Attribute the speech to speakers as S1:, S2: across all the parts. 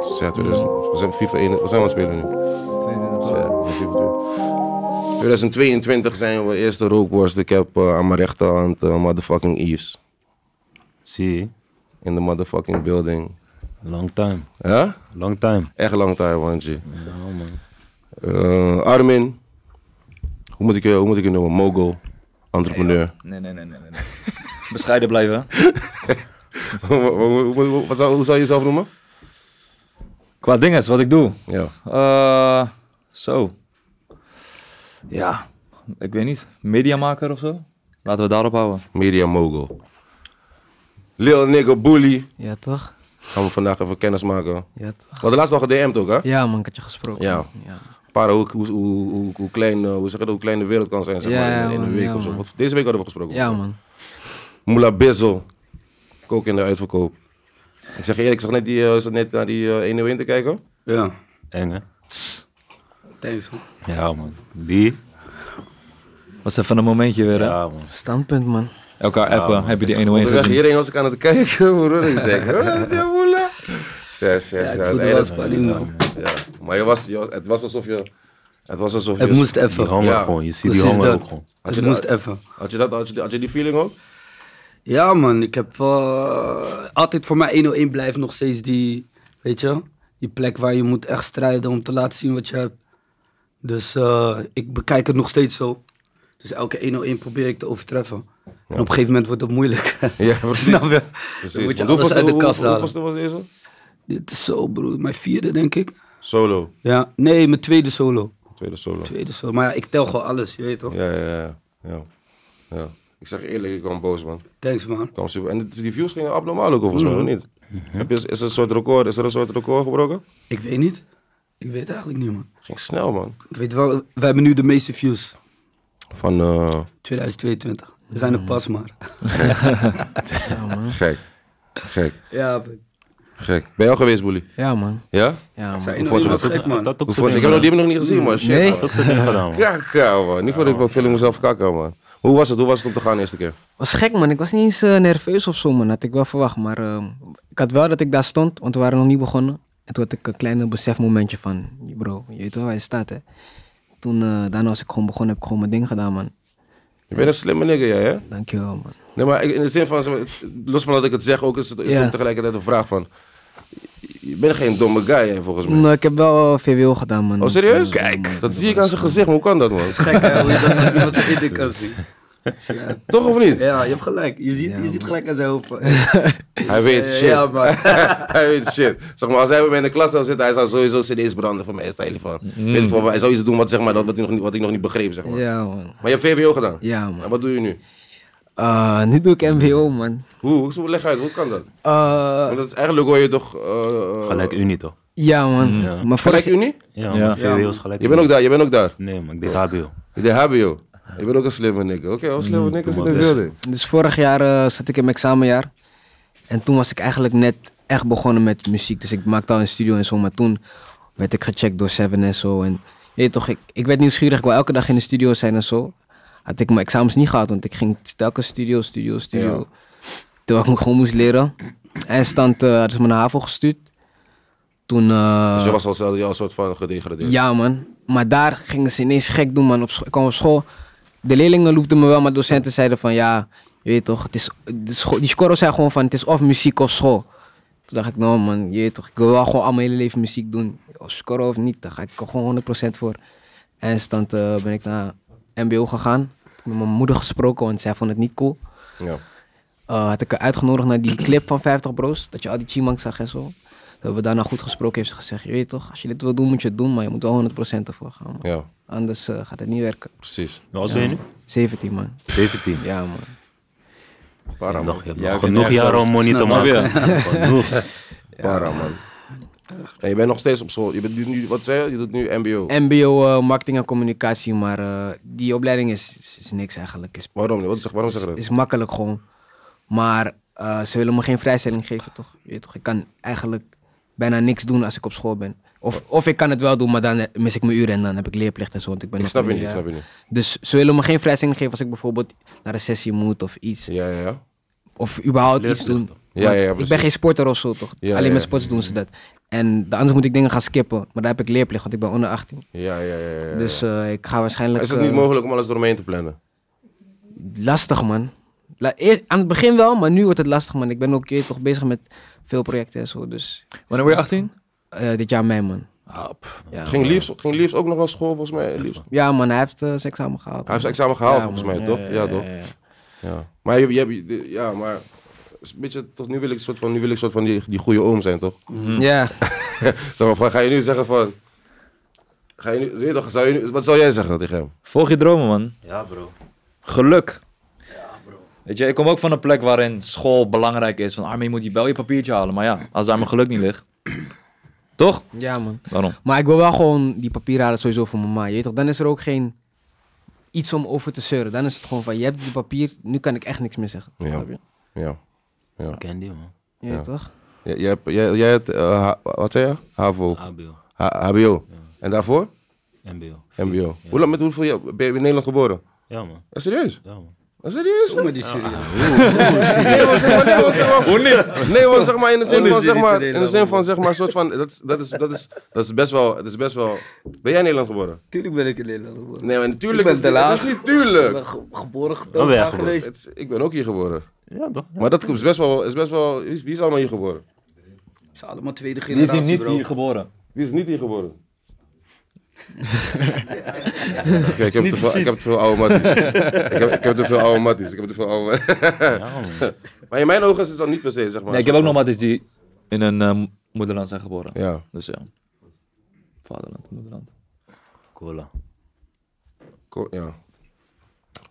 S1: 2000, we zijn FIFA 1, we zijn aan het spelen nu. Dus, ja, we zijn FIFA 2. 2022 zijn we eerste rookworst. Ik heb eh, aan mijn rechterhand eh, motherfucking Eves.
S2: Zie,
S1: In de motherfucking building.
S2: long time.
S1: Ja?
S2: Long time.
S1: Echt lang tijd, Nou, man. G. Eh, Armin. Hoe moet, ik, je- hoe moet ik je noemen? Mogul. Entrepreneur.
S3: Nee, nee, nee, nee. nee, nee. Bescheiden blijven.
S1: Hoe- hoe- hoe- hoe- wat zou- Hoe zou je jezelf noemen?
S3: Qua dingen is wat ik doe.
S1: Ja.
S3: Eh, zo. Ja, ik weet niet. Mediamaker of zo? Laten we daarop houden.
S1: Media mogul. Lil nigga bully.
S4: Ja, toch?
S1: Gaan we vandaag even kennis maken. We
S4: Ja, toch?
S1: hadden laatst nog gedM'd ook, hè?
S4: Ja, man, ik had je gesproken.
S1: Ja.
S4: ja.
S1: Para, hoe, hoe, hoe, hoe, hoe klein, eh, hoe, zeg je dat, hoe klein de wereld kan zijn, zeg
S4: Ja,
S1: maar, in- in,
S4: man,
S1: een week
S4: ja,
S1: of zo.
S4: man.
S1: Wat- deze week hadden we gesproken.
S4: Ja, man.
S1: Moula Bizzle. Kook in de uitverkoop. Ik zeg je eerlijk, ik zag net, die, eh, zat net naar die eh 101 te kijken.
S5: Ja,
S2: Eng, hè?
S5: thanks man.
S2: Ja, man. Die?
S3: Was even een momentje weer, hè?
S2: Ja, man.
S4: Standpunt, man.
S3: Elkaar appen. Heb je die 101
S1: Onderweg
S3: gezien?
S1: hierheen was ik aan het kijken, broer. Ik denk, hè, die moela. Zes, zes,
S5: ik
S1: ja,
S5: voelde
S1: nee,
S5: wel
S1: dat-
S5: spanning man.
S1: ja. Maar je was, je was- het was alsof je... Het was alsof
S5: Het
S1: je...
S5: moest
S2: Die
S5: even.
S2: honger
S1: Ja.
S2: gewoon. Je ziet
S5: Precies
S2: die honger
S5: dat.
S2: ook gewoon.
S1: Had
S5: Het
S1: je
S5: moest
S1: dat-
S5: even.
S1: Had je, dat, had, je, die- had je die feeling ook?
S5: Ja man, ik heb eh, altijd voor mij 101 blijft nog steeds die, weet je, die plek waar je moet echt strijden om te laten zien wat je hebt. Dus eh, ik bekijk het nog steeds zo. Dus elke 101 probeer ik te overtreffen. En op een gegeven moment wordt het moeilijk.
S1: Ja, precies.
S5: Snap je?
S1: Precies.
S5: Dan moet je
S1: Want hoeveelste-
S5: alles uit de
S1: hoe-
S5: kast
S1: hoe-
S5: halen.
S1: Hoeveelste was deze?
S5: Dit is zo broer, mijn vierde denk ik.
S1: Solo.
S5: Ja, nee, mijn tweede solo.
S1: Tweede solo.
S5: Tweede solo, maar ja, ik tel gewoon alles, je weet toch?
S1: Ja, ja, ja, ja. ja. Ik zeg je eerlijk, ik kwam boos, man. Ik
S5: Thanks man.
S1: kwam super. En de reviews gingen abnormaal ook, volgens mij, of niet?
S4: Mhm.
S1: Heb je, is er een soort record? Is er een soort record gebroken?
S5: Ik weet niet. Ik weet eigenlijk niet man.
S1: Ging snel, man.
S5: Ik weet wel, we hebben nu de meeste views.
S1: Van, eh,
S5: 2022. We zijn er pas maar.
S4: Ja, man.
S1: gek. Gek.
S5: Ja,
S1: Gek. Ben je al geweest, Boelie?
S4: Ja, man.
S1: Ja?
S4: Ja, man.
S5: zijn
S1: Hoe vond je dat?
S5: gek man.
S2: Dat ook
S1: Hoe
S2: zo
S1: vond je- Ik heb nog die hebben nog niet gezien, man. Shit,
S4: Nee.
S1: man.
S2: Dat ook zo ding gedaan, man.
S1: Kaka, man. Nu vond ik wel film mezelf kakken, man. Hoe was het? Hoe was het om te gaan de eerste keer?
S4: was gek, man. Ik was niet eens eh, nerveus of zo, man. Had ik wel verwacht. Maar ehm, ik had wel dat ik daar stond, want we waren nog niet begonnen. En toen had ik een klein besefmomentje van, bro, je weet wel waar je staat, hè. Toen, eh, daarna was ik gewoon begonnen, heb ik gewoon mijn ding gedaan, man.
S1: Je bent een slimme nigger, jij, hè?
S4: Dankjewel, man.
S1: Nee, maar ik- in de zin van, zeg maar, het- los van dat ik het zeg, ook is het, is het
S4: Ja.
S1: ook tegelijkertijd een vraag van... Je bent geen domme guy, hè, volgens mij.
S4: Nou, ik heb wel eh, VWO gedaan, man.
S1: Oh, serieus?
S4: Ja, man.
S1: Dat zie ik aan zijn gezicht, maar hoe kan dat, man?
S5: Gek hè, hoe je dat met iemand zijn eten kan zien.
S1: Toch of niet?
S5: Ja, je hebt gelijk. Je ziet, je ziet gelijk aan zijn hoofd. van,
S1: Hij weet
S5: eh,
S1: shit.
S5: Ja, maar.
S1: hij weet shit. Zeg maar, als hij bij mij in de klas zou zitten, hij zou sowieso cd's branden van mijn stijl van. Weet ik, wel, maar hij zou iets doen wat, zeg maar, dat, wat, hij nog niet, wat ik nog niet begreep, zeg maar.
S4: Mm. Ja, man.
S1: Maar je hebt VWO gedaan.
S4: Ja, man.
S1: En wat doe je nu?
S4: Eh, nu doe ik MBO, man.
S1: Hoe? hoe- hoe- Leg uit, hoe kan dat?
S4: Eh,
S1: Want dat is, eigenlijk hoor je toch... eh,
S2: Gelijk Unie, toch?
S4: ja, man. Maar vorig,
S1: Gelijk Unie?
S2: Ja,
S3: Ja.
S2: man. VWO is gelijk
S1: Je bent ook
S2: Unie.
S1: daar, je bent ook daar.
S2: Nee, man. Ik deed HBO.
S1: Je deed HBO. Je bent ook een slimme nigger. Oké, wel
S4: Mm,
S1: slimme niggers in de building.
S4: dus vorig jaar eh, zat ik in mijn examenjaar. En toen was ik eigenlijk net echt begonnen met muziek. Dus ik maakte al een studio en zo. Maar toen werd ik gecheckt door Seven en zo. En je weet toch, ik, ik werd nieuwsgierig. Ik wil elke dag in de studio zijn en zo. Had ik mijn examens niet gehad, want ik ging telkens studio, studio, studio. Terwijl ik me gewoon moest leren. En stand eh, hadden ze me naar HAVO gestuurd. Toen... eh,
S1: Dus je was al, zelf- je was een soort van gedegradeerd.
S4: Ja, man. Maar daar gingen ze ineens gek doen, man. Op scho- ik kwam op school. De leerlingen loefden me wel, maar docenten zeiden van ja, je weet toch, het is, de scho- die scorrels zijn gewoon van het is of muziek of school. Toen dacht ik, nou man, je weet toch, ik wil wel gewoon al mijn hele leven muziek doen. Of scoren of niet, daar ga ik er gewoon 100% voor. En stand eh, ben ik naar MBO gegaan. Heb ik Met mijn moeder gesproken, want zij vond het niet cool.
S1: Ja.
S4: Eh, had ik haar uitgenodigd naar die clip van 50 Bros. Dat je al die Chimangs zag en zo. Dat hebben we daarna goed gesproken. Heeft ze gezegd: Je weet toch, als je dit wil doen, moet je het doen. Maar je moet wel 100% ervoor gaan. man.
S1: Ja,
S4: Anders eh, gaat het niet werken.
S1: precies.
S2: Hoe oud ben je nu?
S4: 17 man.
S2: 17.
S4: Ja, man.
S1: Para, man.
S2: Nog, je hebt
S3: Ja,
S2: nog
S3: ik ben
S2: genoeg
S3: echt
S2: jaren om money te
S5: Snap
S2: maken. Genoeg.
S1: Para, man. En je bent nog steeds op school. Je bent nu- nu, wat zei je? Je doet nu MBO.
S4: MBO eh, marketing en communicatie. Maar eh, die opleiding is, is, is niks eigenlijk. Is,
S1: Waarom niet? Wat zeg, waarom zeg
S4: is,
S1: je dat?
S4: is makkelijk gewoon. Maar eh, ze willen me geen vrijstelling geven, toch? Je weet toch? Ik kan eigenlijk bijna niks doen als ik op school ben. Of, of ik kan het wel doen, maar dan eh, mis ik mijn uren en dan heb ik leerplicht en zo. Want ik ben
S1: Ik
S4: nog
S1: snap je
S4: een
S1: niet, ik
S4: jaar.
S1: snap je niet.
S4: Dus ze willen me geen vrijstelling geven als ik bijvoorbeeld naar een sessie moet of iets.
S1: Ja, ja, ja.
S4: of überhaupt iets doen.
S1: Ja,
S4: Want
S1: ja,
S4: ik
S1: precies.
S4: ben geen sporter of zo, toch?
S1: Ja,
S4: Alleen
S1: ja.
S4: met sports doen ze dat. En anders moet ik dingen gaan skippen. Maar daar heb ik leerplicht, want ik ben onder 18.
S1: Ja, ja, ja. ja, ja.
S4: Dus eh, ik ga waarschijnlijk...
S1: is het niet
S4: eh,
S1: mogelijk om alles doorheen te plannen?
S4: Lastig, man. La- eer- aan het begin wel, maar nu wordt het lastig, man. Ik ben ook je weet toch bezig met veel projecten en zo. Dus
S3: Wanneer word je 18?
S4: eh, dit jaar mei, man.
S3: Ah, pff.
S4: Ja,
S1: Ging Liefs, ging Liefs ook nog naar school volgens mij? Liefs?
S4: ja man, hij heeft eh, zijn examen gehaald.
S1: Hij heeft zijn examen gehaald
S4: Ja,
S1: volgens
S4: man.
S1: mij, toch? Ja, toch?
S4: ja, ja.
S1: Ja. Maar je, je, je- ja, maar het is een beetje, toch, nu wil ik soort van, nu wil ik soort van die, die goede oom zijn, toch?
S4: Ja,
S1: Mm. Zeg maar, van, ga je nu zeggen van, ga je nu, zie je toch, zou je nu, wat zou jij zeggen tegen hem?
S3: Volg je dromen, man.
S2: Ja, bro.
S3: Geluk. Ja, bro. Weet je, ik kom ook van een plek waarin school belangrijk is. Van, ah, maar je moet je wel je papiertje halen. Maar ja, als daar mijn geluk niet ligt. Toch?
S4: ja, man.
S3: Daarom.
S4: Maar ik wil wel gewoon die papieren halen sowieso voor mama. Je weet toch, dan is er ook geen iets om over te zeuren. Dan is het gewoon van, je hebt die papier, nu kan ik echt niks meer zeggen.
S1: Ja.
S4: Snap je?
S1: Ja. Ja.
S2: Ken die, man.
S4: Je weet
S1: Ja.
S4: toch?
S1: J- Jij, hebt- jij, jij hebt, eh, ha- wat zei je? HAVO.
S2: HBO,
S1: H- HBO. En daarvoor?
S2: MBO.
S1: MBO. Hoe lang, met hoeveel jaar ben je in Nederland geboren?
S2: Ja, man.
S1: Ja, serieus?
S2: Ja, man.
S1: Ja, serieus?
S5: Doe maar die serieus.
S1: Nee, want zeg maar, nee, want zeg maar- Nee, want zeg maar in de zin
S5: Hoe
S1: van,
S5: niet?
S1: zeg maar,
S5: Dit is
S1: in de zin van, zeg maar, soort van, dat is, dat is, dat is, dat is best wel, dat is best wel, ben jij in Nederland geboren?
S5: Tuurlijk ben ik in Nederland geboren.
S1: Nee, maar
S5: Ik
S1: natuurlijk
S5: ben
S1: is het
S5: te
S1: dat is
S5: laag.
S1: niet
S5: Ik
S1: tuurlijk.
S5: ben ge- geboren
S2: Dan ben
S5: getogen
S2: jij
S5: aangewezen.
S1: Het is- ik ben ook hier geboren.
S2: Ja, toch?
S1: Maar dat is best wel, is best wel, wie is, wie is allemaal hier geboren?
S5: Het is allemaal tweede
S3: Die is
S5: generatie,
S3: hier niet
S5: bro.
S3: hier geboren.
S1: Wie is niet hier geboren? Oké, ik, heb te veel- ik heb te veel oude matties. ik, heb, ik heb te veel oude matties. Ik heb te veel oude...
S2: Ja, man.
S1: maar in mijn ogen is het dan niet per se, zeg maar.
S3: Nee, ik heb ook nog matties die in een eh, moederland zijn geboren.
S1: Ja.
S3: Dus ja. Vaderland, moederland.
S2: Cola.
S1: Ko- ja.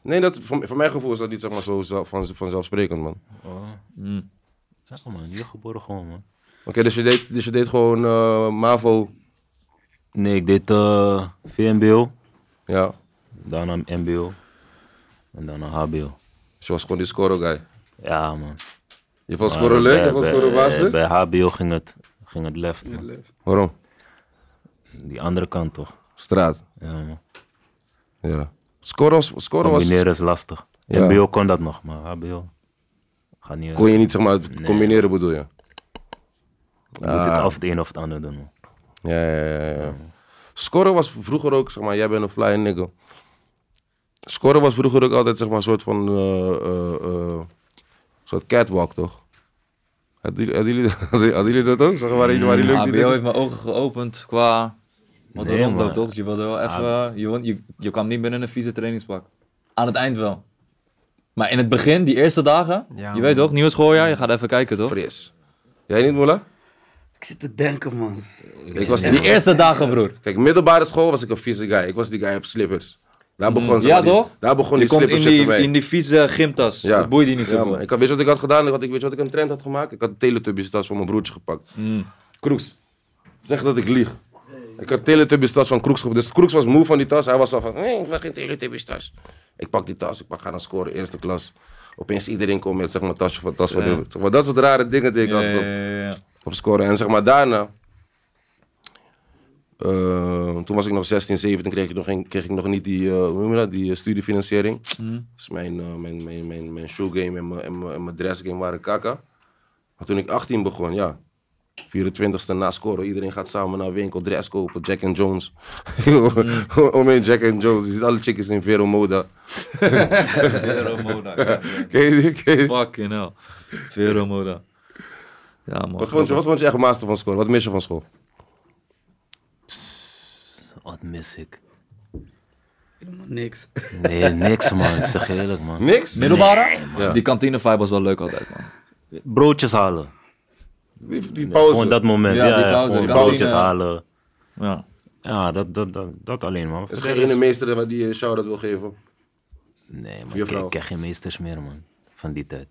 S1: Nee, dat, voor, voor mijn gevoel is dat niet zeg maar, zo zelf- van, vanzelfsprekend, man.
S2: Oh.
S3: Mm.
S2: Ja, man. Hier geboren gewoon, man.
S1: Oké, dus, je deed- dus je deed gewoon eh, MAVO.
S2: Nee, ik deed eh, VMBO,
S1: Ja.
S2: daarna MBO en daarna HBO.
S1: Dus je was gewoon die scorer guy.
S2: Ja, man.
S1: Je vond
S2: Maar
S1: scoren leuk, je
S2: bij-
S1: vond
S2: bij-
S1: scoren
S2: eh,
S1: baaster.
S2: Bij HBO ging het, ging het left, man.
S1: Waarom?
S2: Die andere kant toch?
S1: Straat.
S2: Ja, man.
S1: Ja. Scoren, was- scoren was...
S2: Combineren is lastig.
S1: Ja.
S2: MBO kon dat nog, maar HBO gaat niet.
S1: Kon je niet zeg maar het combineren bedoel je?
S2: Je moet
S1: Ah.
S2: het of het een of het ander doen, man.
S1: Ja, ja, ja, ja, ja. Scoren was vroeger ook, zeg maar, jij bent een flying nigga. Scoren was vroeger ook altijd, zeg maar, een soort van, eh, eh, eh, soort catwalk, toch? Hadden jullie- hadden jullie, hadden hadden jullie dat ook? Zeg maar, waren jullie, waren jullie ook die
S3: HBO
S1: dingen?
S3: Ah, heeft mijn ogen geopend qua... Wat
S2: Nee,
S3: er rondloopt,
S2: man.
S3: toch? Je wilde wel even...
S1: Ah.
S3: Je, won- je, je kwam niet binnen een vieze trainingspak. Aan het eind wel. Maar in het begin, die eerste dagen...
S4: Ja,
S3: je weet
S4: man.
S3: toch, nieuw schooljaar, je gaat even kijken, toch?
S1: Fris. Jij niet, Moela?
S5: Ik zit te denken, man.
S1: Ik was
S3: Die
S1: die...
S3: eerste dagen, broer.
S1: Kijk, middelbare school was ik een vieze guy. Ik was die guy op slippers. Daar begon, zeg
S3: Mm, Ja,
S1: maar, die-
S3: toch?
S1: Daar begon
S3: Je
S1: die
S3: komt
S1: slippers
S3: in
S1: shit voor
S3: die,
S1: mij.
S3: in die vieze gymtas.
S1: Ja.
S3: Dat boeit die niet
S1: Ja,
S3: zo
S1: man.
S3: goed.
S1: Ik had, weet je wat ik had gedaan? Ik had, ik, weet je wat ik een trend had gemaakt? Ik had een Teletubbies tas van mijn broertje gepakt. Kroeks. Zeg dat ik lieg. Ik had Teletubbies tas van Kroeks gepakt. Dus Kroeks was moe van die tas. Hij was al van, nee, ik wil geen Teletubbies tas. Ik pak die tas. Ik pak, ga naar scoren, eerste klas. Opeens iedereen komt met zeg maar, tasje van tas van de- zeg maar, Dat soort rare dingen die ik
S3: Ja,
S1: had
S3: ja,
S1: op,
S3: ja, ja.
S1: op scoren. En zeg maar daarna... eh, toen was ik nog 16, 17, kreeg ik nog, geen, kreeg ik nog niet die, eh, hoe noem je dat, die eh, studiefinanciering.
S2: Mm.
S1: Dus mijn, eh, mijn, mijn, mijn, mijn showgame en mijn, en mijn, en mijn dressgame waren kaka. Maar toen ik 18 begon, ja. 24ste na scoren, iedereen gaat samen naar winkel, dress kopen, Jack and Jones.
S2: Mm.
S1: Om een Jack and Jones, je ziet alle chickies in Vero Moda.
S3: Vero Moda, ja.
S1: Ken je die? Ken je die?
S3: Fucking hell. Vero Moda. Ja,
S2: Oh,
S3: man.
S1: Wat vond je, wat vond je echt master van scoren? Wat mis je van school?
S2: Wat mis ik?
S5: Helemaal niks.
S2: Nee, niks, man. Ik zeg je eerlijk, man.
S1: Niks?
S3: Middelbare?
S1: Ja.
S3: Die kantine vibe was wel leuk altijd, man.
S2: Broodjes halen.
S1: Die, die pauze.
S2: Gewoon dat moment.
S3: Ja,
S2: Ja,
S3: die
S2: ja,
S3: pauze.
S2: gewoon
S3: Kantine.
S2: broodjes halen.
S3: Ja.
S2: Ja, dat, dat, dat, dat alleen, man.
S1: Is er geen ene meester waar die je een shout-out wil geven?
S2: Nee, man. Ik,
S1: Juffrouw.
S2: ik ken geen meesters meer, man. Van die tijd.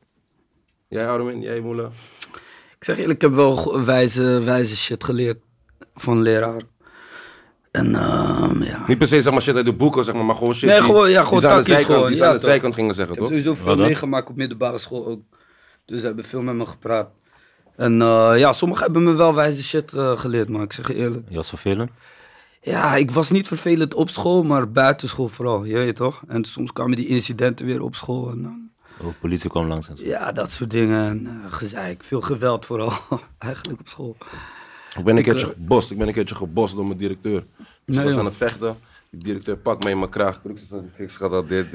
S1: Jij Armin, jij Moela.
S5: Ik zeg eerlijk, ik heb wel go- wijze, wijze shit geleerd van leraar. En ehm, ja.
S1: Niet per se zeg maar shit uit de boeken, zeg maar, maar gewoon shit
S5: Nee,
S1: die-
S5: gewoon- ja,
S1: die
S5: gewoon
S1: ze aan de
S5: takkies
S1: zijkant,
S5: gewoon,
S1: die ze
S5: ja,
S1: aan de
S5: toch.
S1: zijkant gingen zeggen,
S5: Ik heb
S1: toch?
S5: sowieso veel
S2: dan?
S5: meegemaakt op middelbare school ook. Dus ze hebben veel met me gepraat. En eh, ja, sommigen hebben me wel wijze shit eh, geleerd, maar ik zeg je eerlijk.
S2: Je was vervelend?
S5: Ja, ik was niet vervelend op school, maar buiten school vooral. Je weet toch? En soms kwamen die incidenten weer op school. En, dan-
S2: Oh, politie kwam langs en zo.
S5: Ja, dat soort dingen. En, eh, gezeik. Veel geweld vooral. eigenlijk op school.
S1: Ik ben een
S5: Ik,
S1: keertje
S5: eh,
S1: gebost. Ik ben een keertje gebost door mijn directeur. Dus
S5: Nee,
S1: ik was
S5: joh.
S1: aan het vechten. Die directeur pakt mij in mijn kraag. Kriks gaat dat dit.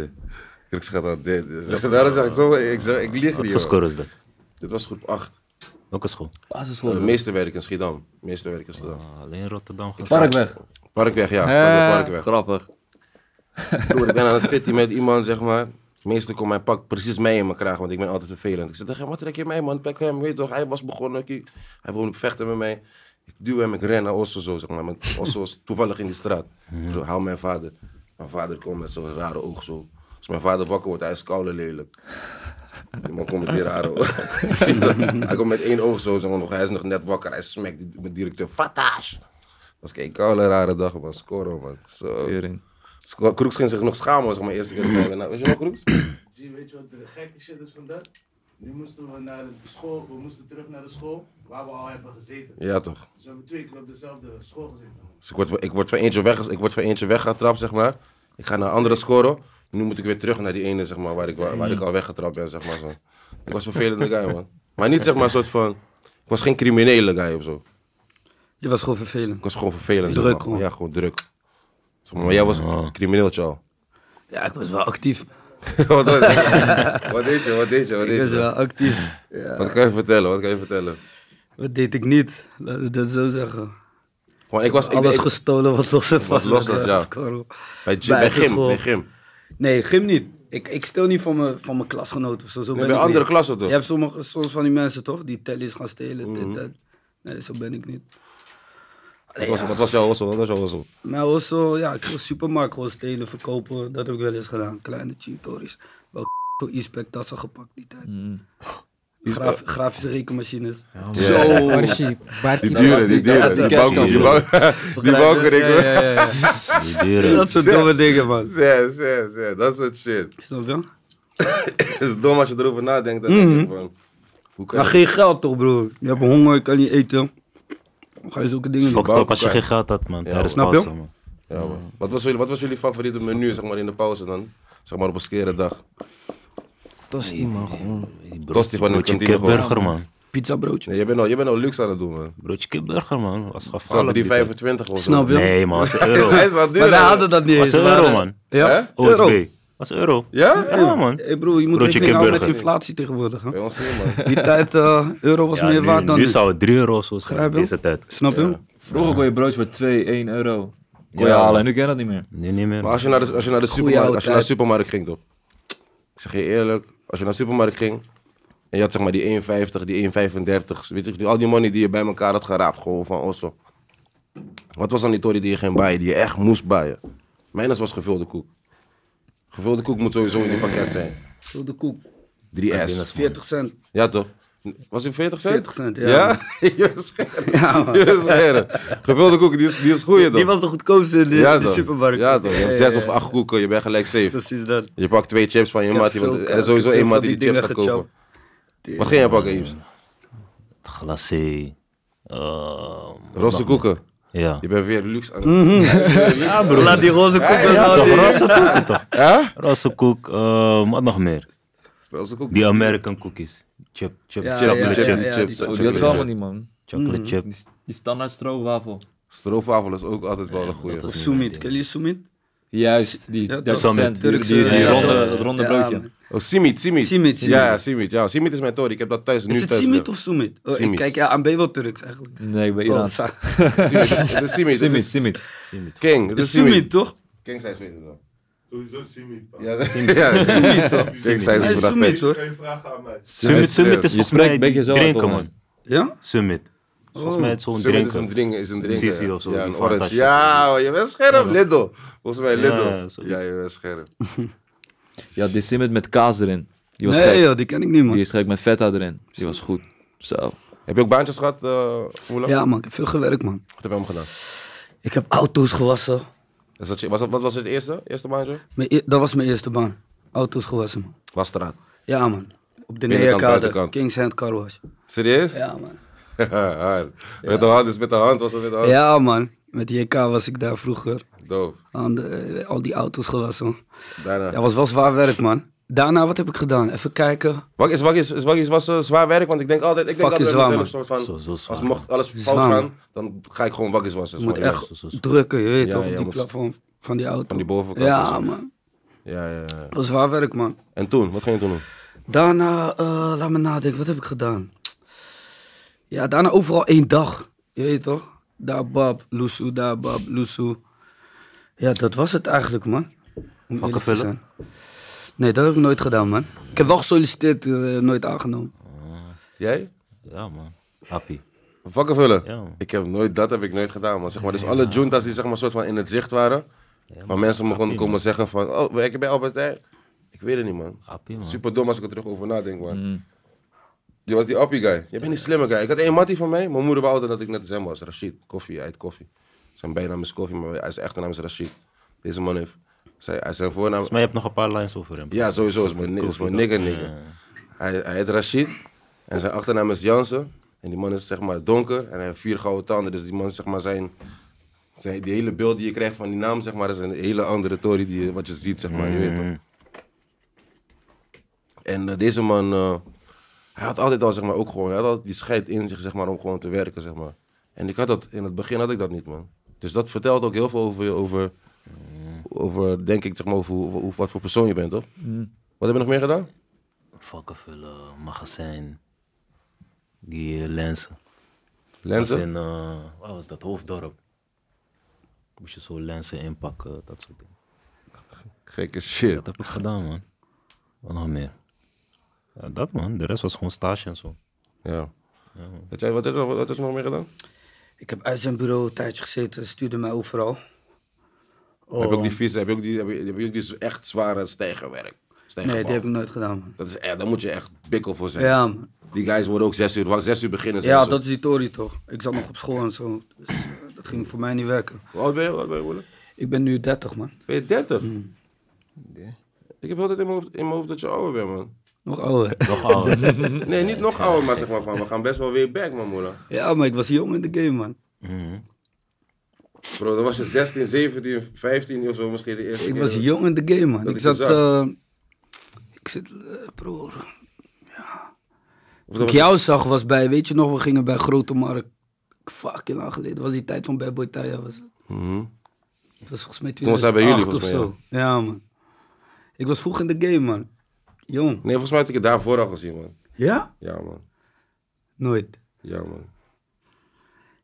S1: Kriks gaat dat dit. Dus Daarom zeg ik zo, ik, zeg- ik lieg niet.
S2: Wat voor
S1: joh.
S2: score is dat?
S1: Dit was groep 8.
S2: Welke school?
S1: Uh, meesterwerk in Schiedam. Meesterwerk in Schiedam.
S2: Ah, alleen Rotterdam. gaan.
S3: Parkweg.
S1: Parkweg, ja.
S3: Eh,
S1: Van de Parkweg.
S3: Grappig.
S1: Broer, ik ben aan het fitten met iemand, zeg maar. Meestal komt mijn pak precies mij in mijn kraag, want ik ben altijd vervelend. Ik zeg tegen hem, wat trek je mij, man? Pak hem, weet je toch? Hij was begonnen, kijk. hij wilde vechten met mij. Ik duw hem, ik ren naar Osso, zo, zeg maar. Maar Osso was toevallig in die straat. Ik zo, haal mijn vader. Mijn vader komt met zo'n rare oog, zo. Als mijn vader wakker wordt, hij is koude lelijk. Die man komt met die rare oog. hij komt met één oog, zo, zeg maar. nog- Hij is nog net wakker, hij smekt die- mijn directeur. Fatash! Dat was geen koude, rare dag, man. Scoren, man. Zo.
S3: Tering.
S1: Sko- Kroeks ging zich nog schamen, zeg maar, eerste keer. dat hij- Nou, Weet je nog, Kroeks?
S6: Zie, weet je wat de gekke shit is van dat? Nu moesten we naar de school, we moesten terug naar de school waar we al hebben gezeten.
S1: Ja, toch.
S6: Dus we hebben twee keer op dezelfde school gezeten.
S1: Dus ik word, ik, word van eentje weg, ik word van eentje weggetrapt, zeg maar. Ik ga naar een andere scoren. Nu moet ik weer terug naar die ene, zeg maar, waar ik, wa- waar ik al weggetrapt ben, zeg maar. Zo. Ik was een vervelende guy, man. Maar niet, zeg maar, een soort van... Ik was geen criminele guy of zo.
S5: Je was gewoon vervelend.
S1: Ik was gewoon vervelend. zeg
S5: Druk,
S1: maar.
S5: gewoon.
S1: Ja, gewoon druk. Zeg maar, maar jij was een crimineeltje al.
S5: Ja, ik was wel actief.
S1: wat deed je, wat deed je, wat deed je? Wat,
S5: Ik was wel actief.
S1: kan je vertellen, wat kan je vertellen?
S5: Wat deed ik niet? Laten we dat zo zeggen.
S1: Gewoon, ik was... Ik,
S5: Alles
S1: ik-
S5: gestolen wat los en vast
S1: los
S5: was,
S1: was,
S5: eh,
S1: ja.
S5: score.
S1: bij, gy-
S5: bij
S1: bij
S5: de
S1: gym,
S5: school.
S1: bij gym.
S5: Nee, gym niet. Ik, ik stel niet van mijn, van mijn klasgenoten of zo. zo
S1: Nee,
S5: ben
S1: bij
S5: ik
S1: andere
S5: niet.
S1: klassen toch?
S5: Je hebt sommige, soms van die mensen toch, die tellies gaan stelen.
S1: Mhm.
S5: dit, dat. Nee, zo ben ik niet.
S1: Wat was, wat was jouw hossel? Wat was jouw hossel?
S5: Maar ook zo, ja, ik wil supermarkt gewoon stelen, verkopen. Dat heb ik wel eens gedaan. Kleine chintories. Wel voor e-spec tassen gepakt die tijd. Graf- grafische rekenmachines.
S1: Mhm. Ja.
S4: Waar is die? Waar
S1: Die
S4: die-
S1: dure, die
S3: dat
S1: dure.
S3: was die
S1: Die banken, die banken. Die banken,
S5: Ja, ja,
S1: ik
S5: ja, ja.
S2: Die deuren.
S5: Dat soort domme dingen, man.
S1: Zes, zes, zes. Dat soort shit.
S5: Snap je?
S1: Het is dom als je erover nadenkt. Dan denk je van, hoe kan
S5: Mhm. Maar
S1: je-
S5: geen geld toch, broer? Je hebt honger, je kan niet eten. Dan ga je zulke dingen doen.
S1: Fuck.
S2: Fucked up als je geen geld had, man. Tijdens
S1: snap
S5: je?
S2: pauze, man.
S1: Ja, man. Wat was, jullie- wat was jullie favoriete menu zeg maar, in de pauze dan? Zeg maar op een skere dag.
S4: Tosti, man. Gewoon.
S2: Die
S1: Tosti gewoon in de
S2: broodje
S1: kantine gewoon.
S2: kipburger, man.
S5: Pizza broodje.
S1: Nee, jij bent al, jij bent al luxe aan het doen, man.
S2: Broodje kipburger, man. Was
S1: Snap
S2: gevaarlijk.
S1: je,
S2: die tijd.
S1: 3,25 of zo.
S5: Snap je?
S2: Nee, man. Was een euro.
S1: Hij is al duur.
S5: Maar daar
S1: hè?
S5: hadden dat niet
S2: Was
S5: eens.
S2: een
S5: we
S2: euro,
S5: waren-
S2: man.
S5: Ja? Oh,
S1: Hè?
S5: Euro.
S2: OSB. Was een euro.
S1: Ja?
S2: Ja, man.
S5: Hey broer, je moet
S2: Broodje
S5: rekening houden met
S2: kipburger.
S5: inflatie tegenwoordig. Hè?
S1: Bij ons niet, man.
S5: Die tijd, eh, euro was
S2: Ja,
S5: meer waard
S2: nu,
S5: dan
S2: nu
S5: nu.
S2: zou het 3 euro of zo
S5: Grijp
S2: zijn.
S5: je?
S2: Deze tijd.
S5: Snap je?
S3: Vroeger kon je broodjes voor 2, 1 euro. Kon je
S1: Ja.
S3: halen en nu ken je dat niet meer.
S2: Nu niet meer.
S1: Maar als je naar de, als je naar de,
S5: Goeie
S1: supermarkt,
S5: oude
S1: als je naar de
S5: tijd.
S1: supermarkt ging, toch? Ik zeg je eerlijk, als je naar de supermarkt ging en je had zeg maar die 1,50, die 1,35, weet je, die- al die money die je bij elkaar had geraapt, gewoon van Osso. Wat was dan die tory die je ging baaien, die je echt moest baaien? Mijn was gevulde koek. Gevulde koek moet sowieso in die pakket zijn.
S5: Zo de koek.
S1: 3S.
S5: 40 cent.
S1: Ja toch? Was het 40 cent?
S5: 40 cent, ja.
S1: Ja? je was scherp.
S5: Ja, man.
S1: Je was scherp. Gevulde koek, die is, die is goeie toch?
S5: Die was de goedkoopste in de,
S1: ja,
S5: de
S1: toch?
S5: supermarkt.
S1: Ja toch? Je hebt
S5: Ja,
S1: zes
S5: ja,
S1: of
S5: ja.
S1: acht koeken, je bent gelijk safe.
S5: Precies dat.
S1: Je pakt twee chips van je
S5: Ik heb
S1: mattie,
S5: zo
S1: want er
S5: kak-
S1: is sowieso
S5: veel
S1: één
S5: van
S1: mattie die,
S5: die
S1: chips gaat
S5: dingen
S1: kopen. Wat ging jij pakken, Yves?
S2: Glacé. eh,
S1: Rosse koeken.
S2: Ja.
S1: Je bent weer luxe aan
S5: Mhm. Ja, broer. Laat die roze koek
S1: ja,
S5: nou,
S2: Toch,
S5: die-
S2: rosse koeken toch?
S1: Hè?
S2: Rosse koek, eh, wat nog meer?
S1: Rosse koeken.
S2: Die American cookies. Chip, chip,
S5: Ja,
S2: chocolate
S5: ja,
S1: Chocolate
S2: chip.
S5: ja,
S1: chip, die
S5: ja,
S1: chips.
S5: die
S3: Zo,
S1: chocolate
S3: die had
S1: chips.
S3: wel allemaal niet, man.
S2: Chocolate
S1: Mhm.
S2: chip.
S3: Die, die standaard stroopwafel.
S1: Stroopwafel is ook altijd wel een goeie.
S5: Of Soumit. Ken je Soumit?
S3: Juist, die
S5: Ja, toch?
S3: 30 cent. Die, die,
S5: Turkse-
S3: die,
S5: ja, ja,
S3: ronde,
S5: ja.
S3: dat ronde
S5: Ja,
S3: broodje.
S5: man.
S1: Oh, simit, simit.
S5: Simit, simit.
S1: Ja, ja, simit. Ja, simit is mijn tory. Ik heb dat thuis nu
S5: Is het
S1: thuis.
S5: Simit of Soumit? Oh, ik
S1: Simit.
S5: kijk ja, aan B wel Turks eigenlijk.
S3: Nee, ik ben
S5: Oh,
S3: Iran.
S5: sa-
S1: Simit, het is- het is simit. Het
S3: Simit,
S1: is
S3: simit.
S1: King. Het is
S5: Is Soumit
S1: simit.
S5: toch?
S1: King zijn Zweden dan.
S6: Sowieso Simit.
S1: Ja, dat- ja. Simit toch? King zijn
S5: Hij is Soumit
S1: Zweden.
S5: hoor.
S6: Geen vragen aan mij.
S2: Summit, Summit is
S1: Je
S2: volgens
S3: spreekt
S2: mij
S3: een beetje
S2: die
S3: zo uit,
S2: drinken,
S3: hoor.
S2: man.
S5: Ja?
S2: Summit. Volgens mij is zo'n
S1: Simit Oh. is
S2: drinken.
S1: een drinken. Is een drinken.
S2: Sisi of zo,
S1: Ja,
S2: die
S1: een orange.
S2: fantastische.
S1: Ja, je bent scherp. Lidl. Volgens mij
S2: Ja,
S1: Lidl.
S2: zoiets.
S1: Ja, je bent scherp.
S3: Ja, die simit met kaas erin. Die was
S5: Nee
S3: gek.
S5: joh, die ken ik niet
S3: Die
S5: man.
S3: is gek met feta erin. Die was goed. Zo.
S1: Heb je ook baantjes gehad, eh Oela?
S5: Ja man, ik heb veel gewerkt man.
S1: Wat heb je hem gedaan?
S5: Ik heb auto's gewassen.
S1: Is dat je- was dat, wat was het eerste? Eerste baantje?
S5: Mijn e- Dat was mijn eerste baan. Auto's gewassen man.
S1: Wasstraat.
S5: Ja man. Op de
S1: Binnenkant,
S5: Neerkade.
S1: buitenkant.
S5: Kings Hand Car Wash.
S1: Serieus?
S5: Ja man.
S1: Hard. Met de hand, dus met de hand was het met de hand.
S5: Ja man. Met JK was ik daar vroeger.
S1: Doof.
S5: Aan de, eh, al die auto's gewassen.
S1: Daarna.
S5: Ja, was wel zwaar werk, man. Daarna, wat heb ik gedaan? Even kijken.
S1: Wakkies, wakkies, is wakkies was eh, zwaar werk, want ik denk altijd, ik denk
S5: Fuck
S1: altijd
S5: is
S1: bij
S5: zwaar,
S1: mezelf soort van,
S2: Zo, zo zwaar,
S1: als mocht alles fout
S5: Zwaar, man.
S1: gaan, dan ga ik gewoon wakkies wassen.
S5: Je moet
S1: Gewoon,
S5: echt
S1: ja,
S2: zo, zo.
S5: drukken, je weet
S1: Ja,
S5: toch?
S1: ja,
S5: op die
S1: moet-
S5: plafond van die auto.
S1: Van die bovenkant.
S5: ja,
S1: dus.
S5: man.
S1: ja, ja, ja.
S5: Dat was zwaar werk, man.
S1: En toen, wat ging je toen doen?
S5: Daarna, eh, laat me nadenken, wat heb ik gedaan? Ja, daarna overal één dag. Je weet toch? Daar bab, loesoe, daar bab, loesoe. Ja, dat was het eigenlijk, man. Om eerlijk te
S2: vullen?
S5: zijn. Nee, dat heb ik nooit gedaan, man. Ik heb wel gesolliciteerd, eh, nooit aangenomen.
S1: Jij?
S2: Ja, man. Happy.
S1: Vakken vullen?
S2: Ja, man.
S1: Ik heb nooit, dat heb ik nooit gedaan, man. Zeg maar, dus alle juntas die zeg maar soort van in het zicht waren, maar mensen me gewoon komen zeggen van, oh, werk je bij Albert Heijn? Ik weet het niet, man.
S2: Happy, man.
S1: Super dom als ik er terug over nadenk, man. Je was die appie guy. Je bent die slimme guy. Ik had één mattie van mij. Mijn moeder wou altijd dat ik net als hem was. Rashid. Koffie. Hij heet Koffie. Zijn bijnaam is Koffie, maar hij- zijn echte naam is Rashid. Deze man heeft... Zijn, hij- zijn voornaam...
S2: Maar je hebt nog een paar lines over hem.
S1: Ja, sowieso. Is mijn, ni- is mijn nigger nigger. Hij, hij heet Rashid. En zijn achternaam is Jansen. En die man is zeg maar donker. En hij heeft vier gouden tanden. Dus die man is zeg maar zijn... zijn die hele beeld die je krijgt van die naam, zeg maar, is een hele andere tory die, je- wat je ziet, zeg maar. Je weet toch? En eh, deze man, eh, hij had altijd al, zeg maar, ook gewoon, hij had altijd die scheid in zich, zeg maar, om gewoon te werken, zeg maar. En ik had dat, in het begin had ik dat niet, man. Dus dat vertelt ook heel veel over, je- over, over denk ik, zeg maar, over, hoe- hoe- wat voor persoon je bent, toch? Wat heb je nog meer gedaan?
S2: Vakken vullen, Eh, magazijn. Die eh, lenzen.
S1: Lenzen?
S2: Was in, eh, wat was dat? Hoofddorp. Moest je zo lenzen inpakken, dat soort dingen.
S1: Gekke shit.
S2: Dat heb ik gedaan, man. Wat nog meer? Ja, dat, man. De rest was gewoon stage en zo.
S1: Ja. Had jij, wat, heb je- wat, heb je nog meer gedaan?
S5: Oh, Ik heb uit zijn bureau een tijdje gezeten, stuurde mij overal.
S1: Heb je ook die vieze, heb je ook die, heb je, heb je ook die echt zware stijgerwerk?
S5: Oh, Nee,
S1: Stijgerbal.
S5: die heb ik nooit gedaan, man.
S1: dat is, echt- daar moet je echt bikkel voor zijn.
S5: Ja, man.
S1: Die guys worden ook zes uur, wa- zes uur beginnen. zijn
S5: Ja,
S1: ze.
S5: dat is die Tory toch? Ik zat nog op school en zo. Dus eh, dat ging voor mij niet werken.
S1: Hoe oud ben je, hoe oud ben je, Willem?
S5: Ik ben nu 30, man.
S1: Ben je 30?
S5: Hmm.
S1: Ik heb altijd in mijn, hoofd, in mijn hoofd dat je ouder bent, man.
S5: Nog ouder.
S2: Nog ouder.
S1: Nee, niet nog ouder, maar zeg maar van, we gaan best wel weer back, man, moeder.
S5: Ja, maar ik was jong in de game, man.
S2: Mhm.
S1: Bro, dan was je 16, 17, 15 of zo misschien de eerste
S5: Ik
S1: keer.
S5: was jong in de game, man.
S1: Dat
S5: Ik
S1: ik
S5: zat.
S1: je
S5: eh, ik zit. eh, broer.
S1: Of
S5: Toen
S1: dat
S5: ik
S1: was-
S5: jou zag was bij. Weet je nog, we gingen bij Grote Markt. Fucking lang geleden. Dat was die tijd van Bad Boy Taya. Was het.
S1: Mhm.
S5: Dat was volgens mij
S1: Toen was hij bij jullie,
S5: 2008 of
S1: volgens
S5: zo. Ja, man. Ik was vroeg in de game, man. Jong.
S1: Nee, volgens mij had ik het daarvoor al gezien, man.
S5: Ja?
S1: Ja, man.
S5: Nooit.
S1: Ja, man.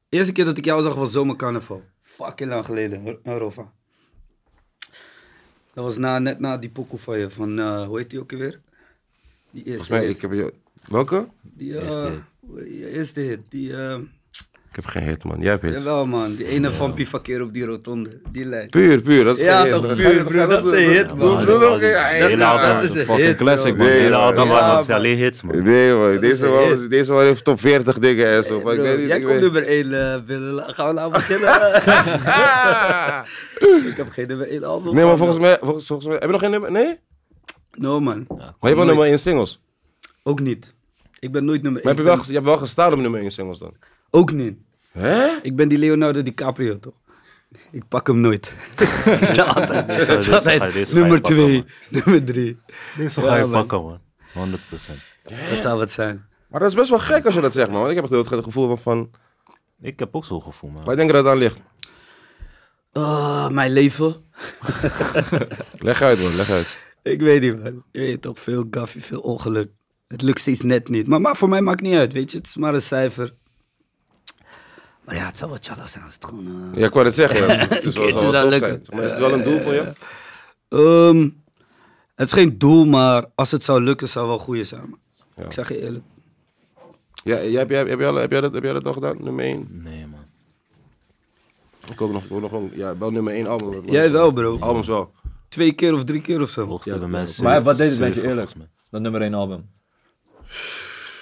S5: Eerste keer dat ik jou zag was zomercarnaval. Fucking lang geleden, hoor, eh, Rova. Dat was na, net na die pokoe van je, van, eh, hoe heet die ook alweer? Die
S1: Volgens
S5: eerste
S1: mij,
S5: hit.
S1: ik heb je... Welke?
S5: Die, eh,
S2: Eerste hit.
S5: hoe- je eerste hit. Die, eh,
S1: Ik heb geen hit, man. Jij hebt hit.
S5: jawel man, die ene van Pifakeer op die rotonde. Die lijn.
S1: Puur, puur. Dat is
S5: Ja,
S1: geen hit.
S5: toch,
S1: Ga-
S5: puur,
S1: ga-
S5: broer,
S1: ga-
S5: dat is een hit,
S1: Ja,
S5: broer.
S1: man.
S5: Doe nog
S1: Ja,
S5: een-
S1: ja,
S2: hele
S1: ja,
S2: album.
S1: nou, man.
S2: Dat is
S5: een
S3: Fucking
S5: hit,
S3: classic,
S5: bro.
S3: man.
S1: Nee,
S2: Hele
S1: man.
S2: album
S5: Ja,
S2: was
S5: man.
S2: alleen hits, man.
S1: Nee, man.
S5: is
S1: Deze
S5: een
S1: man,
S5: hit.
S1: was- deze man heeft top 40 dingen en zo. maar ik
S5: Bro,
S1: weet niet,
S5: jij
S1: ik
S5: komt
S1: weet-
S5: nummer 1 willen. Gaan we nou beginnen? ik heb geen nummer 1 album.
S1: Ah! Nee, maar
S5: man,
S1: volgens
S5: bro.
S1: mij, volgens, volgens mij... Heb je nog geen nummer? Nee?
S5: No man,
S1: Maar je bent nummer 1 singles.
S5: ook niet. Ik ben nooit nummer
S1: Maar
S5: 1.
S1: heb je, wel, ges- je hebt wel gestaan op nummer 1 singles dan?
S5: Ook niet.
S1: Hè?
S5: Ik ben die Leonardo DiCaprio toch? Ik pak hem nooit. ik sta altijd,
S2: Deze-
S5: ik
S2: deze
S5: sta altijd
S2: ga je- deze ga je
S5: nummer
S2: pakken,
S5: 2, nummer 3.
S2: Deze
S5: Ja,
S2: ga je
S5: man.
S2: pakken, man. 100
S5: Dat zou wat zijn.
S1: Maar dat is best wel gek als je dat zegt, man. Want ik heb het heel het gevoel van... van
S2: Ik heb ook zo'n gevoel, man.
S1: waar denk je dat het aan ligt?
S5: Ah, mijn leven.
S1: Leg uit, man. Leg uit.
S5: Ik weet niet, man. Je weet toch, veel gaffie, veel ongeluk. Het lukt steeds net niet. Maar, maar voor mij maakt niet uit, weet je. Het is maar een cijfer. Maar ja, het zou wat challah zijn als het gewoon... eh,
S1: Ja, ik wou het zeggen. Het is- Het is wel,
S5: Het
S1: zal wel
S5: zou
S1: tof
S5: lukken.
S1: zijn. Maar is het wel een doel voor je?
S5: Ehm, het is geen doel, maar als het zou lukken, zou wel goeie zijn. man. Ik zeg je eerlijk.
S1: Ja, jij- heb, jij, heb, jij, al- heb, jij dat, heb jij dat al gedaan? Nummer 1?
S2: Nee, man.
S1: Ik ook nog, ik ook nog gewoon- ja, wel nummer 1 album.
S5: Jij wel, bro.
S1: Albums wel.
S5: Twee keer of drie keer of zo.
S2: Hoogste bij mensen.
S3: Maar wat deed het met je
S2: zeven,
S3: eerlijk?
S2: volgens
S3: Dat nummer 1 album.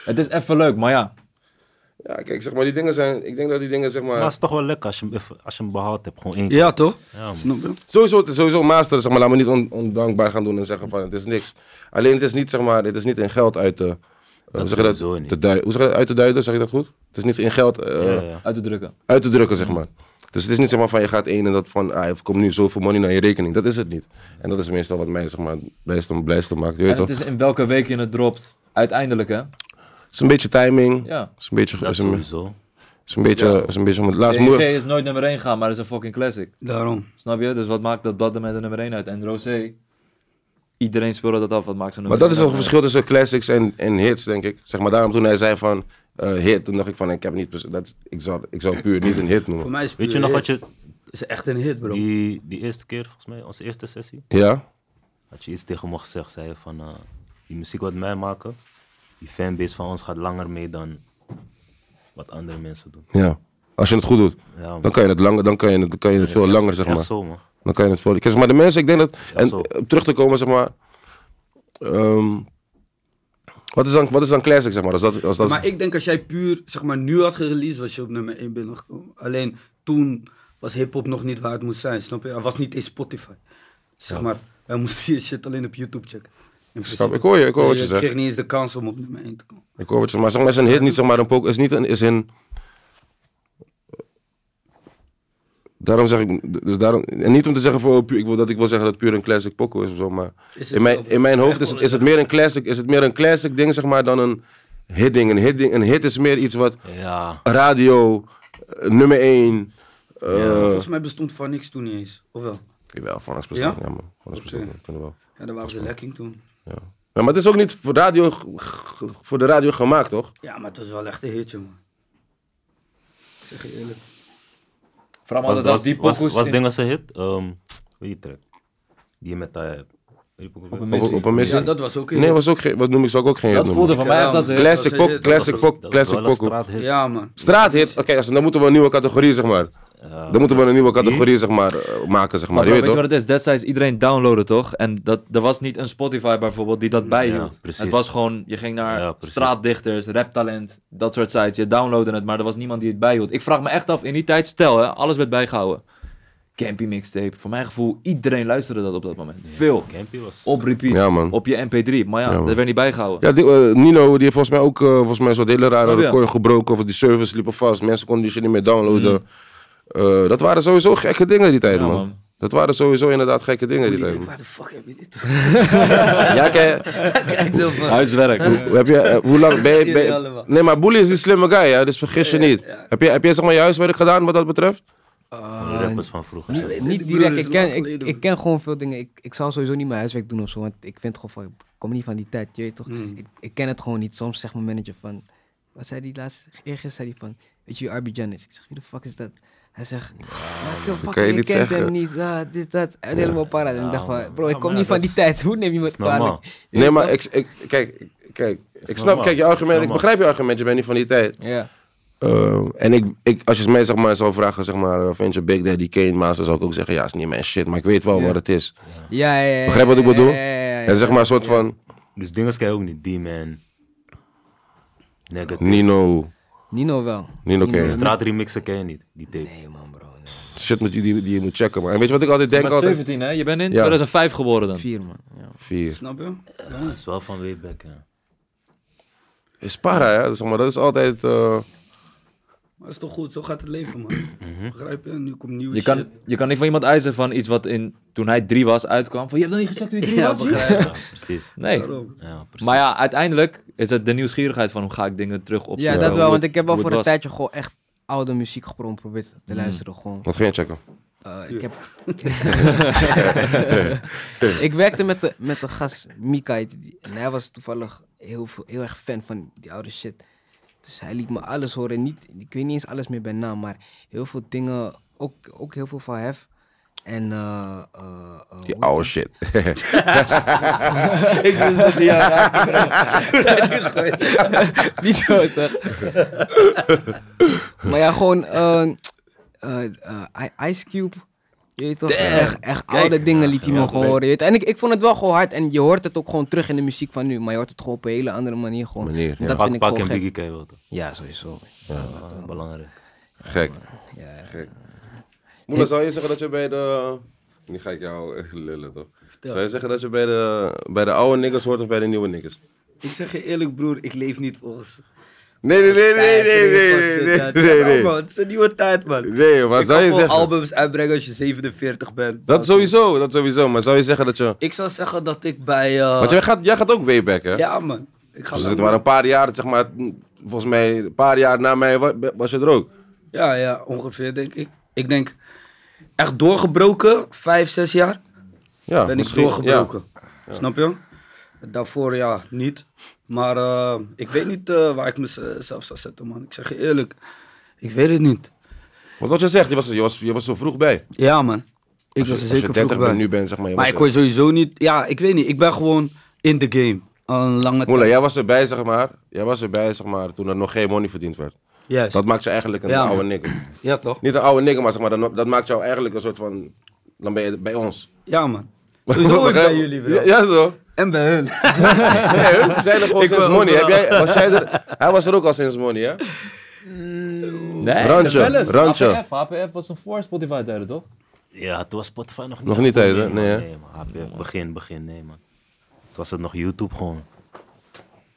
S3: Het is even leuk, maar ja.
S1: Ja, kijk, zeg maar, die dingen zijn... Ik denk dat die dingen, zeg
S2: mij. Maar
S1: maar...
S2: het is toch wel lekker als je hem, even- als je hem behaald hebt, gewoon één keer.
S5: Ja, toch?
S2: Ja, man.
S5: Snap je?
S1: Sowieso, het is sowieso master, zeg maar. Laat me niet on- ondankbaar gaan doen en zeggen van, het is niks. Alleen, het is niet, zeg maar, het is niet in geld uit te... eh, hoe, zeg je dat,
S2: sowieso niet.
S1: te duiden, hoe zeg je dat? Uit te duiden, zeg je dat goed? Het is niet in geld eh,
S2: Ja, ja.
S3: Uit te drukken.
S1: uit te drukken, zeg maar. Dus het is niet zeg maar van je gaat één en dat van, ah, er komt nu zoveel money naar je rekening. Dat is het niet. En dat is meestal wat mij zeg maar blijst blijste maakt. Je weet
S3: En
S1: toch?
S3: het is in welke week je het dropt. Uiteindelijk, hè?
S1: Het is een beetje timing.
S3: Ja.
S1: Het is een beetje,
S2: Dat
S1: is een,
S2: sowieso.
S1: is een beetje, is een beetje om het laatst
S3: DG
S1: moe.
S3: is nooit nummer 1 gegaan, maar is een fucking classic.
S5: Daarom.
S3: Snap je? Dus wat maakt dat Bad met de nummer 1 uit? En Rosé, iedereen speelde dat af. Wat maakt zo'n
S1: Maar
S3: nummer
S1: dat is
S3: één
S1: het
S3: uit?
S1: verschil tussen classics en, en hits, denk ik. Zeg maar daarom toen hij zei van eh, hit, toen dacht ik van ik heb niet, pers- dat, is- ik, zou, ik zou puur niet een hit
S5: Voor
S1: noemen.
S5: mij is
S2: Weet je nog wat je,
S5: is echt een hit, bro.
S2: die, die eerste keer, volgens mij, onze eerste sessie,
S1: Ja?
S2: had je iets tegen me gezegd, zei je van, eh, die muziek wat wij maken, die fanbase van ons gaat langer mee dan wat andere mensen doen.
S1: Ja. Als je het goed doet,
S2: Ja, man.
S1: dan kan je het, langer, dan kan je het, dan kan je het
S2: Is
S1: veel
S2: echt-
S1: langer,
S2: is
S1: zeg
S2: echt
S1: maar.
S2: zo, man.
S1: Dan kan je het voor. Kijk, maar de mensen, ik denk dat. en
S2: zo.
S1: eh, terug te komen, zeg maar. ehm, wat, is dan, wat is dan classic, zeg maar? Als dat, als dat
S5: Maar ik denk als jij puur, zeg maar, nu had gereleased, was je op nummer 1 binnengekomen. Alleen toen was hip-hop nog niet waar het moest zijn, snap je? Er was niet eens Spotify. Zeg maar, wij moesten je shit alleen op YouTube checken. In
S1: Snap,
S5: principe. Dus
S1: ik hoor je, ik hoor wat je zegt.
S5: kreeg niet eens de kans om op nummer 1 te komen.
S1: Ik hoor wat je maar zeg maar, is een hit niet zeg maar een pok is niet een is een. Daarom zeg ik, dus daarom, en niet om te zeggen voor, ik wil, dat ik wil zeggen dat het puur een classic poko is of zo, maar
S5: het
S1: in mijn,
S5: wel,
S1: in mijn hoofd
S5: echt
S1: is,
S5: wel
S1: het- is, het meer een classic, is het meer een classic ding zeg maar dan een hit ding. Een hit, ding, een hit is meer iets wat
S2: Ja,
S1: radio, eh, nummer 1. Eh.
S5: Volgens mij bestond van niks toen niet eens, of wel?
S1: Jawel, van ons
S5: Ja?
S1: ja? ja man, van ons
S5: Oké.
S1: wel.
S5: Ja, daar waren ze lekking toen.
S1: Ja. Ja, maar het is ook niet voor, radio, g- g- voor de radio gemaakt toch?
S5: Ja, maar het was wel echt een hitje, man. Ik zeg je eerlijk.
S3: Vooral
S2: was,
S3: omdat
S2: was,
S3: die
S2: was,
S3: pokoes
S2: was
S3: in-
S2: ding als een hit? Ehm weet je track? Die je met dat...
S3: op een
S1: Op,
S3: missie.
S1: op een missie.
S5: Ja, dat was ook een
S1: Nee,
S5: hit.
S1: was ook geen, wat noem ik, zou ik ook geen hit
S3: Dat
S1: noemen.
S3: voelde voor mij echt als een hit.
S1: Classic
S5: Dat was
S1: pop,
S5: een-
S1: classic pop, classic pop.
S2: straathit.
S5: Ja, man.
S1: Straathit, oké, als- dan moeten we een nieuwe categorie, zeg maar. Dan moeten we een nieuwe categorie, zeg maar, eh, maken, zeg
S3: Maar
S1: maar. Je
S3: bro, weet
S1: weet
S3: je wat
S1: toch?
S3: het is? Destijds iedereen downloaden toch? En dat, er was niet een Spotify bijvoorbeeld die dat bijhield.
S2: precies.
S3: het was gewoon, je ging naar
S2: Ja, precies.
S3: straatdichters, raptalent, dat soort sites. Je downloadde het, maar er was niemand die het bijhield. Ik vraag me echt af, in die tijd, stel hè, alles werd bijgehouden. Campy mixtape, voor mijn gevoel, iedereen luisterde dat op dat moment. Veel.
S2: Campy was...
S3: Op repeat,
S1: Ja, man.
S3: op je mp3. Maar ja,
S1: Ja, man.
S3: dat werd niet bijgehouden.
S1: Ja, die, eh, Nino, die heeft volgens mij ook eh, volgens mij een soort hele rare
S3: Snap je?
S1: record gebroken. Of die servers liepen vast, mensen konden die shit niet meer downloaden. Eh, dat waren sowieso gekke dingen die tijd,
S3: Ja,
S1: man.
S3: man.
S1: Dat waren sowieso inderdaad gekke dingen die
S5: Ik
S1: tijd.
S5: denk,
S1: man.
S5: waar de fuck heb je dit?
S1: Ja, kijk,
S5: Kijk zo, man.
S3: Huiswerk.
S1: Hoe Heb je, eh, hoe lang ben je...
S5: Jullie
S1: ben je-
S5: allemaal.
S1: nee, maar Boelie is die slimme guy, hè, dus vergis je niet. Heb je, heb je zeg maar, je huiswerk gedaan wat dat betreft?
S2: de rappers van vroeger. zeg.
S5: Die
S4: Niet
S5: broer
S4: direct,
S5: is
S4: ik ken,
S5: lang
S4: ik,
S5: geleden,
S4: ik ken gewoon veel dingen. Ik, ik zal sowieso niet mijn huiswerk doen of zo, want ik vind gewoon van, ik kom niet van die tijd, je weet toch?
S5: Mm.
S4: Ik, ik ken het gewoon niet. Soms zegt mijn manager van, wat zei die laatst, eergisteren zei hij van, weet je wie Arbidjan is? Ik zeg, wie de fuck is dat? Hij zegt, "Welke fuck,
S1: kan je
S4: je
S1: niet
S4: kent
S1: zeggen."
S4: hem niet, ah, dit, dat. En helemaal paraat. En ik dacht
S2: Ja,
S4: van, bro,
S2: ja,
S4: ik kom
S2: maar
S4: niet
S2: ja,
S4: van
S2: dat
S4: die
S2: is-
S4: tijd. Hoe neem je me
S2: is normaal.
S4: kwalijk? Je
S1: Nee,
S4: weet
S1: maar
S4: toch?
S1: ik, ik, kijk, kijk, ik snap,
S2: normaal.
S1: kijk, je argument,
S2: Is
S1: ik
S2: normaal.
S1: begrijp je argument, je bent niet van die tijd.
S4: Ja.
S1: Eh, en ik, ik, als je het mij zeg maar, zou vragen, zeg maar, eh, vind je Big Daddy Kane Master, zou ik ook zeggen, ja, is niet mijn shit, maar ik weet wel wat het is.
S4: Ja, ja, ja, ja,
S1: Begrijp wat ik
S4: ja,
S1: bedoel?
S4: ja, ja, ja, ja.
S1: En zeg maar een soort van,
S2: Dus dingen kan je ook niet. Die man. Negative.
S1: Nino,
S4: Nino wel.
S1: Nino
S2: De
S1: Kane,
S2: straatremixen ken je niet. Die tape.
S4: Nee man, bro. nee.
S1: shit moet je, die, die je moet checken, man. En weet je wat ik altijd
S3: Je
S1: denk?
S3: bent
S1: Altijd?
S3: 17 hè? Je bent in
S1: Ja.
S3: 2005 geboren dan.
S4: Vier man. Ja.
S1: Vier.
S5: Snap je?
S2: Dat is wel van way back, hè.
S1: Is para, hè? Dus Zeg maar, dat is altijd, eh,
S5: Maar is toch goed, zo gaat het leven, man.
S1: Mhm.
S5: Begrijp je? Nu komt nieuw
S3: Je
S5: shit.
S3: kan, je kan niet van iemand eisen van iets wat in, toen hij drie was uitkwam. Van, je hebt dan niet gecheckt toen je Dus drie was? G?
S2: Ja, precies.
S3: Nee.
S5: Daarom.
S2: Ja, precies.
S3: Maar ja, uiteindelijk is het de nieuwsgierigheid van hoe ga ik dingen terug opzoeken.
S4: Ja, dat
S3: hoe
S4: wel, want
S3: het-
S4: ik heb wel
S3: hoe
S4: voor
S3: het
S4: een
S3: was. Mm.
S4: tijdje gewoon echt oude muziek gepro- geprobeerd te luisteren. Gewoon.
S1: wat ga je checken?
S4: Eh, ik, heb... ik werkte met de, met de gast Mika. heette die. En hij was toevallig heel, veel, heel erg fan van die oude shit. Dus hij liet me alles horen. Niet, ik weet niet eens alles meer bij naam, maar heel veel dingen. Ook, ook heel veel van Hef. En eh, eh, eh,
S1: Die
S4: hoe-
S1: oude shit.
S4: Ik wist dat die jou raakte, bro. Niet zo, toch? maar ja, gewoon... eh, eh, eh, I- Ice Cube. Je weet toch, echt, echt oude dingen liet hij me gewoon horen. je weet. En ik, ik vond het wel gewoon hard. En je hoort het ook gewoon terug in de muziek van nu. Maar je hoort het gewoon op een hele andere manier. Gewoon.
S1: Manier, ja.
S4: Dat vind
S2: Pak,
S4: ik
S2: pak en
S4: gewoon gek.
S2: Biggie ken je wel, toch?
S4: Ja, sowieso.
S2: Ah, belangrijk.
S1: Gek. Gek. Moeder, zou je zeggen dat je bij de... Nu ga ik jou echt lullen, toch? Zou je zeggen dat je bij de, bij de oude niggas hoort of bij de nieuwe niggas?
S5: Ik zeg je eerlijk, broer, ik leef niet volgens
S1: Nee, nee, nee, nee, nee, nee, nee, nee, nee, nee.
S5: man, het is een nieuwe tijd, man.
S1: Nee, maar
S5: Ik
S1: zou
S5: kan
S1: je
S5: gewoon
S1: zeggen...
S5: albums uitbrengen als je 47 bent.
S1: Dat sowieso, dat sowieso. Maar zou je zeggen dat je...
S5: Ik zou zeggen dat ik bij... eh,
S1: Want jij gaat, jij gaat ook way back, hè?
S5: Ja, man. Ik ga
S1: Dus er
S5: lang
S1: zitten maar een paar jaar, zeg maar... Volgens mij, een paar jaar na mij wa- was je er ook.
S5: Ja, ja, ongeveer denk ik. Ik denk echt doorgebroken, vijf, zes jaar
S1: Ja,
S5: ben ik
S1: misschien,
S5: doorgebroken. Snap je? Daarvoor ja, niet. Maar eh, ik weet niet eh, waar ik mezelf zou zetten, man. Ik zeg je eerlijk, ik weet het niet.
S1: Ja. Want wat je zegt, je was, je was, je was zo vroeg bij.
S5: Ja, man. Ik
S1: Als je-
S5: was er
S1: als
S5: zeker
S1: je
S5: vroeg bij.
S1: bent, nu bent, zeg maar... je
S5: maar
S1: was
S5: ik
S1: er-
S5: word sowieso niet... Ja, ik weet niet. Ik ben gewoon in the game. Al een lange
S1: Moela,
S5: tijd.
S1: jij was erbij, zeg maar. Jij was erbij, zeg maar, toen er nog geen money verdiend werd.
S5: Juist.
S1: Dat maakt je eigenlijk een
S5: Ja, man.
S1: oude nigger.
S5: Ja, toch?
S1: Niet een oude nigger, maar zeg maar, dan, dat maakt jou eigenlijk een soort van... Dan ben je bij ons.
S5: Ja, man. Sowieso hoor ik bij jullie, bro.
S1: Ja, ja, zo.
S5: En bij hun.
S1: Nee, hun zijn er gewoon
S5: Ik
S1: sinds
S5: ben
S1: money. Heb
S5: overal.
S1: jij, was jij er, hij was er ook al sinds money, hè?
S3: Nee,
S1: Randje,
S3: zeg wel eens.
S1: randje.
S3: HPF, HPF was nog voor Spotify tijden, toch?
S2: Ja, toen was Spotify nog niet.
S1: Nog niet
S2: Nee,
S1: uit, hè?
S2: man,
S1: Nee, hè?
S2: nee, man. HPF, begin, begin, nee, man. Toen was het nog YouTube gewoon.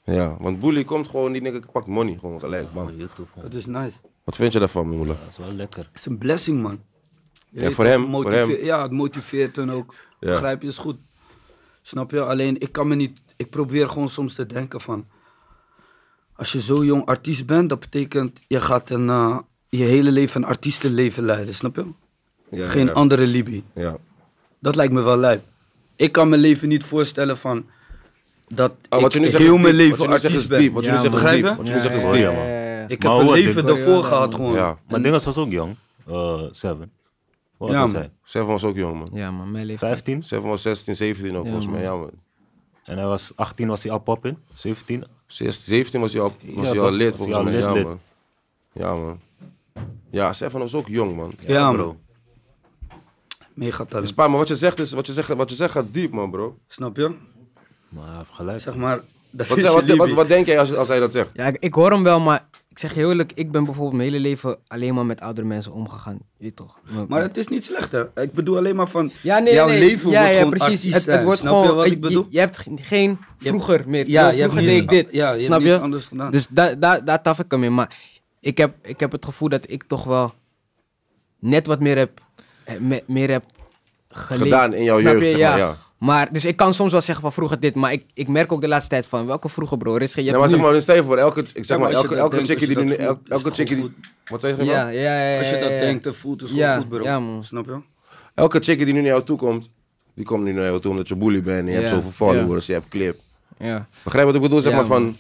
S1: Ja, want Boelie komt gewoon, die nigger pakt money gewoon gelijk, man.
S2: Gewoon YouTube gewoon.
S5: Dat is nice.
S1: Wat vind je daarvan, Moela?
S2: Dat is wel lekker.
S5: Het is een blessing, man. Je
S1: Ja,
S5: weet
S1: voor
S5: toch,
S1: hem, voor
S5: motive-
S1: hem.
S5: Ja, het motiveert hen ook.
S1: Ja.
S5: Begrijp je? Is goed. Snap je? Alleen, ik kan me niet... Ik probeer gewoon soms te denken van... Als je zo jong artiest bent, dat betekent... Je gaat een, eh, je hele leven een artiestenleven leiden, snap je?
S1: Ja,
S5: Geen
S1: ja.
S5: andere Libi.
S1: Ja.
S5: Dat lijkt me wel lijp. Ik kan mijn leven niet voorstellen van... Dat
S1: Oh, wat je
S5: ik
S1: nu zegt
S5: heel
S1: is
S5: mijn
S1: diep. Wat
S5: leven
S1: je nu zegt
S5: artiest
S1: is
S5: ben.
S1: diep. Wat je nu
S4: Ja,
S1: zegt is
S5: man.
S1: diep.
S5: Begrijp je?
S1: Wat je nu zegt is
S2: Ja,
S1: diep.
S2: ja, man.
S4: Eh,
S5: Ik
S2: Maar
S5: heb een
S2: hoe het
S5: leven
S2: ding-
S5: daarvoor gehad gewoon.
S1: Ja.
S2: Maar Dinges was ook jong. Eh Seven. Wat
S5: Ja,
S2: was
S5: man.
S2: hij?
S1: Seven was ook jong, man.
S4: Ja, man, mijn leeftijd.
S2: 15.
S1: Seven was 16, 17 ook, volgens mij. Ja, man.
S2: En hij was 18 was hij al pop in. 17.
S1: 16, 17 was hij al, was
S2: Ja,
S1: hij al
S2: toch?
S1: lid,
S2: Was hij
S1: volgens
S2: al
S1: mij.
S2: lid,
S1: ja,
S2: lid.
S1: man. Ja, man. Ja, Seven was ook jong, man.
S5: Ja, man. Mega
S1: Dus
S5: talent.
S1: pa, maar wat je zegt is, wat je zegt, wat je zegt gaat diep, man, bro.
S5: Snap je?
S2: Maar hij heeft gelijk.
S5: Zeg maar... Dat
S1: Wat,
S5: is
S1: zeg-
S5: je
S1: wat, wat,
S5: Libi.
S1: wat denk jij als, als hij dat zegt?
S4: Ja, ik, ik hoor hem wel, maar ik zeg je heel eerlijk, ik ben bijvoorbeeld mijn hele leven alleen maar met oudere mensen omgegaan. Je weet toch?
S5: Maar het is niet slecht, hè? Ik bedoel alleen maar van...
S4: ja, nee,
S5: jouw
S4: nee.
S5: leven
S4: ja,
S5: wordt
S4: ja,
S5: gewoon
S4: precies.
S5: artiest
S4: het, het
S5: zijn.
S4: wordt
S5: Snap
S4: gewoon,
S5: je wat ik
S4: je-
S5: bedoel?
S4: Je, hebt ge- geen vroeger meer.
S5: Ja,
S4: Ja,
S5: je hebt
S4: vroeger deed
S5: niets
S4: ik dit.
S5: an- ja, je hebt
S4: snap
S5: niets
S4: je?
S5: anders gedaan.
S4: Dus da, da, daar taf ik hem in. Maar ik heb, ik heb het gevoel dat ik toch wel net wat meer heb, eh, me- meer heb geleefd.
S1: Gedaan in jouw
S4: Snap
S1: jeugd,
S4: je?
S1: zeg maar, ja.
S4: Maar, dus ik kan soms wel zeggen van vroeger dit, maar ik, ik merk ook de laatste tijd van welke vroeger, bro? Er is geen, je
S1: Nee, Nou, maar
S4: hebt
S1: zeg maar, stel je
S4: nu-
S1: voor, elke, ik zeg
S5: Ja,
S1: maar,
S5: maar als
S1: elke,
S5: je dat
S1: elke
S5: denkt,
S1: chickie die
S5: als je
S1: nu,
S5: dat
S1: elke,
S5: voelt, is
S1: elke
S5: het
S1: chickie die,
S5: gewoon
S1: wat zeg je nou?
S4: ja, ja, ja, ja,
S5: Als je dat
S4: ja, ja.
S5: denkt en voelt, is het
S4: Ja,
S5: gewoon goed, bro.
S4: ja, man.
S5: Snap je?
S1: Elke chickie die nu naar jou toe komt, die komt nu naar jou toe omdat je bully bent en je hebt
S4: Ja,
S1: zoveel followers, je hebt clip.
S4: Ja.
S1: Begrijp wat ik bedoel? Zeg
S4: Ja,
S1: maar van,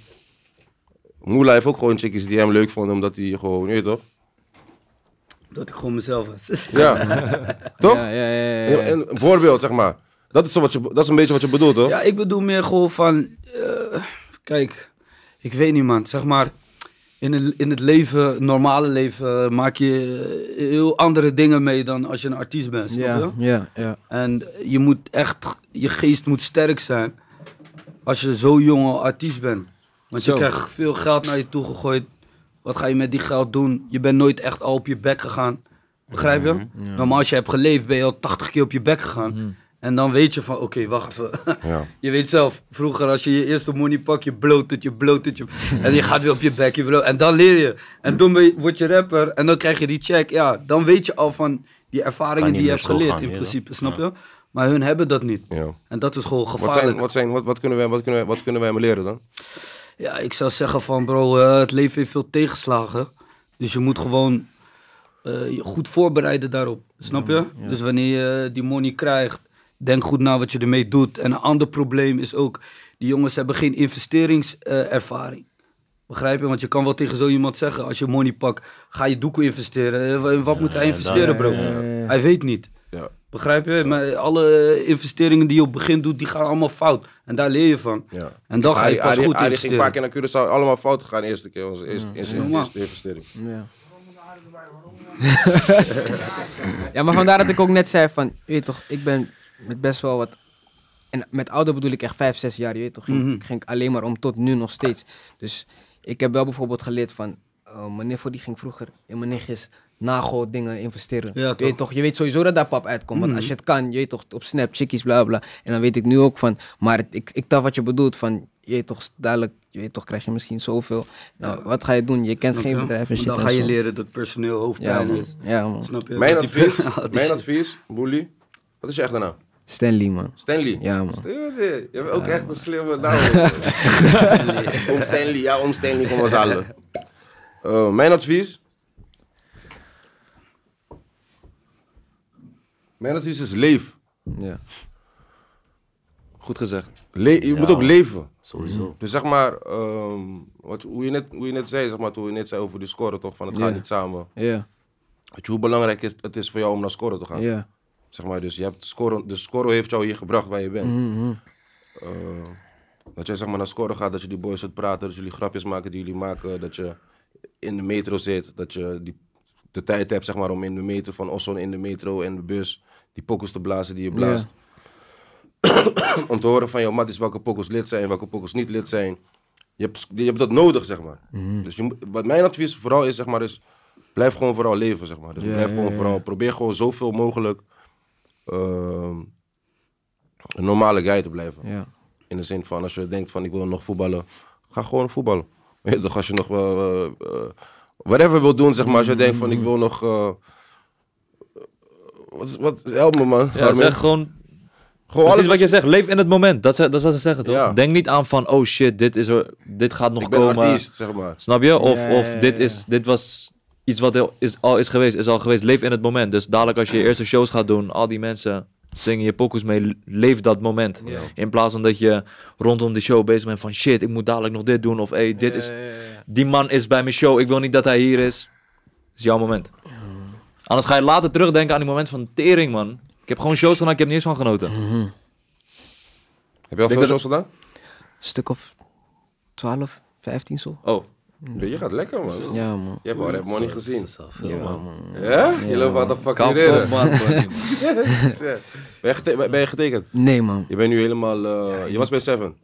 S1: Moela heeft ook gewoon chickies die hem leuk vonden omdat hij gewoon, je weet toch?
S5: Dat ik gewoon mezelf was.
S1: Ja, toch?
S4: Ja, ja, ja, ja, ja.
S5: Eh.
S1: Een, een- een voorbeeld, zeg maar. Dat is, zo wat je, dat is een beetje wat je bedoelt, toch?
S5: Ja, ik bedoel meer gewoon van... eh, kijk, ik weet niet, man. Zeg maar, in het, in het leven, normale leven, eh, maak je eh, heel andere dingen mee dan als je een artiest bent. Snap
S4: Ja,
S5: je?
S4: ja, ja.
S5: En je moet echt, je geest moet sterk zijn als je zo jong al artiest bent. Want
S4: Zo.
S5: je krijgt veel geld naar je toe gegooid. Wat ga je met die geld doen? Je bent nooit echt al op je bek gegaan. Begrijp je? Normaal als je hebt geleefd ben je al 80 keer op je bek gegaan. En dan weet je van, oké, wacht even.
S1: Ja.
S5: je weet zelf, vroeger als je je eerste money pakt, je bloot het, je bloot het. Je... en je gaat weer op je bek, je bloot. En dan leer je. En dan ben je- word je rapper en dan krijg je die check. Ja, dan weet je al van die ervaringen
S2: niet
S5: die je
S2: meer
S5: hebt
S2: zo
S5: geleerd
S2: gaan,
S5: in
S2: ja.
S5: principe, snap je? Maar hun hebben dat niet.
S1: Ja.
S5: En dat is gewoon
S1: Wat,
S5: gevaarlijk.
S1: zijn, wat, zijn, wat, wat, kunnen wij, wat, kunnen wij, wat kunnen wij hem leren dan?
S5: Ja, ik zou zeggen van bro, eh, het leven heeft veel tegenslagen. Dus je moet gewoon eh, je goed voorbereiden daarop. Snap je? Dus wanneer je die money krijgt, denk goed na wat je ermee doet. En een ander probleem is ook, die jongens hebben geen investeringservaring. Begrijp je? Want je kan wel tegen zo iemand zeggen, als je money pakt, ga je doekoe investeren. Eh, wa- In wat moet hij
S2: ja,
S5: investeren
S2: dat-
S5: bro?
S4: ja, ja, ja.
S5: Hij weet niet.
S1: Ja.
S5: Begrijp je? Maar alle investeringen die je op het begin doet, die gaan allemaal fout. En daar leer je van.
S1: Ja.
S5: En dan ga je
S1: Arie-
S5: pas
S1: Arie-
S5: goed
S1: Arie ging een paar
S5: investeren.
S1: keer naar Curaçao, allemaal fout gegaan de eerste keer, onze eerste, eerste,
S5: Normaal.
S1: eerste investering.
S4: Ja. ja, maar vandaar dat ik ook net zei van, je weet toch, ik ben met best wel wat... En met ouder bedoel ik echt 5, 6 jaar, je weet toch. Ging,
S5: Mhm.
S4: ging ik alleen maar om tot nu nog steeds. Dus ik heb wel bijvoorbeeld geleerd van, eh mijn niffel die ging vroeger in mijn nichtjes nagel dingen investeren.
S5: Ja,
S4: je,
S5: toch.
S4: Weet toch, je weet sowieso dat daar pap uitkomt. Want
S5: Mhm.
S4: als je het kan, je weet toch, op Snap, chickies, bla bla. En dan weet ik nu ook van, maar het- ik, ik dacht wat je bedoelt van, je weet toch, dadelijk, je je weet toch, krijg je misschien zoveel. Nou, wat ga je doen? Je kent geen bedrijf en shit.
S5: Dan
S4: en
S5: ga je
S4: zo.
S5: leren dat personeel
S4: Ja,
S5: hoofdpijn
S4: man.
S5: is.
S4: Ja, man.
S5: Snap je?
S1: Mijn
S5: Dat die
S1: advies,
S5: pers- al die
S1: mijn
S5: shit.
S1: advies, Boelie. Wat is je echte naam?
S4: Stanley, man.
S1: Stanley.
S4: Ja, man.
S1: Stanley. Je hebt ook echt een slimme naam. om Stanley, ja, om Stanley, kom ons allen. Eh, mijn advies. Mijn advies is leef.
S4: Ja.
S3: Goed gezegd.
S1: Le- je
S2: Ja.
S1: moet ook leven.
S2: Sowieso.
S1: Dus zeg maar, ehm, wat, hoe, je net, hoe je net zei, zeg maar, toen je net zei over de score toch, van het gaat
S4: Ja.
S1: niet samen.
S4: Ja,
S1: Weet je hoe belangrijk het- het is voor jou om naar scoren te gaan?
S4: ja.
S1: Zeg maar, dus je hebt scoren, de score heeft jou hier gebracht waar je bent.
S4: Mhm.
S1: Eh, dat jij zeg maar naar scoren gaat, dat je die boys hoort praten, dat jullie grapjes maken die jullie maken, dat je in de metro zit, dat je die, de tijd hebt zeg maar, om in de metro, van Oslo in de metro en de bus, die pokkels te blazen die je blaast. om te horen van jouw matties welke pokkels lid zijn, welke pokkels niet lid zijn. Je hebt, s- je hebt dat nodig, zeg maar.
S4: Mhm.
S1: Dus je, moet- wat mijn advies vooral is, zeg maar, is blijf gewoon vooral leven, zeg maar. Dus
S4: Ja,
S1: blijf
S4: ja,
S1: gewoon
S4: ja.
S1: vooral, probeer gewoon zoveel mogelijk ehm, een normale guy te blijven.
S4: Ja.
S1: In de zin van, als je denkt van ik wil nog voetballen, ga gewoon voetballen. Weet je toch, als je nog wel, eh, eh, whatever wil doen, zeg maar. Als je denkt van ik wil nog, eh, wat, is- wat, help me man.
S3: Ja,
S1: Armin.
S3: zeg
S1: Oh,
S3: gewoon
S1: gewoon
S3: precies wat je zegt. Leef in het moment. Dat, ze- dat is wat ze zeggen, toch?
S1: Ja.
S3: Denk niet aan van, oh shit, dit, is er, dit gaat nog
S1: ik ben
S3: komen.
S1: artiest, zeg maar.
S3: Snap je? Of,
S4: Ja,
S3: of
S4: ja,
S3: dit,
S4: ja.
S3: is, dit was iets wat er is, al is geweest, is al geweest. Leef in het moment. Dus dadelijk als je je eerste shows gaat doen, al die mensen zingen je pokus mee, leef dat moment. In plaats van dat je rondom de show bezig bent van shit, ik moet dadelijk nog dit doen. Of hey, dit is, die man is bij mijn show, ik wil niet dat hij hier is. is jouw moment. Anders ga je later terugdenken aan die moment van tering, man. Ik heb gewoon shows gedaan, ik heb er niet eens van genoten.
S1: Heb je al
S3: Denk
S1: veel
S3: dat-
S1: shows gedaan?
S4: Stuk of 12, 15 zo.
S3: Oh,
S1: Je gaat lekker man.
S4: Ja, man.
S1: Je hebt al Rap Money gezien.
S2: Ja, man.
S1: Ja? Je loopt wat de fuck
S3: kalm
S1: hier
S3: op,
S1: in.
S3: man.
S1: Ben je gete- ben- ben je getekend?
S4: Nee, man.
S1: Je bent nu helemaal, eh, je was bij Seven.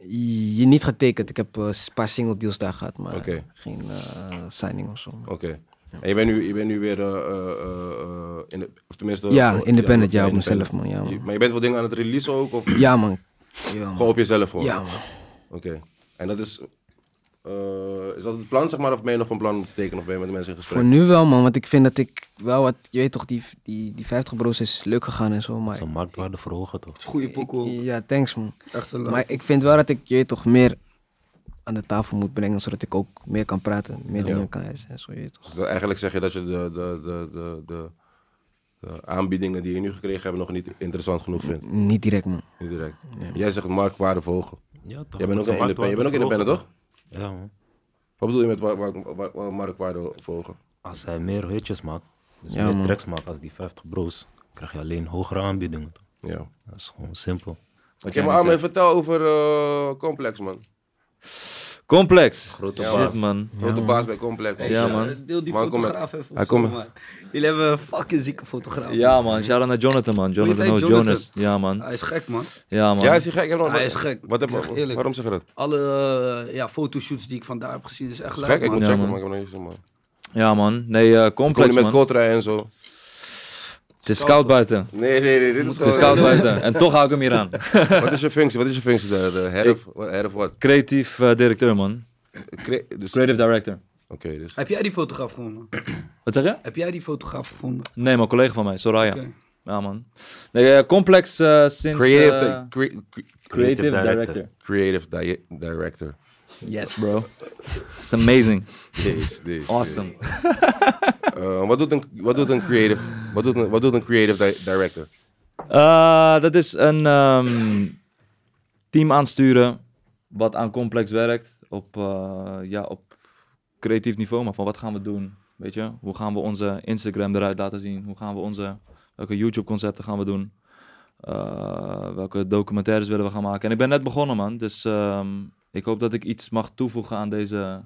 S4: Je niet getekend. Ik heb eh, een paar single deals daar gehad, maar
S1: Oké.
S4: geen eh, signing of zo. man.
S1: Oké. En je bent nu, je bent nu weer, eh, eh, eh, eh, in de, of tenminste...
S4: Ja,
S1: voor-
S4: independent, ja, op
S1: independent.
S4: mezelf, man. Ja,
S1: Je-
S4: man.
S1: Maar je bent wel dingen aan het releasen ook? Of
S4: Ja, man. Ja, man.
S1: gewoon op jezelf gewoon?
S4: Ja, man.
S1: Oké. En dat is... eh, is dat het plan, zeg maar? Of ben je nog een plan om te tekenen? Of ben je met de mensen in gesprek?
S4: Voor nu wel, man. Want ik vind dat ik wel wat... Je weet toch, die, die, die 50 bro's is leuk gegaan en zo, maar...
S2: Zijn marktwaarde verhogen toch?
S5: Goeie pokoe.
S4: Ja, thanks, man.
S5: Echt een
S4: Maar ik vind wel dat ik je weet toch meer aan de tafel moet brengen, zodat ik ook meer kan praten, meer dingen kan eisen en zo, je weet toch.
S1: Dus dat- eigenlijk zeg je dat je de, de, de, de, de, de aanbiedingen die je nu gekregen hebt nog niet interessant genoeg vindt.
S4: Niet direct, man.
S1: Niet direct. Jij zegt marktwaarde verhogen.
S2: Ja, toch?
S1: Jij bent ook
S2: Zijn
S1: een independent- jij bent ook
S2: marktwaarde
S1: independent,
S2: verhogen, toch? Ja, man.
S1: Wat bedoel je met wa- wa- wa- wa- marktwaarde verhogen?
S2: Als hij meer hutjes maakt, dus
S4: Ja,
S2: meer
S4: man.
S2: tracks maakt als die 50 bro's, krijg je alleen hogere aanbiedingen. toch?
S1: Ja.
S2: Dat is gewoon simpel.
S1: Oké, maar Armin, vertel over eh, Complex, man.
S3: Complex.
S2: Grote
S3: shit,
S2: baas.
S3: man.
S1: Grote baas bij Complex.
S3: Ja, man.
S5: Eh, Deel die
S1: Maar kom
S5: fotograaf even.
S1: Hij
S5: Hij
S1: komt-
S5: Jullie hebben een fucking zieke fotograaf.
S3: Ja, man. Shout-out naar Jonathan, man. Jonathan,
S5: heet
S3: O.
S5: Jonathan?
S3: Jonas. Ja, man.
S5: Hij is gek, man.
S3: Ja, man.
S1: Ja, is hij gek? Elon?
S5: Hij
S1: Wat-
S5: is gek.
S1: Wat heb,
S5: Ik zeg eerlijk.
S1: waarom zeg je dat?
S5: Alle eh, ja, fotoshoots die ik vandaar heb gezien is echt
S1: Is
S5: leuk,
S1: gek? Ik
S5: man.
S1: moet
S3: Ja,
S1: checken,
S3: man.
S1: maar ik heb nog niet gezien, man.
S3: Ja, man. Nee, eh,
S1: Kom
S3: complex,
S1: je met
S3: man.
S1: Kotra en zo.
S3: Het is koud buiten.
S1: Nee, nee, nee, dit is
S3: Het is koud buiten. En toch hou ik hem hier aan.
S1: Wat is je functie? Wat is je functie daar? De head of, wat- head of what?
S3: Creatief eh, directeur, man.
S1: Cre- dus, Oké,
S3: Creative director.
S1: dus.
S5: Heb jij die fotograaf gevonden?
S3: Wat zeg je?
S5: Heb jij die fotograaf gevonden?
S3: Nee, mijn collega van mij, Soraya.
S5: Oké.
S3: Ja, man. Nee, eh, complex eh, sinds...
S1: Creative,
S3: eh,
S1: di- cre- cre-
S3: creative
S2: Creative
S3: director.
S2: director.
S1: creative di- director.
S3: Yes, bro. It's amazing.
S1: Deze, deze.
S3: Awesome.
S1: deze. Eh, wat, doet een, wat doet een creative, wat doet een, wat doet een creative di- director?
S3: Eh, dat is een ehm, team aansturen wat aan complex werkt op, eh, ja, op creatief niveau. Maar van wat gaan we doen? Weet je, hoe gaan we onze Instagram eruit laten zien? Hoe gaan we onze, welke YouTube concepten gaan we doen? Eh, welke documentaires willen we gaan maken? En ik ben net begonnen man, dus ehm, ik hoop dat ik iets mag toevoegen aan deze,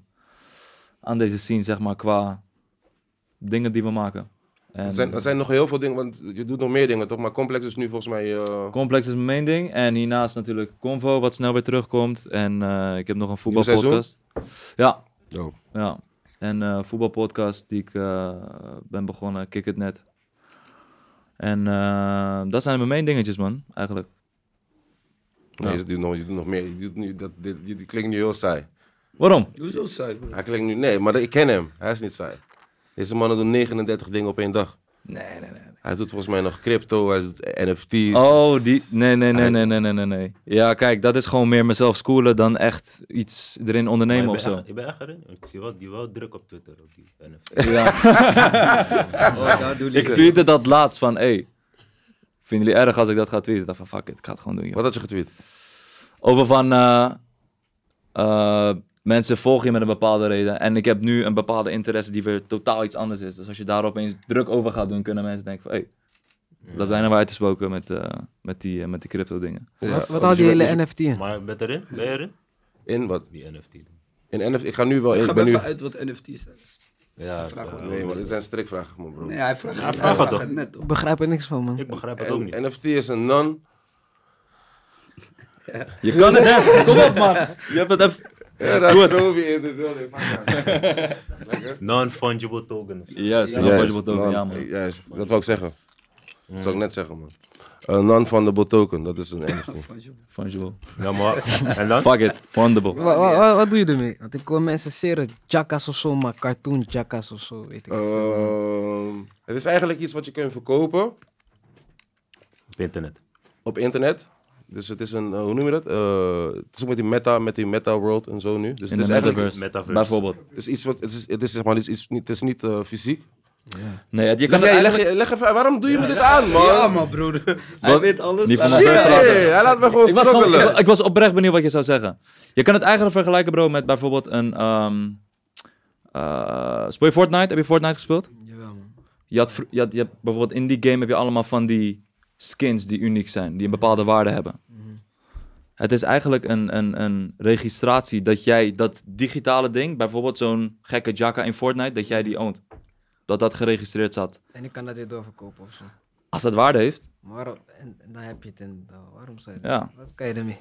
S3: aan deze scene, zeg maar, qua dingen die we maken. En-
S1: Er zijn, er zijn nog heel veel dingen, want je doet nog meer dingen toch? Maar Complex is nu volgens mij... eh,
S3: Complex is mijn main ding. En hiernaast natuurlijk Convo, wat snel weer terugkomt. En eh, ik heb nog een voetbalpodcast. Ja,
S1: oh,
S3: ja. En eh voetbalpodcast die ik eh, ben begonnen, Kick It Net. En eh, dat zijn mijn main dingetjes, man, eigenlijk.
S1: nee,
S3: Ja.
S1: je, doet nog, je doet nog meer. Je, doet nu, dat, dit, dit klinkt nu heel saai.
S3: Waarom?
S5: Hoezo saai, man?
S1: Hij klinkt nu, nee, maar ik ken hem. Hij is niet saai. Deze mannen doen 39 dingen op één dag.
S3: Nee, nee, nee.
S1: Hij doet volgens mij nog crypto, hij doet NFT's.
S3: Oh, die. Nee, nee, nee, nee, nee, nee, nee, nee. Ja, kijk, dat is gewoon meer mezelf schoolen dan echt iets erin ondernemen of
S2: ik ben
S3: zo.
S2: echt- Ik ben echt erin. Ik zie wel, die wel druk op Twitter. Op die NFT.
S5: Oh, daar doe
S3: Ik tweette dat laatst van, hey, vinden jullie erg als ik dat ga tweeten? Ik dacht van, fuck it, ik ga het gewoon doen. joh.
S1: Wat had je getweet?
S3: Over van, eh, eh, mensen volgen je met een bepaalde reden. En ik heb nu een bepaalde interesse die weer totaal iets anders is. Dus als je daar opeens druk over gaat doen, kunnen mensen denken van, hey, dat bijna wij uitgesproken met, eh, met die, eh, met die crypto dingen.
S1: Ja,
S4: Wat, wat
S1: dus
S4: houdt die
S1: je bent-
S4: hele NFT in?
S2: Maar ben je erin? Ben je erin?
S1: In wat?
S2: Die NFT.
S1: In NFT? Ik ga nu wel in.
S5: Ga
S1: Ik
S5: maar
S1: ben nu...
S5: even uit wat NFT's zijn.
S2: Ja,
S5: Vraag
S2: ja.
S5: maar.
S1: Nee, maar dit zijn strikvragen, man, bro.
S5: Nee, hij vraagt, hij
S2: vraag het
S5: vraagt
S2: toch.
S5: het net, toch?
S4: Ik begrijp er niks van, man.
S2: Ik begrijp het ook niet.
S1: En, NFT is een non.
S3: Je kan het, hè? Kom op, man. Je hebt het even...
S1: Ja, dat is Roby in de building. Lekker.
S2: Non-fungible token.
S3: Yes,
S1: Ja,
S3: dat was je wat over,
S1: non-
S3: ja, man.
S1: juist, dat wou ik zeggen. Dat zou ik net zeggen, man. Eh, Een non-fundable token, dat is een NFT.
S3: Fungible.
S2: Ja, maar. En dan?
S3: Fuck it, fundable.
S4: Wa- wa- wa- wat doe je ermee? Want ik hoor mensen seren jackas of zo, maar cartoon jackas of zo, weet ik.
S1: Ehm, het is eigenlijk iets wat je kunt verkopen
S2: Op internet.
S1: op internet. Dus het is een, eh, hoe noem je dat? Eh, het is ook met die meta, met die meta world en zo nu. Dus
S3: In
S1: het
S3: de
S1: is eigenlijk
S3: metaverse.
S2: Metaverse.
S3: Bijvoorbeeld.
S1: het is iets wat, het is, het is zeg maar, het is, iets niet, het is niet eh, fysiek.
S3: Nee, het- je kan
S1: Leg,
S3: het
S1: jij- leg,
S3: eigenlijk...
S1: leg even, waarom doe je me dit aan, man?
S5: Ja, man, broer. Hij
S3: Wat?
S5: weet alles.
S3: Niet
S5: Hij
S3: van ons
S5: weet-
S3: weg.
S1: Shit, hij laat me gewoon
S3: Ik was, gewoon- ik,
S1: struggelen.
S3: ik was oprecht benieuwd wat je zou zeggen. Je kan het eigenlijk vergelijken, bro, met bijvoorbeeld een... ehm eh, speel je Fortnite? Heb je Fortnite gespeeld?
S4: Jawel, man.
S3: Je had, vro- je had, je hebt bijvoorbeeld in die game heb je allemaal van die skins die uniek zijn. Die een bepaalde waarde hebben.
S1: Mhm.
S3: Het is eigenlijk een, een, een registratie dat jij dat digitale ding... Bijvoorbeeld zo'n gekke Jaka in Fortnite, dat jij
S1: Mhm.
S3: die oont. Dat dat geregistreerd zat.
S4: En ik kan dat weer doorverkopen of zo.
S3: Als dat waarde heeft,
S4: Maar waarom, en, en dan heb je het en dan- waarom zou je dat?
S3: ja.
S4: Wat kan je ermee?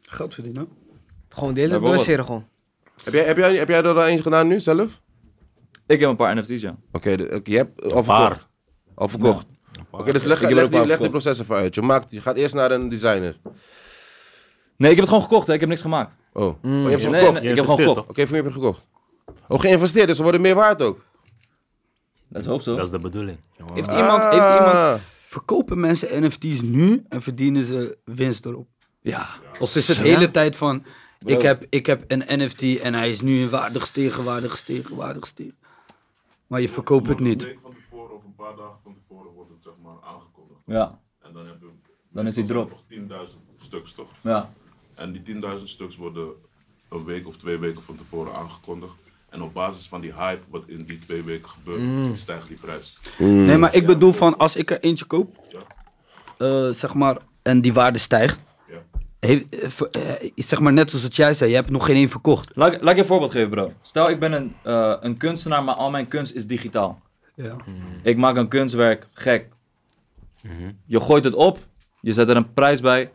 S5: Geld verdienen.
S4: Gewoon de hele tijd
S3: Bijvoorbeeld.
S4: doorseren, gewoon.
S1: Heb jij, heb, jij, heb jij er al eentje gedaan nu zelf?
S3: Ik heb een paar NFT's, ja.
S1: Oké, de- oké, je hebt al
S2: Een paar.
S1: verkocht. Al verkocht. Oké, dus leg,
S3: Ik heb
S1: leg,
S3: er ook
S1: die,
S3: een
S1: leg
S3: paar
S1: die proces even uit. Je, maakt, je gaat eerst naar een designer.
S3: Nee, ik heb het gewoon gekocht, hè. ik heb niks gemaakt.
S1: Oh, oh, je hebt ze
S3: Nee,
S1: gekocht.
S3: nee, ik heb gewoon
S2: Geïnvesteerd,
S3: gekocht.
S2: toch?
S1: Oké, voor wie heb je gekocht? Oh, geïnvesteerd, dus ze worden meer waard ook.
S3: Dat is hoop zo.
S2: Dat is de bedoeling.
S5: Heeft iemand, heeft iemand...
S1: Ah.
S5: Verkopen mensen NFT's nu en verdienen ze winst erop?
S3: Ja.
S5: Of is het de
S3: Ja.
S5: hele tijd van... Ik heb, ik heb een NFT en hij is nu in waarde gestegen, waarde gestegen, waarde gestegen. Maar je verkoopt het
S6: Een
S5: niet.
S6: week van tevoren of een paar dagen van tevoren wordt het zeg maar aangekondigd.
S3: Ja,
S6: En dan heb je...
S3: Dan is die drop.
S6: Nog 10.000 stuks toch?
S3: ja.
S6: En die 10.000 stuks worden een week of twee weken van tevoren aangekondigd. En op basis van die hype wat in die twee weken gebeurt,
S5: Mm.
S6: stijgt die prijs.
S5: Nee, maar ik bedoel van als ik er eentje koop, eh, zeg maar, en die waarde stijgt.
S6: Ja.
S5: heeft- eh, ver- eh, zeg maar net zoals wat jij zei, je hebt nog geen één verkocht.
S3: Laat, ik- laat ik je een voorbeeld geven, bro. Stel, ik ben een, eh, een kunstenaar, maar al mijn kunst is digitaal.
S5: Ja.
S3: Ik maak een kunstwerk, gek.
S1: Mhm.
S3: Je gooit het op, je zet er een prijs bij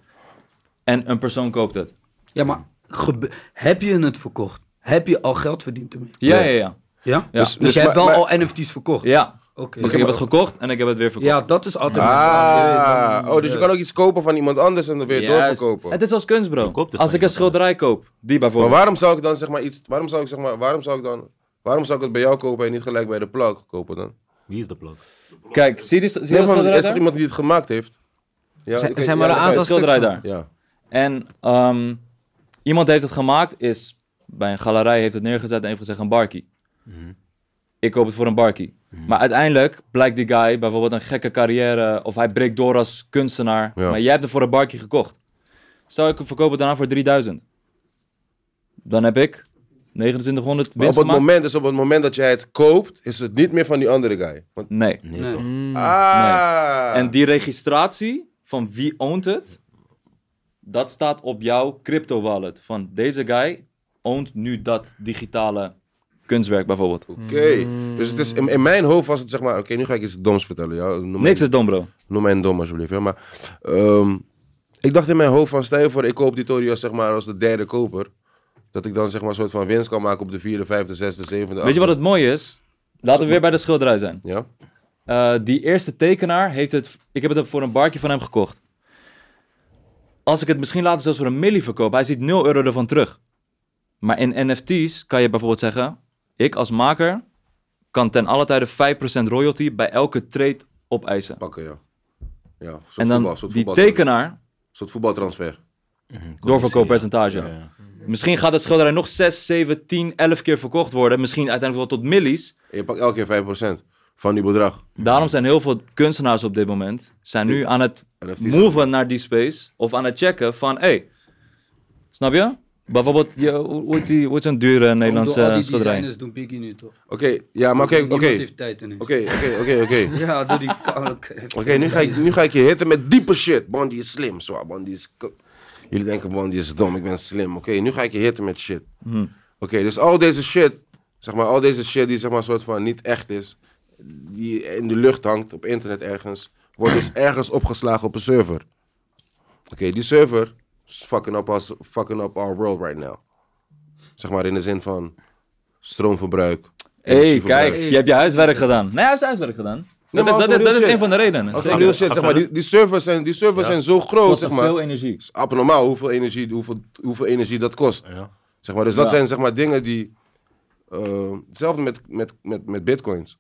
S3: en een persoon koopt het.
S5: Ja, maar gebe- heb je het verkocht? Heb je al geld verdiend ermee?
S3: Ja, ja, ja.
S5: Ja?
S3: Ja.
S5: Dus,
S1: dus
S5: je hebt
S1: maar-
S5: wel
S1: maar-
S5: al NFT's verkocht?
S3: ja.
S5: Oké.
S3: Dus ik heb het gekocht en ik heb het weer verkocht.
S5: Ja, dat is altijd... mijn vraag.
S1: Ah, oh, dus je kan ook iets kopen van iemand anders en dan weer
S3: Juist.
S1: doorverkopen. dus
S3: Het is als kunst, bro.
S2: koopt het
S3: Als
S2: van
S3: ik een
S2: iemand
S3: schilderij koop, die
S1: Maar
S3: bijvoorbeeld.
S1: waarom zou ik dan zeg maar iets, waarom zou ik zeg maar, waarom zou ik dan, waarom zou ik het bij jou kopen en niet gelijk bij de plug kopen dan?
S2: Wie is de plug?
S3: Kijk, zie je die, zie je
S1: Nee, van,
S3: dat schilderij
S1: is er
S3: daar?
S1: iemand die het gemaakt heeft? Ja,
S4: Er zijn-
S1: oké,
S4: er zijn
S1: ja,
S4: maar een
S1: dat ga je-
S4: aantal
S3: schilderij
S4: stuks,
S3: daar.
S1: Ja.
S3: En ehm, iemand heeft het gemaakt, is bij een galerij heeft het neergezet en heeft gezegd een barkie.
S1: Mhm.
S3: Ik koop het voor een barkie. Maar uiteindelijk blijkt die guy bijvoorbeeld een gekke carrière of hij breekt door als kunstenaar.
S1: Ja.
S3: Maar jij hebt het voor een barkie gekocht. Stel ik verkoop het daarna voor 3000. Dan heb ik 2900
S1: Maar op
S3: winst
S1: het
S3: gemaakt.
S1: moment, dus op het moment dat jij het koopt, is het niet meer van die andere guy. Want,
S3: Nee.
S2: Nee,
S5: Nee.
S2: toch?
S1: ah.
S3: Hmm. En die registratie van wie oont het, dat staat op jouw crypto wallet. Van deze guy oont nu dat digitale kunstwerk bijvoorbeeld.
S1: Oké, dus het is, in, in mijn hoofd was het zeg maar, oké, nu ga ik iets doms vertellen. Ja? Noem,
S3: Niks
S1: Mij,
S3: is dom, bro.
S1: noem mij een dom alsjeblieft. Ja? Maar, ehm, ik dacht in mijn hoofd van, stel je voor, ik koop die Torios zeg maar als de derde koper. Dat ik dan zeg maar een soort van winst kan maken op de vierde, vijfde, zesde, zevende.
S3: Weet je wat het mooie is? Laten we weer bij de schilderij zijn.
S1: Ja?
S3: Eh, die eerste tekenaar heeft het. Ik heb het voor een barkje van hem gekocht. Als ik het misschien later zelfs voor een milli verkoop, hij ziet 0 euro ervan terug. Maar in NFT's kan je bijvoorbeeld zeggen, ik als maker kan ten alle tijde 5% royalty bij elke trade opeisen.
S1: Pakken, ja. Ja, soort
S3: En dan
S1: voetbal, soort
S3: die
S1: voetbaltran-
S3: tekenaar,
S1: soort voetbaltransfer.
S3: doorverkooppercentage.
S2: Ja, ja.
S3: Misschien gaat dat schilderij nog 6, 7, 10, 11 keer verkocht worden. Misschien uiteindelijk wel tot millies.
S1: En je pakt elke keer 5% van die bedrag.
S3: Daarom zijn heel veel kunstenaars op dit moment... zijn nu aan het
S1: NFT's
S3: moven naar die space. Of aan het checken van... hey, snap je? Bijvoorbeeld, je, hoe hoe heet die- hoe heet zo'n dure Nederlandse eh,
S5: Door al die
S3: schilderij?
S5: designers doen Biggie nu toch?
S1: Oké, ja, maar kijk,
S5: Niemand
S1: oké.
S5: heeft tijd ineens.
S1: Oké, oké, oké, oké.
S5: Ja, door die kale-
S1: Oké, nu, ga ik- nu ga ik je hitten met diepe shit. Bondi is slim, zwaar. Bondi is... k- Jullie denken Bondi is dom, ik ben slim. Oké, nu ga ik je hitten met shit.
S3: Hmm.
S1: Oké, dus al deze shit, zeg maar, al deze shit die zeg maar soort van niet echt is, die in de lucht hangt op internet ergens, wordt dus ergens opgeslagen op een server. Oké, die server is fucking up, us, fucking up our world right now. Zeg maar in de zin van stroomverbruik.
S3: hey,
S1: energieverbruik.
S3: kijk, je hebt je huiswerk gedaan. Nee, hij heeft zijn huiswerk gedaan. Dat is-
S1: maar
S3: dat
S1: als
S3: is- dat is
S1: real
S3: een van de redenen.
S1: Als
S3: Zeker.
S1: ik heel shit, zeg maar, die, die servers zijn, die servers zijn zo groot,
S3: Kost
S1: zeg
S3: dat
S1: maar.
S3: veel energie.
S1: is abnormaal hoeveel energie, hoeveel, hoeveel energie dat kost.
S2: Ja.
S1: Zeg maar, dus dat
S3: Ja.
S1: zijn zeg maar dingen die... eh, hetzelfde met, met, met, met bitcoins.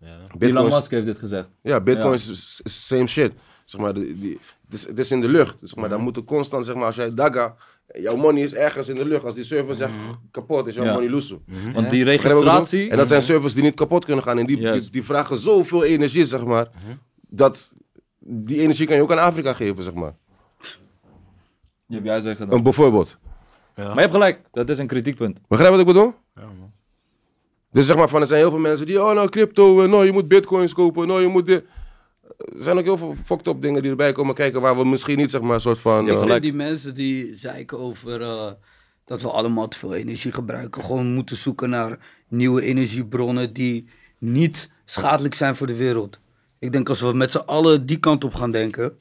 S2: Ja.
S3: Elon
S1: bitcoins
S3: Musk heeft dit gezegd.
S1: ja, bitcoins is, is same shit. Zeg maar, die, die- het, is, het is in de lucht. Zeg maar,
S2: Mhm.
S1: dan moeten constant, zeg maar, als jij daga... Jouw money is ergens in de lucht. Als die server zegt
S2: Mhm.
S1: kapot, is jouw
S3: Ja.
S1: money loesoe.
S3: Want die
S1: Begrijp je wat ik bedoel?
S3: registratie...
S1: En dat
S2: Mhm.
S1: zijn servers die niet kapot kunnen gaan. En die, die,
S3: Juist.
S1: die vragen zoveel energie, zeg maar.
S2: Mhm.
S1: Dat die energie kan je ook aan Afrika geven, zeg maar.
S3: Je hebt je huiswerk gedaan.
S1: Een bijvoorbeeld.
S3: Maar je hebt gelijk, dat is een kritiekpunt.
S1: Begrijp je wat ik bedoel?
S2: Ja, man.
S1: Dus zeg maar van, er zijn heel veel mensen die, oh nou crypto, eh, nou je moet bitcoins kopen, nou je moet dit. Er zijn ook heel veel fucked up dingen die erbij komen kijken waar we misschien niet zeg maar een soort van...
S5: Ik
S1: eh,
S5: vind die mensen die zeiken over eh, dat we allemaal te veel energie gebruiken, gewoon moeten zoeken naar nieuwe energiebronnen die niet schadelijk zijn voor de wereld. Ik denk als we met z'n allen die kant op gaan denken,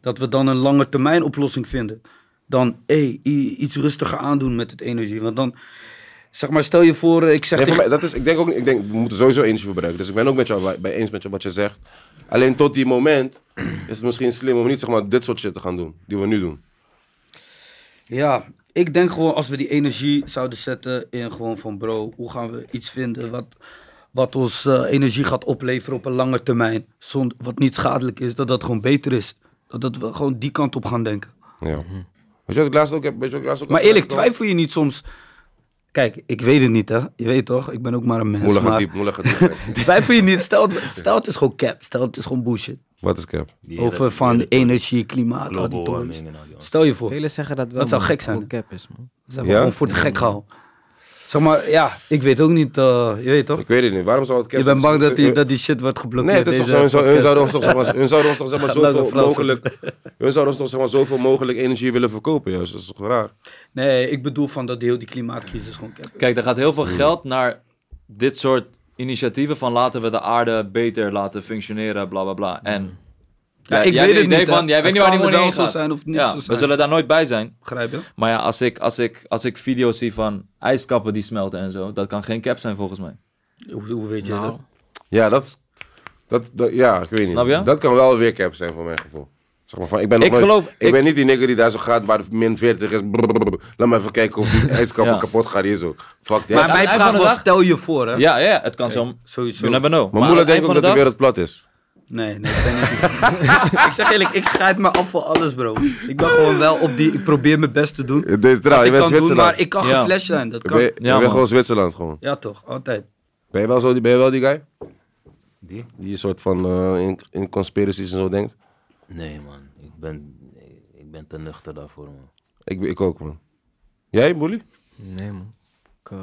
S5: dat we dan een lange termijn oplossing vinden. Dan hey, i- iets rustiger aandoen met het energie. Want dan, zeg maar, stel je voor, eh, ik zeg
S1: nee, voor
S5: tegen-
S1: mij, dat is, ik denk ook, niet- ik denk, we moeten sowieso energie verbruiken. Dus ik ben ook met jou bij, bij eens met jou wat je zegt. Alleen tot die moment is het misschien slim om niet zeg maar dit soort shit te gaan doen, die we nu doen.
S5: Ja, ik denk gewoon als we die energie zouden zetten in gewoon van bro, hoe gaan we iets vinden wat, wat ons eh, energie gaat opleveren op een lange termijn. Zonder, wat niet schadelijk is, dat dat gewoon beter is. Dat, dat we gewoon die kant op gaan denken.
S1: Ja. Weet je wat ik laatst ook heb? Weet je wat ik laatst ook
S5: Maar
S1: heb
S5: eerlijk,
S1: uitgekomen?
S5: twijfel je niet soms... Kijk, ik weet het niet hè. Je weet toch, ik ben ook maar een mens.
S1: Moeilijke
S5: maar
S1: type, moeilijke type.
S5: Twijfel je niet, stel, het- stel het is gewoon cap, stel het is gewoon bullshit.
S1: Wat is cap?
S2: Die hele-
S5: Over van
S2: die hele
S5: energie, klimaat, al die
S2: Global
S5: torens.
S2: warming en al die andere.
S5: Stel je voor.
S4: Velen zeggen dat wel.
S5: Dat zou
S4: man,
S5: gek zijn.
S4: Voor cap is, man.
S5: Ze hebben
S1: Ja?
S5: gewoon voor de
S3: Mm.
S5: gek gehouden. Zeg maar, ja, ik weet ook niet, eh, je weet toch?
S1: Ik weet het niet. Waarom zou het cap
S5: Je bent
S1: zijn? Eh,
S5: bang dat
S1: Ze-
S5: die, dat die shit wordt
S1: Nee,
S5: geblokkeerd.
S1: het is toch
S5: deze
S1: zo. Hun zou- hun
S5: podcast.
S1: zouden ons toch, zeg maar, hun zouden ons toch zeg maar,
S5: Laten we
S1: zoveel
S5: Fransen.
S1: mogelijk. Hun zouden ons toch zeg maar, zoveel mogelijk energie willen verkopen. Juist. Dat is toch raar?
S5: Nee, ik bedoel van dat die heel die klimaatcrisis gewoon cap.
S3: Kijk, er gaat heel veel geld naar dit soort initiatieven van laten we de aarde beter laten functioneren, bla bla bla. En
S5: Ja,
S3: jij- jij
S5: ik weet
S3: hebt
S5: het
S3: een
S5: niet,
S3: idee
S5: hè.
S3: van, jij
S5: Het
S3: weet niet waar die
S5: kan
S3: money
S5: wel
S3: heen
S5: zo
S3: gaat.
S5: zijn of niet
S3: ja,
S5: zo
S3: we
S5: zijn.
S3: zullen daar nooit bij zijn.
S5: Begrijp je?
S3: Maar ja, als ik, als ik, als ik video's zie van ijskappen die smelten en zo, dat kan geen cap zijn volgens mij.
S5: Hoe, hoe weet
S3: Nou.
S5: je dat?
S1: Ja, dat, dat, dat- ja, ik weet niet.
S3: Snap je?
S1: Dat kan wel weer cap zijn voor mijn gevoel. Zeg maar van, ik ben, nog
S3: Ik
S1: nooit-
S3: geloof-
S1: ik,
S3: ik-
S1: ben niet die nigger die daar zo gaat waar het min 40 is. Brrrr. Laat me even kijken of die ijskappen
S3: Ja.
S1: kapot gaat hier zo. Fuck that.
S5: Maar
S1: Maar,
S5: mijn
S3: eind
S5: vraag
S3: van de
S5: was,
S3: dag-
S5: stel je voor hè.
S3: Ja, ja, het kan zo.
S5: Sowieso.
S3: You never know.
S1: mijn moeder
S3: aan
S1: denkt ook
S3: het
S1: dat
S3: eind
S1: de
S3: van
S1: wereld plat is.
S5: Nee, nee, dat ben ik niet. ik zeg eerlijk, ik scheid me af voor alles bro. Ik ben gewoon wel op die, ik probeer mijn best te doen.
S1: Dit, trouw,
S5: Wat
S1: je
S5: ik
S1: bent
S5: kan doen, maar
S1: Zwitserland.
S5: ik kan
S3: Ja.
S5: geen flash zijn. Dat
S1: Je bent-
S5: kan.
S1: je
S3: Ja,
S1: bent
S3: man.
S1: gewoon Zwitserland gewoon.
S5: Ja toch, altijd.
S1: Ben je wel, zo, die- ben je wel die guy?
S2: Die?
S1: Die een soort van eh, in, in conspiracies en zo denkt?
S2: Nee, man. Ik ben, ik ben te nuchter daarvoor, man.
S1: Ik, ik ook, man. Jij, Boelie?
S4: Nee, man. Ik, eh,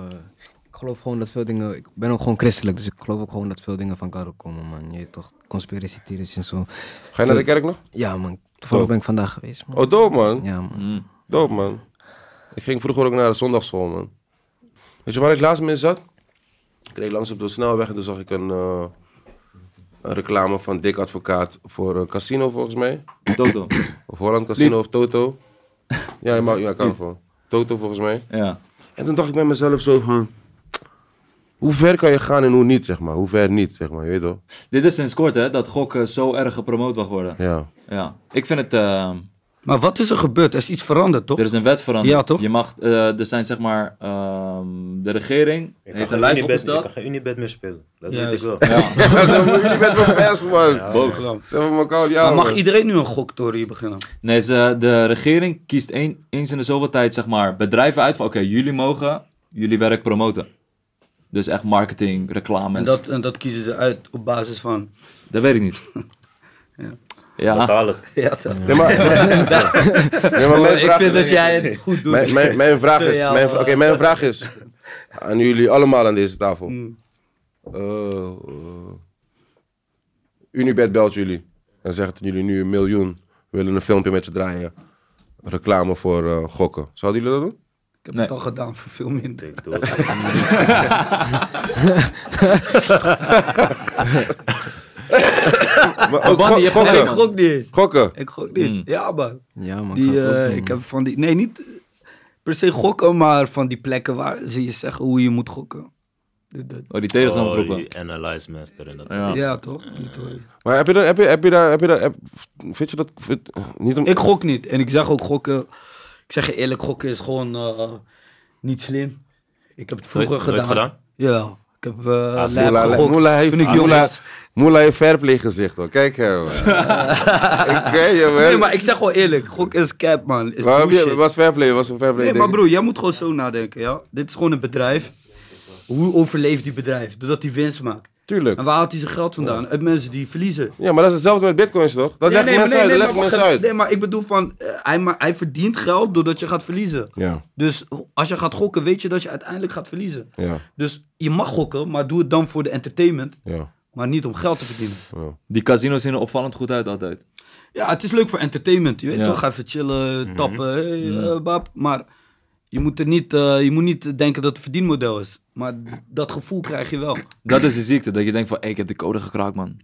S4: ik geloof gewoon dat veel dingen... Ik ben ook gewoon christelijk, dus ik geloof ook gewoon dat veel dingen van God komen, man. Je weet toch, conspiracy theories en zo.
S1: Ga je naar de kerk nog?
S4: Ja, man. Toevallig ben ik vandaag geweest, man.
S1: Oh, dope, man.
S4: Ja, man.
S5: Mm.
S1: Doop man. Ik ging vroeger ook naar de zondagschool, man. Weet je waar ik laatst mee zat? Ik reed langs op de snelweg en toen zag ik een, eh, een reclame van Dick Advocaat voor een casino, volgens mij.
S3: Toto.
S1: Of Holland Casino of Toto. Ja, je mag, ja kan gewoon. Toto, volgens mij.
S3: Ja.
S1: En toen dacht ik bij mezelf zo van... Hoe ver kan je gaan en hoe niet, zeg maar. Hoe ver niet, zeg maar. Je weet toch?
S3: Dit is sinds kort hè, dat gokken zo erg gepromoot mag worden.
S1: Ja.
S3: Ja. Ik vind het, eh,
S5: Maar wat is er gebeurd? Er is iets veranderd, toch?
S3: Er is een wet veranderd.
S5: Ja, toch?
S3: Je mag, eh, er zijn zeg maar, ehm, de regering
S2: Je kan
S3: heeft een
S2: geen
S3: lijst
S2: Unibet- Je kan
S3: opgesteld.
S2: geen Unibet meer spelen. Dat
S5: Juist.
S2: weet ik wel.
S3: Ja.
S1: Zo moet je met mijn best, man.
S5: Boos.
S1: Zeg maar, maar koud, ja.
S5: Maar mag
S1: man.
S5: iedereen nu een goktory beginnen?
S3: Nee, ze, de regering kiest een, eens in de zoveel tijd zeg maar, bedrijven uit van oké, jullie mogen jullie werk promoten. Dus echt marketing, reclames.
S5: En dat, en dat kiezen ze uit op basis van...
S3: Dat weet ik niet. ja.
S2: Betaal het.
S5: Ja, dat-
S1: Nee, maar, nee, maar mijn
S5: ik
S1: vraag
S5: vind
S1: is...
S5: dat jij het goed doet.
S1: Mijn, mijn, mijn vraag is...
S5: Ja,
S1: Mijn,
S5: maar-
S1: vra- Oké, mijn vraag is... Aan jullie allemaal aan deze tafel. Eh, eh, Unibet belt jullie. En zegt dat jullie nu een miljoen willen een filmpje met ze draaien. Reclame voor eh, gokken. Zouden jullie dat doen?
S5: Ik heb
S3: Nee.
S5: het al gedaan voor veel minder.
S2: Ik doe het.
S5: Ah,
S1: Maar
S3: Oh,
S1: ook
S3: Bandy, je hebt
S5: Nee,
S1: gokken.
S5: ik gok niet eens.
S1: Gokken.
S5: Ik gok niet.
S3: Mm.
S5: Ja, man.
S4: Ja, man.
S5: Die,
S4: ik zou het ook
S5: eh,
S4: doen,
S5: ik
S4: man.
S5: heb van die... Nee, niet per se gokken, maar van die plekken waar ze je zeggen hoe je moet gokken. Dit, dat.
S3: Oh, die telegram
S2: Oh,
S3: groepen.
S2: die Analyze Master en dat
S3: Ja.
S2: soort
S5: Ja,
S2: dingen.
S5: toch? Die tory.
S1: Maar heb je daar... Heb je, heb je daar, heb je daar heb- vind je dat... vind- niet om,
S5: Ik gok niet. En ik zeg ook gokken... Ik zeg je eerlijk, gokken is gewoon eh, niet slim. Ik heb het vroeger
S2: Nooit- nooit gedaan?
S5: Ja. Ik heb eh
S2: Ah,
S5: lijp
S1: Moela,
S5: gegokt
S1: Moela heeft,
S5: toen ik jong
S1: Moela,
S5: was.
S1: Moela heeft verpleeg gezicht hoor. Kijk hem. man. ik ken je, man.
S5: Nee, maar ik zeg gewoon eerlijk. Gok is cap, man. Is
S1: Waarom
S5: bullshit.
S1: je, was verpleeg, was een verpleeg.
S5: Nee, maar broer, jij moet gewoon zo nadenken, ja? Dit is gewoon een bedrijf. Hoe overleeft die bedrijf? Doordat hij winst maakt.
S1: Tuurlijk.
S5: En waar haalt hij zijn geld vandaan? Uit mensen die verliezen.
S1: Ja, maar dat is hetzelfde met bitcoins toch? Dat
S5: Ja,
S1: leggen mensen uit, dat
S5: maar- maar
S1: leggen mensen
S5: wacht
S1: uit.
S5: even. Nee, maar ik bedoel van, eh, hij, ma- hij verdient geld doordat je gaat verliezen.
S1: Ja,
S5: Dus als je gaat gokken, weet je dat je uiteindelijk gaat verliezen.
S1: ja,
S5: Dus je mag gokken, maar doe het dan voor de entertainment,
S1: ja.
S5: maar niet om geld te verdienen.
S3: Die casinos zien er opvallend goed uit altijd.
S5: Ja, het is leuk voor entertainment. Je weet
S3: Ja.
S5: toch, even chillen, tappen, hey, eh, bab. Maar je moet, er niet, eh, je moet niet denken dat het verdienmodel is. Maar dat gevoel krijg je wel.
S3: Dat is de ziekte, dat je denkt van, hey, ik heb de code gekraakt, man.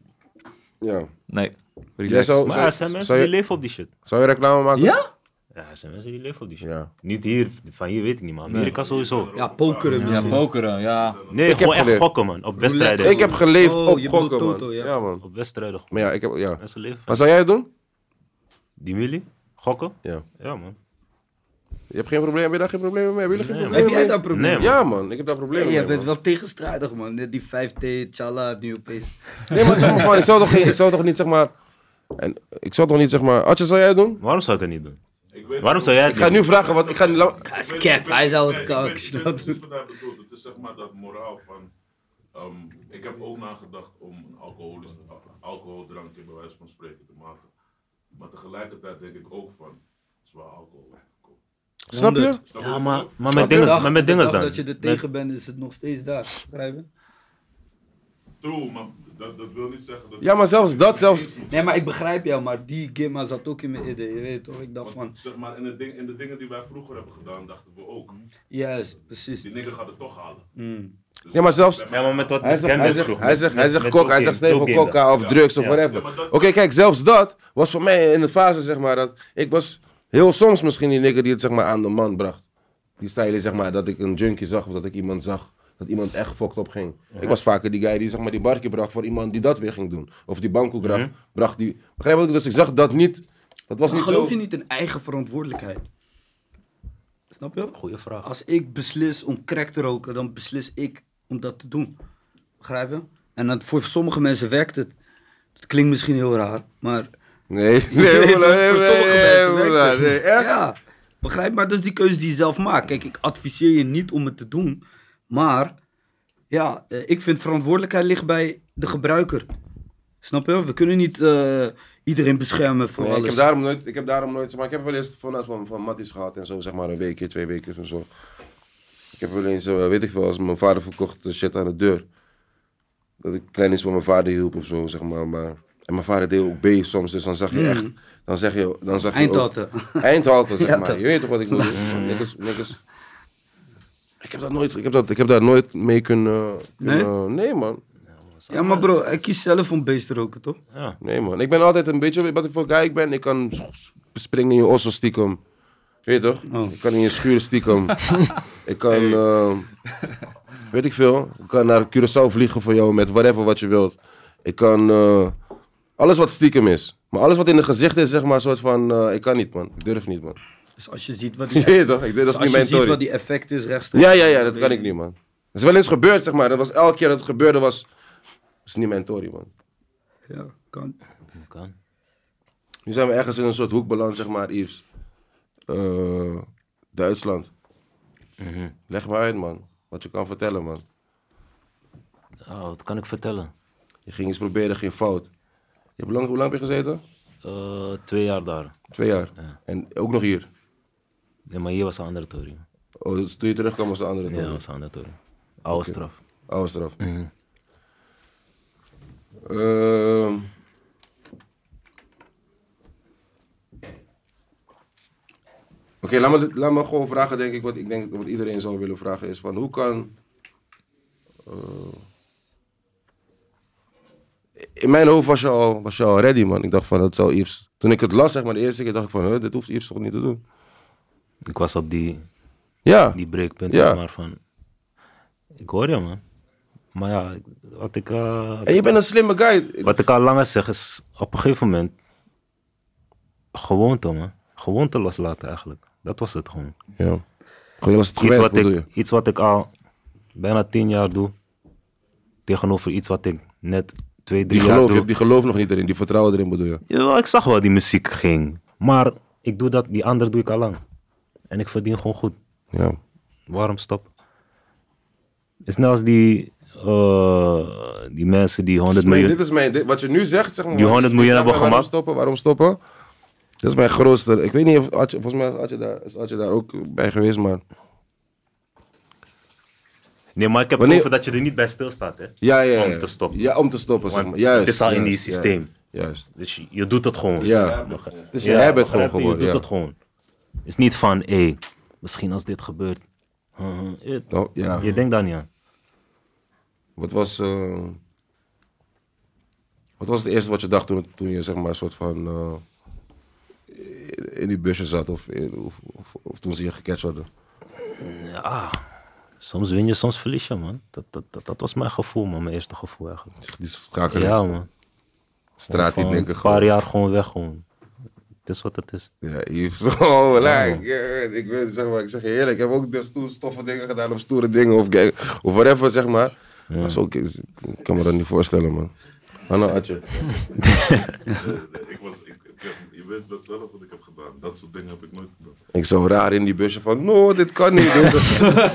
S1: ja.
S3: Nee.
S1: Jij
S3: Relax.
S1: zou,
S2: Maar
S1: zou,
S2: er zijn mensen
S1: zou
S2: die
S1: je,
S2: leven op die shit.
S1: zou je reclame maken?
S5: Ja?
S2: Ja, er zijn mensen die leven op die shit.
S1: Ja.
S2: Niet hier, van hier weet ik niet, maar Amerika sowieso.
S5: Ja, pokeren
S3: Ja,
S5: misschien.
S3: pokeren, ja.
S2: Nee,
S1: Ik
S2: gewoon
S1: heb
S2: echt
S1: geleerd.
S2: gokken, man. Op wedstrijden.
S1: Ik heb geleefd
S5: Oh,
S1: op
S5: je bedoelt
S1: gokken, man.
S5: Toto, ja.
S1: ja. man.
S2: Op wedstrijden.
S1: Maar ja, ik heb, ja.
S2: Mensen leven. van-
S1: Maar zou jij het doen?
S2: Die Millie? Gokken?
S1: Ja.
S2: Ja, man.
S1: Je hebt geen probleem, heb je daar geen probleem mee? Hebben jullie geen
S2: Nee,
S1: probleem
S5: Heb jij
S1: mee?
S5: daar problemen?
S2: Nee, man.
S1: Ja man, ik heb daar problemen
S5: Hey,
S1: mee.
S5: jij bent
S1: man.
S5: wel tegenstrijdig, man. Net die 5T, tjala, nu opeens.
S1: Nee, maar zeg maar van, ik zou toch, geen- ik zou toch niet zeg maar... En, ik zou toch niet zeg maar... Atje, zou jij het doen?
S2: Waarom zou ik het niet doen?
S6: Ik weet
S2: Waarom zou jij het
S1: Ik ga
S2: niet
S1: nu vragen, wat ik ga nu... lang-
S5: Hij is cap, hij zou het
S6: Nee, ik
S5: kak
S6: weet- Ik weet
S5: snel
S6: precies
S5: doen.
S6: wat hij bedoelt. Het is zeg maar dat moraal van... ehm, ik heb ook nagedacht om een alcoholisch, al- alcoholdrankje bij wijze van spreken te maken. Maar tegelijkertijd denk ik ook van, het is waar alcohol verkoopt.
S1: Snap je?
S2: doen? Ja, maar, maar,
S1: Snap
S2: met,
S1: je?
S2: dinges,
S5: Dag-
S2: maar met
S5: de
S2: dinges
S5: dag
S2: dan.
S5: dat je er
S2: Met-
S5: tegen bent, is het nog steeds daar. Begrijp je?
S6: True, maar dat, dat wil niet zeggen dat...
S1: Ja, maar zelfs dat, zelfs...
S5: Nee, maar ik begrijp jou, maar die Gimma zat ook in mijn idee. Je weet toch? Ik dacht van,
S6: Want, zeg maar, in de, ding, in de dingen die wij vroeger hebben gedaan, dachten we ook.
S5: juist, precies.
S6: Die nigger gaat het toch halen.
S5: Mm.
S6: Dus
S1: Ja, maar zelfs...
S2: Ja, maar met wat
S1: Hij zegt, hij
S2: Gambit
S1: zegt,
S2: vroeg,
S1: hij
S2: met-
S1: zegt, hij
S2: met-
S1: zegt
S2: met
S1: kok, hij
S2: cocaïne,
S1: zegt nee voor
S2: cocaïne.
S1: coca of drugs of whatever.
S6: Ja, maar dat-
S1: Oké, kijk, zelfs dat was voor mij in de fase, zeg maar, dat ik was heel soms misschien die nigger die het zeg maar aan de man bracht. Die stijlen, zeg maar, dat ik een junkie zag of dat ik iemand zag, dat iemand echt fokt op ging. Ik was vaker die guy die zeg maar die barkje bracht voor iemand die dat weer ging doen. Of die bankoe bracht,
S2: Mhm.
S1: bracht die... Begrijp je wat ik Dus ik zag dat niet, dat was
S5: Maar
S1: niet
S5: geloof
S1: zo...
S5: je niet in eigen verantwoordelijkheid? Snap je?
S2: Goeie vraag.
S5: Als ik beslis om crack te roken, dan beslis ik om dat te doen. Begrijp je? En dat voor sommige mensen werkt het. Het klinkt misschien heel raar, maar...
S1: Nee, nee,
S5: Voor
S1: nee, nee,
S5: sommige
S1: nee,
S5: mensen werkt
S1: Moela,
S5: het.
S1: nee, echt?
S5: Ja, begrijp maar, dat is die keuze die je zelf maakt. Kijk, ik adviseer je niet om het te doen, maar ja, eh, ik vind verantwoordelijkheid ligt bij de gebruiker. Snap je? We kunnen niet eh, iedereen beschermen voor
S1: Nee,
S5: alles.
S1: ik heb daarom nooit, ik heb daarom nooit, maar ik heb wel eens van, van, van Matties gehad en zo, zeg maar een weekje, twee weken of zo. Ik heb wel eens, eh, weet ik veel, als mijn vader verkocht eh, shit aan de deur. Dat ik klein is van mijn vader hielp of zo, zeg maar. maar en mijn vader deed ook B soms, dus dan zag je echt, dan zeg je, dan zag je ook-
S5: Hmm. Eindhalte.
S1: Eindhalte, zeg
S5: Ja,
S1: maar.
S5: toch.
S1: Je weet toch wat ik bedoel? Niks, niks. Ik heb dat nooit, ik heb dat, ik heb daar nooit mee kunnen,
S5: Nee?
S1: kunnen- nee man.
S5: Ja, maar bro, ik kies zelf om beest te roken, toch?
S2: Ja.
S1: Nee man, ik ben altijd een beetje, weet wat ik voor guy ik ben? Ik kan springen in je osso stiekem. Je Weet je toch?
S5: Oh.
S1: Ik kan in je schuur stiekem. ik kan, ehm, weet ik veel, ik kan naar Curaçao vliegen voor jou met whatever wat je wilt. Ik kan, eh, Alles wat stiekem is. Maar alles wat in het gezicht is, zeg maar, een soort van, eh, ik kan niet, man. Ik durf niet, man.
S5: Dus als je ziet wat
S1: Je
S5: die,
S1: weet toch? Ik, dat is
S5: Dus als
S1: niet
S5: je
S1: mijn
S5: ziet wat
S1: story.
S5: die effect is rechtstreeks.
S1: Ja, ja, ja, dat kan ik niet, man. Dat is wel eens gebeurd, zeg maar. Dat was elke keer dat het gebeurde, was... Dat is niet mijn story, man.
S5: Ja, kan.
S2: Kan.
S1: Nu zijn we ergens in een soort hoekbalans, zeg maar, Yves. Eh, Duitsland.
S2: Mhm.
S1: Leg maar uit, man. Wat je kan vertellen, man.
S2: Ah, wat kan ik vertellen?
S1: Je ging iets proberen, ging fout. Je hebt lang, hoe lang heb je gezeten?
S2: Eh, twee jaar daar.
S1: Twee jaar. En ook nog hier.
S2: Nee, maar hier was een andere tory.
S1: Oh, dus toen je terugkwam was de andere
S2: Ja,
S1: toren.
S2: was een andere tory. Oude straf.
S1: Oude straf.
S2: Mhm.
S1: Ehm. Oké, laat, me, dit- laat me gewoon vragen, denk ik, wat ik denk wat iedereen zou willen vragen is van hoe kan. eh, in mijn hoofd was je, al, was je al ready, man. Ik dacht van dat zou Yves. Toen ik het las, zeg maar, de eerste keer dacht ik van, huh, dit hoeft Yves toch niet te doen.
S2: Ik was op die,
S1: Ja.
S2: die breekpunt,
S1: Ja.
S2: zeg maar, van... Ik hoor je, man. Maar ja, wat ik, eh,
S1: En je bent een slimme guy.
S2: wat ik al langer zeg is, op een gegeven moment... Gewoonte, man. Gewoonte loslaten, eigenlijk. Dat was het gewoon.
S1: Ja. Gewoon, je was het
S2: Iets
S1: gewend,
S2: wat,
S1: bedoel je?
S2: ik, iets wat ik al bijna tien jaar doe. Tegenover iets wat ik net twee,
S1: Die
S2: drie jaar
S1: geloof, je
S2: doe.
S1: hebt die geloof nog niet erin, die vertrouwen erin bedoel je.
S2: Ja, ik zag wel die muziek ging. Maar ik doe dat, die ander doe ik al lang. En ik verdien gewoon goed.
S1: Ja.
S2: Waarom stop? Het is net als die, eh, die mensen die 100
S1: Mijn-
S2: miljoen...
S1: Dit is mijn, dit- wat je nu zegt, zeg maar.
S2: Die 100 miljoen hebben we
S1: Waarom
S2: gemaakt.
S1: stoppen, waarom stoppen? Dat is mijn grootste. Ik weet niet of Adje, volgens mij is Adje, daar, is Adje daar ook bij geweest, maar.
S2: Nee, maar ik heb
S1: Wanneer-
S2: over dat je er niet bij stilstaat. Hè?
S1: Ja, ja, ja.
S2: Om te stoppen.
S1: Ja, om te stoppen, zeg
S2: Want
S1: maar. Juist.
S2: het is al in die
S1: juist,
S2: systeem.
S1: Ja, juist.
S2: Dus je, je doet het gewoon.
S1: Ja. Het is je
S2: Ja,
S1: habit
S2: begrijp
S1: gewoon
S2: je?
S1: geworden.
S2: Je
S1: Ja.
S2: doet het gewoon. Het is niet van, hé, hey, misschien als dit gebeurt. huh, huh, eh,
S1: Oh, ja.
S2: Je denkt daar niet aan.
S1: Wat was. eh, wat was het eerste wat je dacht toen, toen je, zeg maar, een soort van. eh, in die busje zat of, in- of, of, of toen ze je gecatcht hadden?
S2: Soms win je, soms verlies je, man. Dat, dat, dat, dat was mijn gevoel, man. Mijn eerste gevoel eigenlijk.
S1: Die schakeling.
S2: Ja, man.
S1: Straat die
S2: Gewoon
S1: denken
S2: een paar
S1: gewoon.
S2: jaar gewoon weg, gewoon. Het is wat het is.
S1: Ja, Yves. Oh, like, eh, ik, weet, zeg maar, ik zeg je eerlijk, ik heb ook de stoer, stoffe dingen gedaan of stoere dingen of, ge- of whatever, zeg maar. Dat is ook, is- ik kan me dat niet voorstellen, man. nou, Hanna, Atje.
S6: Eh, ik was, ik, ik heb- je weet dat zelf wat ik heb gedaan. Dat soort dingen heb ik nooit gedaan.
S1: Ik zo raar in die busje van, no, dit kan niet. Deze-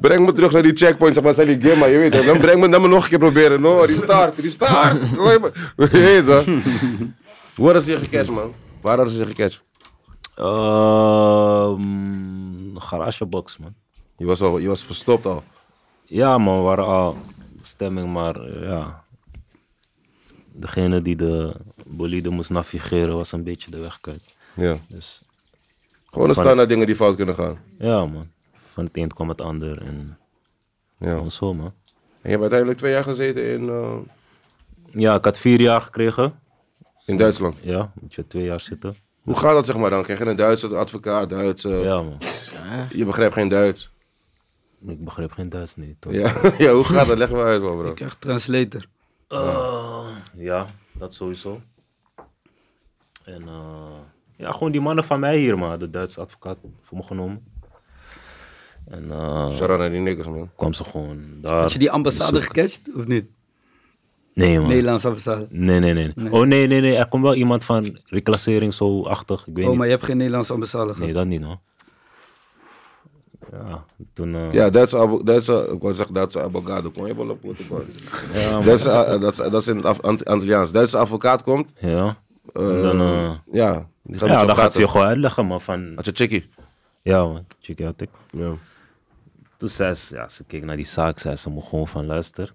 S1: breng me terug naar die checkpoint, zeg maar, zijn die game, maar je weet het. Dan breng me, dan me nog een keer proberen. No, restart, restart. Gooi me- Je weet het. Hoe hadden ze je gecatcht, man? Waar hadden ze je gecatcht?
S2: Ehm, garagebox, man.
S1: Je was, al, je was verstopt al.
S2: Ja, man, we waren al stemming, maar eh, ja. Degene die de bolide moest navigeren was een beetje de weg kwijt.
S1: Ja.
S2: Dus
S1: Gewoon een standaard dingen die fout kunnen gaan.
S2: ja, man. Van het een kwam het ander en
S1: Ja.
S2: gewoon zo, man.
S1: En je hebt uiteindelijk twee jaar gezeten in, eh,
S2: Ja, ik had vier jaar gekregen.
S1: in Duitsland.
S2: Ja, moet je twee jaar zitten.
S1: Hoe gaat dat zeg maar dan? Krijg je een Duitse advocaat, Duits? eh,
S2: Ja, man.
S1: Je begrijpt geen Duits.
S2: Ik begreep geen Duits, nee. Toch?
S1: Ja, ja hoe gaat dat? Leg maar uit, man, bro.
S5: Ik krijg translator.
S2: Eh, ja, dat sowieso. En eh, ja, gewoon die mannen van mij hier, man. De Duitse advocaat voor me genomen. En eh
S1: Shout-out naar die niggers, man.
S2: kwam ze gewoon daar.
S5: Had je die ambassade gecatcht of niet?
S2: Nee, man.
S5: Nederlandse ambassade.
S2: Nee, nee, nee, Oh, nee, nee, nee. Er komt wel iemand van reclassering zo-achtig. Ik weet
S5: Oh,
S2: niet.
S5: maar je hebt geen Nederlandse ambassade gehad.
S2: Nee, dat niet, hoor. Ja, toen... eh,
S1: Ja, Duitse, abo- Duitse ik wou zeggen Duitse abogado. Kom je wel op, hoor, ik wou- Duitse, eh, dat, is, dat is in het Af- Ant- Antilliaans. Duitse advocaat komt.
S2: ja.
S1: eh,
S2: En dan, eh,
S1: ja, die gaat met
S2: ja,
S1: je
S2: dan gaat ze je
S1: praten.
S2: gewoon uitleggen, man. Van,
S1: Had je chickie?
S2: ja, man. Check out, ik.
S1: Ja.
S2: Toen zei ze, ja, ze keek naar die zaak, zei ze me gewoon van, luister.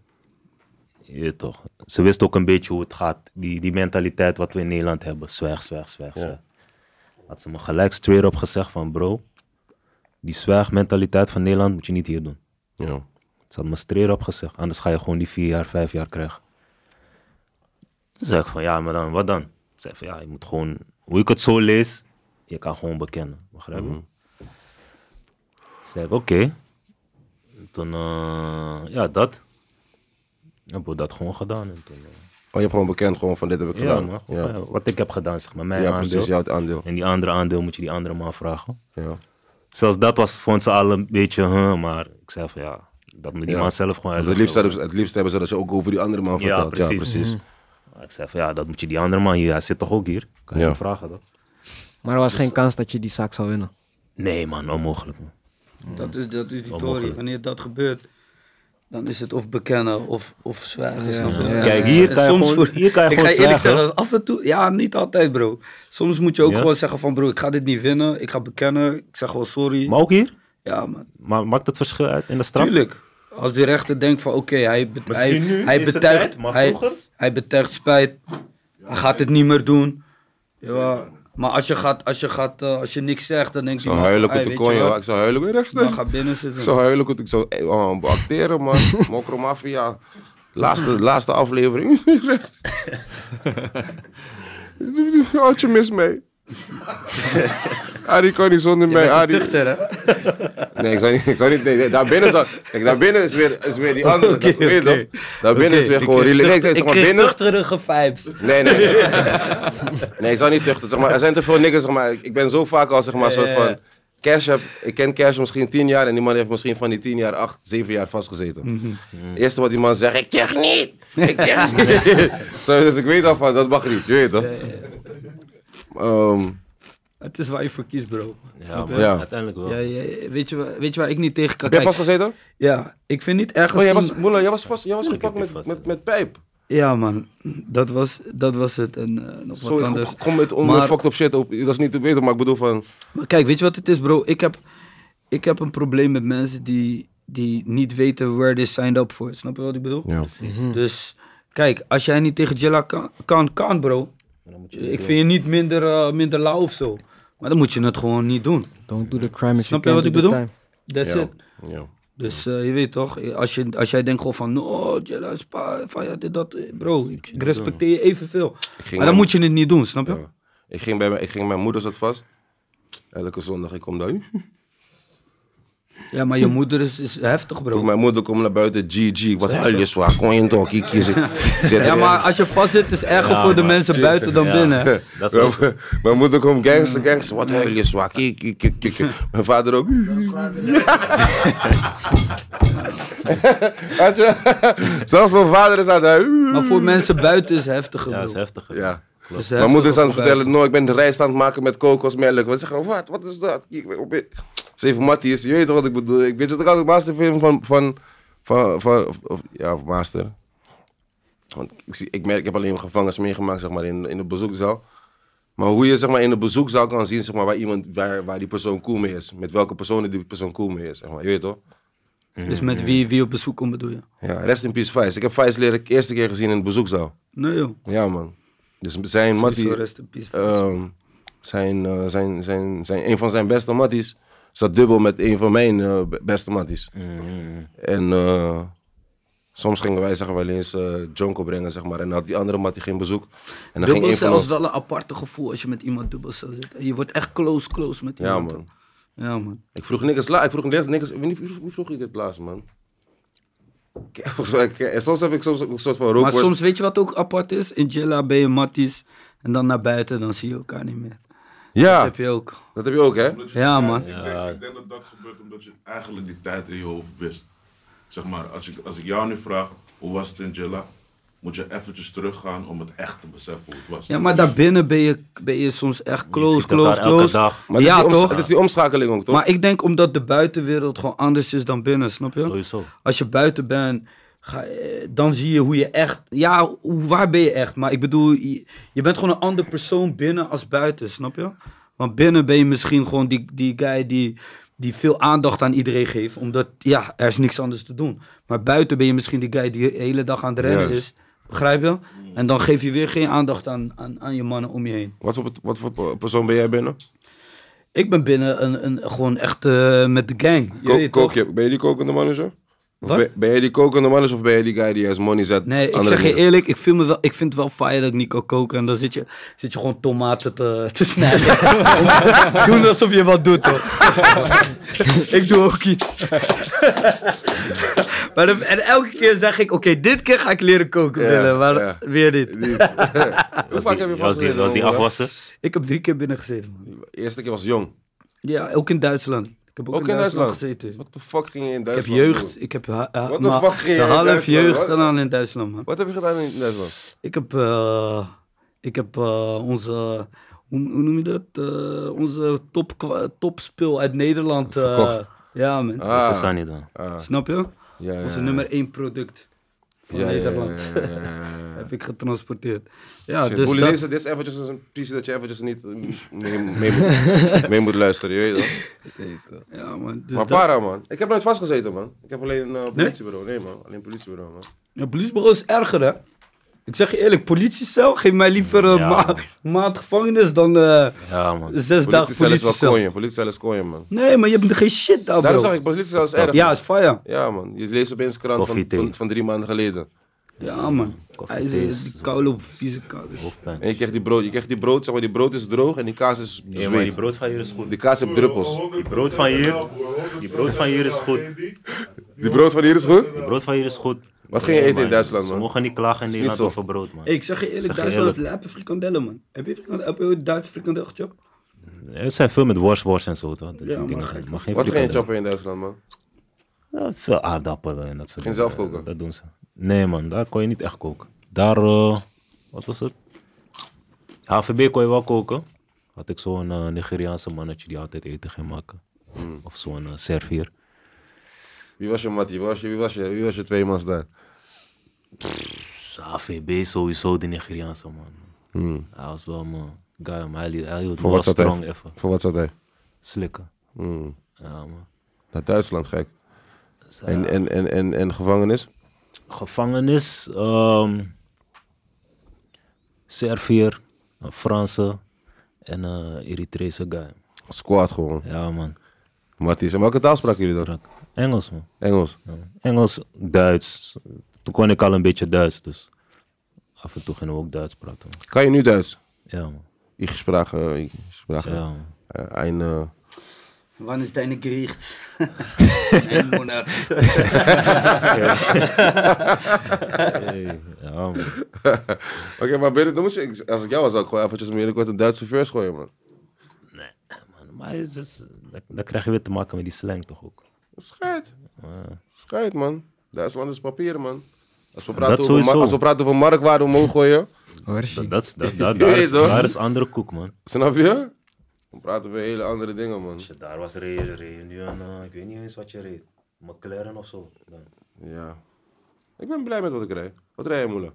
S2: Je weet toch. Ze wist ook een beetje hoe het gaat. Die, die mentaliteit wat we in Nederland hebben. Zwijg, zwijg, zwijg, zwijg. Had ze me gelijk straight op gezegd van, bro. Die zwijgmentaliteit van Nederland moet je niet hier doen.
S1: ja.
S2: Ze had me straight op gezegd. Anders ga je gewoon die vier jaar, vijf jaar krijgen. Toen zei ik van, ja, maar dan, wat dan? Ze zei van, ja, je moet gewoon... Hoe ik het zo lees, je kan gewoon bekennen. Begrijp je? Toen zei ik, oké. Toen, eh, ja, dat. Heb ik dat gewoon gedaan. En toen, eh,
S1: Oh, je hebt gewoon bekend gewoon van dit heb ik
S2: Ja,
S1: gedaan.
S2: man. Of,
S1: ja,
S2: eh, Wat ik heb gedaan, zeg maar. Mijn
S1: ja
S2: aandeel.
S1: precies, jouw aandeel.
S2: En die andere aandeel moet je die andere man vragen.
S1: Ja.
S2: Zelfs dat was, vond ze al een beetje, huh, maar ik zei van ja, dat moet die
S1: Ja.
S2: man zelf gewoon
S1: Want
S2: uitleggen.
S1: het, liefst hebben ze, het liefst hebben ze dat je ook over die andere man
S2: Ja,
S1: vertelt.
S2: precies. Mhm. Maar Ik zei van ja, dat moet je die andere man hier, hij zit toch ook hier? Kan je
S1: Ja.
S2: hem vragen dan?
S4: Maar er was geen kans dat je die zaak zou winnen.
S2: Nee man, onmogelijk man.
S5: Dat is, dat is die tory.
S2: Onmogelijk.
S5: Wanneer dat gebeurt, dan is het of bekennen of, of zwijgen. snap je?
S4: Ja.
S2: Kijk, hier
S5: En
S2: kan je
S5: soms
S2: gewoon-
S5: voor-
S2: hier kan je
S5: ik
S2: gewoon
S5: ga je eerlijk
S2: zwijgen.
S5: zeggen, af en toe, ja, niet altijd bro. Soms moet je ook
S2: Ja.
S5: gewoon zeggen van bro, ik ga dit niet winnen. Ik ga bekennen. Ik zeg gewoon sorry.
S2: Maar ook hier?
S5: ja man,
S2: Maar maakt dat verschil uit in de straf?
S5: tuurlijk. Als de rechter denkt van oké, hij, be-
S2: Misschien
S5: hij,
S2: nu
S5: hij
S2: is het
S5: betuigt,
S2: tijd, maar
S5: hij,
S2: vroeger?
S5: hij betuigt spijt. Hij gaat het niet meer doen. Ja. Maar als je, gaat, als, je gaat, eh, als je niks zegt, dan denk je...
S1: Ik zou huilen met de kon, joh. Ik zou huilen met rechter.
S5: Dan ga binnen
S1: Ik
S5: zitten.
S1: zou huilen goed. Ik zou eh, oh, acteren, man. Mokro Mafia. Laatste, laatste aflevering. Recht. Houd je mis mee. Arie kan niet zonder mij, Arie.
S5: Tuchter, hè?
S1: Nee, ik zou niet... Ik zou niet nee, nee, daarbinnen, zou, kijk, daarbinnen is, weer, is weer die andere... dat- weet je
S5: oké.
S1: toch? Daarbinnen is weer
S5: Ik
S1: gewoon...
S5: kreeg
S1: relaxed. Nee, zeg
S5: tuchter- ik
S1: maar,
S5: kreeg
S1: binnen...
S5: tuchterige vibes.
S1: Nee, nee. nee, ik zou niet tuchten. Zeg maar, er zijn te veel niggers. Zeg maar. Ik ik ben zo vaak al zeg maar, soort
S5: Ja, ja, ja.
S1: van... Cash heb, ik ken Cash misschien tien jaar en die man heeft misschien van die tien jaar, acht, zeven jaar vastgezeten. Eerste wat die man zegt, ik tig niet! Ik tig niet! Zo, dus ik weet al van, dat mag niet, je weet toch? Ehm,
S5: Het is waar je voor kiest, bro.
S2: Ja, maar
S1: Ja.
S2: uiteindelijk wel.
S5: Ja, ja, weet, je, wa- weet je waar ik niet tegen kan
S1: heb jij
S5: kijken?
S1: vastgezeten?
S5: Ja, ik vind niet ergens...
S1: Oh, jij was,
S5: iemand-
S1: Moela, jij was, vast, jij was gepakt
S2: heb je
S1: met,
S2: vast,
S1: met, met pijp.
S5: Ja, man. Dat was, dat was het. En, eh, nog wat
S1: Sorry,
S5: anders.
S1: kom, kom met onder
S5: Maar-
S1: fucked up shit op. Dat is niet te weten, maar ik bedoel van...
S5: Maar kijk, weet je wat het is, bro? Ik heb, ik heb een probleem met mensen die, die niet weten where they signed up for. Snap je wat ik bedoel?
S1: Ja.
S5: Dus kijk, als jij niet tegen Jella kan, kan, kan bro. Ik vind je niet minder, eh, minder lauw of zo. Maar dan moet je het gewoon niet doen.
S4: Don't do the crime if
S5: Snap je
S4: you
S5: wat
S4: can't do the
S5: ik bedoel?
S4: time.
S5: That's
S1: Ja.
S5: it.
S1: Ja.
S5: Dus eh, je weet toch, als, je, als jij denkt gewoon van, oh, Jella is pa, van ja, dit, dat. eh, Bro, ik, ik respecteer je evenveel.
S1: Ik ging
S5: Maar dan moet je het niet doen, snap je?
S1: Ja. Ik, ging bij mijn, ik ging mijn moeder zat vast. Elke zondag, ik kom daar.
S5: Ja, maar je moeder is, is heftig,
S1: Toen
S5: bro.
S1: mijn moeder komt naar buiten, GG, wat huil je zwaar, kon je toch, ik zit, zit
S5: Ja,
S1: erin.
S5: maar als je vast zit, is het erger voor de mensen buiten dan
S2: Ja.
S5: binnen. hè?
S2: Dat is wel zo.
S1: Mijn- Mijn moeder komt gangster, gangster, wat huil je zwaar, kik, kik, kik, kik. Mijn vader ook. Weet je? Zelfs mijn vader is aan het huilen.
S5: Maar voor mensen buiten is het heftiger,
S2: Ja,
S5: bro.
S2: dat is heftig. hè.
S1: Ja.
S5: Het is
S1: Mijn moeder is aan het
S5: heftiger
S1: vertellen, no, ik ben de rijst aan het maken met kokosmelk. Wat zeggen, "Oh, wat, wat is dat? Ik ben op- Zeven matties, je weet toch wat ik bedoel. Ik weet je toch altijd masterfilm van, van, van, van of, of- ja, of master. Want ik, zie, ik merk, ik heb alleen gevangenis meegemaakt, zeg maar, in, in de bezoekzaal. Maar hoe je, zeg maar, in de bezoekzaal kan zien, zeg maar, waar iemand, waar, waar die persoon cool mee is. Met welke personen die persoon cool mee is, zeg maar, je weet toch?
S5: bij. Dus met wie, wie op bezoek komt, bedoel je?
S1: Ja, rest in peace Vice. Ik heb Vice leren eerste keer gezien in de bezoekzaal.
S5: Nee, joh.
S1: Ja, man. Dus zijn
S5: Mattie,
S1: mattie,
S5: rest in peace.
S1: Ehm, zijn, eh, zijn, zijn, zijn, een van zijn beste matties zat dubbel met een van mijn eh, be- beste matties.
S5: Mm,
S1: En eh, soms gingen wij zeg maar, wel eens eh Jonko brengen, zeg maar. En dan had die andere mattie geen bezoek. En dan ging
S5: dubbelcel
S1: een van
S5: is
S1: ons...
S5: wel een aparte gevoel als je met iemand dubbelcel zit. En je wordt echt close, close met
S1: Ja,
S5: iemand.
S1: man.
S5: Ja, man.
S1: Ik vroeg niks la. Ik vroeg niks... Wie vroeg, wie vroeg je dit laatst, man? Ik- volgens mij- ik- En soms heb ik soms ook een soort van
S5: Maar
S1: rookworst.
S5: soms weet je wat ook apart is? In Jella ben je matties en dan naar buiten, dan zie je elkaar niet meer. Dat
S1: Ja,
S5: heb je ook.
S1: dat heb je ook, hè?
S6: Omdat je-
S5: Ja, man.
S6: Ik denk, ik denk dat dat gebeurt omdat je eigenlijk die tijd in je hoofd wist. Zeg maar, als ik, als ik jou nu vraag, hoe was het in Jella? Moet je eventjes teruggaan om het echt te beseffen hoe het was.
S5: Ja, maar daarbinnen ben je, ben je soms echt close,
S2: ziet elkaar
S5: close,
S2: elke
S5: close.
S2: dag.
S1: Maar het is
S5: ja,
S1: die oms-
S5: toch?
S1: Het is die omschakeling ook, toch?
S5: Maar ik denk omdat de buitenwereld gewoon anders is dan binnen, snap je?
S2: Sowieso.
S5: Als je buiten bent, ga, eh, dan zie je hoe je echt... Ja, hoe- waar ben je echt? Maar ik bedoel, je, je bent gewoon een ander persoon binnen als buiten, snap je? Want binnen ben je misschien gewoon die, die guy die, die veel aandacht aan iedereen geeft. Omdat, ja, er is niks anders te doen. Maar buiten ben je misschien die guy die de hele dag aan het rennen
S1: Juist.
S5: is. Begrijp je? En dan geef je weer geen aandacht aan, aan, aan je mannen om je heen.
S1: Wat, voor, wat voor persoon ben jij binnen?
S5: Ik ben binnen een, een, gewoon echt eh, met de gang. Je
S1: Ko-
S5: weet
S1: kook
S5: toch?
S1: je, ben je die kokende manager? Of
S5: Wat?
S1: Ben, ben jij die kokende manager of ben jij die guy die als money zet?
S5: Nee, ik
S1: andere
S5: zeg je
S1: niggas?
S5: eerlijk, ik, vind me wel, ik vind het wel fijn dat ik niet kan koken. En dan zit je, zit je gewoon tomaten te, te snijden. Doen alsof je wat doet, hoor. ik doe ook iets. Maar dan- en elke keer zeg ik, oké, dit keer ga ik leren koken,
S1: Ja,
S5: willen, maar
S1: ja.
S5: weer niet.
S1: Hoe
S2: Was
S1: vaak heb je
S2: die, was die,
S1: vastgezeten?
S2: was die
S1: Roel, hè?
S2: afwassen?
S5: Ik heb drie keer binnen gezeten, man.
S1: De eerste keer was jong.
S5: Ja, ook in Duitsland. Ik heb ook, in Duitsland, gezeten.
S1: What the fuck ging je in
S5: Ik heb
S1: Duitsland
S5: jeugd,
S1: doen?
S5: ik heb ha- ha-
S1: What the
S5: maar
S1: fuck ging je
S5: de
S1: in
S5: half
S1: Duitsland,
S5: jeugd
S1: wat?
S5: gedaan in Duitsland, man.
S1: Wat heb je gedaan in Duitsland?
S5: Ik heb, eh, ik heb eh, onze, hoe, hoe noem je dat? Eh, onze top, topspeel uit Nederland. eh,
S1: Verkocht.
S5: ja, man.
S2: Dat is Sani dan.
S1: ah,
S5: Snap je?
S1: ja, ja,
S5: Onze
S1: ja.
S5: nummer één product van
S1: Ja, ja, ja,
S5: Nederland.
S1: ja, ja, ja, ja.
S5: heb ik getransporteerd. Ja,
S1: Shit,
S5: dus
S1: Boelie,
S5: dat-
S1: dit, is, dit is eventjes een piece dat je eventjes niet eh, mee, mee, moet, mee moet luisteren, je weet toch?
S5: Ja, man. Dus
S1: maar
S5: dat-
S1: para, man. Ik heb nooit vastgezeten, man. Ik heb alleen een eh, politiebureau. Nee, man. Alleen politiebureau, man.
S5: Ja, politiebureau is erger, hè? Ik zeg je eerlijk, politiecel, geef mij liever een
S2: Ja,
S5: ma-
S2: man.
S5: maand gevangenis dan eh,
S2: Ja, man.
S5: zes dagen
S1: Politiecel is wel
S5: politiecel.
S1: kooien. Politiecel is kooien, man.
S5: Nee, maar je hebt geen shit
S2: Oh,
S5: daar,
S1: Daarom
S5: bro.
S1: zag ik, politiecel is erg.
S5: Ja,
S1: man.
S5: is fire.
S1: Ja, man. Je leest opeens een krant van,
S2: Koffie, thee.
S1: van, van drie maanden geleden.
S5: Ja, man.
S2: Koffie,
S5: Hij
S2: thee
S5: is
S2: is-
S5: die koude op vieze koude.
S1: En je krijgt die brood. Je krijgt die brood, zeg maar, die brood is droog en die kaas is
S2: Ja, maar die
S1: zweet.
S2: brood van hier is goed.
S1: Die kaas heeft druppels.
S2: Die brood van hier, die brood van hier is goed.
S1: Die brood van hier is goed?
S2: Die brood van hier is goed.
S1: Wat ging je
S2: Ja,
S1: eten in
S2: man.
S1: Duitsland,
S2: Ze
S1: man?
S2: mogen niet klagen in Nederland
S1: zo.
S2: over brood, man.
S5: Hey, ik zeg je eerlijk,
S2: Zeg je
S5: Duitsland heeft
S2: eerlijk.
S5: lijpe frikandellen, man. Heb je, frikandellen, heb je ooit Duitse frikandel gechopt?
S2: Er zijn veel met worstworst en zo, toch? Dat
S5: Ja,
S2: die
S5: maar
S2: dingen.
S5: gek.
S2: Maar geen
S1: Wat ging je
S2: frikandel.
S1: choppen in Duitsland, man?
S2: Ja, veel aardappelen en dat soort
S1: Ging
S2: dingen.
S1: zelf koken?
S2: Dat doen ze. Nee, man, daar kon je niet echt koken. Daar, eh, wat was het? HVB kon je wel koken. Had ik zo'n eh, Nigeriaanse mannetje die altijd eten ging maken.
S1: Hmm.
S2: Of zo'n eh, Servier.
S1: Wie was je mattie? Wie was je, wie was je, wie was je twee mans daar?
S2: Dus HVB sowieso, die Nigeriaanse man. Hij was wel mijn guy, maar hij, li- hij hield me
S1: Voor
S2: wel
S1: wat zat
S2: strong
S1: hij?
S2: even.
S1: Voor wat zat hij?
S2: Slikken.
S1: Hmm.
S2: Ja, man.
S1: Naar Duitsland, gek.
S2: Dus, eh,
S1: En, en, en, en, en gevangenis?
S2: gevangenis, ehm Servier, een Franse en een Eritrese guy.
S1: Squad gewoon.
S2: Ja, man.
S1: Matties. En welke taal spraken jullie dan?
S2: Strak. Engels, man.
S1: Engels.
S2: Ja. Engels, Duits. Toen kon ik al een beetje Duits, dus af en toe gingen we ook Duits praten. man.
S1: Kan je nu Duits?
S2: Ja, man.
S1: Ik sprache, ik sprache
S2: Ja, man.
S1: eh, een... eh,
S5: Wanneer is deine gericht? Een monat.
S2: Hey, ja, man.
S1: Oké, maar binnen, dan moet je, ik- als ik jou was, zou ik gewoon eventjes om jullie kort een Duitse vers gooien, man.
S2: man. Maar het is, dus- dan, dan krijg je weer te maken met die slang toch ook.
S1: Scheid. Scheid, man. Duitsland is papier, man. Als we
S2: Dat
S1: praten, over,
S2: sowieso.
S1: mar- als we praten over marktwaarde omhoog gooien,
S4: Hoor.
S2: Dat, dat, is- dat, dat-
S1: Je
S2: daar,
S1: weet
S2: is,
S1: toch?
S2: daar is andere koek, man.
S1: snap je? Dan praten we hele andere dingen, man.
S2: Daar was reden, reden nu een, ik weet niet eens wat je reed. McLaren of zo.
S1: Ja. Ik ben blij met wat ik rij. Wat rij je, moeder?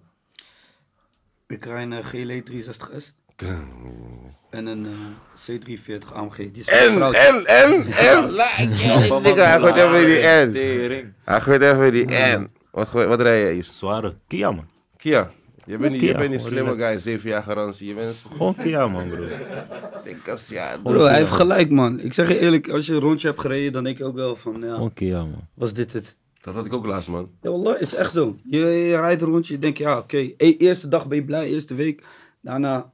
S5: Ik rij een GLE 360S. En een eh, C340 AMG. Die is van
S1: En,
S5: vrouw.
S1: en, en, en. Dikke, hij gooit even die en.
S3: Tering.
S1: Hij gooit even die en. Wat, gooi- wat rij je? Is-
S2: Zware Kia, man.
S1: Kia. Je bent, niet, je
S2: Kia,
S1: bent die
S2: hoor je
S1: slimme
S2: net.
S1: guy, zeven jaar garantie. Je bent
S2: Gewoon Kia, man, bro.
S1: stinkers, ja.
S5: Bro, hij heeft gelijk, man. Ik zeg je eerlijk, als je een rondje hebt gereden, dan denk ik ook wel van, ja,
S2: Gewoon Kia, man.
S5: was dit het?
S1: Dat had ik ook laatst, man.
S5: Ja, wallah, is echt zo. Je, je rijdt een rondje, je denkt, ja, oké. E- eerste dag ben je blij, eerste week. Daarna,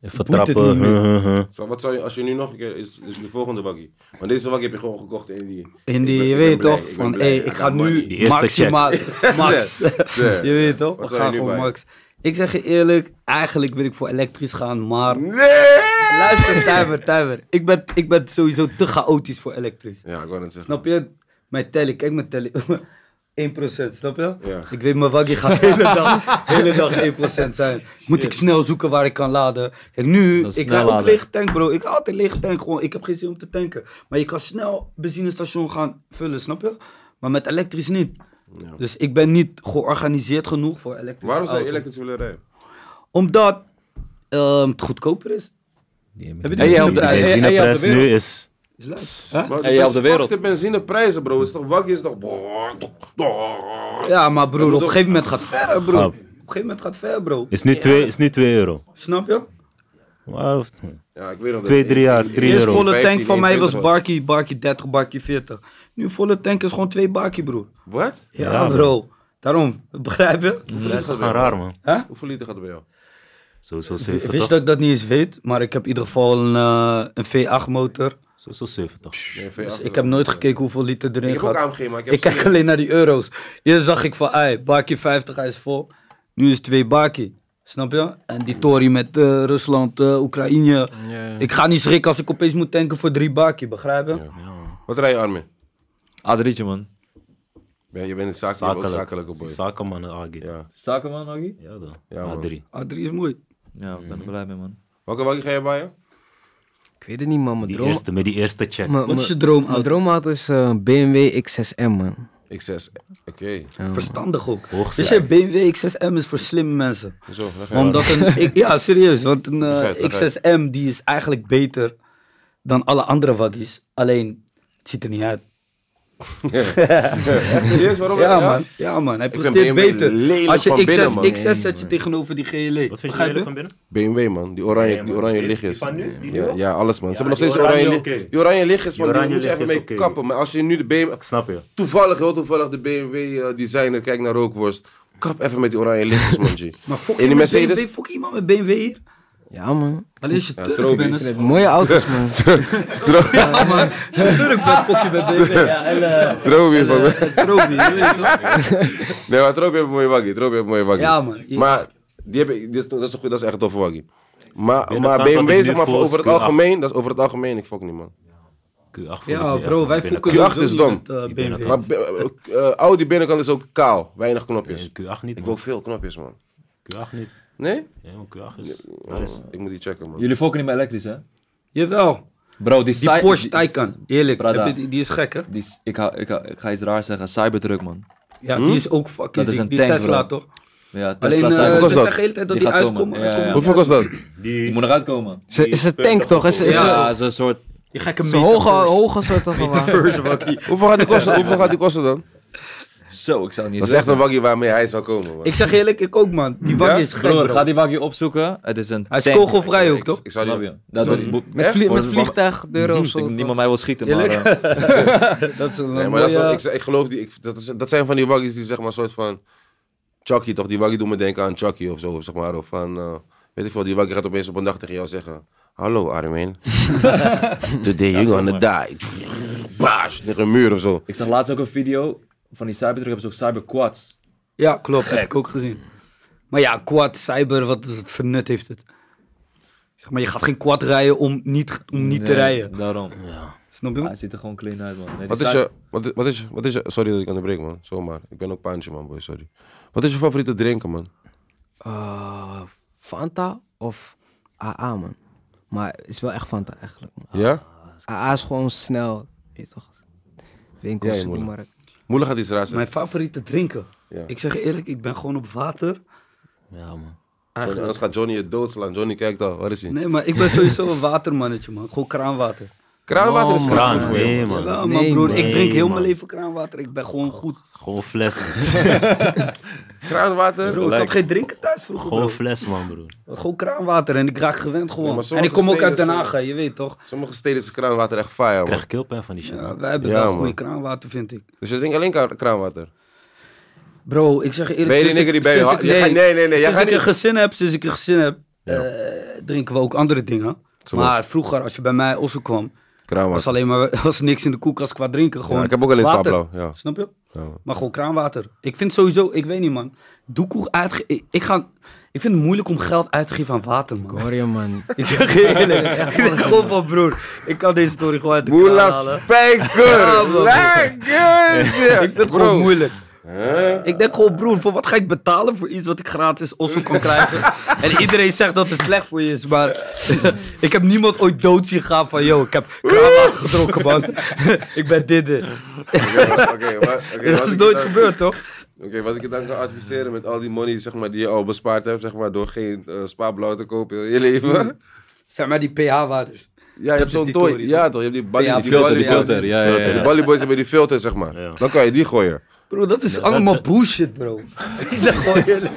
S2: Even
S5: Boeit het
S2: trappen.
S5: niet meer.
S2: huh, huh, huh.
S1: Zo, wat zou je, als je nu nog een keer, is, is de volgende waggie. Want deze waggie heb je gewoon gekocht in die...
S5: in
S1: Ik
S5: die,
S1: ben-
S5: je
S1: ik
S5: weet
S1: ben blij,
S5: toch,
S1: ik ben
S5: van, hé,
S1: blij,
S5: hey,
S1: I
S5: ik
S1: got
S5: ga nu
S1: money.
S2: Die eerste
S5: maximaal, max.
S1: Ja.
S5: je weet toch,
S1: Wat
S5: we
S1: zou je
S5: gaan
S1: nu
S5: voor
S1: bij?
S5: max. Ik zeg je eerlijk, eigenlijk wil ik voor elektrisch gaan, maar...
S1: Nee!
S5: Luister, Tuiver, Tuiver. Ik ben, ik ben sowieso te chaotisch voor elektrisch.
S1: Ja, ik wou net zeggen.
S5: Snap je? Mijn telly, kijk mijn telly. 1%, snap je?
S1: Ja.
S5: Ik weet, mijn waggie gaat de hele dag, hele dag 1% zijn. Moet ik snel zoeken waar ik kan laden. Kijk, nu,
S3: Dat is
S5: ik
S3: snel
S5: ga op
S3: laden.
S5: lege tank, bro. Ik ga altijd lege tank gewoon. Ik heb geen zin om te tanken. Maar je kan snel benzinestation gaan vullen, snap je? Maar met elektrisch niet. Dus ik ben niet georganiseerd genoeg voor elektrisch.
S1: Waarom zou je
S5: auto.
S1: elektrisch willen rijden?
S5: Omdat ehm, het goedkoper is.
S2: Die
S5: Heb je
S2: hebben-
S5: die
S2: die
S5: gezien op de- hey, hey,
S3: hey,
S2: benzineprijs
S3: op de
S2: nu is...
S5: Is leuk. Hè?
S1: Maar
S3: En je
S1: best-
S3: op de wereld.
S1: fuck de benzineprijzen, bro. Het is toch waggie, is toch...
S5: Ja, maar broer, op een gegeven moment gaat het ver, bro.
S1: Oh.
S2: Ah.
S5: Op een gegeven moment gaat het ver, bro.
S2: Is nu 2 is nu twee euro.
S5: Snap je?
S2: Maar,
S1: Ja, ik weet nog
S2: Twee,
S1: dat-
S2: drie jaar,
S1: in- in-
S2: drie
S5: Eerst
S2: euro.
S5: volle tank
S1: 15,
S5: van mij was
S1: 21
S5: barkie, barkie 30, barkie 40. Nu volle tank is gewoon twee barkie, broer.
S1: Wat?
S5: Ja, Mm.
S2: Ja,
S5: bro. Daarom, begrijp je?
S2: dat is gewoon raar, man.
S1: Hoeveel liter gaat er bij jou?
S2: Sowieso
S5: Wist
S2: 70.
S5: dat ik dat niet eens weet, maar ik heb in ieder geval een, eh, een V8 motor.
S2: Sowieso 70.
S1: Nee,
S5: Dus
S1: V8
S5: ik heb nooit gekeken hoeveel liter
S1: Ik
S5: erin
S1: heb ook
S5: gaat.
S1: AMG, maar ik
S5: Ik,
S1: heb
S5: kijk alleen naar die euro's. Eerst zag ik van, ei, bakje 50, hij is vol. Nu is het twee bakje. Snap je? En die tory met eh, Rusland, eh, Oekraïne. Ik ga niet schrikken als ik opeens moet tanken voor drie bakje, begrijp je?
S1: Wat rij je Armin?
S3: Adrietje, man.
S1: Ben- Je bent een zakelijk, je bent ook zakelijke boy.
S2: Zakenman en AG. Ja,
S1: ja.
S3: Zakenman, Aggie?
S2: dan.
S1: Ja, man.
S2: A3.
S5: Ah, drie is mooi.
S3: Ja, ik ben er blij mee, man.
S1: Welke wagen ga je bij
S4: Ik weet het niet, man. Mijn
S2: Die
S4: droom...
S2: eerste, met die eerste check.
S4: mijn-
S5: Wat is je
S4: mijn-
S5: droomauto?
S4: Mijn droomauto is eh, BMW X6M, man.
S1: X6. Oké.
S5: Verstandig ook.
S2: Hoogste
S5: Dus je BMW X6M is voor slimme mensen.
S1: Zo, dan ga je
S5: Omdat een, ik- ja, serieus. Want een eh,
S1: Begrijp, begrijp.
S5: X6M die is eigenlijk beter dan alle andere waggies. Alleen, het ziet er niet uit.
S1: Echt serieus? Waarom?
S5: Ja, man. Ja, man. Hij
S1: vind
S5: presteert
S1: BMW
S5: beter.
S1: lelijk
S5: Als je
S1: van
S5: X6,
S1: binnen, man.
S5: X6 zet je tegenover die GLE.
S2: Wat vind je
S5: Begrijp
S2: lelijk van binnen?
S1: BMW man, die oranje,
S2: Nee, man.
S1: die oranje
S2: Deze-
S1: lichtjes.
S2: die van nu? Die
S1: ja,
S2: nieuwe?
S1: ja, alles man. Ze hebben
S2: Ja,
S1: nog
S2: die
S1: steeds oranje,
S2: oranje,
S1: lichtjes.
S2: oké.
S1: Die oranje lichtjes van
S2: Die
S1: die
S2: oranje
S1: moet je even
S2: lichtjes,
S1: mee
S2: oké.
S1: kappen. Maar als je nu de BMW,
S2: Ik snap je.
S1: toevallig, heel toevallig de BMW eh, designer kijkt naar Rookworst, kap even met die oranje lichtjes man G.
S5: Maar fok
S1: In die
S5: iemand met
S1: Mercedes?
S5: BMW, fok iemand met BMW hier.
S4: Ja, man.
S5: Alleen als je Turk
S1: Trobi.
S5: bent,
S4: Ik
S5: is-
S4: heb mooie auto's, man.
S5: ja, man. Als je Turk bent, fok je met BMW. Ja, en, eh,
S1: Trouw weer van me.
S5: en Trobi, je weet toch?
S1: Nee, maar Trouw heeft een mooie waggie. Trouw heeft een mooie waggie.
S5: Ja, man. Je-
S1: Maar die heb ik, dit is, dat, is, een goed- dat is echt een toffe waggie. Maar, maar
S2: Binnenkant wat ik
S1: BMW
S2: nu
S1: zeg maar voor
S2: voel is
S1: over het
S2: Q8.
S1: algemeen, dat is over het algemeen, ik fuck niet man.
S2: Q8 voor
S5: Ja,
S2: de Q8,
S5: bro,
S2: man,
S5: wij
S2: binnen-
S5: fokken
S1: Q8
S5: sowieso
S1: is
S5: niet
S1: dom.
S5: met, eh,
S2: Die binnen-
S5: BMW.
S1: Maar eh, eh, Audi binnenkant is ook kaal, weinig knopjes.
S2: Q8 niet,
S1: Ik
S2: man.
S1: wil veel knopjes man.
S2: Q8 niet.
S1: Nee?
S2: Ja, man, Q8 is...
S1: Oh, ik moet die checken man.
S3: Jullie fokken niet meer elektrisch, hè?
S5: Jawel.
S3: Bro, die,
S5: Die
S3: cy-
S5: Porsche
S3: die-
S5: Taycan, eerlijk,
S3: Prada.
S5: heb je die, die is gek hè?
S3: Die, is- ik, hou- ik, hou- ik ga iets raars zeggen. Cybertruck, man.
S5: Ja, die is ook fucking
S3: Dat is
S5: ziek.
S3: een
S5: Die
S3: tank,
S5: Tesla
S3: bro.
S5: toch?
S3: Ja, Tesla
S5: Alleen eh,
S3: Cybertruck.
S5: ze
S1: kost dat?
S5: zeggen de hele tijd dat
S3: Die
S5: die,
S3: gaat
S5: uitkomt.
S3: komen,
S5: maar
S3: ja,
S5: komt
S3: ja.
S5: niet.
S1: Hoeveel kost dat?
S3: Die
S2: Die...
S3: moet nog uitkomen.
S4: Ze, is een tank, toch? Is, is,
S5: Ja.
S3: Ja, dat is een soort...
S5: Die gekke
S4: een hoge, hoge soort toch? wel?
S1: Hoeveel gaat die kosten, Hoeveel gaat die kosten dan?
S3: Zo, ik zou het niet
S1: Dat is
S3: zeggen.
S1: echt een waggie waarmee hij zou komen. man.
S5: Ik zeg eerlijk, ik ook man. Die waggie is gek
S3: Broer,
S5: bro.
S3: ga die waggie opzoeken. Het is een
S5: Hij is
S3: tank.
S5: kogelvrij ook
S1: Ik-
S5: toch?
S1: Ik zou
S3: Snap
S1: niet...
S3: je? Dat
S1: Sorry.
S3: dat moet-
S4: Met,
S1: Hè?
S4: vlieg,
S1: Voor
S4: met
S1: de-
S4: vliegtuigdeuren of zo.
S3: Ik-
S4: toch?
S3: niemand mij wil schieten, maar... eh,
S5: Dat is een
S1: Nee, maar dat, is wel- ik, ik geloof die, ik, dat, is- dat zijn van die waggies die zeg maar een soort van Chucky toch? Die waggie doen me denken aan Chucky of zo, of zeg maar. Of van, eh, weet ik veel, die waggie gaat opeens op een dag tegen jou zeggen: Hallo Armin, today you're gonna die. Baas, tegen een muur of zo.
S3: Ik zag laatst ook een video van die Cybertruck. Hebben ze ook Cyberquads.
S5: Ja, klopt. Heb ik ook gezien. Maar ja, quad, cyber, wat is het voor nut heeft het? Zeg maar, je gaat geen quad rijden om niet, om niet te
S3: Nee,
S5: rijden.
S3: Daarom.
S5: Snap je?
S3: Hij ziet er gewoon clean uit, man. Nee, die
S1: Wat is
S3: Cy-
S1: je, wat, is- wat is, wat is je, sorry dat ik aan de break man, zomaar. Ik ben ook paantje man, boy, sorry. Wat is je favoriete drinken man?
S4: Eh, Fanta of AA, man. Maar het is wel echt Fanta, eigenlijk. man.
S1: Ja?
S4: AA is gewoon snel, weet je toch? Winkel,
S1: Ja, je moeder.
S4: supermarkt.
S1: Moeder gaat iets raars zeggen.
S5: Mijn favoriete drinken.
S1: Ja.
S5: Ik zeg je eerlijk, ik ben gewoon op water.
S2: Ja, man.
S1: Johnny, Anders gaat Johnny het doodslaan. Johnny kijkt al, waar is hij?
S5: Nee, maar ik ben sowieso een watermannetje, man. Gewoon kraanwater.
S1: Kraanwater is
S4: Oh,
S1: kraan goed
S2: Kraan,
S1: voor je.
S2: nee,
S5: Ja,
S2: man.
S5: man,
S4: Nee,
S5: broer.
S4: man.
S5: Ik drink
S2: Nee,
S5: heel
S2: man.
S5: mijn leven kraanwater. Ik ben gewoon goed.
S2: Gewoon fles.
S1: Kraanwater?
S5: Bro, ik had geen drinken thuis vroeger, bro.
S2: Gewoon fles, man, broer.
S5: Gewoon kraanwater en ik raak gewend
S1: Nee,
S5: gewoon.
S1: maar
S5: en
S1: sommige
S5: ik kom ook uit Den
S1: steden
S5: Haag, hè, je weet toch?
S1: Sommige steden is kraanwater echt fire,
S2: Ik
S1: man.
S2: krijg keelpijn van die shit.
S5: Ja,
S2: man.
S5: wij hebben
S1: Ja,
S5: daar
S1: man.
S5: goede kraanwater, vind ik.
S1: Dus je drinkt alleen kra- kraanwater?
S5: Bro, ik zeg je eerlijk...
S1: Ben je die
S5: sinds
S1: nigger die
S5: ik-
S1: bij je
S5: sinds
S1: ha-
S5: ik-
S1: je gaat- nee, nee, nee, jij
S5: Sinds
S1: gaat
S5: ik een
S1: niet-
S5: gezin heb, sinds ik een gezin heb, eh, drinken we ook andere dingen.
S1: Zoals?
S5: Maar vroeger, als je bij mij Osso kwam, was
S1: Kraanwater.
S5: alleen maar was niks in de koelkast qua drinken. Gewoon
S1: Ja, ik heb ook alleen
S5: water.
S1: slaapblauw. Ja.
S5: Snap je?
S1: Ja, man.
S5: Maar gewoon kraanwater. Ik vind sowieso, ik weet niet man. Doekoe uitge... Ik, ik ga, ik vind het moeilijk om geld uit te geven aan water, man.
S4: Ik hoor je, man.
S5: Ik zeg je eerlijk. ik denk gewoon van broer. Ik kan deze story gewoon uit de kraan
S1: Moela
S5: halen.
S1: spijker! Lekker!
S5: Ik vind het gewoon moeilijk. Ik denk gewoon, broer, voor wat ga ik betalen voor iets wat ik gratis osso kan krijgen? en iedereen zegt dat het slecht voor je is, maar ik heb niemand ooit dood zien gaan van, yo, ik heb kraanwater gedronken, man. ik ben dit. dit.
S1: Oké, maar- oké,
S5: dat
S1: wat
S5: is
S1: ik
S5: nooit
S1: dan-
S5: gebeurd, toch?
S1: Oké, wat ik je dan kan adviseren met al die money zeg maar, die je al bespaard hebt, zeg maar, door geen eh, spaarblauw te kopen in je leven.
S5: Zeg maar die pH-waardes.
S1: Ja, je hebt
S5: is
S1: zo'n
S5: die
S1: toy.
S5: tory,
S1: Ja, toch? Je hebt die balie-
S5: Ja,
S1: die
S5: filter,
S1: balie-
S3: die filter. Ja, ja, ja.
S1: Die ballyboys hebben die filter, zeg maar.
S2: Ja.
S1: Dan kan je die gooien.
S5: Bro, dat is allemaal bullshit, bro. ik zeg gewoon eerlijk.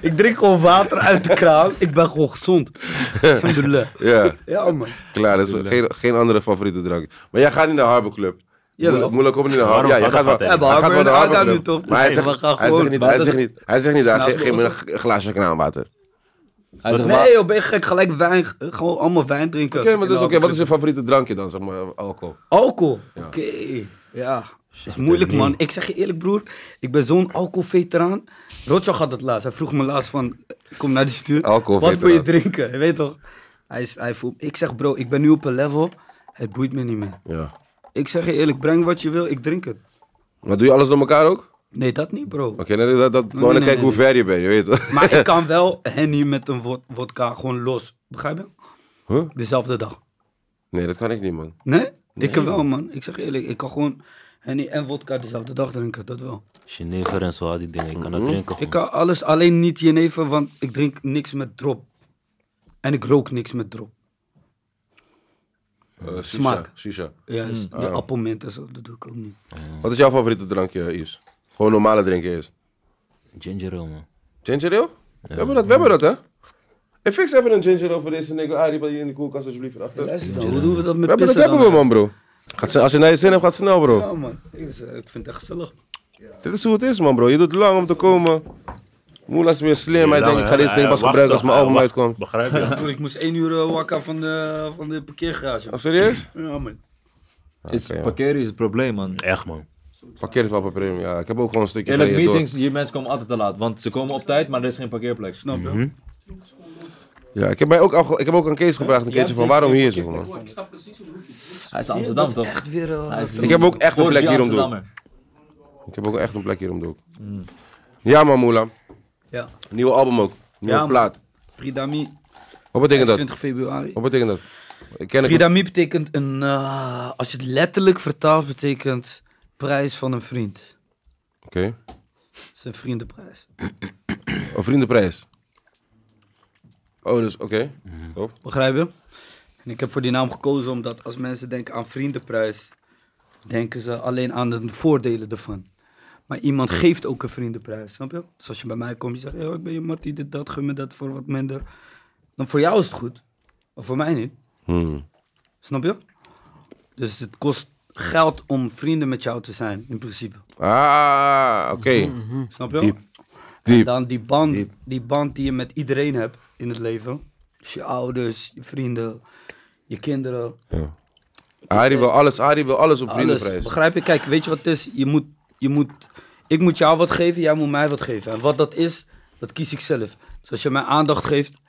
S5: ik drink gewoon water uit de kraan. Ik ben gewoon gezond. Alhamdulillah.
S1: Ja,
S5: Ja, man.
S1: klaar. Dat is geen, geen andere favoriete drank. Maar jij gaat niet naar Harbor Club.
S5: Jawel.
S1: Moeilijk- Moeilijk komt niet naar Harbor.
S2: Waarom
S1: Ja, je
S2: gaat
S1: gaat wel.
S2: dat altijd?
S5: Ja, maar
S1: Hij gaat wel
S5: Harbor
S1: naar
S5: en
S1: Harbor
S5: Aga
S1: Club.
S5: nu toch?
S1: Maar hij
S5: Dus we
S1: zegt,
S5: gaan
S1: hij zegt
S5: gewoon
S1: niet, hij
S5: water-
S1: zegt niet, hij zegt niet, daar,
S5: Snap
S1: geef,
S5: je
S1: geef me
S5: wat
S1: een glaasje kraanwater.
S4: Hij zegt,
S5: Nee joh, ben je gek? Gelijk wijn, gewoon allemaal wijn drinken.
S1: Oké, maar dus, oké, wat is je favoriete drankje dan, zeg maar, alcohol?
S5: Alcohol.
S1: Ja.
S5: Oké. Ja. is moeilijk, man. Ik zeg je eerlijk, broer. Ik ben zo'n alcoholveteraan. Rotjo had het laatst. Hij vroeg me laatst van... Kom naar de stuur. Wat wil je
S1: Alcoholveteraan.
S5: drinken? Je weet toch? Hij, is, hij voelt... Ik zeg, bro, ik ben nu op een level. Het boeit me niet meer.
S1: Ja.
S5: Ik zeg je eerlijk, breng wat je wil. Ik drink het.
S1: Maar doe je alles door elkaar ook?
S5: Nee, dat niet, bro.
S1: Oké, nee, dat, dat, gewoon
S5: nee,
S1: kijken
S5: nee,
S1: hoe ver je bent, je weet het.
S5: Maar ik kan wel Henny met een wod- vodka gewoon los. Begrijp je?
S1: Huh?
S5: Dezelfde dag.
S1: Nee, dat kan ik niet, man.
S5: Nee? Ik kan wel, man. Ik zeg je eerlijk, ik kan gewoon Henny en vodka dezelfde dag drinken. Dat wel.
S2: Genever en zo, al die dingen. Ik kan dat
S1: Mhm.
S2: drinken.
S5: Ik
S2: gewoon.
S5: kan alles, alleen niet jenever, want ik drink niks met drop. En ik rook niks met drop.
S1: Eh, shisha,
S5: Smaak.
S1: Shisha. Hmm.
S5: Juist, de
S1: Oh.
S5: appelmint en zo, dat doe ik ook niet.
S1: Wat is jouw favoriete drankje, Yves? Gewoon normale drinken eerst.
S2: Ginger ale, man.
S1: Ginger ale? We hebben dat, we hebben dat, hè? En fix even een ginger ale voor deze nigga. Ari, wat hier in de koelkast alsjeblieft. van achter. We
S5: Luister dan, hoe doen we dat
S1: hebben
S5: met
S1: dat,
S5: pissen
S1: hebben we,
S5: dan?
S1: man, bro. Gaat snel- als je naar je zin hebt, gaat snel, bro.
S5: Ja, man. Ik, is, eh, ik vind het echt gezellig.
S1: Dit is hoe het is, man, bro. Je doet lang om te komen. Moela is weer slim. Hij
S2: Lang,
S1: denkt, ik ga
S2: hè?
S1: deze ding
S2: Ja,
S1: pas
S2: eh, wacht
S1: gebruiken als
S2: toch,
S1: mijn
S2: ja,
S1: album
S2: wacht.
S1: uitkomt.
S2: Begrijp je?
S5: Broer, ik moest één uur eh, wakker van de, van de parkeergarage.
S1: Oh, serieus?
S5: Ja, man.
S3: Is, parkeren is het probleem, man.
S2: Echt, man.
S1: Parkeer is wel per premium, ja. Ik heb ook gewoon een stukje
S3: Eerlijk,
S1: gereden door.
S3: meetings, je mensen komen altijd te laat. Want ze komen op tijd, maar er is geen parkeerplek.
S5: Snap
S1: Mhm.
S5: je?
S1: Ja, ik heb, mij ook, al- ik heb ook aan Kees gevraagd een keertje van waarom hier, zeg maar.
S3: Hij is Amsterdam, toch?
S5: Echt weer... eh,
S3: Hij is-
S1: Ik heb ook echt een
S3: Orgy
S1: plek hier om de hoek.
S3: Amsterdammer.
S1: Ik heb ook echt een plek hier om de hoek. Ja, man, Moela.
S5: Ja,
S1: Nieuwe album ook. Nieuwe
S5: Ja, man.
S1: plaat.
S5: Pridami,
S1: Wat betekent dat?
S5: 20 februari.
S1: Wat betekent dat? Ik ken het.
S5: Pridami betekent een... eh, als je het letterlijk vertaalt, betekent prijs van een vriend.
S1: Oké.
S5: Zijn vriendenprijs.
S1: Een vriendenprijs. Oh, dus oké. Top.
S5: Begrijp je? En ik heb voor die naam gekozen omdat als mensen denken aan vriendenprijs, denken ze alleen aan de voordelen ervan. Maar iemand
S1: Hm.
S5: geeft ook een vriendenprijs, snap je? Dus als je bij mij komt, je zegt, "Yo, ik ben je Martie, dit, dat, gun me dat voor wat minder. Dan voor jou is het goed, maar voor mij niet.
S1: Hmm.
S5: Snap je? Dus het kost geld om vrienden met jou te zijn, in principe.
S1: Ah, oké.
S5: Snap je?
S2: Diep.
S5: En
S1: Diep.
S5: Hmm. dan die band, die band die je met iedereen hebt in het leven. Dus je ouders, je vrienden, je kinderen.
S1: Arie wil alles, Arie wil alles op
S5: Alles,
S1: vriendenprijs.
S5: begrijp je? Kijk, weet je wat het is? Je moet, je moet, ik moet jou wat geven, jij moet mij wat geven. En wat dat is, dat kies ik zelf. Dus als je mij aandacht geeft,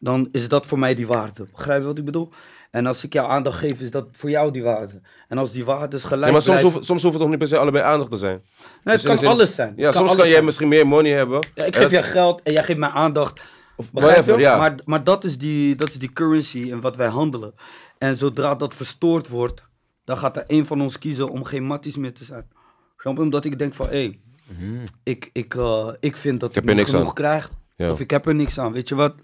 S5: dan is dat voor mij die waarde. Begrijp je wat ik bedoel? En als ik jou aandacht geef, is dat voor jou die waarde. En als die waarde is gelijk
S1: Nee, maar soms
S5: blijft-
S1: hoeft, soms hoeft het toch niet per se allebei aandacht te zijn.
S5: Nee, het
S1: Dus in de
S5: kan
S1: zin-
S5: alles zijn.
S1: Ja,
S5: Het
S1: soms
S5: alles
S1: kan jij
S5: zijn.
S1: misschien meer money hebben.
S5: Ja, ik
S1: En
S5: geef
S1: dat-
S5: jou geld en jij geeft mij aandacht. Begrijp
S1: whatever,
S5: je?
S1: ja.
S5: Maar, maar dat, is die, dat is die currency en wat wij handelen. En zodra dat verstoord wordt, dan gaat er een van ons kiezen om geen matties meer te zijn. Snap je? Omdat ik denk van, hé, ik, ik, eh, ik vind dat
S1: Mhm. heb
S5: ik,
S1: er
S5: niet
S1: niks
S5: genoeg
S1: aan.
S5: krijg.
S1: Ja.
S5: Of ik heb er niks aan. Weet je wat?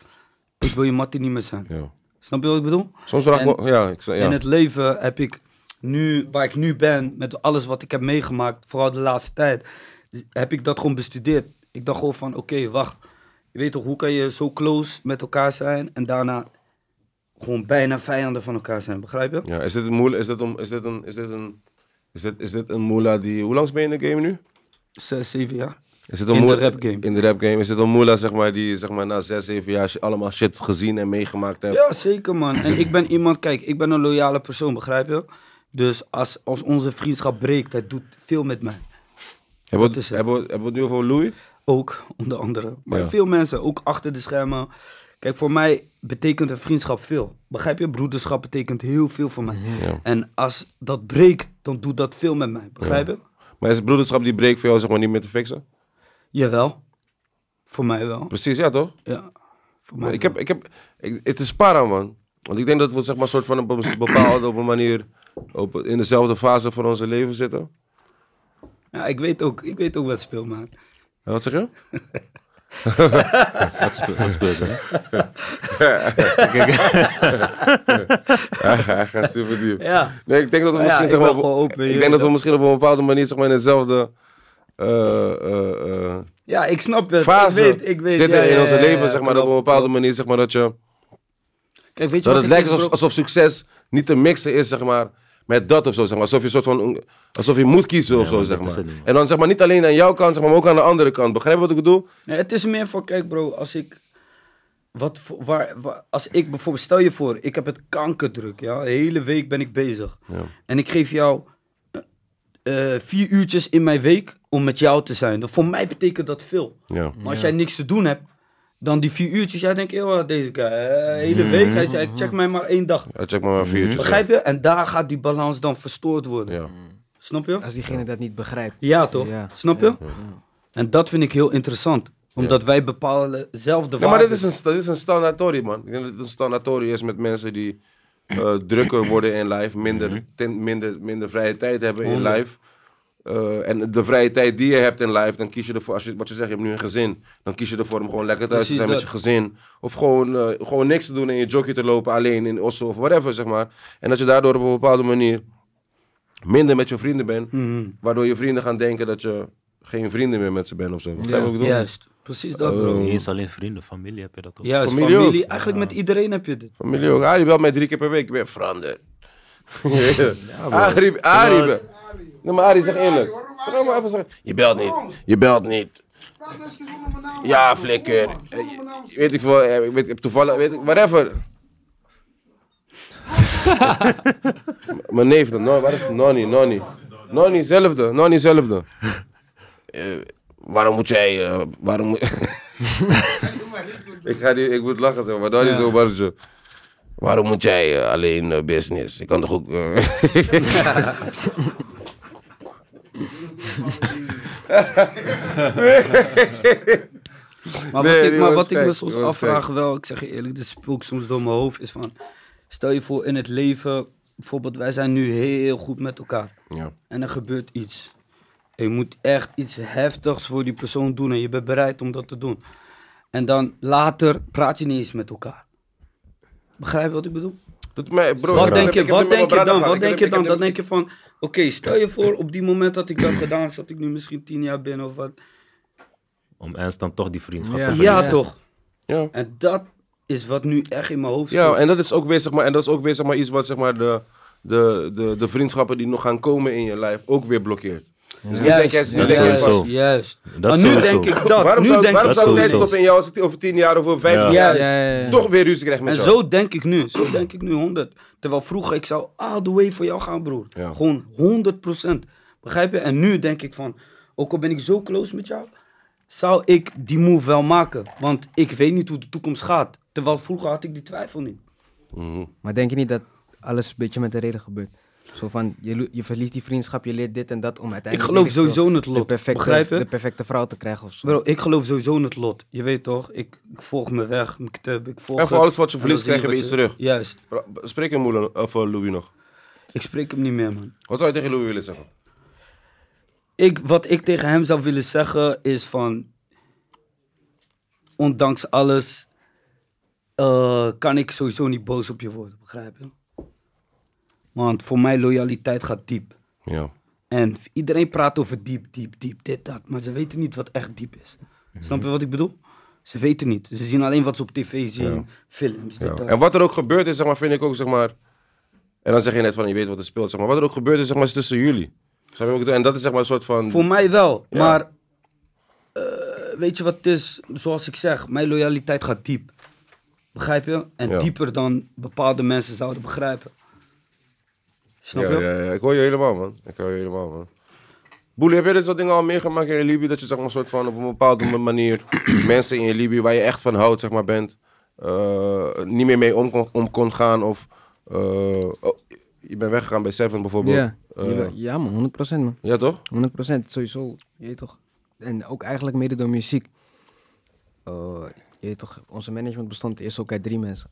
S5: Ik wil je mattie niet meer zijn.
S1: Ja.
S5: Snap je wat ik bedoel?
S1: Soms vraag ik
S5: En-
S1: me... Ja, ik, ja.
S5: In het leven heb ik nu, waar ik nu ben, met alles wat ik heb meegemaakt, vooral de laatste tijd, z- heb ik dat gewoon bestudeerd. Ik dacht gewoon van, oké, wacht. Je weet toch, hoe kan je zo close met elkaar zijn en daarna gewoon bijna vijanden van elkaar zijn, begrijp je?
S1: ja. Is dit een moela? Is dit een... Is dit een... Is dit een, is dit, is dit een moela die... Hoe lang ben je in de game nu?
S5: Zes, zeven jaar.
S1: Is dit een
S5: In de
S1: moela-
S5: rap game.
S1: In de rap game. Is dit een moela, zeg maar, die zeg maar, na zes, zeven jaar sh- allemaal shit gezien en meegemaakt hebt?
S5: Ja, zeker man. En ik ben iemand, kijk, ik ben een loyale persoon, begrijp je? Dus als, als onze vriendschap breekt, dat doet veel met mij.
S1: Hebben we
S5: dat
S1: het
S5: is het.
S1: hebben we- hebben we het nu over Louis?
S5: Ook, onder andere. Maar
S1: Ja.
S5: veel mensen, ook achter de schermen. Kijk, voor mij betekent een vriendschap veel. Begrijp je? Broederschap betekent heel veel voor mij.
S1: Mhm, Ja.
S5: En als dat breekt, dan doet dat veel met mij. Begrijp je?
S1: Maar is het broederschap die breekt voor jou zeg maar niet meer te fixen?
S5: Jawel. Voor mij wel.
S1: Precies, ja toch?
S5: Ja. Voor
S1: Maar
S5: mij
S1: ik
S5: wel.
S1: heb, ik heb, ik- het is para man. Want ik denk dat we zeg maar soort van op een bepaalde op een manier op, in dezelfde fase van onze leven zitten.
S5: Ja, ik weet ook, ik weet ook wat speelt, man.
S1: Ja, Wat zeg je?
S2: Wat spe- wat speelt er?
S1: Hij gaat super diep.
S5: Ja.
S1: Nee, ik denk dat we
S5: Maar ja,
S1: misschien
S5: ik
S1: zeg
S5: ben
S1: maar,
S5: gewoon open, je
S1: ik
S5: weet
S1: denk dat we
S5: toch?
S1: misschien op een bepaalde manier zeg maar in dezelfde eh, eh, eh,
S5: Ja, ik snap het.
S1: fase
S5: ik weet, ik weet,
S1: zitten
S5: ja, ja,
S1: in onze
S5: ja, ja,
S1: leven
S5: ja,
S1: zeg maar
S5: klopt.
S1: op een bepaalde manier zeg maar dat je
S5: Kijk, weet je
S1: Dat
S5: wat
S1: het
S5: ik dus
S1: lijkt
S5: is,
S1: alsof,
S5: bro?
S1: alsof succes niet te mixen is, zeg maar, met dat of zo. Zeg maar. Alsof je soort van, alsof je moet kiezen of
S2: Ja,
S1: zo,
S2: maar
S1: zeg
S2: dat is
S1: maar.
S2: het niet, man.
S1: En dan zeg maar niet alleen aan jouw kant, zeg maar, maar ook aan de andere kant. Begrijp je wat ik bedoel?
S5: Nee, het is meer van, kijk bro, als ik... wat voor- waar, waar- als ik bijvoorbeeld, stel je voor, ik heb het kankerdruk, ja, de hele week ben ik bezig. En ik geef jou eh, eh, vier uurtjes in mijn week om met jou te zijn. Dan voor mij betekent dat veel.
S1: Ja.
S5: Maar als jij niks te doen hebt, dan die vier uurtjes, jij denkt, joh, deze guy, eh, hele week, hij zei, check mij maar één dag.
S1: Ja, check maar maar viertjes.
S5: Mhm. Begrijp je? En daar gaat die balans dan verstoord worden.
S1: Ja.
S5: Snap je?
S4: Als diegene dat niet begrijpt.
S5: Ja, toch?
S4: Ja.
S5: Snap je? En dat vind ik heel interessant. Omdat wij bepalen zelf de
S1: Ja, maar
S5: waarde.
S1: dit is, een, sta- dit is een standaard tory, man. Ik denk dat het een standaard tory is met mensen die eh, drukker worden in life, minder,
S5: Mhm.
S1: ten- minder, minder vrije tijd hebben in life. Eh, en de vrije tijd die je hebt in life, dan kies je ervoor, als je, wat je zegt, je hebt nu een gezin, dan kies je ervoor om gewoon lekker thuis te
S5: Precies
S1: zijn met je
S5: dat.
S1: gezin. Of gewoon, eh, gewoon niks te doen en je jockey te lopen alleen in Oslo of whatever, zeg maar. En dat je daardoor op een bepaalde manier minder met je vrienden bent,
S5: Mhm.
S1: waardoor je vrienden gaan denken dat je geen vrienden meer met ze bent of zo. Begrijp je wat ik bedoel?
S5: Juist. Precies dat, bro.
S2: Niet eens alleen vrienden, familie heb je dat ook.
S5: Juist,
S1: Oh. familie
S5: familie.
S1: ook.
S5: Eigenlijk met iedereen heb je dit.
S1: Familie ook. Arie belt mij drie keer per week. Ik ben veranderd. Arie, Arie. be- Nee, maar Arie, zeg eerlijk. Zeg maar even zeggen. Je belt niet. Je belt niet. Ja, flikker. Eh, Weet ik veel. eh, Ik weet, ik heb toevallig, weet ik, whatever. M- Mijn neef dan. No, waar is Nonnie, Nonnie. Nonnie, zelfde. Nonnie, zelfde. Eh, waarom moet jij... eh, waarom moet... ik ga die... Ik moet lachen, zeg maar. Nonnie is zo barretje. Waarom moet jij eh, alleen eh, business? Je kan toch ook. eh,
S5: Maar
S1: Nee,
S5: wat ik,
S1: die
S5: maar
S1: was
S5: wat ik me
S1: gek,
S5: soms
S1: die was
S5: afvraag wel, ik zeg je eerlijk, dit spookt soms door mijn hoofd, is van... Stel je voor in het leven, bijvoorbeeld wij zijn nu heel goed met elkaar.
S1: Ja.
S5: En er gebeurt iets. En je moet echt iets heftigs voor die persoon doen en je bent bereid om dat te doen. En dan later praat je niet eens met elkaar. Begrijp je wat ik bedoel?
S1: Doet mij, bro,
S5: wat
S1: ik-
S5: denk
S1: ik
S5: je,
S1: heb
S5: wat
S1: hem in mijn
S5: denk je
S1: braden
S5: dan?
S1: gehad.
S5: Wat
S1: Ik heb
S5: denk je
S1: hem-
S5: dan?
S1: ik heb
S5: Dan denk je van, oké, stel je voor op die moment dat ik dat gedaan, zat ik nu misschien tien jaar binnen of wat.
S2: Om eens dan toch die vriendschap
S4: Ja.
S2: te
S5: Ja,
S4: Ja.
S5: toch?
S1: hem- Ja.
S5: En dat is wat nu echt in mijn hoofd zit.
S1: Ja, en dat is ook weer, zeg maar, en dat is ook weer zeg maar, iets wat zeg maar, de, de, de, de vriendschappen die nog gaan komen in je lijf ook weer blokkeert. Dus nu denk jij, nu
S2: Dat
S1: denk jij
S2: sowieso.
S1: van,
S5: Juist.
S2: Dat
S5: maar nu
S2: sowieso.
S5: denk ik dat.
S1: Waarom
S5: nu
S1: zou,
S5: denk
S1: waarom
S5: ik
S2: dat
S1: zou
S5: dat.
S1: tijd
S2: sowieso.
S1: op in jou zitten over tien jaar of over vijf
S2: Ja.
S1: jaar?
S5: Juist.
S1: Toch weer ruzie krijgt met
S5: En
S1: jou.
S5: zo denk ik nu. Zo denk ik nu 100. Terwijl vroeger ik zou all the way voor jou gaan, broer.
S1: Ja.
S5: Gewoon 100 Begrijp je? En nu denk ik van, ook al ben ik zo close met jou, zou ik die move wel maken. Want ik weet niet hoe de toekomst gaat. Terwijl vroeger had ik die twijfel niet.
S4: Maar denk je niet dat alles een beetje met de reden gebeurt? Zo van, je, lo- je verliest die vriendschap, je leert dit en dat om uiteindelijk...
S5: Ik geloof
S4: weet veel,
S5: sowieso in het lot,
S4: De perfecte,
S5: begrijp je?
S4: de perfecte vrouw te krijgen of zo.
S5: Bro, ik geloof sowieso in het lot. Je weet toch? Ik, ik volg mijn weg, mijn kitab, ik volg
S1: En voor
S5: het.
S1: alles wat je
S5: En
S1: verliest,
S5: dan zie
S1: krijg je
S5: wat
S1: weer iets
S5: Juist.
S1: Bro, Spreek hem Moelen of eh, Louis nog.
S5: Ik spreek hem niet meer, man.
S1: Wat zou je tegen Louis willen zeggen?
S5: ik, wat ik tegen hem zou willen zeggen is van... Ondanks alles eh, kan ik sowieso niet boos op je worden, begrijp je? Want voor mij loyaliteit gaat diep.
S1: Ja.
S5: En iedereen praat over diep, diep, diep, dit, dat. Maar ze weten niet wat echt diep is. Snap
S1: Mhm.
S5: je wat ik bedoel? Ze weten niet. Ze zien alleen wat ze op tv zien, films, dit,
S1: Ja.
S5: dat.
S1: En wat er ook gebeurd is, zeg maar, vind ik ook, zeg maar... En dan zeg je net van, je weet wat er speelt, zeg maar. Wat er ook gebeurd is, zeg maar, is tussen jullie. Snap je wat ik bedoel? En dat is, zeg maar, een soort van...
S5: Voor mij wel,
S1: Mm. Ja.
S5: maar eh, weet je wat het is? Zoals ik zeg, mijn loyaliteit gaat diep. Begrijp je? En
S1: Ja.
S5: dieper dan bepaalde mensen zouden begrijpen. Snap
S1: ja,
S5: je?
S1: ja, ja, ik hoor je helemaal, man. Ik hoor je helemaal, man. Boelie, heb jij dit soort dingen al meegemaakt in Libië? Dat je zeg maar, soort van op een bepaalde manier mensen in Libië waar je echt van houdt, zeg maar, bent, eh, niet meer mee om kon, om kon gaan? Of eh, oh, je bent weggegaan bij Seven bijvoorbeeld.
S4: Ja.
S1: Eh,
S4: Ja, ja man, 100% man.
S1: ja, toch?
S4: 100% sowieso, je weet toch. En ook eigenlijk mede door muziek. Eh, je weet toch, onze management bestond eerst ook uit drie mensen.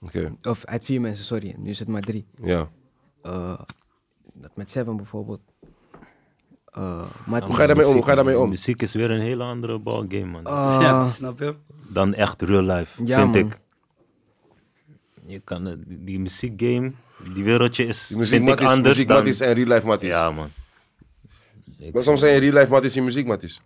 S1: Oké,
S4: Of uit vier mensen, sorry. En Nu is het maar drie.
S1: ja.
S4: Eh, dat met Seven bijvoorbeeld. Eh, maar
S2: Ja,
S4: het
S1: Hoe ga je daarmee om? Hoe ga je daarmee om?
S2: Muziek is weer een hele andere ballgame, man.
S4: Ah,
S5: Ja, snap je?
S2: Dan echt real life,
S4: Ja,
S2: vind
S4: man.
S2: ik. Je kan, het- die die muziekgame, die wereldje is,
S1: Die Muziek
S2: vind ik
S1: Matties,
S2: anders
S1: muziek
S2: dan...
S1: Matties en real life Matties.
S2: Ja, man.
S1: Maar soms zijn je real life Matties en muziek Matties.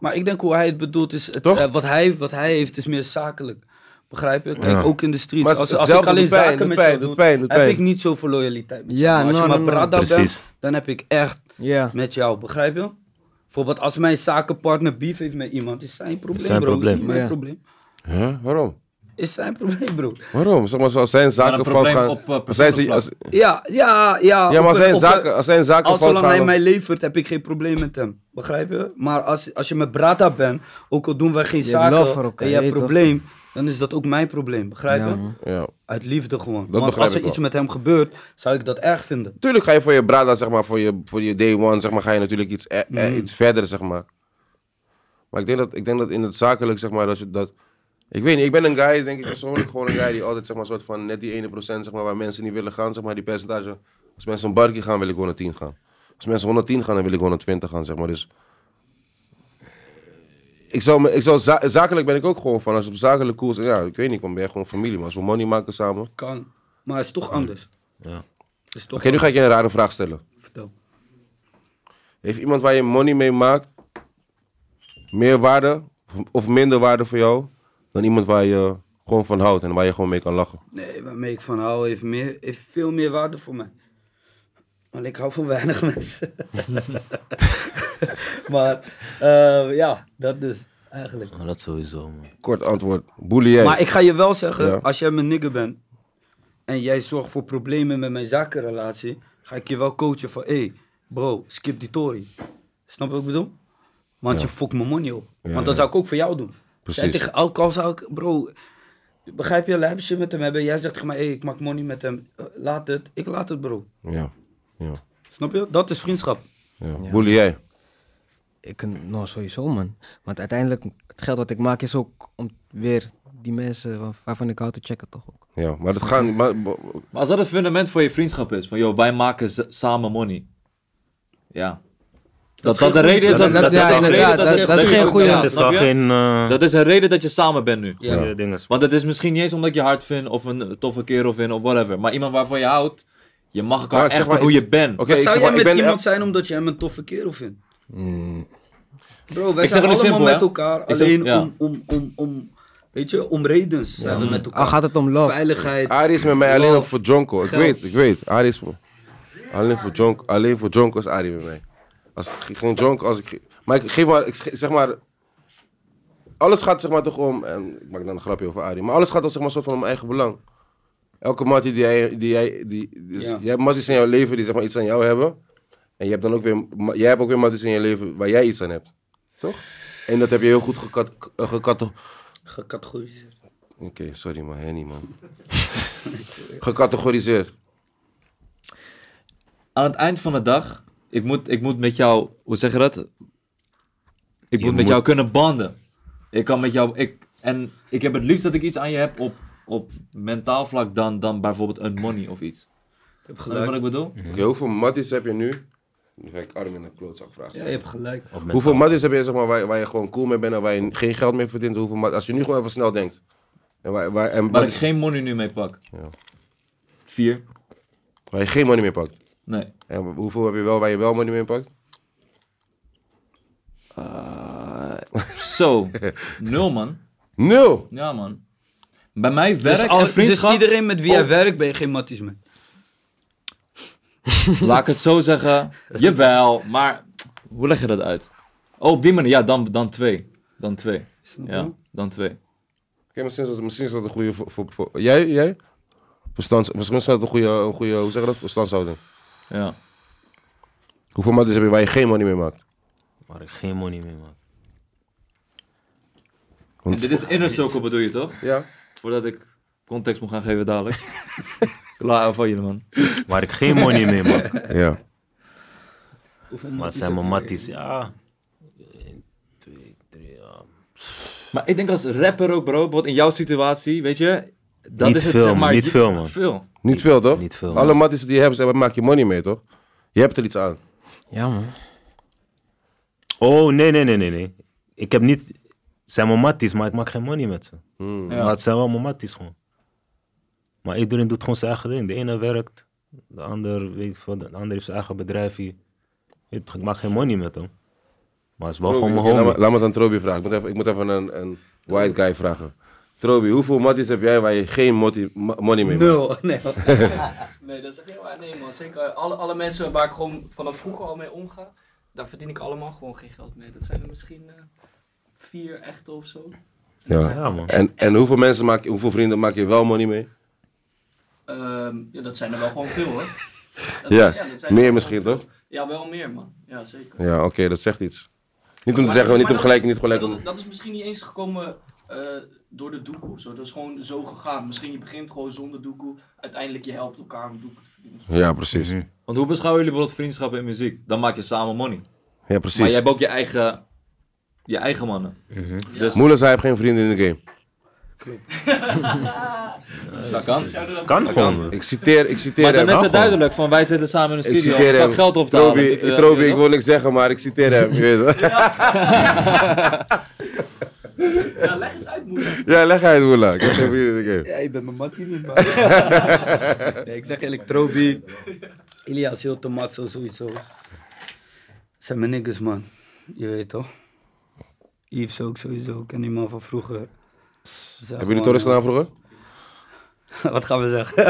S5: Maar ik denk hoe hij het bedoelt is... Het,
S1: Toch?
S5: eh, wat, hij, wat hij heeft is meer zakelijk. Begrijp je? Kijk, ook in de streets.
S1: Maar het
S5: als
S1: is
S5: als ik
S1: hetzelfde,
S5: alleen
S1: doet pijn,
S5: zaken
S1: doet
S5: met
S1: pijn,
S5: jou
S1: doet
S5: doe,
S1: pijn, doet
S5: heb
S1: pijn.
S5: ik niet zoveel loyaliteit
S4: Ja,
S5: met jou. Maar als
S4: no,
S5: je
S4: no,
S5: maar
S4: no.
S5: brada bent,
S2: Precies.
S5: dan heb ik echt
S4: Ja.
S5: met jou, begrijp je? Bijvoorbeeld als mijn zakenpartner beef heeft met iemand, is zijn probleem,
S2: zijn
S5: bro.
S2: probleem.
S5: Is niet mijn
S4: Ja.
S5: probleem.
S1: Huh? Waarom?
S5: Is zijn probleem, bro.
S1: Waarom? Zeg maar, zo, als zijn zaken
S3: een
S1: fout
S3: probleem
S1: gaan...
S3: op, eh,
S1: als zijn,
S3: persoonlijk
S1: als,
S5: Ja, ja,
S1: ja,
S5: ja.
S1: maar
S5: op
S1: als
S5: een-
S1: zijn
S5: op een-
S1: zaken, als zijn zaken
S5: Als
S1: fout
S5: zolang hij
S1: gaan...
S5: mij levert, heb ik geen probleem met hem. Begrijp je? Maar als, als je met Brata bent, ook al doen wij geen
S4: Je hebt love voor
S5: zaken
S4: elkaar,
S5: en je hebt
S4: je
S5: een
S4: weet toch?
S5: probleem, dan is dat ook mijn probleem. Begrijp je?
S4: Ja, man.
S1: Ja.
S5: Uit liefde gewoon.
S1: begrijp
S5: Want als
S1: ik
S5: er
S1: wel.
S5: iets met hem gebeurt, zou ik dat erg vinden.
S1: Tuurlijk ga je voor je brada, zeg maar, voor je, voor je day one, zeg maar, ga je natuurlijk iets, eh, eh, iets verder, zeg maar. Maar ik denk, dat, ik denk dat in het zakelijk, zeg maar, dat je dat... Ik weet niet, ik ben een guy, denk ik persoonlijk, gewoon een guy die altijd, zeg maar, soort van net die ene procent, zeg maar, waar mensen niet willen gaan, zeg maar, die percentage. Als mensen een barkie gaan, wil ik 110 gaan. Als mensen 110 gaan, dan wil ik 120 gaan, zeg maar. Dus eh, ik zou, me- ik zou za- zakelijk ben ik ook gewoon van, als het op zakelijk koers, ja, ik weet niet, dan ben je gewoon familie, maar als we money maken samen. Oké,
S5: Kan. Maar het is toch anders.
S2: Ja.
S5: Het is toch
S1: nu ga ik je een rare vraag stellen.
S5: anders. Vertel.
S1: Heeft iemand waar je money mee maakt meer waarde of- of minder waarde voor jou dan iemand waar je gewoon van houdt en waar je gewoon mee kan lachen?
S5: Nee, waarmee ik van hou heeft, meer, heeft veel meer waarde voor mij. Want ik hou van weinig mensen. maar eh, ja, dat dus eigenlijk.
S2: Maar dat sowieso, man.
S1: Kort antwoord, boelie jij.
S5: Maar ik ga je wel zeggen,
S1: Ja.
S5: als jij mijn nigger bent en jij zorgt voor problemen met mijn zakenrelatie, ga ik je wel coachen van, hé, hey, bro, skip die tory. Snap je wat ik bedoel? Want je fokt mijn money op.
S1: Ja,
S5: Want
S1: ja.
S5: dat zou ik ook voor jou doen.
S1: Precies.
S5: Zij tegen alcohol zou ik, bro, begrijp je, lijp shit met hem hebben. Jij zegt tegen mij, hé, hey, ik maak money met hem. Eh, Laat het, ik laat het, bro.
S1: Ja, ja,
S5: Snap je? Dat is vriendschap.
S1: ja. Boelie jij.
S4: Ik, kan- nou, sowieso, man. Want uiteindelijk, het geld wat ik maak is ook om weer die mensen wa- waarvan ik hou te checken, toch ook.
S1: Ja, maar dat gaan. Maar, maar-
S3: Maar als dat het fundament voor je vriendschap is, van joh, wij maken z- samen money. Ja. Dat, dat, de reden is
S4: Dat-
S3: dat,
S4: dat-
S3: dat, is
S4: ja,
S3: een
S4: inderdaad,
S3: reden dat,
S4: dat-
S3: je-
S4: dat is geen goede-
S3: ja,
S2: Het is
S3: snap
S2: al
S3: je?
S2: geen eh,
S3: Dat is een reden dat je samen bent nu.
S5: Ja.
S2: goede dingen.
S3: Want het is misschien niet eens omdat je hard vindt of een toffe kerel vindt of whatever. Maar iemand waarvan je houdt, je mag elkaar
S1: Maar ik
S3: echt
S1: zeg
S3: voor
S1: maar,
S3: hoe
S1: is-
S3: je bent.
S1: Oké, ik
S5: zou
S1: zeg
S5: jij
S1: maar, ik
S5: met
S1: ben. Hmm.
S5: iemand
S1: eh,
S5: zijn omdat je hem een toffe kerel vindt? Bro, wij
S3: Ik zeg
S5: zijn
S3: het
S5: allemaal
S3: nu simpel,
S5: met
S3: hè?
S5: elkaar.
S3: Ik zeg-
S5: alleen
S3: ja.
S5: om, om, om, om, weet je, om redens zijn we met elkaar.
S4: Al gaat het om love.
S5: Veiligheid.
S1: Arie is met mij alleen
S5: Love.
S1: nog voor Jonko. Ik
S5: Geld.
S1: weet, ik weet. Arie is voor. Alleen voor Jonko, alleen voor Jonko is Arie bij mij. Als ik ge- geen Jonko, als ik. ge- Maar ik geef maar, ik ge- zeg maar. Alles gaat zeg maar toch om. En ik maak dan een grapje over Arie. Maar alles gaat toch zeg maar soort van om eigen belang. Elke mattie die jij. Die jij, die, dus
S5: Ja.
S1: Jij hebt matties in jouw leven die zeg maar iets aan jou hebben. En je hebt dan ook weer. ma- Jij hebt ook weer matties in je leven waar jij iets aan hebt. Toch? En dat heb je heel goed gekat, eh, gekat,
S5: Gecategoriseerd.
S1: Oké, sorry man, Henny man. Gecategoriseerd.
S3: Aan het eind van de dag, ik moet, ik moet met jou, hoe zeg je dat? Ik moet, met
S2: moet-
S3: jou kunnen banden. Ik kan met jou, ik, en ik heb het liefst dat ik iets aan je heb op, op mentaal vlak dan, dan bijvoorbeeld een money of iets.
S5: Je hebt
S3: Snap je wat
S5: gelijk.
S3: ik bedoel?
S1: Oké, hoeveel matties heb je nu? Nu ga ik arm in een klootzak vragen.
S5: Ja, je hebt gelijk.
S2: Op met-
S1: hoeveel matties heb je zeg maar, waar, waar je gewoon cool mee bent en waar je geen geld mee verdient? Hoeveel mat- als je nu gewoon even snel denkt. En waar, waar, en
S3: Waar ik
S1: matties-
S3: geen money nu mee pak.
S1: Ja.
S3: Vier?
S1: waar je geen money mee pakt.
S3: Nee.
S1: En hoeveel heb je wel waar je wel money mee pakt?
S3: Eh, Zo. Nul, man.
S1: Nul!
S3: Ja, man. Bij mij werk
S5: Dus, al-
S3: en
S5: dus
S3: vriendschap,
S5: iedereen met wie jij
S3: Oh.
S5: werkt, ben je geen matties mee.
S3: laat ik het zo zeggen, jawel, maar hoe leg je dat uit? Oh, op die manier, ja, dan, dan twee. Dan twee.
S5: Snap je?
S3: Ja, dan twee.
S1: Oké, misschien, is dat- misschien is dat een goede voor... voor, voor- jij? jij? Verstands, misschien is dat een goede, een goede, hoe zeg je dat? Verstandshouding.
S3: Ja.
S1: Hoeveel matties heb je waar je geen money mee maakt?
S2: Waar ik geen money mee maak.
S3: En dit is inner circle bedoel je toch?
S1: Ja.
S3: Voordat ik context moet gaan geven dadelijk. Klaar van jullie, man.
S2: Waar ik geen money mee maak.
S1: Ja.
S5: Hoeveel
S2: Maar het
S5: matties
S2: zijn
S5: heb
S2: mijn
S5: je?
S2: matties, ja. 1, 2, 3, ja.
S3: Maar ik denk als rapper ook, bro, bijvoorbeeld in jouw situatie, weet je, dat
S2: Niet
S3: is het
S2: veel,
S3: zeg maar.
S2: niet
S3: je-
S2: veel, man.
S3: Veel.
S1: Niet veel, toch?
S2: Niet veel,
S1: Alle
S2: man.
S1: matties die je hebt, zeg maar, maak je money mee, toch? Je hebt er iets aan.
S4: Ja, man.
S2: Oh, nee, nee, nee, nee, nee. Ik heb niet... Het zijn mijn matties, maar ik maak geen money met ze.
S3: Ja.
S2: Maar het zijn wel mijn matties gewoon. Maar iedereen doet gewoon zijn eigen ding. De ene werkt, de ander, weet ik veel, de ander heeft zijn eigen bedrijfje. Weet je, Ik maak geen money met hem. Maar het is wel
S1: Trobi,
S2: gewoon mijn
S1: oké, laat
S2: homie.
S1: me- Laat me het aan Trobi vragen. Ik moet even, ik moet even een, een white guy vragen. Trobi, hoeveel matties heb jij waar je geen motti- ma- money mee maakt?
S5: Nul. Nee, hoor.
S7: Nee, dat is echt heel waar. Nee, man. Zeker alle, alle mensen waar ik gewoon vanaf vroeger al mee omga, daar verdien ik allemaal gewoon geen geld mee. Dat zijn er misschien eh, vier echt of zo.
S1: Ja.
S2: Ja, man.
S1: En, en hoeveel mensen maak je, hoeveel vrienden maak je wel money mee?
S7: Ehm, ja, dat zijn er wel gewoon veel hoor. Dat zijn-
S1: Ja,
S7: dat zijn er
S1: meer
S7: wel
S1: misschien
S7: gewoon
S1: toch?
S7: veel. Ja, wel meer man. Ja, zeker.
S1: Ja, oké, dat zegt iets. Niet om te
S7: Maar-
S1: zeggen,
S7: maar
S1: niet om
S7: dat-
S1: gelijk, niet gelijk om...
S7: Dat, dat is misschien niet eens gekomen eh, door de doekoe of zo. Dat is gewoon zo gegaan. Misschien je begint gewoon zonder doekoe. Uiteindelijk je helpt elkaar om doekoe te verdienen.
S1: Ja, precies.
S3: Want hoe beschouwen jullie bijvoorbeeld vriendschappen in muziek? Dan maak je samen money.
S1: Ja,
S3: Maar
S1: precies.
S3: jij hebt ook je eigen, je eigen mannen. Dus
S1: Moeder zei, hij heeft geen vrienden in de game.
S3: dat kan.
S2: Kan gewoon. man.
S1: Ik citeer, ik citeer
S3: Maar dan
S1: hem.
S3: is
S2: wel
S3: het
S2: gewoon.
S3: duidelijk van wij zitten samen in een
S1: Ik
S3: studio.
S1: citeer
S3: Ik
S1: hem.
S3: zag geld op te
S1: Trobi,
S3: halen. Dit, eh,
S1: Trobi,
S3: weet
S1: ik
S3: je wel?
S1: wil niks zeggen, maar ik citeer hem. Je weet wel.
S7: Ja, leg eens uit moeder.
S1: ja, leg uit, Moela. Ik heb geen vrienden in de game.
S5: Ja, je bent mijn mattie niet, man. nee, ik zeg eigenlijk Trobi, Ilias heel te matzo sowieso. Dat zijn mijn niggas, man. Je weet toch? Yves ook sowieso, ik ken die man van vroeger.
S1: Hebben jullie Torres gedaan vroeger?
S5: Wat gaan we zeggen?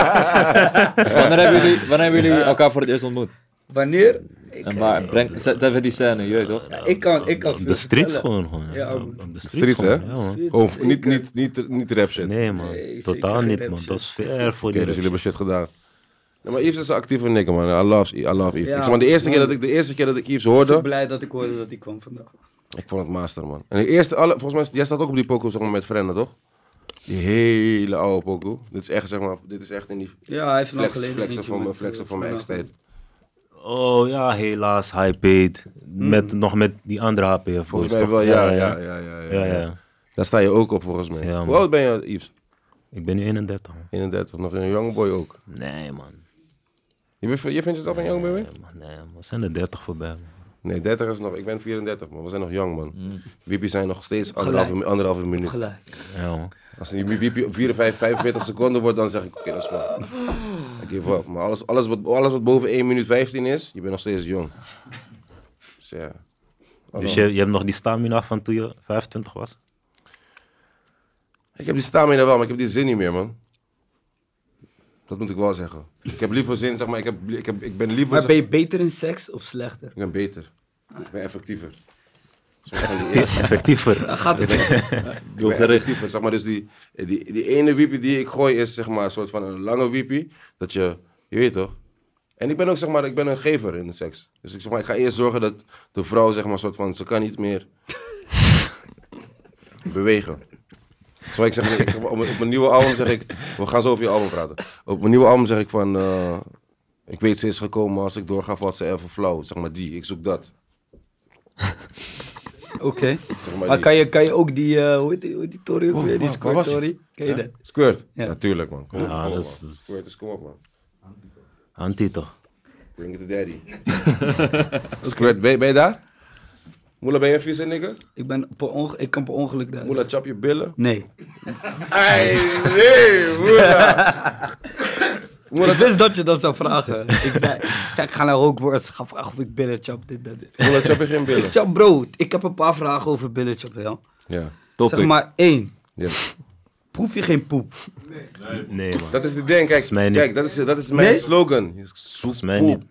S3: Wanneer hebben jullie, wanneer hebben jullie elkaar voor het eerst ontmoet?
S5: Wanneer? Ik,
S3: En waar? Breng, zet even die scène, je weet toch?
S5: ik kan, ik kan
S2: Op de
S5: veel
S2: streets
S5: vertellen.
S2: gewoon. gewoon.
S5: Ja,
S2: Ja,
S5: man.
S2: op de
S1: Streets,
S2: streets gewoon.
S1: hè?
S2: Ja, man.
S5: Streets, eh,
S1: Of Oh, niet,
S5: zeker.
S1: niet, niet, niet rap shit?
S2: Oh, Nee, man.
S5: Nee, zeker
S2: Totaal
S5: geen
S2: niet,
S5: rap
S2: man.
S5: shit.
S2: Dat is ver voor
S1: Oké,
S2: die
S1: dus jullie
S2: rap
S1: hebben shit gedaan. Nee, maar Yves is een actieve nigger, man. I love, I love Yves.
S5: Ja,
S1: ik zeg maar, de eerste,
S5: man.
S1: keer dat ik, de eerste keer dat ik Yves
S5: Ik ben
S1: hoorde,
S5: blij dat ik hoorde dat hij kwam vandaag.
S1: ik vond het master, man. En de eerste, alle, volgens mij, jij staat ook op die pokoe zeg maar, met Frenna, toch? Die hele oude pokoe. Dit is echt, zeg maar, dit is echt in die
S5: Ja, hij heeft
S1: flex,
S5: nog geleden.
S1: flexen
S5: eentje
S1: van mijn,
S5: met- eh,
S1: flexen van mijn ex-tijd.
S2: shit. Oh ja, helaas. High paid. Met, nog met die andere HP.
S1: Hmm. Volgens mij wel, ja, ja, ja, ja,
S2: Ja, ja.
S1: Daar sta je ook op, volgens mij.
S2: Ja, man.
S1: Hoe oud ben je, Yves?
S2: Ik ben nu 31, man.
S1: 31, nog een young boy ook.
S2: Nee, man.
S1: Je, bent- je vindt jezelf een young boy?
S2: Nee, man. Nee, man. We zijn er 30 voorbij, man.
S1: Nee, 30 is nog. Ik ben 34, man. We zijn nog jong, man. Wiepie zijn nog steeds anderhalve,
S5: Mm. Gelijk.
S1: anderhalve minuut.
S5: Gelijk.
S2: Ja, man.
S1: Als die wiepie op 45, 45 seconden wordt, dan zeg ik, oké, dat is man. Ik give up. Maar alles, alles, wat, alles wat boven 1 minuut 15 is, je bent nog steeds jong. Dus ja.
S2: Dus je, je hebt nog die stamina van toen je 25 was?
S1: Ik heb die stamina wel, maar ik heb die zin niet meer, man. Dat moet ik wel zeggen. Ik heb liever zin, zeg maar. Ik, heb, ik, heb, ik ben liever...
S5: Maar ben je beter in seks of slechter?
S1: Ik ben beter. Ik ben effectiever. Soms van die eerste-
S2: Effectiever.
S5: Gaat het?
S1: Ik ben effectiever. Zeg maar, dus die, die, die ene wiepie die ik gooi is zeg maar een soort van een lange wiepie. Dat je, je weet toch? En ik ben ook zeg maar, ik ben een gever in de seks. Dus ik zeg maar, ik ga eerst zorgen dat de vrouw zeg maar soort van, ze kan niet meer bewegen. Zo, ik zeg, ik zeg, op, mijn, op mijn nieuwe album zeg ik, we gaan zo over je album praten. Op mijn nieuwe album zeg ik van, eh, ik weet ze is gekomen, maar als ik doorga valt ze even flauw. Zeg maar die, ik zoek dat.
S5: Oké.
S1: Zeg
S5: Maar
S1: die.
S5: kan je, kan je ook die, eh, hoe heet die, hoe heet die Tory ook
S1: Oh,
S5: weer?
S1: waar-
S5: Die
S1: waar
S5: Squirt
S1: was
S5: Tory? Ken je dat?
S1: Squirt?
S5: Ja.
S1: Natuurlijk man. Kom op,
S2: Ja,
S1: kom op,
S2: dat is-
S1: man.
S2: dat is-
S1: Squirt is kom op man.
S2: Anti toch?
S1: Bring it to daddy. Squirt, ben, je- ben je daar? Moela, ben je een vieze nigger?
S5: Ik, ben per onge- ik kan per ongeluk daar.
S1: Moela, chap je billen.
S5: Nee.
S1: Ei, nee, moela.
S5: Moeder, wist dat je dat zou vragen. ik, zei, ik zei, ik ga naar Rookworst. Ik ga vragen of ik billen chap, dit, dat. dit.
S1: Moela, chap je geen
S5: Ik
S1: billen?
S5: zei, bro, ik heb een paar vragen over billen chap, wel.
S1: Ja.
S5: Zeg maar één.
S1: ja.
S5: Proef je geen poep?
S2: Nee, man.
S1: Dat is de ding, kijk.
S2: mij niet.
S1: Kijk, dat is, dat is mijn
S5: Nee?
S1: slogan.
S2: Volgens mij
S1: Poep.
S2: niet.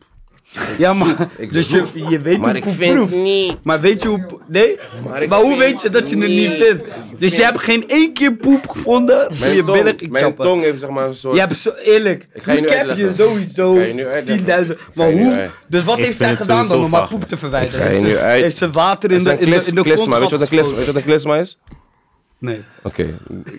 S5: Ja, maar...
S1: ik
S5: dus
S1: zoek.
S5: je, je weet
S1: Maar
S5: hoe
S1: ik
S5: poep
S1: vind
S5: proeft.
S1: niet.
S5: Maar weet je hoe... po- Nee?
S1: Maar
S5: Maar,
S1: ik
S5: hoe
S1: vind-
S5: weet je dat je het niet
S1: Nee.
S5: vindt? Dus je hebt geen één keer poep gevonden toen je
S1: Mijn
S5: billen
S1: tong,
S5: ging
S1: mijn
S5: chappen.
S1: tong heeft zeg maar een soort...
S5: Je hebt zo eerlijk. Ik
S1: ga je nu
S5: heb je
S1: uitleggen.
S5: sowieso
S1: Ik ga je nu uitleggen.
S5: 10.000.
S1: Ik
S5: Maar
S1: ga je nu
S5: hoe?
S1: uit-
S5: Dus wat
S2: Ik
S5: heeft
S2: vind
S5: zij
S2: het
S5: gedaan dan
S2: sowieso
S5: om haar
S2: vaag.
S5: poep te
S1: Ik ga
S5: verwijderen?
S1: je
S5: Heeft
S1: nu
S5: ze-
S1: uit-
S5: Heeft ze water in
S1: Het is
S5: de,
S1: een
S5: in de,
S1: klis,
S5: in de kont
S1: klisma. Weet je wat een klisma, weet je wat een klisma is?
S5: Nee.
S1: Oké,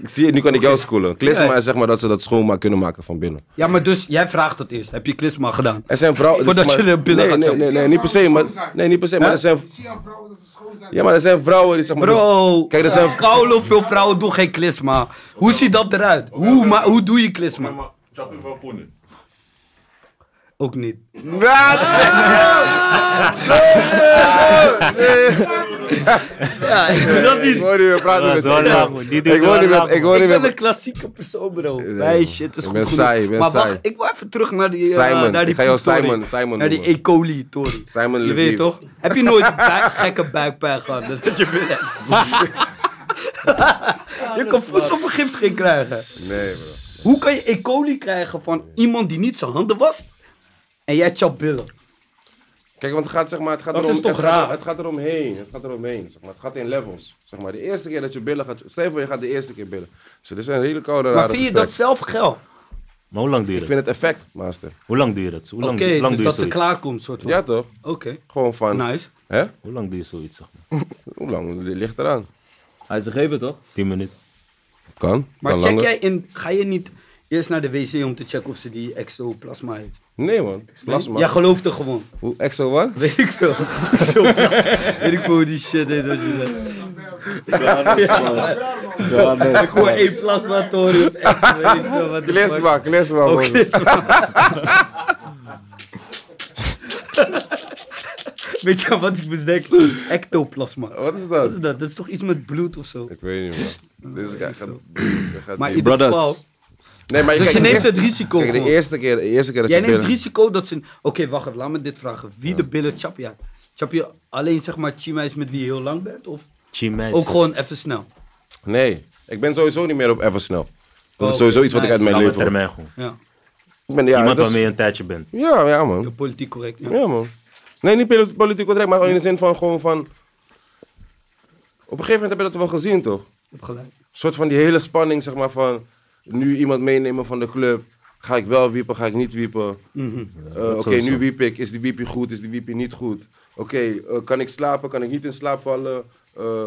S1: ik zie je, nu kan ik jou schoolen. Klisma
S5: Ja.
S1: is zeg maar dat ze dat schoonmaak kunnen maken van binnen.
S5: Ja, maar dus jij vraagt dat eerst. Heb je klisma gedaan?
S1: Er zijn vrouwen.
S5: Voordat
S1: dus, maar-
S5: je de billen
S1: nee,
S5: gaat
S1: nee,
S5: zoeken.
S1: nee, nee, niet per se, maar. Nee, niet per se, maar er zijn. Ja, maar er zijn vrouwen die zeg maar.
S5: Bro, eh,
S1: Kijk, dat zijn-
S5: koude veel vrouwen doen geen klisma. Hoe ziet dat eruit? Hoe, maar, hoe doe je klisma?
S6: Maar chap je wel poenen.
S5: Ook niet. Ja, ik doe dat
S1: Ik
S5: niet.
S1: hoor niet meer praten
S2: Dat
S1: met
S2: is wel
S1: Tino.
S2: laag, man. Die doet
S1: Ik hoor
S2: wel
S1: niet
S2: laag,
S1: meer.
S2: man.
S1: Ik hoor
S5: Ik
S1: niet
S5: ben een
S1: meer.
S5: klassieke persoon, bro.
S1: man.
S5: Meisje, het is
S1: Je
S5: goed
S1: bent
S5: genoeg.
S1: saai, je bent
S5: maar wacht,
S1: saai.
S5: ik wil even terug naar die... eh,
S1: Simon,
S5: naar die
S1: ik ga jou
S5: poeptory.
S1: Simon- Simon
S5: Naar die
S1: noemen.
S5: E. coli tory.
S1: Simon
S5: Je
S1: Lviv.
S5: weet toch? Heb je nooit buik- gekke buikpijn gehad? Dat dat je binnen Je kan voedselvergiftiging krijgen.
S1: Nee, bro.
S5: Hoe kan je E. coli krijgen van iemand die niet zijn handen wast? En jij chapt billen.
S1: Kijk, want het gaat zeg maar. Het gaat
S5: Dat
S1: erom,
S5: is toch
S1: het gaat-
S5: raar?
S1: Het gaat eromheen. Het gaat eromheen. Zeg maar. Het gaat in levels. Zeg maar, de eerste keer dat je billen gaat... Stel je voor, je gaat de eerste keer billen. Dus dit zijn hele koude, rare
S5: Maar vind je dat
S1: gesprekken.
S5: zelf geil?
S2: Maar hoe lang duurt
S1: Ik
S2: het?
S1: vind het effect, master.
S2: Hoe lang duurt het? Hoe
S5: Oké,
S2: lang, hoe lang
S5: dus
S2: duurt
S5: dat ze
S2: zoiets?
S5: klaar komt, soort van.
S1: Ja, toch?
S5: Oké,
S1: Gewoon van...
S5: nice.
S1: Hè?
S2: Hoe lang duurt zoiets, zeg maar?
S1: Hoe lang? Dit ligt eraan.
S3: Hij is een geven, toch?
S2: 10 minuten.
S1: Kan.
S5: Maar
S1: kan
S5: check
S1: langer.
S5: jij in, ga je niet eerst naar de wc om te checken of ze die exoplasma heeft?
S1: Nee, man. Plasma.
S5: Jij gelooft er gewoon.
S1: Hoe, exo wat?
S5: Weet ik veel. Exoplasma. Weet ik veel hoe die shit heet wat je zegt.
S3: eh,
S5: Ik hoor één plasmatorie of exo, weet ik veel wat de fuck.
S1: Klisma, klisma.
S5: Oh,
S1: man.
S5: Weet je wat ik moest denken? Ectoplasma.
S1: Wat is
S5: Wat
S1: dat?
S5: is dat? Dat is toch iets met bloed of zo?
S1: Ik weet niet, man. Deze guy gaat... hij gaat
S5: Maar in
S1: diep.
S5: ieder
S3: Brothers.
S5: geval,
S1: Nee, maar
S5: Dus
S1: kijk,
S5: je
S1: de
S5: neemt
S1: eerste-
S5: het risico
S1: Kijk, de
S5: gewoon.
S1: eerste keer, de eerste keer dat
S5: jij
S1: je
S5: neemt
S1: billen...
S5: risico dat ze... Oké, wacht even, laat me dit vragen. Wie de billen chap je? Chap je alleen zeg maar chima's met wie je heel lang bent? Of
S2: Chimes.
S5: ook gewoon even snel?
S1: Nee, ik ben sowieso niet meer op even snel. Dat
S5: Oh, Oké,
S1: is sowieso iets wat ik
S5: nice.
S1: uit mijn
S2: Lange
S1: leven...
S2: termijn gewoon.
S5: Ja,
S1: Ik ben, ja,
S2: Iemand
S1: dat is-
S2: waarmee je een tijdje bent.
S1: Ja, ja, man.
S5: ja, politiek correct. Ja.
S1: Ja, man. Nee, niet poli- politiek correct, maar in de zin van gewoon van... Op een gegeven moment heb je dat wel gezien, toch? Een
S5: Heb gelijk.
S1: soort van die hele spanning, zeg maar, van... Nu iemand meenemen van de club. Ga ik wel wiepen, ga ik niet wiepen?
S5: Mhm.
S1: Eh,
S2: dat
S1: Oké,
S2: sowieso.
S1: nu wiep ik. Is die wiepie goed, is die wiepie niet goed? Oké, eh, kan ik slapen, kan ik niet in slaap vallen? Eh,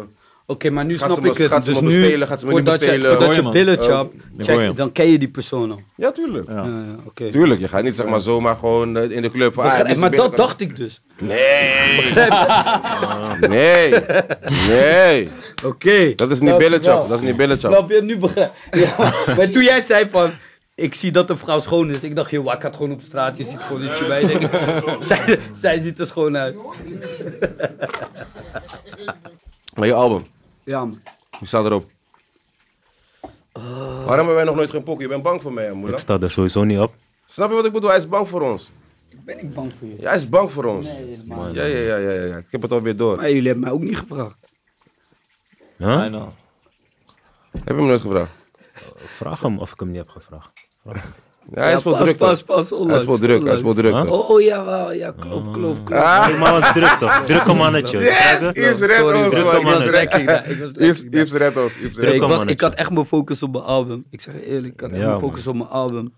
S5: Oké, maar nu
S1: Gaat
S5: snap
S1: ze me-
S5: ik het.
S1: gaat ze
S5: dus
S1: me
S5: nu,
S1: bestelen, gaat ze me niet
S5: voordat
S1: bestelen?
S3: Hoor
S5: Je, voordat
S3: je,
S5: je
S3: man.
S5: billen
S1: Oh.
S5: chap,
S3: Ik hoor je.
S5: check, dan ken je die persoon al.
S1: ja, tuurlijk.
S3: Ja.
S5: Ja, ja, oké.
S1: Tuurlijk, je gaat niet zeg maar zomaar gewoon eh, in de club. van, ah,
S5: Begrijp-
S1: deze
S5: maar
S1: binnen
S5: dat
S1: kan-
S5: dacht ik dus.
S1: Nee, nee.
S5: Oké.
S1: Dat is niet
S5: Dankjewel.
S1: billenchap, dat is niet billenchap.
S5: Snap je? Nu begrijp ja. Maar toen jij zei van... Ik zie dat de vrouw schoon is. Ik dacht, joh, ik had gewoon op straat. Je ziet gewoon ietsje bij. je denkt, zij, zij ziet er schoon uit.
S1: Maar je album,
S5: Ja, man.
S1: die staat erop. Waarom hebben wij nog nooit geen pokken? Je bent bang voor mij, hè,
S2: Ik
S1: moeder.
S2: sta daar sowieso niet op.
S1: Snap je wat ik bedoel? Hij is bang voor ons.
S5: Ben ik bang voor je?
S1: Ja, hij is bang voor ons.
S2: Man.
S1: Ja, ja, ja, ja, ja, ja. Ik heb het alweer door.
S5: Maar jullie hebben mij ook niet gevraagd.
S2: Huh?
S3: I know.
S1: Heb je me nooit gevraagd?
S2: Vraag hem of ik hem niet heb gevraagd.
S1: Ja, hij
S5: Ja,
S1: is wel
S5: pas,
S1: druk.
S5: Pas,
S1: toch?
S5: pas, onlangs.
S1: Hij is wel druk, hij is wel
S5: onlangs.
S1: druk. Ah,
S2: Huh?
S1: toch?
S5: Oh, ja, wel, ja, klopt, klopt, klopt.
S2: Hey, maar was druk toch? Drukke mannetje.
S1: Yes, Yves redt ons,
S2: Druk
S1: man.
S2: hem aan
S1: Yves
S2: het
S1: redt-
S5: Lekker, ja, ik was
S1: Yves-
S5: lekker.
S1: Yves redt ons. Yves
S5: Nee,
S1: redt
S5: ik,
S2: Kom,
S5: was,
S2: mannetje.
S5: ik had echt mijn focus op mijn album. Ik zeg je eerlijk, ik had echt
S2: Ja,
S5: mijn focus op mijn album.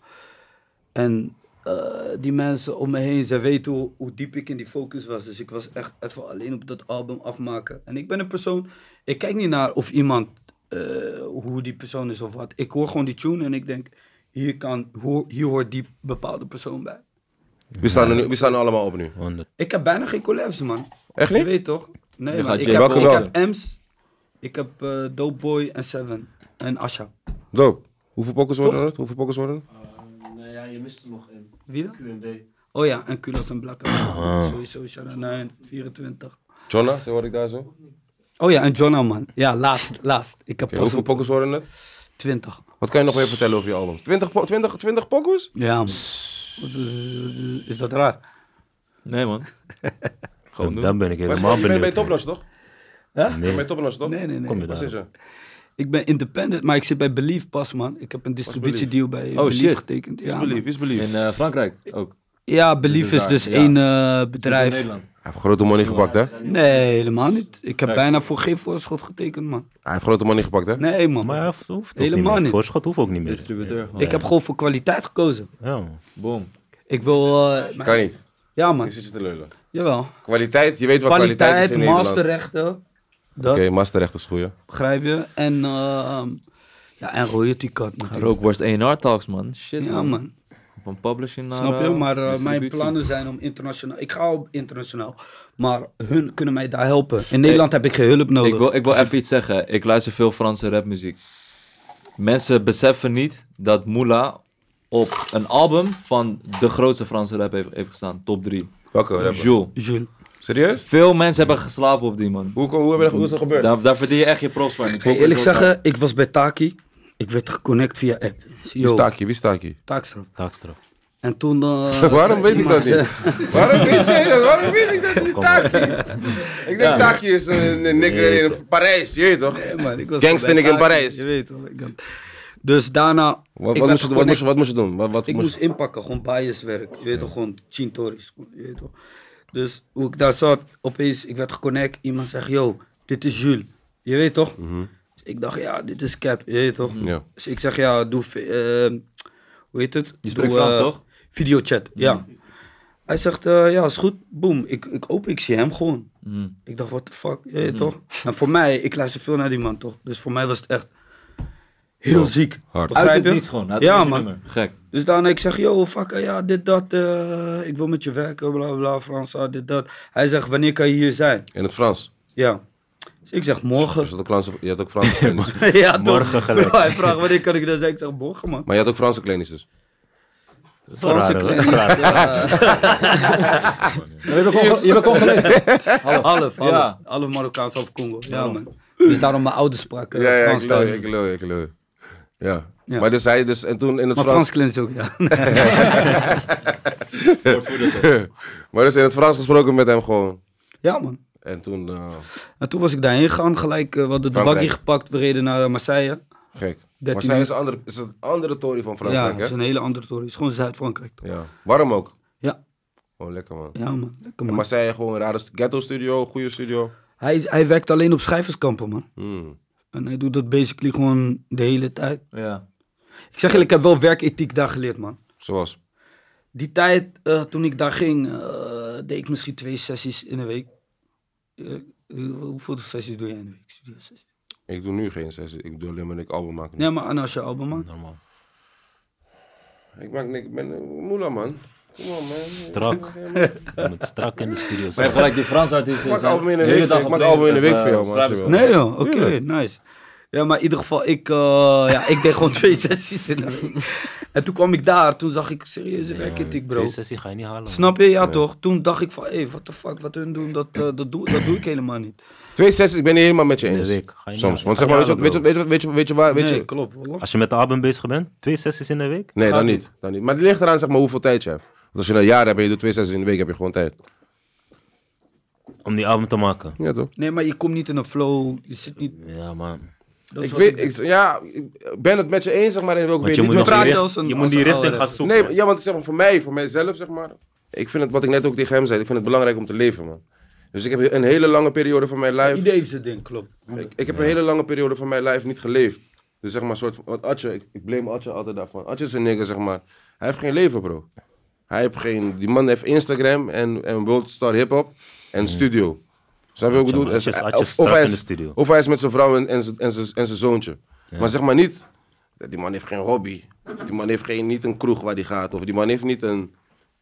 S5: En eh, die mensen om me heen, ze weten hoe, hoe diep ik in die focus was. Dus ik was echt even alleen op dat album afmaken. En ik ben een persoon, ik kijk niet naar of iemand, eh, hoe die persoon is of wat. Ik hoor gewoon die tune en ik denk, hier, kan, hoor, hier hoort die bepaalde persoon bij.
S1: ons. We staan er nu- we staan er allemaal op nu.
S2: 100.
S5: Ik heb bijna geen collabs, man.
S1: Echt
S5: Je
S1: niet?
S5: weet toch? Nee,
S3: Je
S5: man.
S3: gaat
S5: Ik
S3: J.
S5: heb,
S1: Welke
S5: ik
S1: wel?
S5: heb Ems, ik heb eh Dope Boy en Seven en Asha.
S1: Doop. Hoeveel pokkers worden er? Hoeveel pokkers worden er?
S7: Eh, nee, ja, je mist er nog een.
S5: Wie dan?
S7: QMB.
S5: Oh ja, en Kulas en Blakker. Sowieso, Sharanijn, 24.
S1: Jonna, zo hoor ik daar zo. Oké,
S5: Oh ja, en Jonna, man. Ja, laatst, laatst. Ik heb pas
S1: hoeveel
S5: op
S1: pokkers worden er?
S5: 20.
S1: Wat kan je nog meer vertellen over je album? 20, po 20, 20 pokkers?
S5: Ja, man. Wat, eh, Is dat raar?
S3: Nee, man.
S2: Gewoon Dan ben ik
S1: Maar
S2: helemaal
S1: je bent bij
S2: benieuwd. man.
S1: Topnotch, toch? Je
S2: Nee.
S1: bent bij Topnotch, toch?
S5: Nee, nee, nee.
S2: Kom je
S1: Waar zit
S2: daar?
S1: je?
S5: Ik ben independent, maar ik zit bij Belief pas, man. Ik heb een distributiedeal bij oh, Belief
S3: shit.
S5: getekend.
S1: Is
S5: Ja, man.
S1: belief, is belief.
S3: In eh, Frankrijk ook.
S5: ja Belief is dus
S3: Ja.
S5: één eh, bedrijf.
S3: Nederland.
S1: Hij heeft grote money gepakt, hè? Hij
S5: Nee, helemaal niet. Ik heb bijna voor geen voorschot getekend, man.
S1: heeft grote money gepakt, hè?
S5: Nee, man.
S2: Maar dat hoeft ook
S5: Helemaal
S2: niet meer.
S5: niet.
S2: Voorschot hoeft ook niet meer.
S3: Distributeur.
S5: Ik heb gewoon voor kwaliteit gekozen.
S2: Ja, man.
S3: Boom.
S5: Ik wil... eh,
S1: Kan niet.
S5: Ja,
S1: Ik
S5: man.
S1: zit je te lullen.
S5: Jawel.
S1: Kwaliteit, je weet wat kwaliteit, is
S5: Kwaliteit,
S1: in Nederland. Oké,
S5: masterrechten. Dat.
S1: masterrecht is goed, hè?
S5: Begrijp je? En, eh, ehm, ja, en royalty cut natuurlijk.
S3: Rookworst A&R Talks, man. Shit,
S5: Ja man,
S3: Van publishing naar...
S5: snap je?
S1: Nou,
S3: eh,
S5: Maar eh, mijn
S3: distributie.
S5: plannen zijn om internationaal... Ik ga op internationaal, maar hun kunnen mij daar helpen. In Nederland heb ik geen hulp nodig.
S3: Ik wil, ik wil even iets zeggen. Ik luister veel Franse rapmuziek. Mensen beseffen niet dat Moula op een album van de grootste Franse rap heeft, heeft gestaan. Top 3.
S1: Welke rapper?
S3: Jules.
S5: Jules.
S1: Serieus?
S3: Veel mensen hebben geslapen op die man.
S1: Hoe, hoe, hoe, hebben- hoe is dat gebeurd?
S3: Daar, daar verdien je echt je props van. Ik
S5: Ik wil
S3: hoop
S5: eerlijk
S3: zo-
S5: zeggen, ik was bij Taki. Ik werd geconnect via app.
S1: Wie
S5: Yo,
S1: staak je? Wie staak je?
S5: Taakstraf.
S2: taakstraf.
S5: En toen... eh,
S1: Waarom
S5: zei
S1: weet ik dat
S5: iemand-
S1: niet? Waarom weet jij dat? Waarom weet ik dat niet? Taki. Ik denk Taki is een een nigger in Parijs, je weet toch?
S5: Nee, man, ik was
S1: Gangster
S5: bij
S1: nigger in
S5: Taki,
S1: Parijs.
S5: Je weet wel. ik had- Dus daarna...
S1: Wat,
S5: ik
S1: wat,
S5: werd
S1: moest je, wat, moest,
S5: geconnect.
S1: je- wat moest je doen? Wat, wat
S5: Ik
S1: moest-
S5: moest inpakken, gewoon biaswerk. Je weet toch, gewoon chintoris. Je weet toch. Dus hoe ik daar zat, opeens, ik werd geconnect. Iemand zegt, yo, dit is Jules. Je weet toch?
S1: Mhm.
S5: Dus ik dacht, ja, dit is cap. Je weet toch?
S1: Ja.
S5: Dus ik zeg, ja, doe... eh, hoe heet het?
S3: Je spreekt
S5: Doe,
S3: Frans,
S5: eh,
S3: toch?
S5: Videochat,
S1: Mhm.
S5: ja. Hij zegt, eh, ja, is goed. Boom. Ik, ik open, ik zie hem gewoon.
S3: Mhm.
S5: Ik dacht, what the fuck, je
S1: Mhm.
S5: weet toch? En voor mij, ik luister veel naar die man, toch? Dus voor mij was het echt heel
S1: Wow.
S5: ziek.
S1: Hard.
S5: Begrijp
S3: Uit het
S5: je?
S3: niets gewoon. uit
S5: Ja,
S3: het
S5: man.
S3: nummer. Gek.
S5: Dus daarna ik zeg, yo, fucker, ja, dit, dat. eh, ik wil met je werken, bla, bla, Frans, ah, dit, dat. Hij zegt, wanneer kan je hier zijn?
S1: In het Frans.
S5: Ja. Dus ik zeg, morgen.
S1: Dus dat ook Frans- je had ook Franse klinisch.
S5: ja, toch?
S2: Morgen gelijk.
S5: Hij vraagt, wanneer kan ik daar zijn? Ik zeg, morgen, man.
S1: maar je had ook Franse klinisch dus.
S5: Franse
S2: Raar, hè?
S5: klinisch, ja.
S3: Je bent gewoon- je bent gewoon gelezen.
S5: Half, half.
S3: Ja.
S5: Half Marokkaans, half Congo. Ja, man. Dus daarom mijn ouders spraken eh, Frans thuis.
S1: lul, ik lul. Ja.
S5: Ja.
S1: Maar dus hij dus, en toen in het
S5: Maar
S1: Frans...
S5: Frans klinisch ook, ja.
S1: maar dus in het Frans gesproken met hem gewoon.
S5: Ja, man.
S1: En toen, eh,
S5: En toen was ik daarheen gegaan, gelijk. eh, we hadden de
S1: Frankrijk.
S5: waggie gepakt, we reden naar Marseille.
S1: gek. Maar
S5: 13
S1: zij is
S5: uur.
S1: een andere, is een andere tory van
S5: Ja,
S1: Frankrijk,
S5: het is
S1: hè?
S5: een hele andere toren. Het is gewoon Zuid-Frankrijk. toch?
S1: Ja. Warm ook.
S5: Ja.
S1: Oh, lekker man.
S5: Ja, man. Lekker,
S1: En
S5: man.
S1: Marseille gewoon een rare stu- ghetto studio, goede studio.
S5: Hij, hij werkt alleen op schrijverskampen, man.
S1: Hmm.
S5: En hij doet dat basically gewoon de hele tijd.
S3: Ja.
S5: Ik zeg eerlijk, ik heb wel werkethiek daar geleerd, man.
S1: Zoals.
S5: Die tijd, eh, toen ik daar ging, eh, deed ik misschien twee sessies in een week. Eh, eh, hoeveel sessies doe jij in de week? Studio sessies.
S1: Ik doe nu geen sessie, ik doe alleen maar ik album maken.
S5: Nee, maar aan als je album maakt.
S2: Normaal.
S1: Ik maak niks, ik ben eh, moela man. Kom op man.
S2: Strak. Je moet strak in de studio
S3: Maar je hebt
S2: zijn.
S3: gelijk die Frans artiesten.
S1: Maak
S3: zijn
S1: album in een
S3: de hele
S1: week,
S3: dag
S1: ik
S3: op
S1: maak
S3: lezers
S1: album in een
S3: of,
S1: week
S3: eh,
S1: voor jou, man,
S3: schrijvers-
S1: als je wil.
S5: Nee joh, oké,
S1: Tuurlijk.
S5: nice. Ja, maar in ieder geval, ik, eh, ja, ik deed gewoon twee sessies in de week. En toen kwam ik daar, toen zag ik serieuze werkethiek, bro.
S2: Twee sessie ga je niet halen.
S5: Snap je? Ja, toch? Toen dacht ik van, hé, hey, what the fuck, wat hun doen, dat, eh, dat, doe, dat doe ik helemaal niet.
S1: Twee sessies, ik ben niet helemaal met je
S2: man.
S1: eens.
S2: In de week. Ga je niet
S1: Soms.
S2: halen.
S1: Want
S2: Ga
S1: zeg maar, weet
S2: je
S1: je, weet je,
S2: halen,
S1: weet je, weet je, weet je waar, weet
S5: nee,
S1: je...
S5: klopt. hoor.
S2: bro. Als je met de album bezig bent, twee sessies in de week.
S1: Nee, dan niet. dan niet. Maar het ligt eraan zeg maar, hoeveel tijd je hebt. Want als je een jaar hebt en je doet twee sessies in de week, heb je gewoon tijd.
S2: Om die album te maken.
S1: Ja, toch?
S5: Nee, maar je komt niet in een flow, je zit niet...
S2: Ja, man.
S5: Dat is
S1: Ik
S5: wat
S1: weet, ik, ja, ik ben het met je eens, zeg maar, in welke
S2: Want
S1: weet
S2: je
S1: niet
S2: moet,
S1: met
S2: nog
S1: je
S2: die,
S5: praat
S1: eens.
S2: richt-
S5: je als een-
S2: je moet
S5: als
S2: die
S5: een
S2: richting
S5: oude
S2: gaan
S5: rapper.
S2: zoeken.
S1: Nee, ja, want zeg maar, voor mij, voor mijzelf, zeg maar. Ik vind het, wat ik net ook tegen hem zei, ik vind het belangrijk om te leven, man. Dus ik heb een hele lange periode van mijn lijf.
S5: Iedereen heeft zijn ding, klopt.
S1: Ik, ik heb een hele lange periode van mijn lijf niet geleefd. Dus zeg maar, soort van, want Atje, ik, ik blame Atje altijd daarvan. Atje is een nigger, zeg maar. Hij heeft geen leven, bro. Hij heeft geen, die man heeft Instagram en, en World Star Hip Hop en studio. Snap je wat ik
S2: Hmm.
S1: bedoel?
S2: Atje, man, Atje is-
S1: Dus,
S2: Atje is
S1: of,
S2: strak
S1: of, hij
S2: in de
S1: is,
S2: studio.
S1: of hij is met zijn vrouw en, en, zijn- en, zijn- en zijn zoontje. Maar zeg maar niet, dat die man heeft geen hobby. Of die man heeft geen, niet een kroeg waar hij gaat. Of die man heeft niet een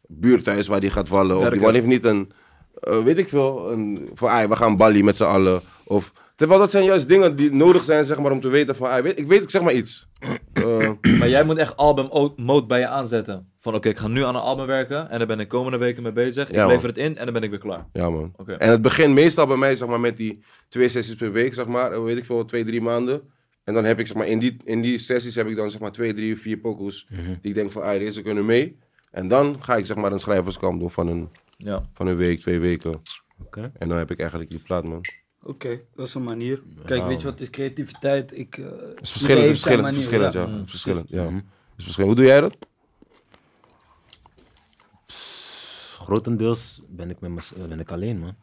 S1: buurthuis waar hij gaat vallen. Of die man heeft niet een, eh, weet ik veel, een, van "Ai, we gaan Bali met z'n allen. Of, terwijl dat zijn juist dingen die nodig zijn zeg maar, om te weten van, "Ai, weet, ik weet ik zeg maar iets. Eh,
S3: Maar jij moet echt album o- mode bij je aanzetten. Van oké, ik ga nu aan een album werken en daar ben ik komende weken mee bezig. Ik
S1: Ja, man.
S3: lever het in en dan ben ik weer klaar.
S1: ja man.
S3: Oké.
S1: En het begint meestal bij mij zeg maar, met die twee sessies per week, zeg maar, eh, weet ik veel, twee, drie maanden. En dan heb ik zeg maar, in, die, in die sessies heb ik dan zeg maar, twee, drie, vier pokoes die ik denk van, ah, deze kunnen mee. En dan ga ik zeg maar, een schrijverskamp doen van een,
S3: Ja.
S1: van een week, twee weken.
S2: Oké.
S1: En dan heb ik eigenlijk die plaat, man.
S5: Oké, dat is een manier. Kijk, weet je wat is creativiteit? Ik, eh, iedereen
S1: Het is verschillend,
S5: heeft zijn
S1: verschillend,
S5: manier,
S1: verschillend, ja.
S5: ja.
S1: Het is Verschillend, ja. Het is verschillend. Hoe doe jij Mhm. dat?
S2: Grotendeels ben ik, met mez- eh, ben ik alleen, man.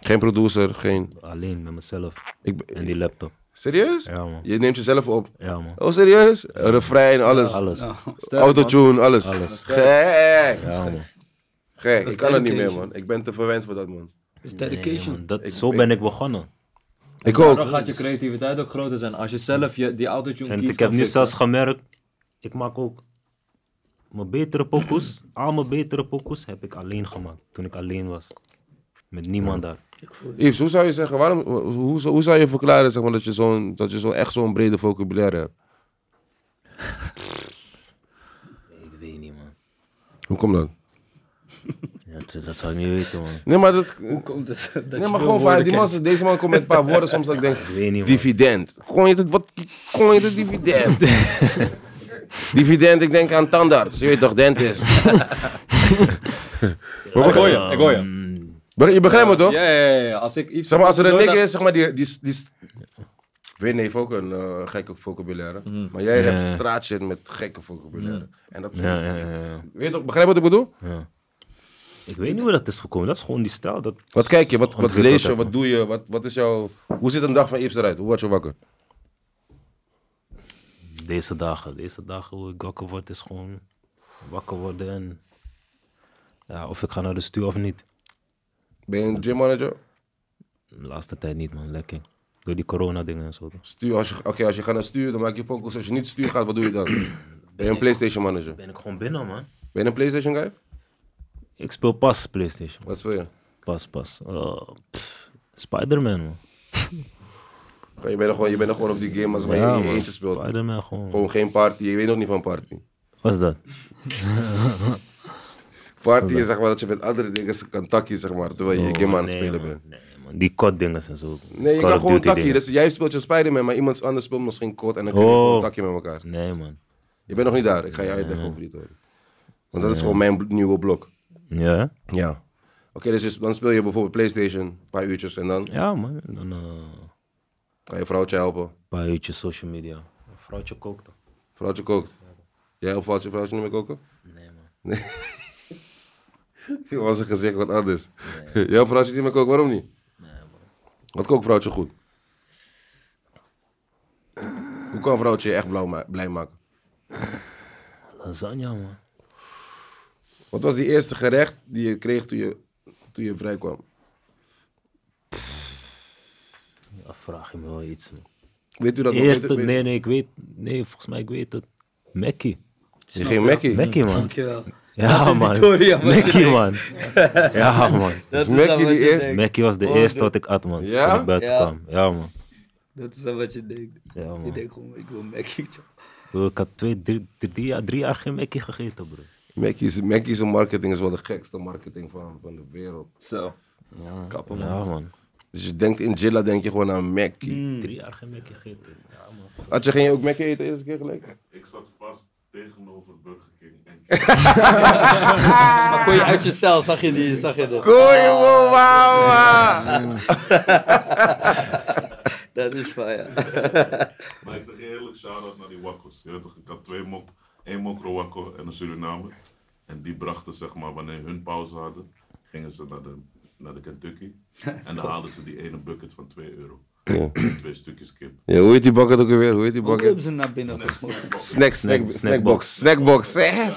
S1: Geen producer, geen...
S2: Alleen met mezelf.
S1: Ik ben-
S2: En die laptop.
S1: Serieus?
S2: Ja, man.
S1: Je neemt jezelf op.
S2: Ja, man.
S1: Oh, serieus? Refrein, alles.
S2: Alles.
S3: Sterk,
S1: Autotune, alles. Gek.
S2: Ja, man.
S1: Gek.
S5: Dat
S1: Ik
S5: is
S1: kan het niet meer,
S5: dedication.
S1: man. Ik ben te verwend voor dat, man.
S5: is
S2: Nee,
S5: dedication.
S2: man. Dat, zo ben ik begonnen.
S1: Ik
S3: man.
S1: ook.
S3: Daardoor gaat je creativiteit ook groter zijn. Als je zelf je, die autotune
S2: En
S3: kiest,
S2: ik
S3: kan
S2: heb nu
S3: fixen.
S2: zelfs gemerkt, ik maak ook mijn betere pokoes. Al mijn betere pokoes heb ik alleen gemaakt. Toen ik alleen was. Met niemand daar.
S1: Yves, hoe zou je zeggen, waarom, hoe, hoe, hoe zou je verklaren zeg maar, dat je, zo'n, dat je zo echt zo'n brede vocabulaire hebt?
S2: Ik weet niet, man.
S1: Hoe komt dat?
S2: Ja, dat, dat zou ik niet weten, man.
S1: Nee, maar dat,
S5: Komt het, dat
S1: nee, maar gewoon van, die man, deze man komt met een paar woorden soms dat ik denk,
S2: Ik weet niet, man.
S1: Dividend. Kon je dat, wat kon je dat dividend? dividend, ik denk aan tandarts. Je weet toch, dentist.
S3: Ik hoor je, ik hoor je.
S2: Mm,
S1: Be- Je begrijpt me toch?
S3: Ja, ja, ja, ja. Als ik iets...
S1: Zeg maar, als er een
S3: Nooit
S1: niks is, zeg maar, die... die, die Weer heeft ook een eh, gekke vocabulaire. Maar jij hebt
S2: Ja.
S1: straatshit met gekke vocabulaire. En dat
S2: Ja, ja, ja, ja.
S1: Weet je toch, begrijp je wat ik bedoel?
S2: ja. Ik weet niet hoe dat is gekomen. Dat is gewoon die stijl. Dat
S1: Wat kijk je, wat, wat
S2: ontwikkeld
S1: lees je,
S2: heeft,
S1: wat
S2: man.
S1: doe je, wat, wat is jouw... Hoe ziet een dag van Yves eruit? Hoe word je wakker?
S2: Deze dagen, deze dagen hoe ik wakker word, is gewoon wakker worden en... Ja, of ik ga naar de stuur of niet.
S1: Ben je een gymmanager?
S2: De laatste tijd niet, man. Lekker. Door die corona-dingen en zo.
S1: Stuur, als je, oké, als je gaat naar stuur, dan maak je pokkels. Als je niet stuur gaat, wat doe je dan? Ben je een Playstation manager?
S2: Ben ik gewoon binnen, man.
S1: Ben je een Playstation guy?
S2: Ik speel pas PlayStation.
S1: Wat speel je?
S2: Pas, pas. Eh, pff, Spider-Man, man.
S1: Je bent er gewoon, je bent er gewoon op die game als waar je
S2: Ja,
S1: in je
S2: man.
S1: eentje speelt.
S2: Spider-Man gewoon.
S1: Gewoon geen party, je weet nog niet van party.
S2: Wat is dat?
S1: Party is zeg maar dat je met andere dingen kan takkie, zeg maar, terwijl je je game aan het
S2: Oh, Nee,
S1: spelen
S2: man.
S1: bent.
S2: Nee, man. Die kot-dingen en zo.
S1: Nee, je
S2: Call
S1: kan
S2: of
S1: gewoon
S2: Duty
S1: takkie.
S2: dingen.
S1: Dus jij speelt je Spider-Man, maar iemand anders speelt misschien kort en dan kun je
S2: Oh.
S1: gewoon takkie met elkaar.
S2: Nee, man.
S1: Je bent nog niet daar, ik ga je uitleggen over die toren. Want dat is gewoon mijn bl- nieuwe blok.
S2: Ja, hè?
S1: Ja. Oké, dus je- dan speel je bijvoorbeeld PlayStation, een paar uurtjes en dan
S2: Ja, man. Dan eh,
S1: ga je vrouwtje helpen.
S2: een paar uurtjes social media. Een vrouwtje kookt dan.
S1: Vrouwtje kookt. Jij helpt vrouwtje, vrouwtje niet meer koken?
S2: Nee, man.
S1: Je was een gezicht wat anders. Jij helpt vrouwtje niet meer koken, waarom niet? Wat kookt vrouwtje goed? Hoe kan vrouwtje je echt blauw ma- blij maken?
S2: Lasagne, man.
S1: Wat was die eerste gerecht die je kreeg toen je, toen je vrij kwam?
S2: Ja, vraag je me wel iets, man.
S1: Weet u dat nog?
S2: Eerste,
S1: Weet u-
S2: nee, nee, ik weet. Nee, volgens mij, ik weet het. Mackie.
S1: Je ging Mackie.
S2: Mackie, man.
S5: Dankjewel.
S2: Ja,
S5: Dat is
S2: man.
S5: die story, ja, wat je
S2: Mackie, man. Ja, man.
S1: Dat is Dus Mackie die eerste.
S2: Mackie was de
S5: Oh,
S2: eerste
S5: dat-
S2: wat ik at, man.
S1: Ja?
S2: Toen ik buiten
S5: Ja.
S2: kwam. Ja, man.
S5: Dat is dan wat je denkt.
S2: Ja,
S5: Je
S2: man.
S5: denkt gewoon, ik wil Mackie.
S2: Bro, Ik had twee, drie, drie, jaar, drie jaar geen Mackie gegeten, bro.
S1: Mackie's, Mackie's marketing is wel de gekste marketing van, van de wereld.
S3: Zo.
S1: Kappen, man.
S2: Ja, man.
S1: Dus je denkt in Jilla denk je gewoon aan Mackie.
S2: Mm, Drie jaar geen Mackie gegeten. Ja, man.
S1: Had je, ging je ook Mackie eten de eerste keer gelijk?
S6: Ik zat vast tegenover Burger King en
S5: Maar kon je uit jezelf, zag je die, zag je dat?
S1: Goeie mama!
S5: Dat is van, ja.
S6: Maar ik zeg je eerlijk, shout-out naar die wakkos. Je weet toch, ik had twee mok, één mokro wakko en een Surinamer. En die brachten, zeg maar, wanneer hun pauze hadden, gingen ze naar de, naar de Kentucky. En dan haalden ze die ene bucket van 2 euro. Twee stukjes kip.
S1: Ja, hoe heet die bucket ook weer? Hoe heet die
S5: Hoe hebben
S1: bucket?
S5: ze naar binnen gesmoord?
S1: Snack, snack,
S2: Snack-
S1: snackbox. Snackbox, hè?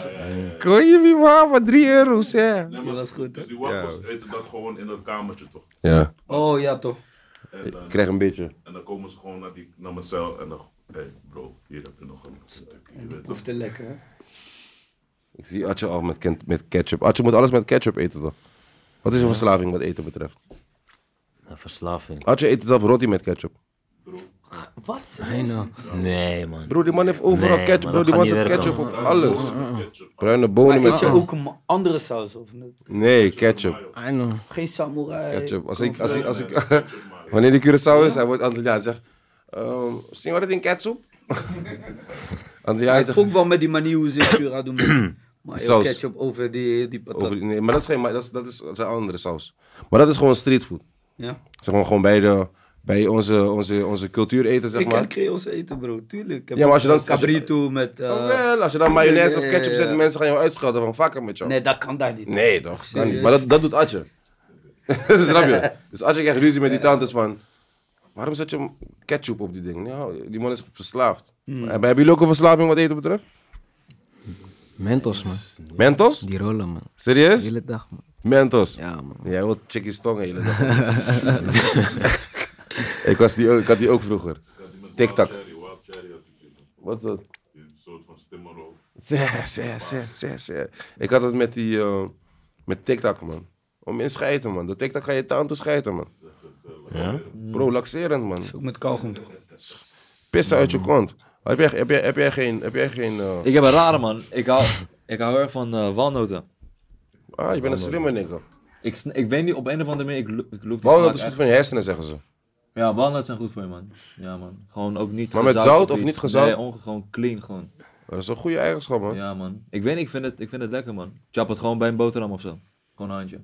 S1: Goeie mi mama, 3 euro's, hè?
S6: Nee,
S5: was goed,
S6: Dus
S5: hè?
S6: die wakkos eten dat gewoon in dat kamertje, toch?
S1: Ja,
S5: Oh ja, toch.
S6: En dan,
S1: ik krijg een beetje.
S6: en dan komen ze gewoon naar, die, naar mijn cel en dan... Hé, hey bro, hier heb je nog een Kentucky, je weet toch?
S5: Of te lekker, hè?
S1: Ik zie Atje al met, ken- met ketchup. Atje moet alles met ketchup eten, toch? Wat is een verslaving wat eten betreft?
S2: Een verslaving.
S1: Atje eet zelf roti met ketchup.
S5: Wat?
S2: Nee, man.
S1: Bro, die man heeft overal
S2: Nee,
S1: ketchup.
S2: maar
S1: Bro,
S2: dat
S1: die
S2: gaat
S1: man
S2: niet
S1: zet
S2: werken, Mm,
S1: ketchup op alles. Bruine
S5: Maar
S1: bonen
S5: eet
S1: met
S5: je ook een andere saus? Of niet?
S1: Nee, ketchup.
S4: I know.
S5: Geen samurai? eh,
S1: Ketchup. Als ik, als ik, als ik, wanneer die Curaçao is, hij wordt Antilliaan. Hij zegt, ehm, zien we dat in ketchup? Antilliaan
S5: Ik
S1: zegt,
S5: vond wel met die manier hoe ze het Cura doen. Maar heel
S1: Saus.
S5: ketchup over die, die patat.
S1: over, nee, maar dat is geen, maar dat is, dat is dat zijn andere saus. Maar dat is gewoon streetfood.
S5: Ja.
S1: Zeg maar gewoon bij, de, bij onze, onze, onze cultuur eten, zeg
S5: ik kan
S1: maar.
S5: Creols eten, bro. Tuurlijk. Ik heb
S1: Ja, maar als je
S5: ook
S1: dan- als je-
S5: Cabrito met... eh,
S1: Oh, wel, als je dan mayonaise of
S5: nee,
S1: ketchup
S5: ja,
S1: zet,
S5: ja.
S1: mensen gaan jou uitschelden van vakken met jou.
S5: Nee, dat kan daar niet.
S1: Nee, toch? Kan niet.
S5: Serieus?
S1: Maar dat, dat doet Atje. Snap je? Dus Atje krijgt ruzie met die tantes van... Waarom zet je ketchup op die ding? Nou, die man is verslaafd.
S4: Hmm.
S1: En Hebben jullie ook een verslaving wat eten betreft?
S4: Mentos, man.
S1: Mentos?
S4: Die rollen, man. De
S1: Serieus?
S4: hele dag, man.
S1: Mentos.
S4: Ja, man.
S1: Jij wilt chickies tong de hele dag. ik, was die ook, ik had die ook vroeger. TikTok.
S6: Cherry, wild cherry had ik dit.
S1: Wat is dat?
S6: Een soort van stimmerol.
S1: Zeh, zeh, zeh, zeh, zeh. Ik had het met die... eh, met TikTok, man. Om in scheiden, man. Door TikTok ga je tante scheiden, man.
S6: eh,
S1: Bro, laxerend, man.
S5: Ook met kauwgom, toch?
S1: pissen uit je kont. Heb jij, heb jij, heb jij geen... Heb jij geen eh,
S3: Ik heb een rare man. Ik hou, ik hou heel erg van eh, walnoten.
S1: Ah, je bent een slimme nigger.
S3: Ik, sn- ik weet niet, op een of andere manier, ik, lo- ik loop die
S1: Walnoten
S3: smaak
S1: is goed
S3: echt-
S1: van je hersenen, zeggen ze.
S3: Ja, walnoten zijn goed voor je, man. Ja, man. Gewoon ook niet
S1: Maar met
S3: gezout
S1: zout of
S3: iets.
S1: niet gezout?
S3: Nee, onge- gewoon clean, gewoon.
S1: Dat is een goede eigenschap, man.
S3: Ja, man. Ik weet niet, ik vind het, ik vind het lekker, man. Chap het gewoon bij een boterham of zo. Gewoon een handje.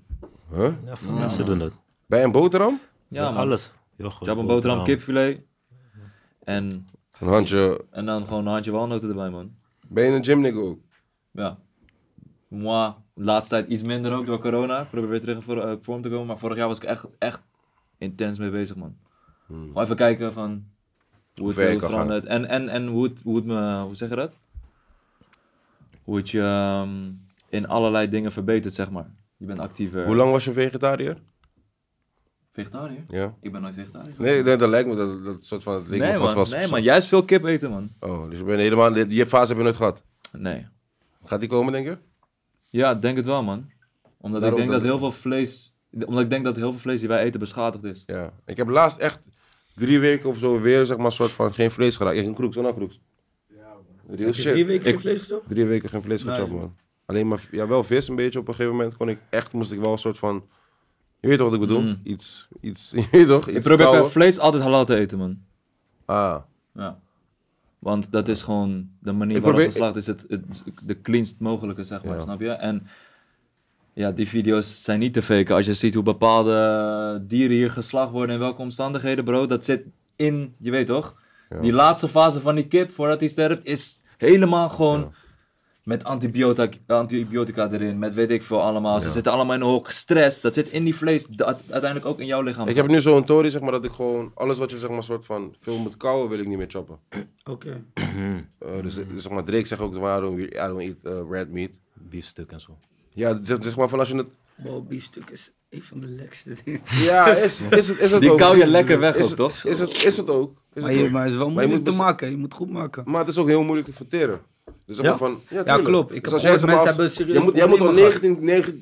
S1: Huh?
S2: Ja, veel mensen doen dat.
S1: Bij een boterham?
S3: Ja, man.
S2: alles. Yoghurt,
S3: Chap een boterham,
S2: ja.
S3: kipfilet. En,
S1: Een handje...
S3: en dan gewoon een handje walnoten erbij, man.
S1: Ben je een gymnigger ook?
S3: Ja. Moi. De laatste tijd iets minder ook door corona. Ik probeer weer terug in voor- eh, vorm te komen. Maar vorig jaar was ik echt, echt intens mee bezig, man. Gewoon even kijken van hoe het
S1: Hmm. ver je
S3: hoe het
S1: kan gaan.
S3: verandert. En, en, en hoe, het, hoe het me, hoe zeg je dat? Hoe het je ehm, in allerlei dingen verbetert, zeg maar. Je bent actiever.
S1: Hoe lang was je vegetariër?
S7: Vegetariër?
S1: Ja.
S7: Ik ben nooit vegetariër.
S1: Nee, nee, dat lijkt me dat, dat soort van. Dat leek
S3: Nee
S1: me vast
S3: man,
S1: wel-
S3: nee man, juist veel kip eten man.
S1: Oh, dus je bent helemaal. Die die fase heb je nooit gehad.
S3: Nee.
S1: Gaat die komen, denk je?
S3: Ja, ik denk het wel man. Omdat
S1: Daarom
S3: ik denk
S1: dat-
S3: dat heel veel vlees, omdat ik denk dat heel veel vlees die wij eten beschadigd is.
S1: Ja. Ik heb laatst echt drie weken of zo weer, zeg maar, soort van geen vlees geraakt. Ik ging kroeks, zo'n kroeks. Ja, Real shit.
S5: Drie weken geen
S1: Ik-
S5: vlees gestopt?
S1: Drie weken geen vlees gechapt, man. Alleen maar, ja, wel vis een beetje. Op een gegeven moment kon ik echt, moest ik wel een soort van. Je weet toch wat ik bedoel?
S3: Mm.
S1: Iets, iets, je weet toch? Iets
S3: Ik probeer bij
S1: kouder.
S3: vlees altijd halal te eten man.
S1: Ah,
S3: Ja. Want dat is gewoon de manier
S1: Ik
S3: waarop
S1: probeer-
S3: geslacht is. Het, het, de cleanst mogelijke, zeg maar,
S1: Ja.
S3: snap je? En ja, die video's zijn niet te faken. Als je ziet hoe bepaalde dieren hier geslacht worden in welke omstandigheden, bro. Dat zit in, je weet toch? Die laatste fase van die kip, voordat hij sterft, is helemaal gewoon... Met antibiotica, antibiotica erin, met weet ik veel allemaal. Ze zitten allemaal in een hoog stress. Dat zit in die vlees, dat uiteindelijk ook in jouw lichaam.
S1: ik heb nu zo'n tory, zeg maar, dat ik gewoon. Alles wat je, zeg maar, soort van. Veel moet kauwen, wil ik niet meer chappen.
S5: Oké.
S1: Eh, dus, dus zeg maar, Drake zegt ook, I don't, I don't eat eh, red meat.
S2: Biefstuk en zo.
S1: Ja, zeg, zeg maar van als je het...
S5: Wow, biefstuk is een van de lekkerste dingen.
S1: Ja, is, is, het, is het
S3: Die
S1: ook.
S3: kauw je lekker weg
S1: is
S3: ook,
S1: het,
S3: toch?
S1: Is het, is het ook. Is
S5: Maar,
S1: het
S5: je,
S1: ook.
S5: maar het is wel
S1: Maar je
S5: moeilijk
S1: moet
S5: te
S1: bes-
S5: maken. Je moet goed maken.
S1: Maar het is ook heel moeilijk te verteren. Dus zeg maar
S5: Ja?
S1: van, ja,
S5: Ja,
S1: tuurlijk.
S5: klopt.
S1: Dus
S5: Ik heb
S1: als
S5: gehoord,
S1: zeg
S5: mensen
S1: als-
S5: hebben serieus
S1: jij moet, jij moet al
S5: problemen
S1: 19 negen-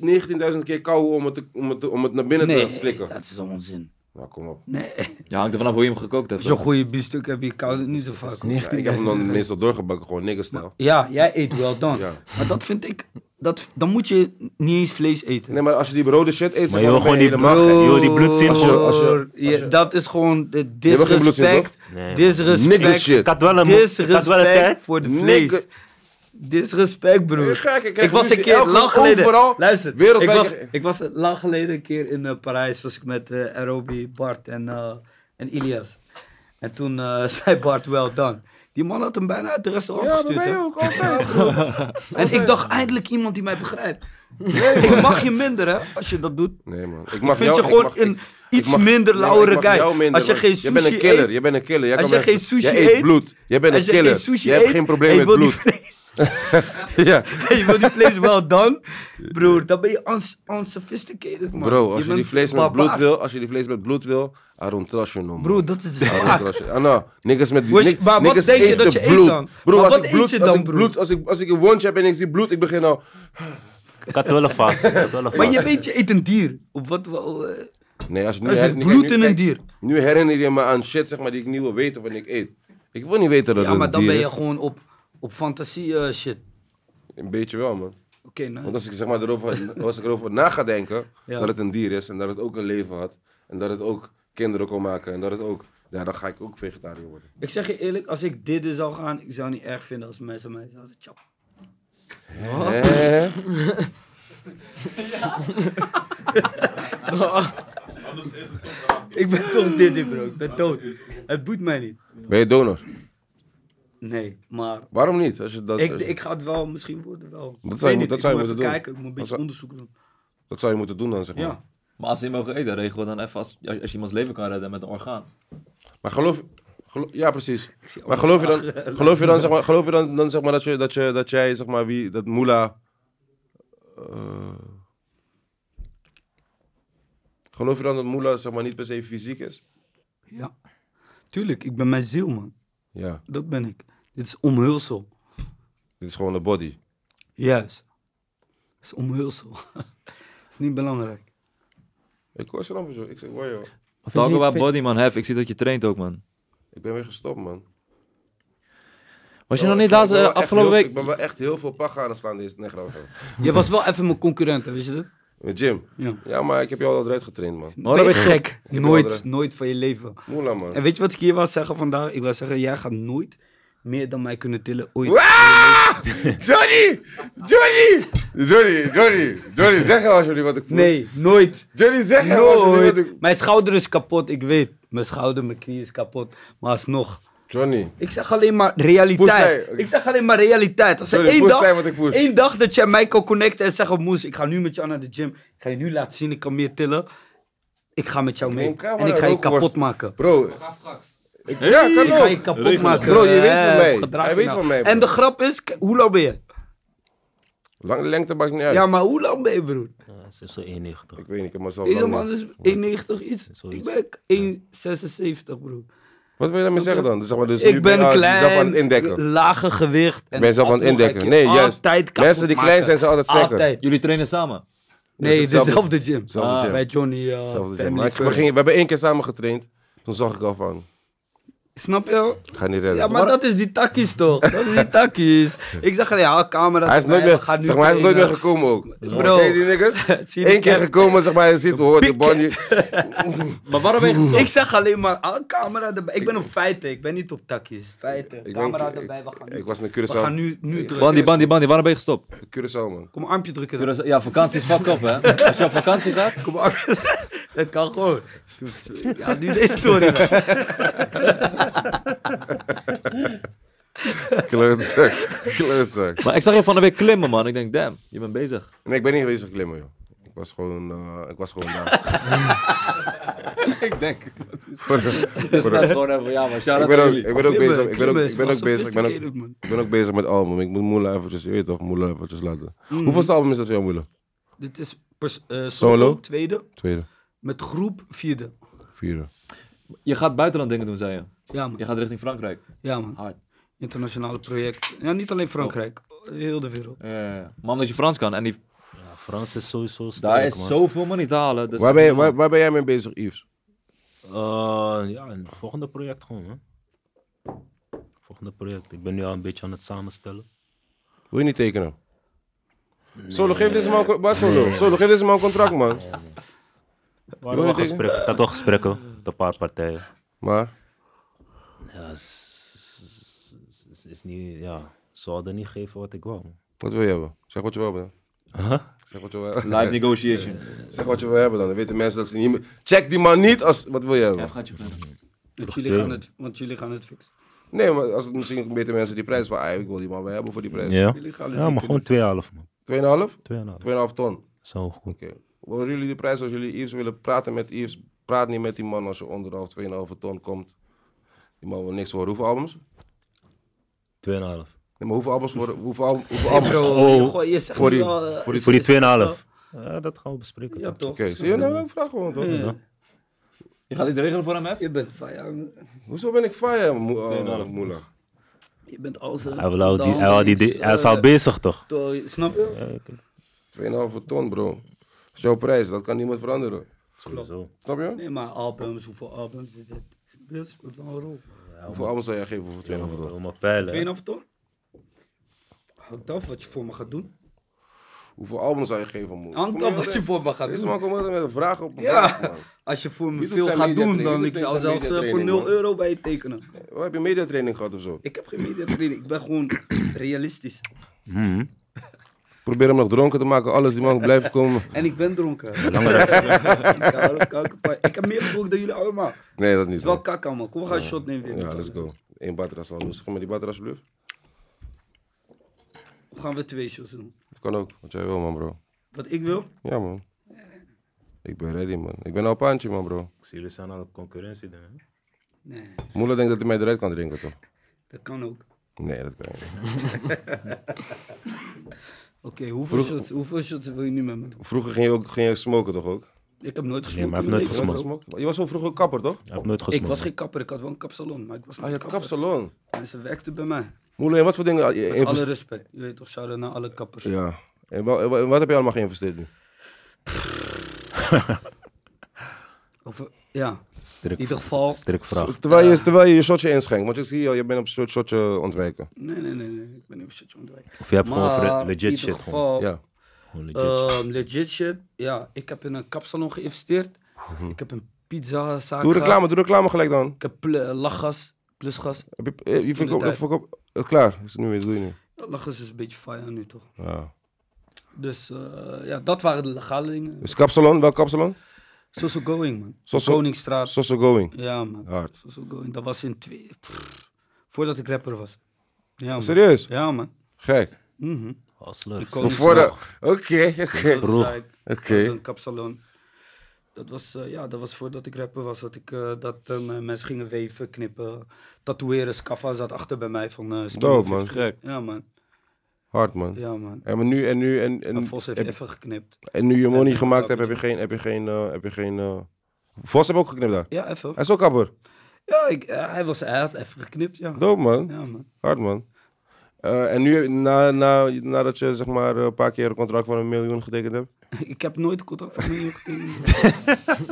S1: 19.000 keer kauwen om het, te- om, het, te- om het naar binnen te slikken.
S5: dat is onzin.
S1: Nou, kom op.
S5: Nee.
S3: Ja, hangt er vanaf hoe je hem gekookt hebt.
S5: Zo'n goede biefstuk heb je koud niet zo vaak. hoor.
S1: Ja, ik heb hem dan meestal doorgebakken, gewoon niggerstijl.
S5: Ja, jij eet wel dan.
S1: Ja.
S5: Maar dat vind ik... Dat, dan moet je niet eens vlees eten.
S1: Nee, maar als je die rode shit eet,
S2: Maar
S1: zeg
S2: joh,
S1: maar,
S2: gewoon
S1: ben je
S2: die
S1: helemaal
S2: brood-
S1: gek.
S2: joh, die bloedzin
S5: Broer,
S1: gewoon- als je- als je-
S5: ja, dat is gewoon de
S1: hebt geen bloedzin,
S5: disrespect.
S2: toch? Nee, man.
S1: Nigger
S5: disrespect.
S1: shit.
S2: Ik had wel een, ik had wel een
S5: Disrespect
S2: tijd.
S5: voor de
S1: Nigger-
S5: vlees. Disrespect,
S1: Ben je
S5: broer.
S1: gek? krijg
S5: Ik was een
S1: ruzie
S5: keer
S1: elke-
S5: lang geleden.
S1: Overal,
S5: Luister, ik
S1: wereldwijd-
S5: was, ik was lang geleden een keer in eh, Parijs. Was ik met eh Aerobi, Bart en, eh, en Ilias. En toen eh, zei Bart, well done. Die man had hem bijna uit de restaurant
S1: Ja, maar
S5: gestuurd.
S1: ben je
S5: hè.
S1: ook altijd.
S5: en ik dacht, eindelijk iemand die mij begrijpt. ik mag je minder, hè, als je dat doet.
S1: Nee, man. Ik mag
S5: vind
S1: jou,
S5: je
S1: ik
S5: gewoon
S1: mag-
S5: een
S1: ik-
S5: iets
S1: ik mag-
S5: minder
S1: nee, maar
S5: lauwere
S1: ik mag
S5: guy.
S1: jou minder,
S5: Als je
S1: want
S5: geen
S1: je bent een
S5: sushi
S1: killer.
S5: eet-
S1: Je bent een killer. Jij
S5: Als
S1: kan
S5: je
S1: mensen-
S5: geen sushi
S1: jij eet
S5: eet-
S1: bloed. Jij bent
S5: Als
S1: een
S5: je
S1: killer.
S5: geen sushi
S1: jij
S5: eet,
S1: hebt geen probleem
S5: en je
S1: met
S5: wil die
S1: bloed.
S5: vlees-
S1: ja.
S5: en je wil die vlees wel dan, broer, dan ben je uns- unsophisticated, man.
S1: Bro, als je,
S5: bent
S1: die vlees met
S5: barbaars.
S1: bloed wil, als je die vlees met bloed wil, I don't trust you no more.
S5: Broer, dat is de
S1: I don't
S5: zaak.
S1: trust you. Ah, nou, niggas met
S5: Was je-
S1: nik-
S5: maar wat
S1: niggas
S5: denk je
S1: eten
S5: dat je eet
S1: bloed.
S5: dan?
S1: Broer,
S5: Maar
S1: als
S5: wat
S1: ik
S5: eet
S1: bloed,
S5: je
S1: als
S5: dan,
S1: ik
S5: broer?
S1: bloed, als ik, als ik een wondje heb en ik zie bloed, ik begin al...
S2: Ik had wel een vast. Ik had wel een
S5: Maar je
S2: vast.
S5: weet, je eet een dier. Op wat, wel, eh,
S1: Nee, als je nu
S5: er
S1: her-
S5: zit
S1: nu-
S5: bloed
S1: nu-
S5: in een
S1: kijk,
S5: dier.
S1: Nu herinner je me aan shit zeg maar, die ik niet wil weten wanneer ik eet. Ik wil niet weten dat
S5: Ja,
S1: het
S5: maar
S1: een
S5: dan
S1: dier
S5: ben je
S1: is.
S5: gewoon op, op fantasie eh, shit.
S1: Een beetje wel, man.
S5: Oké, nou.
S1: Want als ik, zeg maar, erover, als ik erover na ga denken
S5: Ja.
S1: dat het een dier is en dat het ook een leven had en dat het ook kinderen kon maken en dat het ook... Ja, dan ga ik ook vegetariër worden.
S5: Ik zeg je eerlijk, als ik dit dus zou gaan, ik zou niet erg vinden als mensen mij zouden chappen. Oh.
S1: Hè?
S6: Anders eet het toch raak.
S5: Ik ben toch dit, bro. Ik ben dood. Het boeit mij niet.
S1: Ben je donor?
S5: Nee, maar
S1: Waarom niet? Als je dat,
S5: Ik,
S1: als je-
S5: ik ga het wel, misschien worden wel. Ik
S1: zou
S5: weet
S1: je-
S5: niet,
S1: dat zou je
S5: ik moet
S1: moeten
S5: even
S1: doen.
S5: kijken, ik moet een
S1: Dat
S5: beetje
S1: zou-
S5: onderzoek doen.
S1: dat zou je moeten doen dan, zeg maar.
S5: Ja.
S3: Maar als ze niet mogen eten, regel dan even als, als, als je iemands leven kan redden met een orgaan.
S1: Maar geloof... gelo- ja, precies.
S5: zie
S1: Maar geloof je dan, geloof je dan, zeg maar, geloof je dan, dan zeg maar dat, je, dat, je, dat jij, zeg maar, wie, dat Moela... eh, geloof je dan dat Moela, zeg maar, niet per se fysiek is?
S5: Ja. Tuurlijk, ik ben mijn ziel, man.
S1: Ja,
S5: Dat ben ik. Dit is omhulsel.
S1: dit is gewoon de body.
S5: Juist. Het is omhulsel. Het is niet belangrijk.
S1: Ik hoor ze dan weer zo. Ik zeg, wow, joh.
S3: Talk about body, man. Hef, ik zie dat je traint ook, man.
S1: Ik ben weer gestopt, man.
S3: Was je
S1: Oh,
S3: nog
S1: ik-
S3: niet
S1: ik
S3: laatst,
S1: ben
S3: eh,
S1: wel echt
S3: afgelopen
S1: heel-
S3: week?
S1: Ik ben wel echt heel veel paga aan het slaan deze... Nee, grapje.
S5: Jij was wel even mijn concurrent, hè, weet je dat?
S1: Met Jim.
S5: Ja.
S1: Ja, maar ik heb jou al eruit getraind, man.
S3: Oh,
S5: ben
S3: dat
S5: je
S3: weet ik
S5: gek?
S1: heb
S5: Nooit,
S1: andere-
S5: nooit van je leven.
S1: Moela, man.
S5: En weet je wat ik hier wil zeggen vandaag? Ik wil zeggen, jij gaat nooit meer dan mij kunnen tillen ooit.
S1: Ah! Johnny! Johnny! Johnny, Johnny, Johnny, zeg nou alsjeblieft wat ik voel.
S5: Nee, nooit.
S1: Johnny, zeg nou alsjeblieft wat ik...
S5: Nooit. Mijn schouder is kapot, ik weet. Mijn schouder, mijn knie is kapot. Maar alsnog,
S1: Johnny.
S5: Ik zeg alleen maar realiteit.
S1: Poestij, oké.
S5: Ik zeg alleen maar realiteit. Als er
S1: Sorry,
S5: één
S1: poestij
S5: dag,
S1: wat ik poest.
S5: één dag dat jij mij kan connecten en zeggen... Moes, ik ga nu met jou naar de gym. Ik ga je nu laten zien, ik kan meer tillen. Ik ga met jou mee.
S1: Neem camera,
S5: En ik ga je
S1: rookworst.
S5: kapot maken.
S1: Bro,
S7: Ga straks.
S1: ik, ja,
S5: Ik ga
S1: kan
S5: je
S1: ook.
S5: kapot maken.
S1: Bro, je weet
S5: Eh,
S1: van mij.
S5: gedrag
S1: Hij
S5: je
S1: weet
S5: nou.
S1: van mij, bro.
S5: En de grap is, k- hoe lang ben je?
S1: Lang de lengte maakt niet uit.
S5: Ja, maar hoe lang ben je, broer?
S2: Ja, ze is zo 91.
S1: Ik weet niet, ik heb mezelf
S5: Deze
S1: lang
S5: man
S1: niet-
S5: is 1,90 iets. Ik
S2: Zoiets.
S5: ben k- 1,76, broer.
S1: Wat wil je daarmee
S5: Snap je?
S1: zeggen dan? Dus zeg maar, dus nu
S5: Ik ben
S1: je
S5: klein,
S1: zelf aan het indekken.
S5: lage gewicht. En
S1: Ben je zelf aan het
S5: alsnog ga ik
S1: indekken.
S5: je
S1: Nee, juist.
S5: altijd kapot
S1: Mensen die klein
S5: maken.
S1: zijn, zijn altijd sterker.
S5: Altijd.
S3: Jullie trainen samen?
S1: Dat
S5: Nee,
S1: is hetzelfde-
S5: dezelfde gym.
S1: hetzelfde
S5: Ah,
S1: gym.
S5: Bij Johnny. eh
S1: Hetzelfde gym. Maar
S5: Family
S1: ik- we,
S5: First.
S1: gingen, we hebben één keer samen getraind. Toen zag ik al van,
S5: Snap je?
S1: ik ga niet redden.
S5: Ja, maar dat is die takkies toch? Dat is die takkies. Ik zeg, ja, camera.
S1: hij is nooit
S5: erbij,
S1: meer,
S5: we gaan nu
S1: zeg maar, hij is nooit meer
S5: trainen. Dus
S1: gekomen ook.
S5: Bro.
S1: Ken je die niggas?
S5: Zie je
S1: Eén keer gekomen, zeg maar, je ziet, hoor, de
S5: piek.
S1: bonnie.
S3: Maar waarom ben je gestopt?
S5: Ik zeg alleen maar, ah, camera erbij. Ik ben op feiten, ik ben niet op takkies. Feiten,
S1: Ik
S5: camera
S1: denk-
S5: erbij. We
S1: ik-
S5: gaan
S1: Ik
S5: nu,
S1: was in
S5: we gaan
S1: Curaçao.
S5: nu, nu drukken.
S3: Bandy, bandy, bandy, waarom ben je gestopt?
S1: Curaçao, man.
S5: Kom, armpje drukken. dan.
S3: Curaçao- Ja, vakantie is fucked up, hè? Als je op vakantie gaat,
S5: Kom, armpje. Dat kan gewoon. Ja, nu deze story. man.
S1: Kleutzak. Kleutzak.
S3: Maar ik zag je van de week klimmen, man. Ik denk, damn, je bent bezig.
S1: Nee, ik ben niet geweest op klimmen, joh. Ik was gewoon, eh, ik was gewoon daar.
S3: Ik denk.
S1: Voor de-
S3: Dus
S1: voor
S3: dat is
S1: de-
S3: gewoon even, ja, maar
S1: Ik
S3: shout-out
S1: ben
S3: aan
S1: ook,
S3: jullie.
S1: ik ben ook
S5: Klimmen,
S1: bezig. Ik ben ook,
S5: klimmen is
S1: ik ben
S5: wel
S1: ook bezig. Ik ben ook,
S5: sophisticated, man.
S1: ik ben ook bezig met album. Ik moet Moela eventjes, je weet toch, Moela eventjes laten.
S5: Mm.
S1: Hoeveelste album is dat voor jou, Moela?
S5: Dit is pers- eh, solo,
S1: Solo?
S5: tweede.
S1: Tweede,
S5: Met groep, vierde.
S1: vierde.
S3: Je gaat buitenland dingen doen, zei je.
S5: Ja, man.
S3: Je gaat richting Frankrijk.
S5: Ja, man.
S3: Hard.
S5: Internationale project. Ja, niet alleen Frankrijk. Heel de wereld.
S3: Eh, maar omdat je Frans kan. En die,
S2: Ja, Frans is sowieso sterk,
S3: daar is
S2: man.
S3: zoveel money te halen. Dus
S1: Waar ben, je- waar, waar ben jij mee bezig, Yves?
S2: Eh, ja, een volgende project gewoon, hè. Volgende project. Ik ben nu al een beetje aan het samenstellen.
S1: Wil je niet tekenen? Solo, geef deze man, een con- waar solo? Solo, geef deze man een contract, man.
S2: Er waren wel
S1: het
S2: gesprekken. Ik had wel gesprekken met een paar partijen.
S1: Maar,
S2: Ja, s- s- s- is niet, ja, ze hadden niet gegeven wat ik wou. man.
S1: wat wil je hebben? Zeg wat je wil hebben. Zeg wat je wil hebben.
S3: Live negotiation.
S1: Zeg wat je wil hebben dan. Dan weten mensen dat ze niet meer... Check die man niet als... Wat wil je hebben?
S7: Even gaat je plan.
S5: Want jullie, gaan het, want jullie gaan het fixen.
S1: Nee, maar als het misschien beter mensen die prijs van... ah, ik wil die man wel hebben voor die prijs.
S2: Ja,
S5: Jullie gaan het
S2: ja maar
S5: niet
S2: gewoon 2,5 man.
S1: 2,5?
S2: 2,5.
S1: 2,5 ton.
S2: Zo goed.
S1: Oké. Horen jullie de prijs als jullie Yves willen praten met Yves? Praat niet met die man als je onderhalf 2,5 ton komt. Die man wil niks horen. Hoeveel albums?
S2: 2,5.
S1: Nee, maar hoeveel albums worden... Hoeveel, al- hoeveel
S5: kunnen.
S1: albums?
S5: Bro,
S2: Oh,
S5: je gooit- je zegt
S1: voor die-
S5: wel, eh,
S1: voor
S5: is-
S2: Voor die
S5: is-
S2: 2,5. Ja, dat gaan we bespreken.
S5: Ja,
S2: toch.
S5: toch.
S1: Oké, zie je nou ook vraag gewoon toch?
S3: Je gaat iets regelen voor hem, hè?
S5: Je bent fire.
S1: Hoezo ben ik fire mo eh, moeilijk?
S5: Je bent al zijn.
S2: Hij, wil al die, hij, wil die,
S5: dans,
S2: hij is
S5: eh,
S2: al bezig toch?
S5: to- Snap je?
S1: 2,5 ton bro. Dat is jouw prijs, dat kan niemand veranderen.
S2: Sowieso.
S1: Snap je?
S5: Nee, maar albums, hoeveel albums is dit? Dat speelt wel een rol.
S1: Hoeveel albums zou jij geven voor 2,5 ton?
S2: Allemaal pijlen. hè.
S5: 2,5 ton? Hangt af wat je voor me gaat doen.
S1: Hoeveel albums zou je geven moe?
S5: Hangt af wat je voor me gaat
S1: eh. Deze
S5: doen.
S1: man komt altijd met een vraag op een vraag,
S5: Ja,
S1: man.
S5: als je voor
S1: Je
S5: me
S1: doet
S5: veel
S1: zijn
S5: gaat
S1: media
S5: doen,
S1: training,
S5: dan
S1: je
S5: ik
S1: doet
S5: zou
S1: zijn
S5: zelfs
S1: media
S5: eh, voor
S1: training,
S5: 0
S1: man.
S5: euro bij je tekenen.
S1: Waar heb je mediatraining gehad of zo?
S5: Ik heb geen mediatraining, ik ben gewoon realistisch.
S1: Probeer hem nog dronken te maken, alles die man blijft komen.
S5: En ik ben dronken. Ik hou wel kankerpijn. Ik heb meer gedronken dan jullie allemaal. Het
S1: Nee, dat
S5: is
S1: niet.
S5: wel
S1: man.
S5: kak allemaal. Kom, we gaan een shot nemen weer.
S1: Ja,
S5: met z'n
S1: let's
S5: allen.
S1: go. Eén batras al. Zeg maar die batras alsjeblieft.
S5: Of gaan we twee shots doen?
S1: Dat kan ook, wat jij wil man bro.
S5: Wat ik wil?
S1: Ja man. Ik ben ready man. Ik ben al paantje man bro.
S2: Ik zie jullie zijn al op concurrentie. doen, hè?
S5: Nee,
S1: Moeder denkt dat hij mij eruit kan drinken toch?
S5: dat kan ook.
S1: Nee, dat kan niet.
S5: Oké, hoeveel, shots, hoeveel shots wil je nu met me doen?
S1: Vroeger ging je ook ging je smoken toch ook?
S5: Ik heb nooit
S2: Nee,
S5: gesmoken.
S2: maar hij heeft nooit
S5: in mijn leven.
S2: gesmokt.
S1: Je was zo vroeger kapper toch?
S2: Hij heeft nooit
S5: Ik
S2: gesmoord.
S5: was geen kapper, ik had wel een kapsalon, maar ik was
S1: Ah, je
S5: niet
S1: had
S5: kapper.
S1: kapsalon.
S5: En ze werkten bij mij.
S1: Moeder, en wat voor dingen? had je
S5: Met alle
S1: invest-
S5: respect. Je weet toch, shout naar alle kappers.
S1: Ja. En wa- en wa- en wat heb je allemaal geïnvesteerd nu?
S5: Of, eh, ja.
S2: Strik,
S5: In ieder geval-
S2: Strik vraag.
S1: Terwijl je, terwijl je je shotje inschenkt, want ik zie je, je bent op shot, shotje ontwijken.
S5: Nee, nee, nee, nee. Ik ben niet shitje ontwijken.
S2: Of je hebt gewoon
S5: Maar
S2: vre-
S5: in
S2: legit
S5: ieder
S2: shit. Gewoon.
S5: geval,
S1: Ja.
S2: Gewoon legit shit.
S5: Ehm, legit shit. Ja, ik heb in een kapsalon geïnvesteerd. Ik heb een pizzazaak.
S1: Mhm. Doe
S5: gehad.
S1: reclame, doe reclame gelijk dan.
S5: Ik heb pl- eh, lachgas, plusgas.
S1: Heb je, eh, je verkoopt,
S5: Inderdaad.
S1: verkoopt- eh, klaar, is het nu weer, doe je nu.
S5: Ja, Lachgas is een beetje fire nu toch.
S1: Ja.
S5: Dus eh, ja, dat waren de legale dingen.
S1: Dus kapsalon, welk kapsalon?
S5: So So Going, man.
S1: So So-
S5: Koningsstraat.
S1: Sosso Going.
S5: Ja, man.
S1: Hard.
S5: So So Going. Dat was in twee... pff, Voordat ik rapper was. Ja, man.
S1: Serieus?
S5: Ja, man.
S1: Gek.
S5: Mhm.
S2: Hustler.
S5: Ik
S1: Zo
S5: kon-
S1: voor de- Oké,
S5: Zo
S1: oké.
S2: vroeg.
S5: zei ik,
S1: Oké.
S5: Een kapsalon. Dat was, eh, ja, dat was voordat ik rapper was. Dat, ik, eh, dat eh, mijn mensen gingen weven, knippen, tatoeëren. Scaffa zat achter bij mij van... eh Skinny
S1: Dope, man.
S5: 50.
S3: Gek.
S5: Ja, man.
S1: Hard, man.
S5: Ja, man.
S1: En maar nu, en nu, en, en,
S5: En Vos heeft
S1: heb-
S5: even geknipt.
S1: en nu je money
S5: en-
S1: gemaakt hebt, heb je geen, heb je geen, eh, heb je geen... eh, Vos heb ook geknipt daar.
S5: Ja, even.
S1: Hij is ook kapper.
S5: Ja, ik, eh, hij, was, hij had even geknipt, ja.
S1: Dope, man.
S5: Ja, man.
S1: Hard, man. Eh, en nu, na, na, nadat je zeg maar eh, een paar keer een contract van een miljoen getekend hebt?
S5: Ik heb nooit contact met mijn jongen.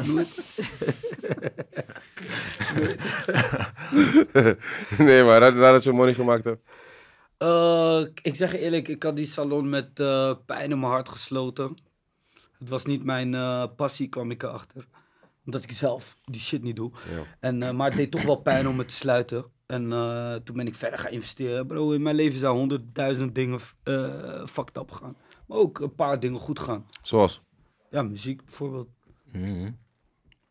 S5: nooit.
S1: nee, maar na- nadat je money gemaakt hebt.
S5: Eh, ik zeg je eerlijk, ik had die salon met eh, pijn in mijn hart gesloten. Het was niet mijn eh, passie, kwam ik erachter. Omdat ik zelf die shit niet doe.
S1: Ja.
S5: En, eh, maar het deed toch wel pijn om het te sluiten. En eh, toen ben ik verder gaan investeren. Bro, in mijn leven zijn honderdduizend dingen eh fucked up gegaan. Maar ook een paar dingen goed gaan.
S1: Zoals?
S5: Ja, muziek bijvoorbeeld.
S2: Mm-hmm.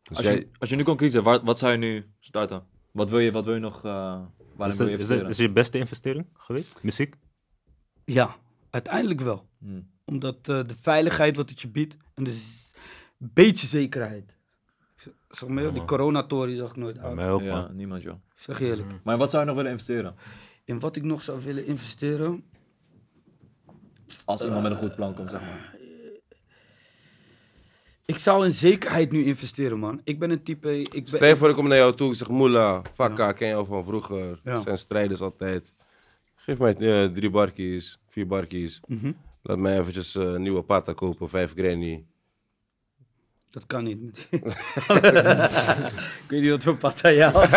S1: Dus
S3: Als
S1: jij-
S3: je, als je nu kon kiezen, waar- wat zou je nu starten? Wat wil je, wat wil je nog, eh waarin
S2: Is, dat,
S3: wil
S2: is,
S3: je
S2: dat,
S3: investeren?
S2: is je beste investering geweest? Muziek?
S5: Ja, uiteindelijk wel.
S3: Hmm.
S5: Omdat eh, de veiligheid wat het je biedt en dus een beetje zekerheid. Z- Zeg maar,
S2: Ja,
S5: die
S2: man.
S5: coronatory zag ik nooit
S2: Bij
S5: aan.
S2: mij ook,
S3: Ja,
S2: man.
S3: niemand joh.
S5: Zeg je eerlijk.
S3: Maar wat zou je nog willen investeren?
S5: In wat ik nog zou willen investeren.
S3: Als iemand met een goed plan komt, zeg maar.
S5: Ik zou in zekerheid nu investeren, man. Ik ben een type. Ik ben,
S1: Stel je voor, ik kom naar jou toe, ik zeg Moela, Fakka, ken je al van vroeger.
S5: Ja.
S1: Zijn strijders altijd. Geef mij eh, drie barkies, vier barkies.
S5: Mhm.
S1: Laat mij eventjes eh, een nieuwe pata kopen, vijf granny.
S5: Dat kan niet. ik weet niet wat voor pad jij had. Oké.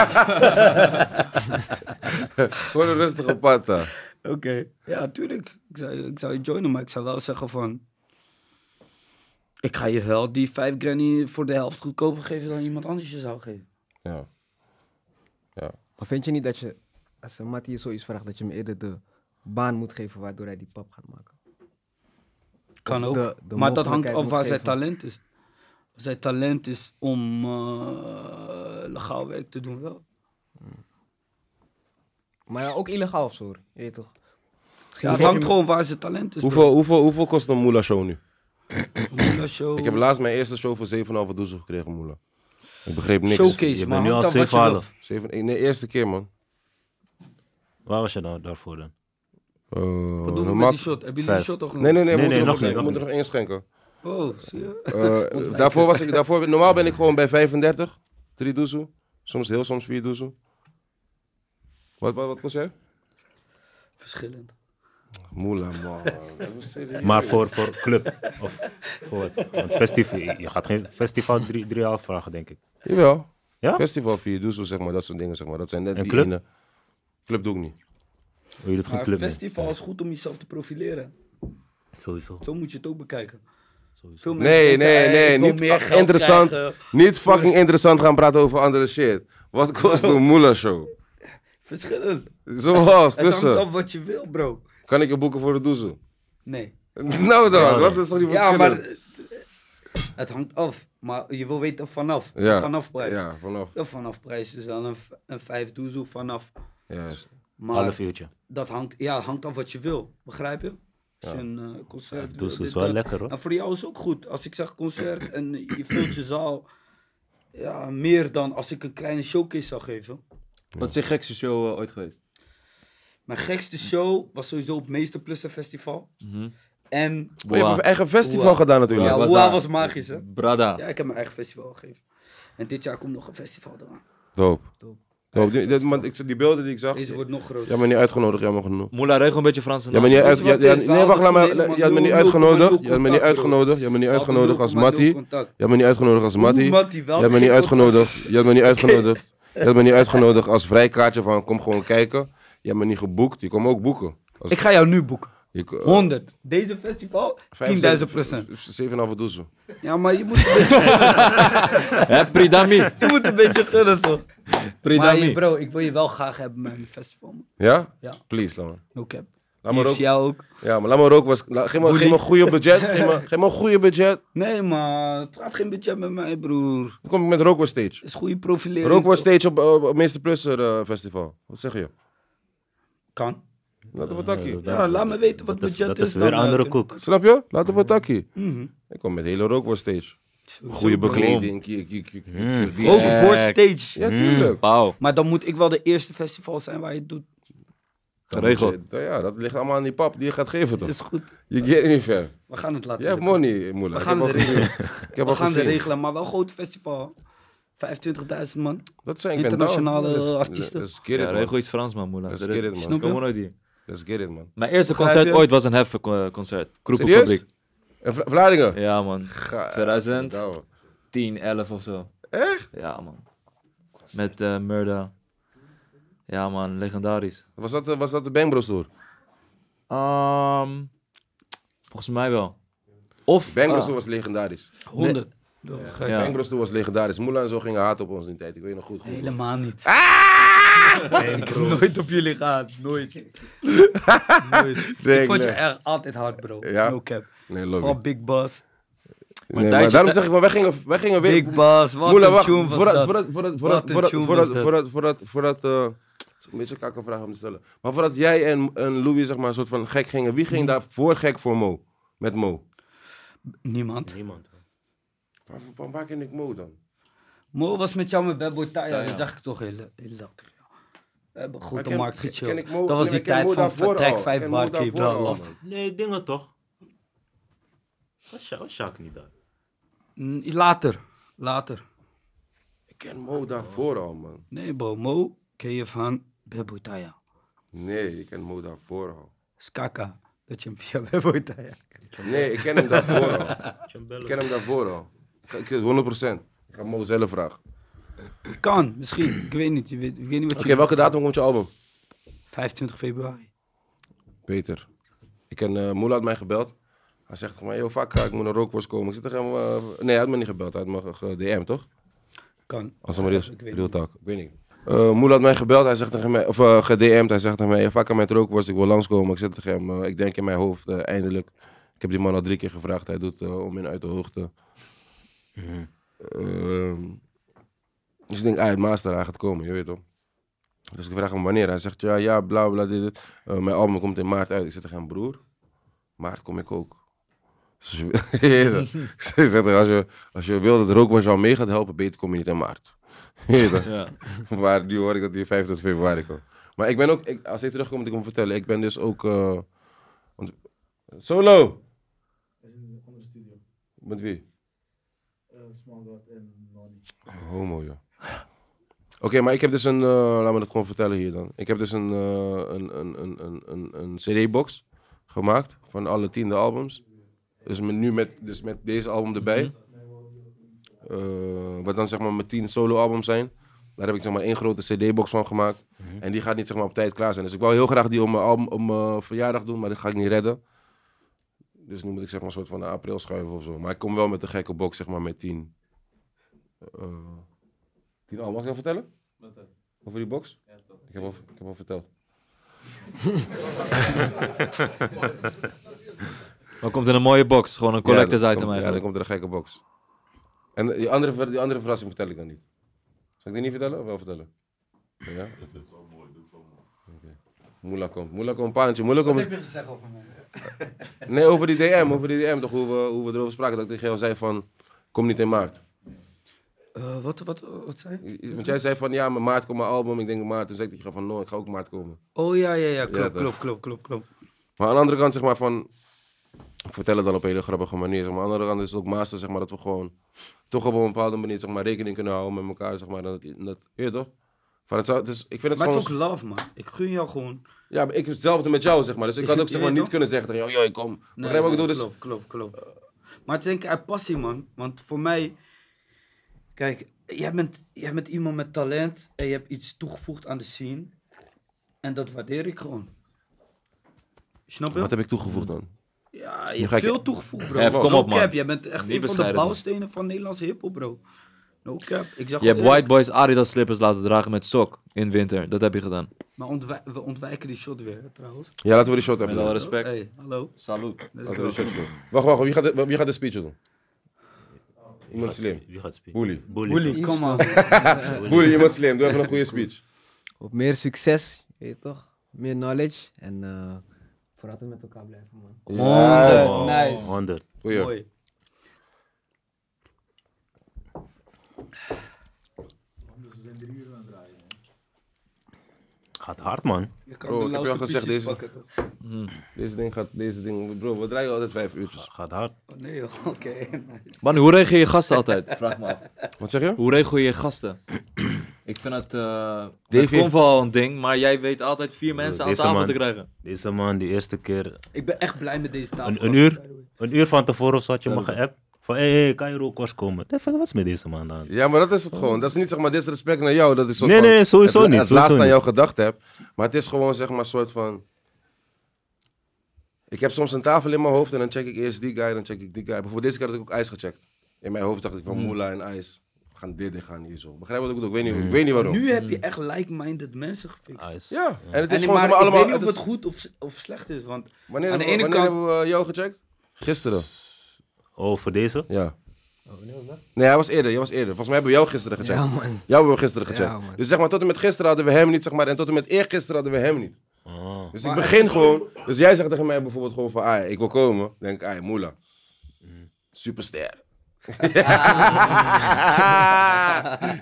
S1: Gewoon een rustige pata.
S5: Ja, tuurlijk. Ik zou, ik zou je joinen, maar ik zou wel zeggen van... Ik ga je wel die 5 granny voor de helft goedkoper geven dan iemand anders je zou geven.
S1: Ja.
S4: Maar vind je niet dat je, als een Mattie je zoiets vraagt, dat je hem eerder de baan moet geven waardoor hij die pap gaat maken?
S5: Kan
S4: Of
S5: ook.
S4: de- de
S5: maar dat hangt
S4: mogelijkheid
S5: af
S4: moet
S5: waar zijn
S4: geven.
S5: talent is. Als zijn talent is om eh, legaal werk te doen, wel.
S4: Maar ja, ook illegaal of zo hoor. Je weet toch?
S5: Ja, het
S4: geef
S5: hangt
S4: je-
S5: gewoon waar zijn talent is.
S1: Hoeveel, hoeveel, hoeveel kost een Moela show nu?
S5: Moela show,
S1: Ik heb laatst mijn eerste show voor 7,5 doezel gekregen, Moela. Ik begreep niks.
S5: showcase,
S2: Je
S5: maar
S2: bent nu
S5: hangt
S2: al
S5: af wat je wil.
S2: 7,5.
S1: Zeven, eh, nee, eerste keer, man.
S2: Waar was je nou daarvoor dan?
S1: Eh,
S5: Wat doen we
S1: normaal-
S5: met die shot? Hebben jullie die
S2: Vijf.
S5: shot al genomen?
S1: Nee, nee, nee, we
S2: Nee,
S1: moeten
S2: nee,
S1: er
S2: nog
S1: nog,
S2: niet, nog
S1: we moeten
S2: niet.
S1: nog inschenken.
S5: Oh, zie je?
S1: Eh, daarvoor was ik, daarvoor, normaal ben ik gewoon bij 35, 3 doezel. Soms heel soms 4 doezel. Wat, wat, wat kost jij?
S5: Verschillend.
S1: Moela, man. Dat was serieus.
S2: Maar voor, voor club of voor wat? Want festival, je gaat geen festival 3,5 vragen, denk ik.
S1: Jawel.
S2: Ja?
S1: Festival 4 doezel, zeg maar, dat soort dingen, zeg maar. Dat zijn net
S2: En
S1: die
S2: club?
S1: ene. Club doe ik niet.
S2: Wil je dat geen
S5: Maar
S2: club
S5: een
S2: meer?
S5: festival is goed om jezelf te profileren.
S2: Ja, Sowieso.
S5: Zo moet je het ook bekijken.
S2: sowieso.
S5: Veel mensen
S1: Nee,
S5: denken,
S1: nee,
S5: hey,
S1: nee.
S5: ik wil
S1: Niet
S5: meer
S1: a-
S5: geld
S1: interessant.
S5: krijgen.
S1: Niet fucking interessant gaan praten over andere shit. Wat kost een Moela show?
S5: Verschillend.
S1: Zoals,
S5: Het hangt
S1: tussen.
S5: af wat je wil, bro.
S1: Kan ik je boeken voor de doezel?
S5: Nee.
S1: Nou dan, wat is toch die
S5: Ja,
S1: verschil?
S5: maar het- het hangt af. Maar je wil weten vanaf.
S1: Ja.
S5: Vanaf prijs.
S1: Ja, vanaf.
S5: De vanaf prijs is wel een, v- een vijf doezel vanaf.
S1: Juist.
S5: Maar
S2: Half uurtje.
S5: dat hangt, ja, hangt af wat je wil. Begrijp je? Als je een eh, concert wil,
S2: doezel is
S5: dit,
S2: wel
S5: dat.
S2: lekker, hoor.
S5: En voor jou is ook goed. Als ik zeg concert en je vult je zaal ja, meer dan als ik een kleine showcase zou geven.
S3: Wat is je gekste show eh, ooit geweest?
S5: Mijn gekste show was sowieso op Meester Plussen Festival.
S2: Mhm.
S5: En
S1: Oh, je hebt een eigen festival gedaan natuurlijk.
S5: ja,
S3: was
S5: Hoa
S3: daar.
S5: was magisch, hè?
S3: Brada.
S5: Ja, ik heb mijn eigen festival gegeven. En dit jaar komt nog een festival eraan.
S1: Doop.
S5: Doop.
S1: Doop. Die, dat- maar ik, die beelden die ik zag.
S5: Deze wordt nog groter.
S1: Jij bent niet uitgenodigd, jammer genoeg.
S3: Moela, regel een beetje Franse
S1: Jij
S3: naam.
S1: bent niet
S5: Weet
S1: uit,
S5: je wat
S1: jij-
S5: het is?
S1: jij-
S5: We
S1: nee, wacht,
S5: hadden
S1: laat maar.
S5: helemaal
S1: Jij bent niet
S5: 0,0
S1: uitgenodigd. Jij bent niet
S5: contact,
S1: uitgenodigd. Jij bent niet
S5: We hadden
S1: uitgenodigd als
S5: 0,0
S1: Matty.
S5: contact.
S1: Jij bent niet uitgenodigd als Matty.
S5: Oeh, Matty, wel
S1: Jij bent niet
S5: geen
S1: uitgenodigd. Jij bent niet uitgenodigd. Jij bent niet uitgenodigd als vrijkaartje van kom gewoon kijken. Jij bent niet geboekt. Je komt ook boeken. Als,
S5: Ik ga jou nu boeken.
S1: je, eh,
S5: 100. Deze festival, 10.000 procent.
S1: 7,5 doezel.
S5: Ja, maar je moet een beetje,
S3: Hè, Pridami.
S5: je moet een beetje gunnen, toch? Maar hey,
S3: Pridami.
S5: bro, ik wil je wel graag hebben bij mijn festival. man.
S1: Ja?
S5: Ja.
S1: Please, laat maar.
S5: No cap.
S1: Laat maar
S5: Liefst
S1: ook.
S5: jou ook.
S1: Ja, maar laat maar ook. Was, la- geef me, geef me een goede budget. Geef me, geef me een goede budget.
S5: Nee, maar praat geen budget met mij, broer.
S1: Dan kom ik met Rookwood Stage.
S5: is goede profilering.
S1: Rookwood
S5: toch?
S1: Stage op, op, op Meester Plus eh, Festival. Wat zeg je?
S5: Kan.
S1: Laten we takkie.
S5: Ja, laat me weten wat
S2: dat is,
S5: budget
S2: dat is
S5: is dan,
S2: weer een andere
S5: eh,
S2: koek.
S1: Snap je? Laten we takkie.
S5: Mhm.
S1: Ik kom met hele rookworst stage. Goede bekleding. kiek, kiek, kiek, kiek, die-
S5: Ook voor stage.
S1: Ja, tuurlijk.
S3: Pauw.
S5: Maar dan moet ik wel de eerste festival zijn waar je het doet.
S3: Geregeld.
S1: Dan moet je- Ja, dat ligt allemaal aan die pap die je gaat geven toch?
S5: Is goed.
S1: Je gaat niet ver.
S5: We gaan het laten.
S1: Je hebt
S5: lukken.
S1: money, moeilijk.
S5: We gaan
S1: ik heb
S5: het
S1: al gezien. Ik heb
S5: We
S1: al
S5: gaan het
S1: gezien.
S5: regelen, maar wel een groot festival. 25.000 man.
S1: Dat zijn
S5: Internationale
S1: Kentouw. Let's-
S5: artiesten.
S1: Let's get
S3: Ja,
S1: it, man.
S3: regel iets Frans, man, moeilijk.
S1: Let's get it, man.
S3: Kom maar nooit hier.
S1: Let's get it, man.
S3: Mijn eerste
S1: Begrijp
S3: concert
S1: je?
S3: ooit was een Heffen eh, concert.
S1: Serieus?
S3: Kroepenfabriek.
S1: En Vla- Vlaardingen?
S3: Ja, man.
S1: Ga-
S3: 2000.
S1: Kentouw.
S3: 10, 11 of zo.
S1: Echt?
S3: Ja, man. Met eh Murda. Ja, man. Legendarisch.
S1: Was dat, eh, was dat de Bang Bros Tour?
S3: Ah. Ehm, volgens mij wel. Of...
S1: Bang Bros
S3: ah,
S1: Tour was legendarisch.
S5: 100.
S3: ja.
S1: Bang Bros Tour was legendarisch. Moela en zo gingen haat op ons in die tijd. Ik weet nog goed. goed.
S5: Helemaal niet.
S1: Ah!
S5: ik heb nooit op jullie gehad. Nooit. nooit. Ik vond je
S1: Regelen.
S5: echt altijd hard, bro.
S1: Ja.
S5: No cap.
S1: Nee,
S5: Vooral
S1: lobby.
S5: Big Boss.
S1: Nee, maar
S3: tijdje-
S1: daarom zeg ik, maar wij gingen, wij gingen weer...
S5: Big Boss, wat
S1: Moela,
S5: een
S1: wacht.
S5: tune was
S1: Voordat,
S5: dat.
S1: voordat, voordat, voordat,
S5: een
S1: voordat,
S5: tune
S1: voordat,
S5: was dat.
S1: voordat, voordat, voordat, eh, het is een beetje een kakke vraag om te stellen. Maar voordat jij en, en Louis, zeg maar, een soort van gek gingen. Wie
S5: Hmm.
S1: ging daar voor gek voor Mo? Met Mo?
S5: Niemand.
S2: Niemand.
S1: Waar, waar, waar ken ik Mo dan?
S5: Mo was met jou met Bad Boy Taya. Dat zag ik toch heel, heel dag tegen jou. We hebben goed
S1: Maar
S5: de
S1: ken-
S5: markt
S1: ken-
S5: gechilled.
S1: ken ik Mo-
S5: dat
S1: nee,
S5: was die
S1: ik ken
S5: tijd
S1: Mo
S5: van
S1: daarvoor al.
S5: vertrek
S1: Ik
S5: 5
S1: ken Mo
S5: bar keep
S1: daarvoor al,
S5: love.
S1: man.
S2: Nee, dingen toch? Was Sja- was Sjaak niet daar?
S5: Mm, Later. Later.
S1: Ik ken Mo daarvoor al, man.
S5: Nee bro, Mo ken je van Bad Boy Taya.
S1: Nee, ik ken Mo daarvoor al.
S5: Skaka. Dat je hem via Bad Boy Taya kent.
S1: Nee, ik ken hem daarvoor al. Ik ken hem daarvoor al. Ik- ik- 100%. Ik ga Mo zelf vragen. Oké,
S5: Kan, misschien. ik weet niet. Je weet, ik weet niet wat je...
S1: welke datum komt je album?
S5: 25 februari.
S1: Peter. Ik ken, eh Moela had mij gebeld. Hij zegt tegen mij, yo, vaak, ik moet naar rookworst komen. Ik zit tegen hem, eh, nee, hij had me niet gebeld. Hij had me ge- ge-DM, toch?
S5: Kan.
S1: Als een real,
S5: Ik weet
S1: real talk. Ik weet niet. Eh Moela had mij gebeld, hij zegt tegen mij, of eh gedm'd, hij zegt tegen mij, vaak aan mijn rookworst, ik wil langskomen. Ik zit tegen hem, eh, ik denk in mijn hoofd, eh, eindelijk. Ik heb die man al drie keer gevraagd, hij doet eh, om in uit de hoogte. Ehm, dus ik denk, ah, het master, hij gaat komen, je weet toch. Dus ik vraag hem wanneer, hij zegt, ja, ja, bla, bla, dit, dit. Eh, mijn album komt in maart uit. Ik zit tegen hem, broer, maart kom ik ook. Dus je- je weet toch. ik zeg tegen hem, als je, als je wil dat rookworst jou mee gaat helpen, beter kom je niet in maart. Je weet toch.
S3: Ja.
S1: Maar nu hoor ik dat die 25 februari komt. Maar ik ben ook, ik, als hij terugkomt, moet ik hem vertellen. Ik ben dus ook. eh, want- solo! Met wie? Homo, Oh, joh. Oké, maar ik heb dus een. eh, laat me dat gewoon vertellen hier dan. Ik heb dus een, eh, een, een, een, een, een, een CD-box gemaakt van alle tiende albums. Dus met, nu met, dus met deze album erbij. Eh, wat dan zeg maar mijn tien solo-albums zijn. Daar heb ik zeg maar één grote CD-box van gemaakt. En die gaat niet zeg maar op tijd klaar zijn. Dus ik wou heel graag die op mijn, album, op mijn verjaardag doen, maar dat ga ik niet redden. Dus nu moet ik zeg maar een soort van naar april schuiven of zo. Maar ik kom wel met een gekke box zeg maar met tien. eh tien albums. Mag ik dat vertellen? Over die box? ik, heb al, ik heb al verteld.
S3: Maar komt in een mooie box. Gewoon een collectors
S1: ja, dan
S3: item
S1: komt- Ja, dan
S3: eigenlijk.
S1: komt er een gekke box. En die andere, ver- die andere verrassing vertel ik dan niet. Zal ik die niet vertellen of wel vertellen? Ja? Dit is wel mooi, dit is wel mooi. Moeilijk komt, moeilijk komt, paantje, moeilijk komt.
S5: je gezegd over mij?
S1: Nee, over die DM, over die DM toch, hoe we, hoe we erover spraken. Dat ik tegen jou zei van, kom niet in maart.
S5: Eh, wat, wat, wat zei je?
S1: Want jij zei van, ja, maar maart komt mijn album. Ik denk maart. Toen zei ik tegen jou van, no, ik ga ook maart komen.
S5: Oh ja, ja, ja. Klopt,
S1: toch.
S5: klopt, klopt, klopt, klopt.
S1: Maar aan de andere kant, zeg maar, van... Ik vertel het dan op een hele grappige manier. Zeg maar. Aan de andere kant is het ook master, zeg maar, dat we gewoon... Toch op een bepaalde manier, zeg maar, rekening kunnen houden met elkaar, zeg maar. Dat, dat, je weet toch? Van het zou, dus, ik vind het
S5: Maar het
S1: gewoon...
S5: is ook love, man. Ik gun jou gewoon.
S1: Ja, maar ik heb hetzelfde met jou, zeg maar. Dus ik had ook,
S5: Je
S1: zeg maar,
S5: weet
S1: niet
S5: toch?
S1: kunnen zeggen tegen jou, "Yo, ik kom. Begrijp je wat ik bedoel? Dus,
S5: Klopt, klopt, klopt. Maar het is denk ik uit passie, man. Want voor mij... Kijk, jij bent, jij bent iemand met talent en je hebt iets toegevoegd aan de scene. En dat waardeer ik gewoon. Snap je?
S1: wat heb ik toegevoegd dan?
S5: Ja, je
S1: Nu
S5: hebt
S1: ga ik-
S5: veel toegevoegd, bro.
S3: Hef, kom
S5: no
S3: op, man.
S5: cap, jij bent echt
S3: Niet
S5: een van de
S3: bescheiden, man.
S5: bouwstenen van Nederlandse hiphop, bro. No cap. Ik zag
S3: Je hebt
S5: gewoon-
S3: White Boys Adidas slippers laten dragen met sok in winter. Dat heb je gedaan.
S5: Maar ontwij- we ontwijken die shot weer, hè, trouwens.
S1: Ja, laten we die shot even
S3: Met
S1: doen.
S3: alle respect.
S5: Hey, hallo.
S3: Salut.
S5: Let's
S1: Laten we
S5: go.
S1: die shot doen. Wacht, wacht. Wie gaat de, wie gaat de speech doen? Iemand slim.
S2: Wie gaat spelen?
S1: Boelie.
S2: Boelie.
S5: Bully, kom man.
S1: Boelie, iemand slim. Doe even een goede speech.
S4: Op meer succes, je weet toch? meer knowledge en eh voor altijd met elkaar blijven, man.
S1: Ja,
S4: Oh, nice.
S2: 100.
S1: goeie.
S5: Mooi.
S2: Gaat hard, man.
S5: Je kan
S1: Bro,
S5: de
S1: ik heb je al
S5: lauwste
S1: gezegd,
S5: pieces
S1: deze-
S5: pakken, toch?
S1: Deze ding gaat, deze ding, bro, we draaien altijd vijf uurtjes.
S2: Gaat hard.
S5: Oh, nee, joh. Oké.
S3: Man, hoe regel je gasten altijd? Vraag me af.
S1: Wat zeg je?
S3: Hoe regel je gasten? Ik vind het, eh het
S1: heeft-
S3: komt wel een ding, maar jij weet altijd vier mensen aan
S2: deze
S3: tafel
S2: man-
S3: te krijgen.
S2: Deze man, die eerste keer,
S5: Ik ben echt blij met deze tafel.
S2: een, een uur, een uur van tevoren of zo had je me geappt. Van, hé, hey, hey, kan je er ook was komen? Ik dacht van, Wat is met deze man dan?
S1: Ja, maar dat is het gewoon. Dat is niet zeg maar disrespect naar jou. Dat is soort
S2: Nee,
S1: van-
S2: nee, sowieso
S1: het,
S2: niet,
S1: Het
S2: sowieso
S1: laatste aan
S2: niet.
S1: jou gedacht heb. Maar het is gewoon zeg maar soort van. Ik heb soms een tafel in mijn hoofd en dan check ik eerst die guy, dan check ik die guy. Bijvoorbeeld deze keer had ik ook ijs gecheckt. In mijn hoofd dacht ik van
S2: Hmm.
S1: Moela en ijs. We gaan dit en gaan hier zo. Begrijp wat ik bedoel? Ik weet niet,
S2: Hmm.
S1: ik weet niet waarom.
S5: Nu heb je echt like-minded mensen gefixt.
S2: Nice.
S1: Ja, en het
S5: En
S1: is
S5: ik-
S1: gewoon zeg Mm. maar
S5: maar ik weet
S1: allemaal.
S5: niet of
S1: het
S5: het
S1: is-
S5: goed of, of slecht is, want
S1: Wanneer,
S5: aan de
S1: hebben we-
S5: ene
S1: wanneer
S5: kant-
S1: hebben we eh, jou gecheckt? Gisteren.
S2: Oh, voor deze?
S1: Ja. wanneer was
S5: Oh,
S1: dat? Nee, hij was eerder. Jij was eerder. Volgens mij hebben we jou gisteren gecheckt.
S4: Ja, man.
S1: Jou hebben we gisteren gecheckt.
S4: Ja, man.
S1: dus zeg maar, tot en met gisteren hadden we hem niet, zeg maar. En tot en met eergisteren hadden we hem niet.
S2: Oh.
S1: Dus ik begin gewoon. Dus jij zegt tegen mij bijvoorbeeld gewoon van, ah, ik wil komen. Dan denk ik, ah, Moela. Superster.